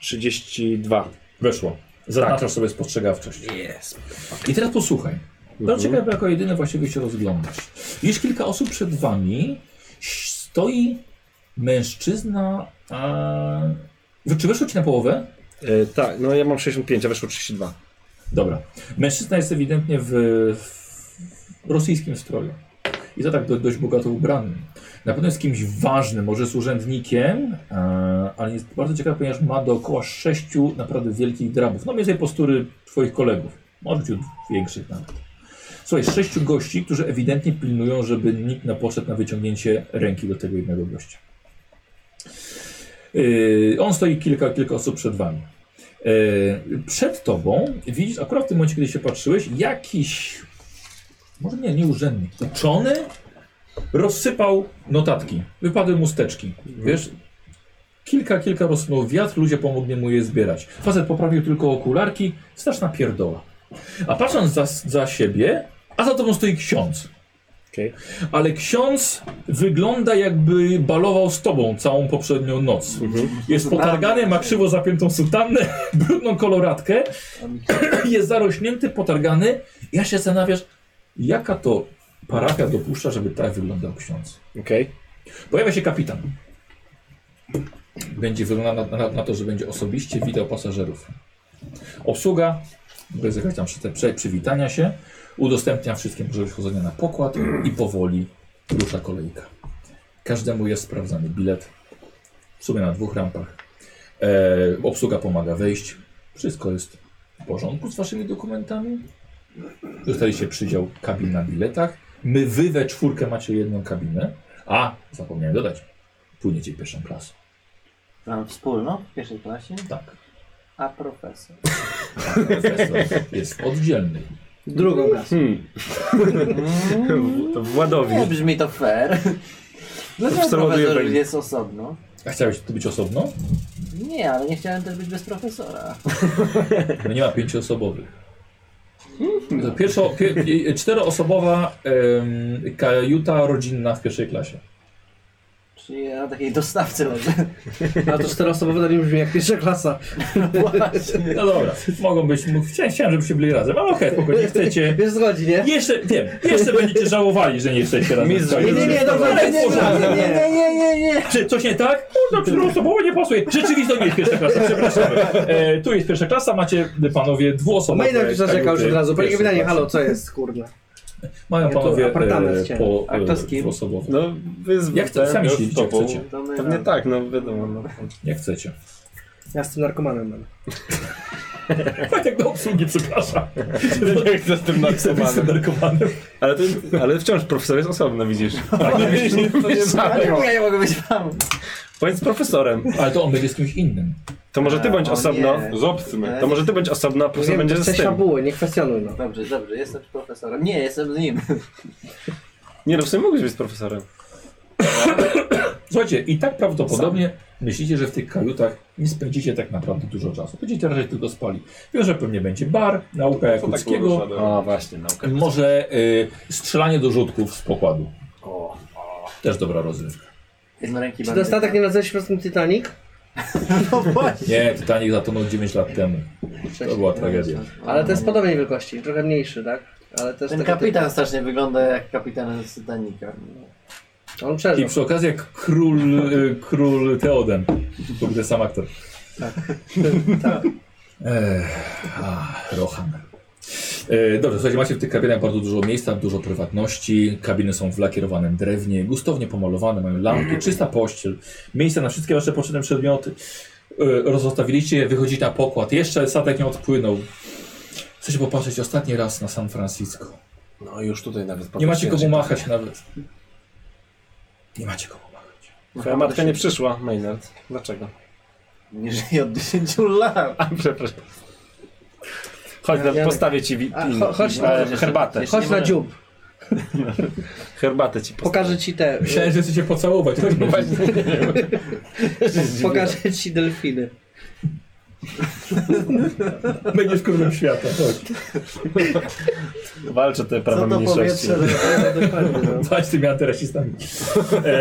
[SPEAKER 2] 32.
[SPEAKER 1] Weszło. Zaznaczasz
[SPEAKER 2] Tak.
[SPEAKER 1] sobie spostrzegawczość. I teraz posłuchaj.
[SPEAKER 2] Mhm.
[SPEAKER 1] To ciekawe, jako jedyny właściwie się rozglądasz. Widzisz kilka osób przed wami. Stoi mężczyzna. A... Wy- Czy weszło ci na połowę?
[SPEAKER 2] E, tak, no ja mam 65, a weszło 32.
[SPEAKER 1] Dobra. Mężczyzna jest ewidentnie w, w rosyjskim stroju. I to tak do, dość bogato ubranym. Na pewno jest kimś ważnym, może jest urzędnikiem, e, ale jest bardzo ciekawy, ponieważ ma dookoła sześciu naprawdę wielkich drabów. No mniej więcej postury twoich kolegów. Może ciut większych nawet. Słuchaj, sześciu gości, którzy ewidentnie pilnują, żeby nikt nie poszedł na wyciągnięcie ręki do tego jednego gościa. Yy, on stoi kilka, kilka osób przed wami. E, przed tobą widzisz, akurat w tym momencie, kiedy się patrzyłeś, jakiś, może nie, nie urzędnik, uczony rozsypał notatki. Wypadły mu steczki. Wiesz, kilka, kilka rozsunął wiatr, ludzie pomogli mu je zbierać. Facet poprawił tylko okularki, straszna pierdoła. A patrząc za, za siebie, a za tobą stoi ksiądz. Ale ksiądz wygląda jakby balował z tobą całą poprzednią noc. Jest potargany, ma krzywo zapiętą sutannę, brudną koloratkę, jest zarośnięty, potargany. Ja się zastanawiasz, jaka to parafia dopuszcza, żeby tak wyglądał ksiądz.
[SPEAKER 2] Okej.
[SPEAKER 1] Pojawia się kapitan. Będzie wyglądał na, na, na to, że będzie osobiście witał pasażerów. Obsługa, bez jakaś tam przy- przy- przywitania się, udostępnia wszystkim możliwość chodzenia na pokład i powoli rusza kolejka. Każdemu jest sprawdzany bilet, w sumie na dwóch rampach. E, obsługa pomaga wejść. Wszystko jest w porządku z waszymi dokumentami. Dostaliście przydział kabin na biletach. My wy we czwórkę macie jedną kabinę. A, zapomniałem dodać. Płyniecie pierwszą klasą.
[SPEAKER 3] Mam wspólną w pierwszej klasie,
[SPEAKER 1] Tak.
[SPEAKER 3] a profesor.
[SPEAKER 1] Profesor jest oddzielny.
[SPEAKER 4] Drugą klasę.
[SPEAKER 2] Hmm. To Władowi.
[SPEAKER 3] Nie brzmi to fair.
[SPEAKER 4] No
[SPEAKER 3] Dlaczego
[SPEAKER 2] Profesor ładuje
[SPEAKER 3] profesor
[SPEAKER 2] węgiel.
[SPEAKER 3] jest osobno?
[SPEAKER 1] A chciałeś tu być osobno?
[SPEAKER 3] Nie, ale nie chciałem też być bez profesora.
[SPEAKER 1] No nie ma pięcioosobowych. To pierwszo, pie, pie, czteroosobowa em, kajuta rodzinna w pierwszej klasie.
[SPEAKER 3] Czyli ja na takiej dostawce leżę.
[SPEAKER 4] Ale to czteroosobowe to nie brzmi jak pierwsza klasa.
[SPEAKER 3] Właśnie.
[SPEAKER 1] No dobra, mogą być. mógł- Chciałem, chciałem żebyście byli razem, ale okej, spokojnie, chcecie.
[SPEAKER 4] Wiesz, zgodzi, nie?
[SPEAKER 1] Jeszcze, wiem, jeszcze będziecie żałowali, że nie chcecie razem.
[SPEAKER 2] Mistrz
[SPEAKER 1] z kajutą.
[SPEAKER 4] Nie, nie, nie, No dobra,
[SPEAKER 1] Ale
[SPEAKER 4] nie, nie,
[SPEAKER 1] w porządku.
[SPEAKER 4] nie, nie, nie, nie, nie, nie.
[SPEAKER 1] Czy coś nie tak? Można czteroosobowo nie pasuje. Rzeczywiście to nie jest pierwsza klasa, przepraszamy. E, tu jest pierwsza klasa, macie panowie dwuosobowe.
[SPEAKER 4] Majdek już zaczekał już
[SPEAKER 1] kajuty
[SPEAKER 4] od razu. Panie
[SPEAKER 1] pierwszej
[SPEAKER 4] kapitanie,
[SPEAKER 1] tak, klasy.
[SPEAKER 4] halo, co jest, kurde?
[SPEAKER 1] Mają
[SPEAKER 4] Ja tu
[SPEAKER 1] panowie
[SPEAKER 4] apartament
[SPEAKER 1] e,
[SPEAKER 4] chciałem.
[SPEAKER 1] po
[SPEAKER 3] A kto z kim?
[SPEAKER 1] e, dwuosobowe.
[SPEAKER 2] No, wy z
[SPEAKER 1] Jak chcecie, sami
[SPEAKER 5] ja z
[SPEAKER 1] się idziecie,
[SPEAKER 5] tobą.
[SPEAKER 1] chcecie.
[SPEAKER 3] To my
[SPEAKER 2] Pewnie
[SPEAKER 3] na-
[SPEAKER 2] tak, no wiadomo. No.
[SPEAKER 1] Jak chcecie.
[SPEAKER 4] Ja z tym narkomanem no. mam.
[SPEAKER 1] Tak jak do obsługi, przepraszam.
[SPEAKER 5] Nie chcę z tym
[SPEAKER 1] Jestem
[SPEAKER 5] narkomanem.
[SPEAKER 1] narkomanem.
[SPEAKER 2] Ale, to, ale wciąż profesor jest osobno, widzisz.
[SPEAKER 5] Tak, no widzisz, nie
[SPEAKER 3] Ale ja nie mogę być wam.
[SPEAKER 2] Bądź z profesorem.
[SPEAKER 1] Ale to on będzie z kimś innym.
[SPEAKER 2] To może ty bądź
[SPEAKER 3] O nie.
[SPEAKER 2] osobno.
[SPEAKER 5] Z obcym.
[SPEAKER 2] To może ty bądź osobno, a profesor
[SPEAKER 4] Wiem,
[SPEAKER 2] będzie
[SPEAKER 4] chcesz
[SPEAKER 2] z tym.
[SPEAKER 4] fabuły, nie kwestionuj, no.
[SPEAKER 3] Dobrze, dobrze, jestem z profesorem. Nie, jestem z nim.
[SPEAKER 2] Nie no, w sumie mógłbyś być z profesorem.
[SPEAKER 1] Słuchajcie, i tak prawdopodobnie myślicie, że w tych kajutach nie spędzicie tak naprawdę dużo czasu. Będziecie raczej tylko spali. Wiem, że pewnie będzie bar, nauka
[SPEAKER 5] Co tak
[SPEAKER 1] Jakuckiego,
[SPEAKER 5] porusza,
[SPEAKER 2] A właśnie, nauka.
[SPEAKER 1] może y, strzelanie do rzutków z pokładu. Też dobra rozrywka.
[SPEAKER 3] Jednoręki
[SPEAKER 4] Czy dostatek nie nazywałeś po tym Titanic?
[SPEAKER 1] Nie, Titanic zatonął 9 lat temu. To była tragedia.
[SPEAKER 4] Ale to jest podobnej wielkości, trochę mniejszy, tak? Ale też
[SPEAKER 3] No. Ten
[SPEAKER 4] tego
[SPEAKER 3] kapitan strasznie wygląda jak kapitan z Titanica.
[SPEAKER 4] typu- On
[SPEAKER 1] I
[SPEAKER 4] przeżył.
[SPEAKER 1] przy okazji jak król, y, król Teoden. To był ten sam aktor.
[SPEAKER 4] Tak.
[SPEAKER 1] Ech, a, Rohan. E, Dobrze, słuchajcie, macie w tych kabinach bardzo dużo miejsca, dużo prywatności. Kabiny są w lakierowanym drewnie, gustownie pomalowane, mają lampki, czysta pościel, miejsce na wszystkie wasze potrzebne przedmioty. E, Rozostawiliście je, wychodzicie na pokład. Jeszcze statek nie odpłynął. Chcecie popatrzeć ostatni raz na San Francisco.
[SPEAKER 2] No już tutaj nawet
[SPEAKER 1] Nie macie komu machać nawet. Nie macie komu machać.
[SPEAKER 2] Twoja matka nie przyszła, Maynard. Dlaczego?
[SPEAKER 3] Nie żyje od 10 lat.
[SPEAKER 2] A, przepraszam. Chodź,
[SPEAKER 4] Ja-
[SPEAKER 2] na-
[SPEAKER 4] Janek-
[SPEAKER 2] postawię ci wi-
[SPEAKER 4] A,
[SPEAKER 2] pilnik.
[SPEAKER 4] cho- chodź na-
[SPEAKER 2] Ale herbatę.
[SPEAKER 3] Jeszcze
[SPEAKER 4] Chodź
[SPEAKER 3] nie
[SPEAKER 4] na
[SPEAKER 3] może-
[SPEAKER 4] dziób,
[SPEAKER 2] Herbatę ci postawię.
[SPEAKER 4] pokażę ci te...
[SPEAKER 1] Myślałem, że chcecie pocałować.
[SPEAKER 4] Pokażę ci delfiny.
[SPEAKER 1] Będziesz królem świata.
[SPEAKER 2] Walczę te prawa
[SPEAKER 3] Co to
[SPEAKER 2] mniejszości.
[SPEAKER 3] powietrze?
[SPEAKER 1] Patrz tymi antyrasistami. E,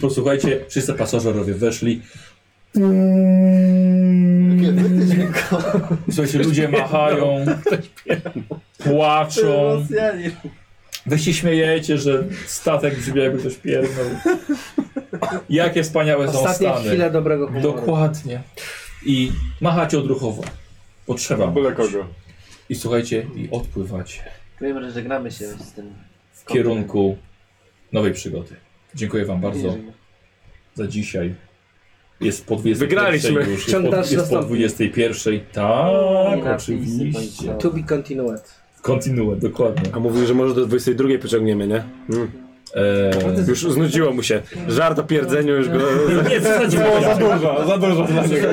[SPEAKER 1] posłuchajcie, wszyscy pasażerowie weszli. Mm. Słuchajcie, ludzie machają, płaczą.
[SPEAKER 3] Rosjanie.
[SPEAKER 1] Wy się śmiejecie, że statek brzmi jakby ktoś pierdnął. Jakie wspaniałe są
[SPEAKER 4] Ostatnia
[SPEAKER 1] stany.
[SPEAKER 4] chwila dobrego humoru.
[SPEAKER 1] Dokładnie. I machacie odruchowo. Potrzeba.
[SPEAKER 5] Byle kogo.
[SPEAKER 1] I słuchajcie, i odpływacie
[SPEAKER 3] Wiemy, że żegnamy się z tym.
[SPEAKER 1] w kierunku nowej przygody. Dziękuję wam bardzo.
[SPEAKER 3] Nie,
[SPEAKER 1] za dzisiaj. Jest po 21.
[SPEAKER 2] Wygraliśmy.
[SPEAKER 1] Już, jest po,
[SPEAKER 4] Ciąg dalszy
[SPEAKER 1] jest po
[SPEAKER 4] nastąpi.
[SPEAKER 1] 21. Tak,
[SPEAKER 3] napisy
[SPEAKER 1] oczywiście.
[SPEAKER 3] końcowe.
[SPEAKER 4] To be continued.
[SPEAKER 1] Kontynuuję, dokładnie.
[SPEAKER 2] A mówił, że może do 22 pociągniemy, nie? Mm.
[SPEAKER 1] Eee,
[SPEAKER 2] Już znudziło mu się. Żart o pierdzeniu już go...
[SPEAKER 1] nie, co za
[SPEAKER 5] Było
[SPEAKER 1] dziwne.
[SPEAKER 5] za dużo, za dużo dla niego.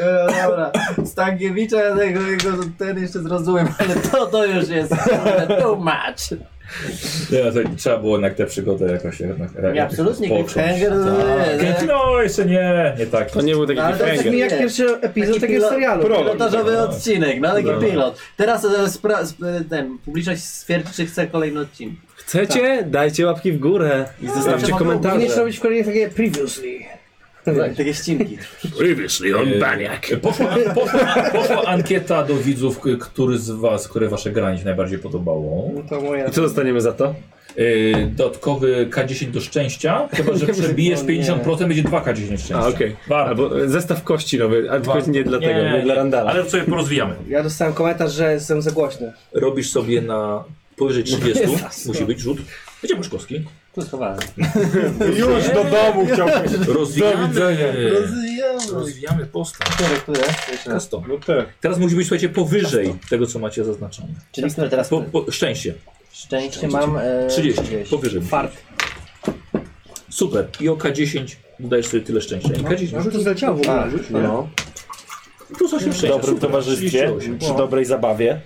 [SPEAKER 3] E, Dobra, Stankiewicza, ja tego, jego ten jeszcze zrozumiem, ale to, to już jest kurde, too much.
[SPEAKER 11] Nie, no, to trzeba było jednak tę przygodę jakoś jednak,
[SPEAKER 3] Nie, absolutnie, cliffhanger. nie, nie.
[SPEAKER 1] Tak.
[SPEAKER 11] No, jeszcze nie, nie tak.
[SPEAKER 2] To nie był taki
[SPEAKER 3] No, ale to jest
[SPEAKER 2] cliffhanger.
[SPEAKER 4] Mi jak
[SPEAKER 3] Nie.
[SPEAKER 4] pierwszy epizod
[SPEAKER 3] Taki
[SPEAKER 4] takiego
[SPEAKER 3] pilot-
[SPEAKER 4] serialu.
[SPEAKER 5] Pro-
[SPEAKER 3] Pilotażowy odcinek, no taki
[SPEAKER 2] Dobra.
[SPEAKER 3] pilot. Teraz e, spra- sp- ten, publiczność stwierdzi, czy chce kolejny odcinek.
[SPEAKER 2] Chcecie? Dajcie łapki w górę i zostawcie
[SPEAKER 3] to
[SPEAKER 4] Powinieneś
[SPEAKER 2] komentarze.
[SPEAKER 4] robić w kolejnych takie previously. Tak.
[SPEAKER 3] Takie ścinki.
[SPEAKER 12] Previously
[SPEAKER 11] on Baniak. Eee, Poszła, poszła, poszła ankieta do widzów, k- który z was, które wasze granie się najbardziej podobało.
[SPEAKER 4] No to moja.
[SPEAKER 2] I co dostaniemy za to?
[SPEAKER 11] Yy, dodatkowy K10 do szczęścia, chyba że przebijesz
[SPEAKER 4] o nie.
[SPEAKER 11] 50%, będzie 2K10 szczęścia.
[SPEAKER 2] no
[SPEAKER 1] Tak.
[SPEAKER 2] A, okej.
[SPEAKER 11] Warto.
[SPEAKER 2] Albo e, zestaw kości nowy, ale tylko
[SPEAKER 11] Warto.
[SPEAKER 2] nie dla tego, nie dla Randala.
[SPEAKER 1] Ale sobie porozwijamy.
[SPEAKER 4] Ja dostałem komentarz, że jestem za głośny.
[SPEAKER 11] Robisz sobie na powyżej
[SPEAKER 2] No
[SPEAKER 11] 30, musi być rzut. Gdzie masz kostki?
[SPEAKER 3] Tu schowałem.
[SPEAKER 5] Już do domu chciałbym.
[SPEAKER 11] Rozwijamy. Tak,
[SPEAKER 3] Rozwijamy.
[SPEAKER 11] Rozwijamy postać.
[SPEAKER 3] Które, które? Jeszcze raz.
[SPEAKER 11] Custom.
[SPEAKER 5] No te.
[SPEAKER 11] Teraz musi być, słuchajcie, powyżej tego, co macie zaznaczone.
[SPEAKER 3] Czyli które teraz?
[SPEAKER 11] Po, po, szczęście.
[SPEAKER 3] Szczęście mam. E,
[SPEAKER 11] 30. Powyżej.
[SPEAKER 3] Fart.
[SPEAKER 11] Super. I o K10 dodajesz sobie tyle szczęścia. I K10
[SPEAKER 4] Może to zleciało w ogóle. rzuć.
[SPEAKER 2] No.
[SPEAKER 11] plus 8
[SPEAKER 2] W
[SPEAKER 11] szczęścia.
[SPEAKER 2] dobrym
[SPEAKER 11] Super.
[SPEAKER 2] towarzystwie,
[SPEAKER 11] 38.
[SPEAKER 2] przy dobrej zabawie.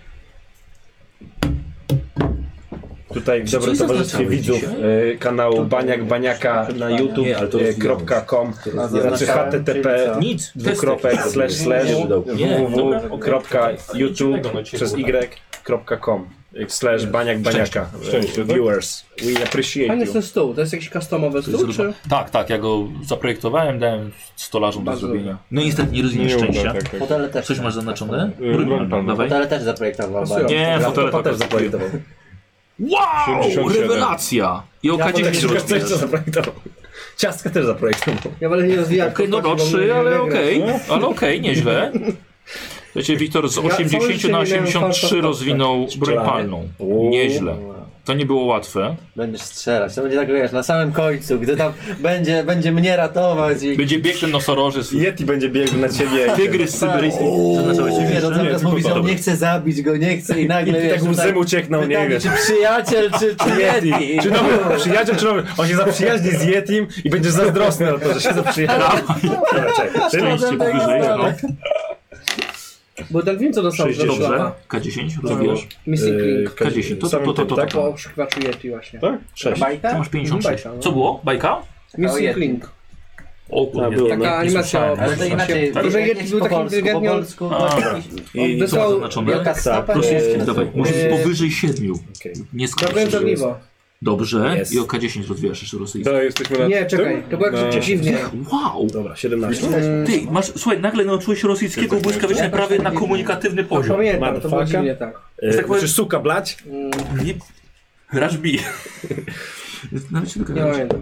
[SPEAKER 2] Tutaj w dobrym
[SPEAKER 11] coś
[SPEAKER 2] towarzystwie
[SPEAKER 11] zaznaczamy
[SPEAKER 2] widzów
[SPEAKER 11] dzisiaj?
[SPEAKER 2] e, kanału Baniak Baniaka na YouTube
[SPEAKER 11] Nie, ale to
[SPEAKER 2] e,
[SPEAKER 11] rozwijamy.
[SPEAKER 2] kropka com,
[SPEAKER 3] A
[SPEAKER 2] znaczy
[SPEAKER 3] zaznaczałem, czyli
[SPEAKER 2] http
[SPEAKER 3] co?
[SPEAKER 11] Nic.
[SPEAKER 2] dwukropek
[SPEAKER 11] Testek.
[SPEAKER 2] slash slash
[SPEAKER 11] Nie, dobra, okej.
[SPEAKER 2] Y. www.youtube.com slash baniak baniaka
[SPEAKER 5] Szczęście, tak?
[SPEAKER 2] viewers we
[SPEAKER 4] Fajny
[SPEAKER 2] appreciate
[SPEAKER 4] jest
[SPEAKER 2] you
[SPEAKER 4] ten stół. To jest jakiś customowy
[SPEAKER 1] To jest
[SPEAKER 4] stół, czy?
[SPEAKER 1] zrobione. Tak, tak, ja go zaprojektowałem, dałem stolarzom do
[SPEAKER 4] Bardzo
[SPEAKER 1] zrobienia. No niestety nie rozumiem szczęścia.
[SPEAKER 5] tak, tak.
[SPEAKER 3] Fotele też.
[SPEAKER 1] Coś masz zaznaczone?
[SPEAKER 5] Y, broń
[SPEAKER 1] Brygman,
[SPEAKER 5] palną.
[SPEAKER 1] dawaj.
[SPEAKER 3] Fotele też zaprojektował.
[SPEAKER 4] Pasują.
[SPEAKER 3] bardzo.
[SPEAKER 1] Nie, fotele
[SPEAKER 2] Laptopa
[SPEAKER 1] tak.
[SPEAKER 2] też zaprojektował.
[SPEAKER 1] Wow,
[SPEAKER 5] 77.
[SPEAKER 1] rewelacja! I oka 10
[SPEAKER 2] Ciastka też
[SPEAKER 1] rozwijasz.
[SPEAKER 2] zaprojektował. Ciastka też zaprojektował.
[SPEAKER 4] Ja wolę nie rozwijać.
[SPEAKER 1] Okej, dobra,
[SPEAKER 4] postaci, bo
[SPEAKER 1] trzy,
[SPEAKER 4] mogę
[SPEAKER 1] ale
[SPEAKER 4] wygrać.
[SPEAKER 1] okej, ale okej, nieźle. Wiecie, Wiktor z 80 na 83 rozwinął broń palną. Nieźle. To nie było łatwe.
[SPEAKER 3] Będziesz strzelać. To będzie tak, wiesz, na samym końcu, gdy tam będzie, będzie mnie ratować i...
[SPEAKER 1] Będzie bieg ten nosorożec.
[SPEAKER 2] Yeti będzie biegł na ciebie.
[SPEAKER 1] Tygrys syberyjski. Zaznaczałeś
[SPEAKER 3] Nie,
[SPEAKER 1] jeszcze?
[SPEAKER 3] no cały czas mówi, że on
[SPEAKER 1] Dobra.
[SPEAKER 3] nie chce zabić go, nie chce i
[SPEAKER 2] I
[SPEAKER 3] nagle,
[SPEAKER 2] ty tak
[SPEAKER 3] wiesz,
[SPEAKER 2] łzy mu ciekną, nie
[SPEAKER 3] pytanie,
[SPEAKER 2] wiesz.
[SPEAKER 3] czy przyjaciel, czy, czy Yeti.
[SPEAKER 2] Czy nowy przyjaciel, czy nowy... On się zaprzyjaźni z Yetim i będziesz zazdrosny na to, że się zaprzyjaźni. Dobra, czekaj.
[SPEAKER 1] Szczęście powyżej. No.
[SPEAKER 4] Bo Delwin co dostał? za
[SPEAKER 1] Dobrze.
[SPEAKER 4] szlapa?
[SPEAKER 1] K10 rozwijasz.
[SPEAKER 4] Missing
[SPEAKER 2] Yy,
[SPEAKER 4] link.
[SPEAKER 1] K10. To, to, to, to, to,
[SPEAKER 2] Y, Tak?
[SPEAKER 4] Po
[SPEAKER 1] to.
[SPEAKER 4] poszukiwaczu Yeti właśnie.
[SPEAKER 5] Tak?
[SPEAKER 2] Sześć.
[SPEAKER 1] Ty
[SPEAKER 3] Bajka?
[SPEAKER 1] masz 56.
[SPEAKER 4] Bajka, no.
[SPEAKER 1] Co było? Bajka?
[SPEAKER 3] O,
[SPEAKER 4] Missing
[SPEAKER 3] Yeti.
[SPEAKER 4] link.
[SPEAKER 1] O
[SPEAKER 2] Tak,
[SPEAKER 1] kurde.
[SPEAKER 2] było.
[SPEAKER 4] Taka animacja.
[SPEAKER 1] słyszałem.
[SPEAKER 4] o-
[SPEAKER 3] Ale to inaczej,
[SPEAKER 4] Tak? Że Yeti był
[SPEAKER 3] po
[SPEAKER 4] taki
[SPEAKER 3] polsku, po
[SPEAKER 4] inteligentny, on-
[SPEAKER 3] polsku,
[SPEAKER 1] A,
[SPEAKER 3] on-
[SPEAKER 1] dobra.
[SPEAKER 2] I
[SPEAKER 1] I co
[SPEAKER 4] Dostał
[SPEAKER 1] masz zaznaczone?
[SPEAKER 3] Wielka stopa,
[SPEAKER 1] Proszę,
[SPEAKER 3] nie-
[SPEAKER 1] jest, dawaj. Może
[SPEAKER 4] Eee,
[SPEAKER 1] powyżej 7. Nie
[SPEAKER 4] Zabrałem
[SPEAKER 1] skończysz.
[SPEAKER 4] ogniwo.
[SPEAKER 1] Dobrze.
[SPEAKER 2] Jest.
[SPEAKER 1] I o K10 rozwijasz jeszcze rosyjski.
[SPEAKER 5] To jesteśmy na
[SPEAKER 4] Nie, czekaj.
[SPEAKER 5] tym?
[SPEAKER 4] To było
[SPEAKER 5] Na-
[SPEAKER 4] jak dziwnie.
[SPEAKER 1] Wow.
[SPEAKER 2] Dobra, 17.
[SPEAKER 1] Ty,
[SPEAKER 4] Mm.
[SPEAKER 1] masz, słuchaj, nagle nauczyłeś rosyjskiego błyskawicznie prawie na komunikatywny poziom.
[SPEAKER 4] Pamiętam, to było
[SPEAKER 2] Motherfucker.
[SPEAKER 4] dziwnie tak.
[SPEAKER 2] Yy,
[SPEAKER 1] tak powiem-
[SPEAKER 2] czy suka blać?
[SPEAKER 1] Nie... Rashbi. Nawet się tylko
[SPEAKER 4] Nie pamiętam.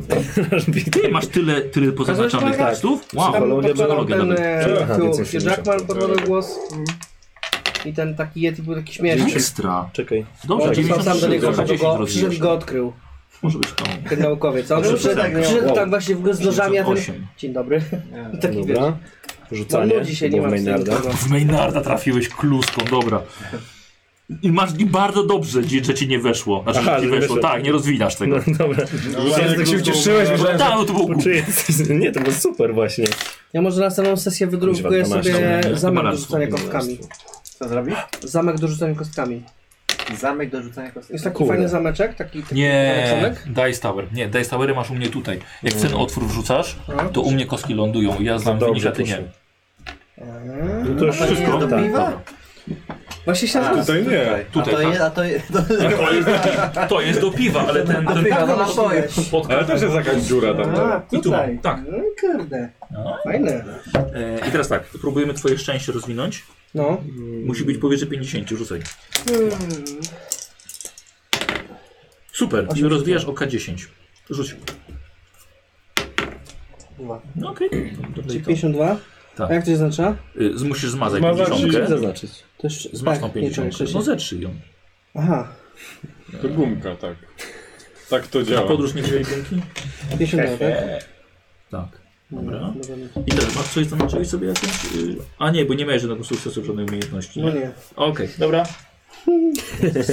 [SPEAKER 1] Ty masz tyle, tyle pozaznaczonych
[SPEAKER 4] Tak.
[SPEAKER 1] tekstów? Wow.
[SPEAKER 2] Psychologia,
[SPEAKER 4] podkładał
[SPEAKER 1] psychologia
[SPEAKER 4] ten,
[SPEAKER 1] nawet.
[SPEAKER 4] e,
[SPEAKER 2] Aha,
[SPEAKER 4] tu
[SPEAKER 2] więcej
[SPEAKER 4] się
[SPEAKER 2] się
[SPEAKER 4] Jackman podkładał głos. I ten taki Yeti był taki śmieszny.
[SPEAKER 1] Ekstra.
[SPEAKER 2] Czekaj.
[SPEAKER 1] Dobrze,
[SPEAKER 4] Przyszedł sam do
[SPEAKER 1] 93,
[SPEAKER 4] niego,
[SPEAKER 1] dobra,
[SPEAKER 4] przyszedł
[SPEAKER 1] 10
[SPEAKER 4] go,
[SPEAKER 1] rozwijasz.
[SPEAKER 4] przyszedł go odkrył,
[SPEAKER 1] Może być to.
[SPEAKER 4] ten naukowiec. On
[SPEAKER 1] Dobrze,
[SPEAKER 4] przyszedł,
[SPEAKER 1] tak,
[SPEAKER 4] przyszedł
[SPEAKER 2] miał-
[SPEAKER 4] tak właśnie w- z nożami, a ten...
[SPEAKER 1] 88.
[SPEAKER 4] Dzień dobry. I taki wiesz,
[SPEAKER 2] Dobra.
[SPEAKER 4] no
[SPEAKER 2] Rzucanie.
[SPEAKER 4] ludzi się
[SPEAKER 2] bo
[SPEAKER 4] nie ma
[SPEAKER 2] w
[SPEAKER 4] w tym
[SPEAKER 2] Maynarda.
[SPEAKER 4] tego.
[SPEAKER 1] W Maynarda trafiłeś kluską, dobra. I masz i bardzo dobrze, dzi- że ci nie weszło. Znaczy,
[SPEAKER 2] Aha,
[SPEAKER 1] że ci
[SPEAKER 2] że
[SPEAKER 1] weszło.
[SPEAKER 2] weszło.
[SPEAKER 1] Tak, nie rozwinasz tego.
[SPEAKER 2] Dobra.
[SPEAKER 5] No,
[SPEAKER 2] Ja tak się
[SPEAKER 5] Rzucanie
[SPEAKER 2] ucieszyłeś,
[SPEAKER 5] kluczu.
[SPEAKER 2] myślałem,
[SPEAKER 1] Tak, no to było głupie.
[SPEAKER 2] Czy jest... Nie, to było super właśnie.
[SPEAKER 4] Ja może na następną sesję wydrukuję
[SPEAKER 2] Kuźwa,
[SPEAKER 4] sobie
[SPEAKER 2] 12,
[SPEAKER 4] zamek do
[SPEAKER 1] malarstwo.
[SPEAKER 4] rzucania kostkami.
[SPEAKER 3] Co zrobisz?
[SPEAKER 4] Zamek do rzucania kostkami.
[SPEAKER 3] Zamek do rzucania kostek.
[SPEAKER 4] Jest taki
[SPEAKER 2] Kurde.
[SPEAKER 4] fajny zameczek, taki... taki
[SPEAKER 1] Nie,
[SPEAKER 4] zamek.
[SPEAKER 1] Dice Tower. Nie, Dice Towery masz u mnie tutaj. Jak ten otwór wrzucasz, No, to u mnie kostki lądują. Ja znam
[SPEAKER 2] Dobrze,
[SPEAKER 1] wynik, a ty
[SPEAKER 2] proszę.
[SPEAKER 1] nie.
[SPEAKER 2] No to już
[SPEAKER 3] A to nie
[SPEAKER 2] wszystko.
[SPEAKER 3] jest do
[SPEAKER 2] Tak.
[SPEAKER 3] piwa?
[SPEAKER 4] Właśnie się
[SPEAKER 3] A,
[SPEAKER 5] Tutaj nie.
[SPEAKER 1] Tutaj,
[SPEAKER 3] a to
[SPEAKER 1] tak.
[SPEAKER 3] jest, a to jest... To jest
[SPEAKER 1] To jest, to jest do piwa, ale ten, ten
[SPEAKER 3] piwa, to napoje.
[SPEAKER 1] No
[SPEAKER 5] Ale też jest jakaś dziura tam.
[SPEAKER 4] A,
[SPEAKER 5] tak?
[SPEAKER 1] I tu,
[SPEAKER 4] tutaj.
[SPEAKER 1] tak.
[SPEAKER 4] No kurde.
[SPEAKER 1] No.
[SPEAKER 4] Fajne.
[SPEAKER 1] E, I teraz tak, próbujemy twoje szczęście rozwinąć.
[SPEAKER 4] No.
[SPEAKER 1] Musi być powyżej 50, rzucaj.
[SPEAKER 4] Hmm.
[SPEAKER 1] Super, i rozwijasz o K10. Rzuć. No okej.
[SPEAKER 4] Czyli
[SPEAKER 1] Okay.
[SPEAKER 4] 52?
[SPEAKER 1] Tak.
[SPEAKER 4] A jak to się oznacza?
[SPEAKER 1] Musisz Y, zmazać
[SPEAKER 5] Zmazać
[SPEAKER 2] Musimy
[SPEAKER 1] 50.
[SPEAKER 2] zaznaczyć.
[SPEAKER 4] To jeszcze...
[SPEAKER 1] Zmasz tą
[SPEAKER 4] tak, nie, czekaj,
[SPEAKER 1] 50.
[SPEAKER 4] krzyczy.
[SPEAKER 1] No zetrzyj ją.
[SPEAKER 4] Aha,
[SPEAKER 5] To gumka, tak. Tak to
[SPEAKER 4] No.
[SPEAKER 1] Na
[SPEAKER 5] działa.
[SPEAKER 1] podróż nie wzięli gumki?
[SPEAKER 4] 52, tak?
[SPEAKER 1] Tak. Dobra.
[SPEAKER 4] Dobra, nie.
[SPEAKER 1] I teraz masz coś, zaznaczyłeś sobie jakąś... y, A nie, bo nie miałeś żadnego sukcesu, żadnej umiejętności.
[SPEAKER 4] No nie.
[SPEAKER 1] Okej, dobra.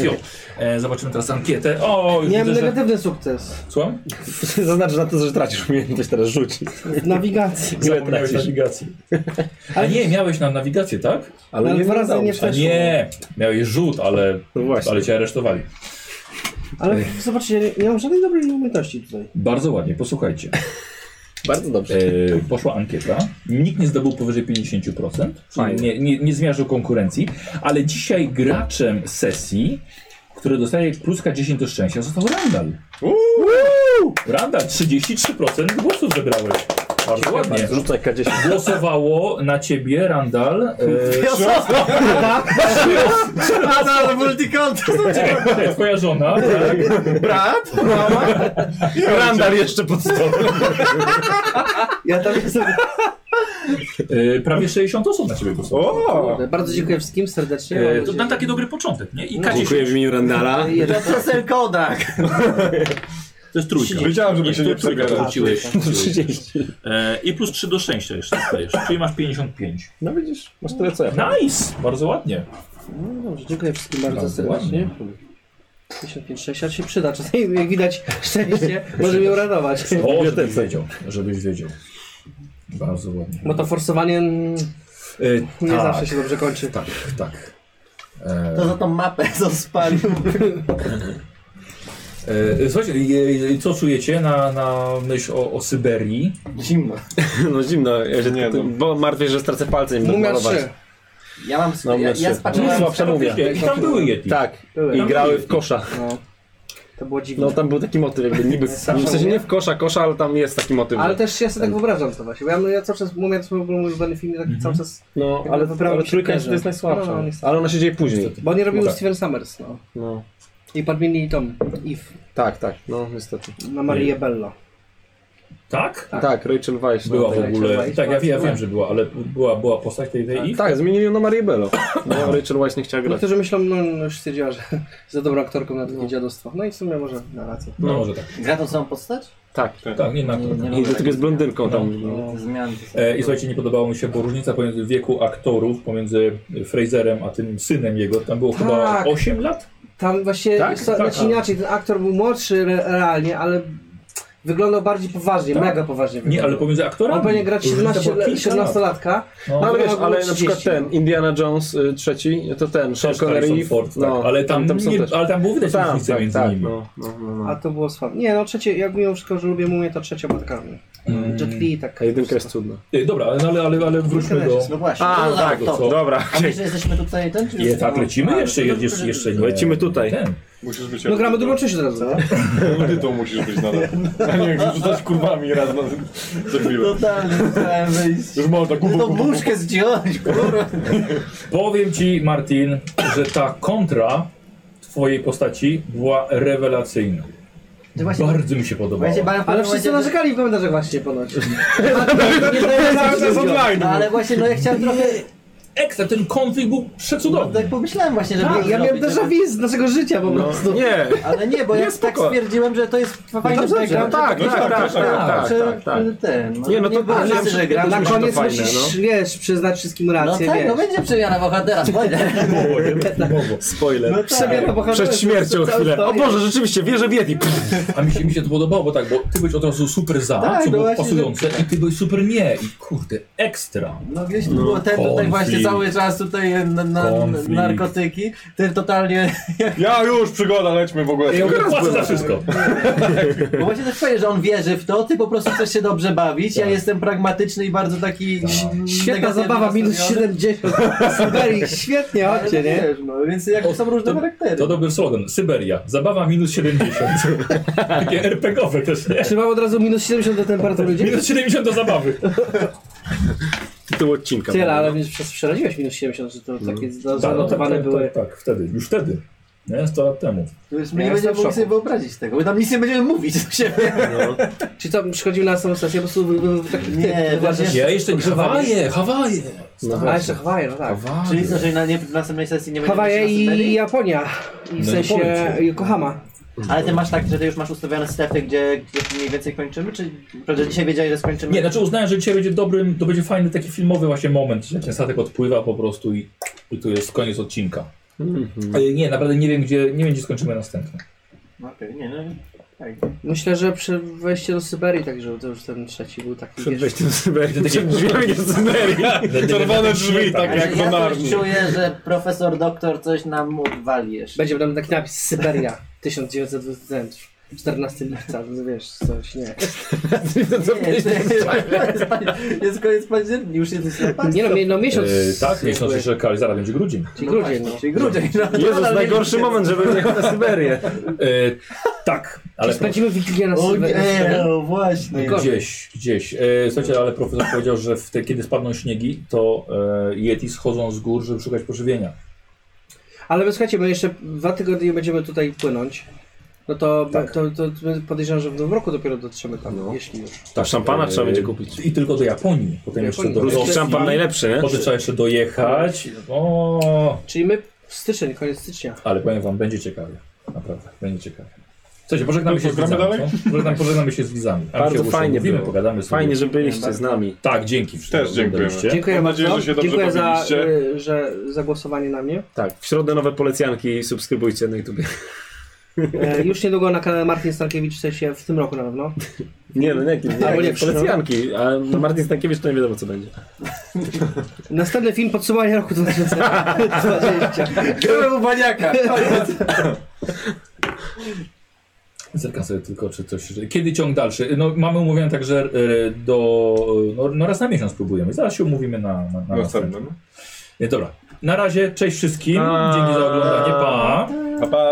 [SPEAKER 1] Jo. E, zobaczymy teraz ankietę. O, już
[SPEAKER 4] Miałem
[SPEAKER 1] widzę, że...
[SPEAKER 4] negatywny sukces.
[SPEAKER 1] Słucham?
[SPEAKER 2] Zaznacz na to, że tracisz umiejętność teraz rzuci.
[SPEAKER 4] W nawigacji.
[SPEAKER 2] Ile
[SPEAKER 11] Zapomniałeś
[SPEAKER 2] tracisz?
[SPEAKER 11] nawigacji. A nie, miałeś na nawigację, tak?
[SPEAKER 4] Ale dwa razy
[SPEAKER 2] udało
[SPEAKER 4] nie
[SPEAKER 2] się.
[SPEAKER 11] A
[SPEAKER 4] Weszło.
[SPEAKER 11] nie, miałeś rzut, ale,
[SPEAKER 2] No właśnie.
[SPEAKER 11] ale cię aresztowali.
[SPEAKER 4] Ale zobaczcie, ja nie- nie mam żadnej dobrej umiejętności tutaj.
[SPEAKER 1] Bardzo ładnie, posłuchajcie.
[SPEAKER 2] Bardzo dobrze.
[SPEAKER 1] E, poszła ankieta. Nikt nie zdobył powyżej 50%.
[SPEAKER 2] Fajnie.
[SPEAKER 1] Nie, nie, nie zmierzył konkurencji, ale dzisiaj graczem sesji, który dostaje pluska 10 do szczęścia, został Randall. Randall, 33% głosów zebrałeś. Bardzo ładnie.
[SPEAKER 2] Rzucaj K10.
[SPEAKER 1] Głosowało na ciebie, Randall. E,
[SPEAKER 10] Nadal multikonto!
[SPEAKER 1] to jest twoja żona. Tak?
[SPEAKER 10] Brat?
[SPEAKER 5] Randal jeszcze pod stołem.
[SPEAKER 4] Ja tam jestem.
[SPEAKER 1] E, prawie 60 osób na ciebie głosowało.
[SPEAKER 5] O!
[SPEAKER 4] Bardzo dziękuję wszystkim serdecznie.
[SPEAKER 7] E,
[SPEAKER 4] Mam
[SPEAKER 7] to na
[SPEAKER 1] tak-
[SPEAKER 4] nadzieję-
[SPEAKER 7] taki dobry początek, nie?
[SPEAKER 1] No.
[SPEAKER 7] I K10
[SPEAKER 6] Dziękuję w imieniu Randala.
[SPEAKER 4] Jeden.
[SPEAKER 10] To Cecil Kodak!
[SPEAKER 7] to jest trójka.
[SPEAKER 5] Wiedziałem, żeby się nie
[SPEAKER 7] trójka
[SPEAKER 1] tak.
[SPEAKER 5] przegadać.
[SPEAKER 7] wróciłeś. wróciłeś. E, I plus 3 do szczęścia jeszcze dostajesz, czyli masz 55.
[SPEAKER 2] No widzisz, masz tyle co ja.
[SPEAKER 1] Nice! Bardzo ładnie.
[SPEAKER 4] No Dobrze, dziękuję wszystkim bardzo
[SPEAKER 1] Bardzo
[SPEAKER 4] serdecznie. 55, 60 się przyda, czasami jak widać szczęście może mnie uradować.
[SPEAKER 1] O, żebyś wiedział, żebyś wiedział. Bardzo ładnie.
[SPEAKER 4] Bo No to forsowanie mm,
[SPEAKER 1] E,
[SPEAKER 4] nie
[SPEAKER 1] tak,
[SPEAKER 4] zawsze się dobrze kończy.
[SPEAKER 1] Tak, tak. E,
[SPEAKER 10] To za tą mapę, co spalił.
[SPEAKER 1] e, słuchajcie, e, e, co czujecie na, na myśl o, o Syberii?
[SPEAKER 10] Zimno.
[SPEAKER 2] No zimno, ja się
[SPEAKER 5] Nie,
[SPEAKER 2] nie,
[SPEAKER 5] no.
[SPEAKER 2] bo martwię, że stracę palce i będę
[SPEAKER 1] Tak
[SPEAKER 4] Mumia
[SPEAKER 2] malować.
[SPEAKER 4] 3.
[SPEAKER 10] Ja mam...
[SPEAKER 2] No,
[SPEAKER 10] ja, ja
[SPEAKER 2] myślę.
[SPEAKER 10] spaczyłem...
[SPEAKER 2] No, słabsze mówię.
[SPEAKER 1] I tam były Yeti.
[SPEAKER 2] Tak,
[SPEAKER 4] Były.
[SPEAKER 2] i
[SPEAKER 4] Tam
[SPEAKER 2] grały
[SPEAKER 1] były.
[SPEAKER 2] w kosza.
[SPEAKER 4] No. To było dziwne.
[SPEAKER 2] No
[SPEAKER 1] tak.
[SPEAKER 2] tam był taki motyw, jakby niby. W sensie nie w kosza, kosza, ale tam jest taki motyw.
[SPEAKER 4] Ale
[SPEAKER 2] że-
[SPEAKER 4] też ja sobie tak wyobrażam to właśnie. Bo ja, ja cały czas mówię, to był mój ulubiony film, i
[SPEAKER 1] Mhm.
[SPEAKER 4] tak cały czas.
[SPEAKER 2] No,
[SPEAKER 4] Jakby
[SPEAKER 2] ale,
[SPEAKER 4] wybrało
[SPEAKER 2] ale
[SPEAKER 4] się
[SPEAKER 2] trójka jest,
[SPEAKER 4] też.
[SPEAKER 2] to jest najsłabsza.
[SPEAKER 4] No, no, niestety.
[SPEAKER 2] ale ona się dzieje później.
[SPEAKER 4] Bo nie robił
[SPEAKER 2] No tak.
[SPEAKER 4] Steven Summers, no.
[SPEAKER 2] No.
[SPEAKER 4] I podmienili Tom, Eve,
[SPEAKER 2] Tak, tak, no niestety.
[SPEAKER 4] na Marię Bello.
[SPEAKER 1] Tak?
[SPEAKER 2] Tak, Rachel Weisz.
[SPEAKER 1] Była w
[SPEAKER 2] tak.
[SPEAKER 1] ogóle.
[SPEAKER 4] Rachel
[SPEAKER 1] Tak, ja,
[SPEAKER 4] Weisz
[SPEAKER 1] ja
[SPEAKER 4] była.
[SPEAKER 1] wiem, że była, ale była, była postać tej tej i.
[SPEAKER 2] Tak, zmienili ją na Marię Bello. No, Rachel Weisz nie chciała grać.
[SPEAKER 4] Niektórzy myślą, no już stwierdziła, że za dobrą aktorką na takie dziadostwo. No i w sumie może na rację.
[SPEAKER 1] No może tak.
[SPEAKER 10] Gra tą samą postać?
[SPEAKER 2] Tak.
[SPEAKER 1] Tak, nie na
[SPEAKER 10] Nie, nie
[SPEAKER 2] I do tego jest blondynką tam.
[SPEAKER 3] No,
[SPEAKER 10] lubię zmian. to są-
[SPEAKER 1] E, I słuchajcie, nie podobało mi się, bo różnica pomiędzy wieku aktorów, pomiędzy Fraserem a tym synem jego, tam było chyba
[SPEAKER 4] Tak.
[SPEAKER 1] 8 lat?
[SPEAKER 4] Tam właśnie,
[SPEAKER 1] Tak,
[SPEAKER 4] tak, so,
[SPEAKER 1] tak,
[SPEAKER 4] znaczy
[SPEAKER 1] ale-
[SPEAKER 4] inaczej, ten aktor był młodszy re, realnie, ale wyglądał bardziej poważnie,
[SPEAKER 1] Tak.
[SPEAKER 4] mega poważnie
[SPEAKER 1] Nie,
[SPEAKER 4] wyglądał.
[SPEAKER 1] ale pomiędzy aktorami.
[SPEAKER 4] On powinien grać
[SPEAKER 1] różnica była
[SPEAKER 4] 17
[SPEAKER 1] kilka lat.
[SPEAKER 4] 17 latka.
[SPEAKER 1] No.
[SPEAKER 2] No, ale wiesz,
[SPEAKER 4] Około
[SPEAKER 2] ale na przykład
[SPEAKER 4] 30,
[SPEAKER 2] ten
[SPEAKER 4] no.
[SPEAKER 2] Indiana Jones y, trzeci, to ten, Sean
[SPEAKER 1] Też Harrison
[SPEAKER 2] Connery.
[SPEAKER 1] Ford, tak. ale, tam
[SPEAKER 2] no. są
[SPEAKER 1] nie,
[SPEAKER 2] też.
[SPEAKER 1] ale tam było widać
[SPEAKER 2] Tam,
[SPEAKER 1] różnicę
[SPEAKER 2] tak,
[SPEAKER 1] między
[SPEAKER 2] tak,
[SPEAKER 1] nimi.
[SPEAKER 2] No, no, no,
[SPEAKER 4] A
[SPEAKER 2] no.
[SPEAKER 4] to było słabo. Nie, no trzecie, jak mimo wszystko, że lubię mumię, to trzecia była taka
[SPEAKER 1] Mm.
[SPEAKER 4] Jet Li, tak.
[SPEAKER 2] A jedynka jest cudna.
[SPEAKER 1] Y, Dobra, ale, ale, ale, ale wróćmy do...
[SPEAKER 10] No właśnie. no, no, to.
[SPEAKER 2] dobra.
[SPEAKER 10] A my że jesteśmy tutaj ten? Czy
[SPEAKER 1] Je, tak, lecimy
[SPEAKER 10] A,
[SPEAKER 1] jeszcze,
[SPEAKER 10] to- to-
[SPEAKER 1] jeszcze, jeszcze nie.
[SPEAKER 2] Lecimy tutaj.
[SPEAKER 1] Ten.
[SPEAKER 5] Musisz być
[SPEAKER 4] No gramy drugą część od razu.
[SPEAKER 5] Ty to musisz być nadal. A nie, jak rzucać kurwami raz na co chwilę.
[SPEAKER 10] Totalnie musiałem wyjść.
[SPEAKER 5] Już można
[SPEAKER 3] No,
[SPEAKER 5] kupu,
[SPEAKER 10] Tą
[SPEAKER 5] kupu, kupu.
[SPEAKER 10] muszkę zdjąć, kurwa.
[SPEAKER 1] Powiem ci, Martin, że ta kontra twojej postaci była rewelacyjna.
[SPEAKER 10] Ty No właśnie-
[SPEAKER 1] Bardzo mi się podobała.
[SPEAKER 10] Właśnie bałem w
[SPEAKER 4] Ale
[SPEAKER 10] pewnym
[SPEAKER 4] wszyscy
[SPEAKER 10] momencie, że-
[SPEAKER 4] narzekali w komentarzach właśnie ponoć.
[SPEAKER 10] No ale właśnie, no ja chciałem trochę...
[SPEAKER 1] Ekstra, ten konflikt był
[SPEAKER 3] No
[SPEAKER 1] przecudowny.
[SPEAKER 10] Tak pomyślałem właśnie, żeby...
[SPEAKER 4] Ja miałem déjà vu z naszego życia po prostu.
[SPEAKER 2] No. Nie,
[SPEAKER 10] Ale nie, bo ja tak
[SPEAKER 2] spoko.
[SPEAKER 10] stwierdziłem, że to jest fajny
[SPEAKER 2] dobrze,
[SPEAKER 10] background.
[SPEAKER 2] no tak,
[SPEAKER 10] że-
[SPEAKER 2] tak, tak, tak,
[SPEAKER 10] że-
[SPEAKER 2] tak, tak.
[SPEAKER 10] Ten,
[SPEAKER 2] Nie, no to
[SPEAKER 10] było
[SPEAKER 2] tak,
[SPEAKER 10] wszyscy,
[SPEAKER 2] ja
[SPEAKER 10] że gram.
[SPEAKER 4] Na
[SPEAKER 2] to
[SPEAKER 4] koniec
[SPEAKER 2] fajne, no.
[SPEAKER 4] musisz, wiesz, przyznać wszystkim
[SPEAKER 10] No
[SPEAKER 4] rację,
[SPEAKER 10] tak, no
[SPEAKER 4] wiesz.
[SPEAKER 10] będzie przemiana bohatera, spoiler.
[SPEAKER 2] spoiler.
[SPEAKER 4] Przebiera bohaterów,
[SPEAKER 2] tak. Przed śmiercią
[SPEAKER 4] cała
[SPEAKER 2] chwilę. O
[SPEAKER 4] historia.
[SPEAKER 2] Boże, rzeczywiście, wierzę w Yeti. Pff,
[SPEAKER 1] A mi się, mi się to podobało, bo tak, bo ty byłeś od razu super za,
[SPEAKER 10] Tak,
[SPEAKER 1] co
[SPEAKER 10] no
[SPEAKER 1] było
[SPEAKER 10] właśnie,
[SPEAKER 1] pasujące, i ty byłeś super nie. I kurde, ekstra.
[SPEAKER 10] No gdzieś tu było ten tutaj
[SPEAKER 1] konflikt.
[SPEAKER 10] właśnie cały czas tutaj e, na, na,
[SPEAKER 1] Konflikt.
[SPEAKER 10] narkotyki, ten totalnie...
[SPEAKER 5] Ja już, przygoda, lećmy w ogóle.
[SPEAKER 1] Ja mówię, płacę za wszystko.
[SPEAKER 10] Bo właśnie też fajnie, że on wierzy w to, ty po prostu chcesz się dobrze bawić,
[SPEAKER 1] Tak.
[SPEAKER 10] ja jestem pragmatyczny i bardzo taki... mm,
[SPEAKER 4] Świetna
[SPEAKER 10] negatywny
[SPEAKER 4] zabawa, minus
[SPEAKER 10] nastawiony.
[SPEAKER 4] 70. Syberii, świetnie,
[SPEAKER 10] Ale
[SPEAKER 4] chodźcie, nie?
[SPEAKER 10] wiesz, No, więc jak są różne
[SPEAKER 1] to,
[SPEAKER 10] charaktery.
[SPEAKER 1] to dobry slogan. Syberia. Zabawa minus 70. Takie RPGowe też, nie?
[SPEAKER 4] Czy mam od razu minus 70 do temperatury dzieci?
[SPEAKER 1] Minus 70 do zabawy.
[SPEAKER 2] Tytuł odcinka.
[SPEAKER 4] Tyle, ale mnie przez przeraziłeś minus 70, że to takie za-
[SPEAKER 1] Tak, no, tak,
[SPEAKER 4] zanotowane
[SPEAKER 1] tak,
[SPEAKER 4] były.
[SPEAKER 1] tak, tak, wtedy, już wtedy. Nie, 100 lat temu.
[SPEAKER 10] To już
[SPEAKER 4] Ja
[SPEAKER 10] my nie będziemy
[SPEAKER 4] jestem w
[SPEAKER 10] mogli
[SPEAKER 4] szoku.
[SPEAKER 10] sobie wyobrazić tego, bo tam nic nie będziemy mówić do siebie.
[SPEAKER 4] Czy to przychodził na samą sesję, po prostu był, był, był taki
[SPEAKER 10] Nie,
[SPEAKER 4] typ,
[SPEAKER 10] właśnie-
[SPEAKER 4] właśnie.
[SPEAKER 1] Ja jeszcze nie. Hawaje, Hawaje.
[SPEAKER 4] A jeszcze Hawaje, no tak.
[SPEAKER 1] Hawaje.
[SPEAKER 10] Czyli co, że na, nie, na następnej sesji nie będziemy
[SPEAKER 4] Hawaje
[SPEAKER 10] się na
[SPEAKER 4] i
[SPEAKER 10] Syberii?
[SPEAKER 4] Japonia. I w
[SPEAKER 1] No i
[SPEAKER 4] sensie
[SPEAKER 1] powiedz.
[SPEAKER 4] Yokohama.
[SPEAKER 10] Ale ty masz tak, że ty już masz ustawione strefy, gdzie, gdzie mniej więcej kończymy, czy że dzisiaj wiedziałeś, że skończymy?
[SPEAKER 1] Nie, znaczy uznałem, że dzisiaj będzie dobrym, to będzie fajny taki filmowy właśnie moment, że ten statek odpływa po prostu i, i tu jest koniec odcinka.
[SPEAKER 4] Mhm.
[SPEAKER 1] Ale nie, naprawdę nie wiem, gdzie, nie wiem, gdzie skończymy następny.
[SPEAKER 10] Okej, nie no. tak.
[SPEAKER 4] Myślę, że przy wejściu do Syberii, także to już ten trzeci był taki.
[SPEAKER 2] Przed
[SPEAKER 4] wiesz,
[SPEAKER 2] wejściem z Syberii, przed drzwiami jest Syberia.
[SPEAKER 5] Czerwone drzwi, tak jak
[SPEAKER 10] ja
[SPEAKER 5] w
[SPEAKER 10] coś
[SPEAKER 5] Narni.
[SPEAKER 10] czuję, że profesor doktor coś nam odwali jeszcze.
[SPEAKER 4] Będzie tam taki napis Syberia. 1914 marca, więc no wiesz, coś, nie.
[SPEAKER 3] Nie, to jest, jest koniec października, już jest listopad.
[SPEAKER 4] Nie no, mi- no miesiąc.
[SPEAKER 1] E, tak, miesiąc
[SPEAKER 4] jakby-
[SPEAKER 1] jeszcze kali, zaraz będzie grudzień.
[SPEAKER 4] Czyli grudzień,
[SPEAKER 3] właśnie,
[SPEAKER 4] no.
[SPEAKER 3] Czyli grudzień. No, to
[SPEAKER 2] Jezus,
[SPEAKER 3] nadal
[SPEAKER 2] najgorszy
[SPEAKER 3] miesiąc.
[SPEAKER 2] moment, żeby jechać na Syberię.
[SPEAKER 1] E, tak, ale
[SPEAKER 4] Spędzimy Wigilię na
[SPEAKER 3] O
[SPEAKER 4] Sylwestrze.
[SPEAKER 3] nie, no właśnie.
[SPEAKER 1] prof... gdzieś, gdzieś. E, słuchajcie, ale profesor powiedział, że w te, kiedy spadną śniegi, to e, Yeti schodzą z gór, żeby szukać pożywienia.
[SPEAKER 4] Ale my słuchajcie, my jeszcze dwa tygodnie będziemy tutaj płynąć. No to, to, to, my podejrzewam, że w nowym roku dopiero dotrzemy tam, jeśli już.
[SPEAKER 6] Tak, szampana trzeba będzie kupić.
[SPEAKER 1] e, I tylko do Japonii. Potem
[SPEAKER 4] Do
[SPEAKER 1] jeszcze
[SPEAKER 4] Japonii.
[SPEAKER 1] do
[SPEAKER 4] Ruski
[SPEAKER 1] Rosji.
[SPEAKER 6] Szampan najlepszy, nie?
[SPEAKER 1] Potem trzeba jeszcze dojechać. O,
[SPEAKER 4] Czyli my w styczeń, koniec stycznia.
[SPEAKER 1] ale powiem wam, będzie ciekawie. Naprawdę, będzie ciekawie. Słuchajcie, pożegnamy
[SPEAKER 5] No,
[SPEAKER 1] się z
[SPEAKER 5] gramy
[SPEAKER 1] widzami.
[SPEAKER 5] dalej?
[SPEAKER 1] co? Pożegnamy, pożegnamy się z widzami. A my
[SPEAKER 2] Bardzo
[SPEAKER 1] się
[SPEAKER 2] fajnie
[SPEAKER 1] Mówimy,
[SPEAKER 2] było.
[SPEAKER 1] pogadamy sobie.
[SPEAKER 2] Fajnie, że byliście z nami.
[SPEAKER 1] Tak, dzięki.
[SPEAKER 5] Też dziękujemy.
[SPEAKER 1] Byliście.
[SPEAKER 4] Dziękuję
[SPEAKER 5] Mam nadzieję,
[SPEAKER 4] bardzo.
[SPEAKER 5] że się dobrze
[SPEAKER 4] Dziękuję za,
[SPEAKER 5] bawiliście.
[SPEAKER 4] y, że, za głosowanie na mnie.
[SPEAKER 2] Tak, w środę nowe polecjanki, subskrybujcie na YouTube.
[SPEAKER 4] E, już niedługo na kanale Martin Stankiewicz, w sensie w tym roku na pewno.
[SPEAKER 2] Nie, no nie, nie,
[SPEAKER 4] Albo nie,
[SPEAKER 2] nie polecjanki, a no Martin Stankiewicz to nie wiadomo co będzie.
[SPEAKER 4] Następny film podsumowanie roku 2020.
[SPEAKER 3] Byłem u baniaka.
[SPEAKER 1] Zerkam sobie tylko, czy coś. Kiedy ciąg dalszy? No, mamy umówione także e, do. No, no raz na miesiąc próbujemy. Zaraz się umówimy na, na, na następny.
[SPEAKER 5] Następnym.
[SPEAKER 1] Nie, dobra. Na razie, cześć wszystkim.
[SPEAKER 2] Pa.
[SPEAKER 1] Dzięki za oglądanie. Pa.
[SPEAKER 5] Pa, pa.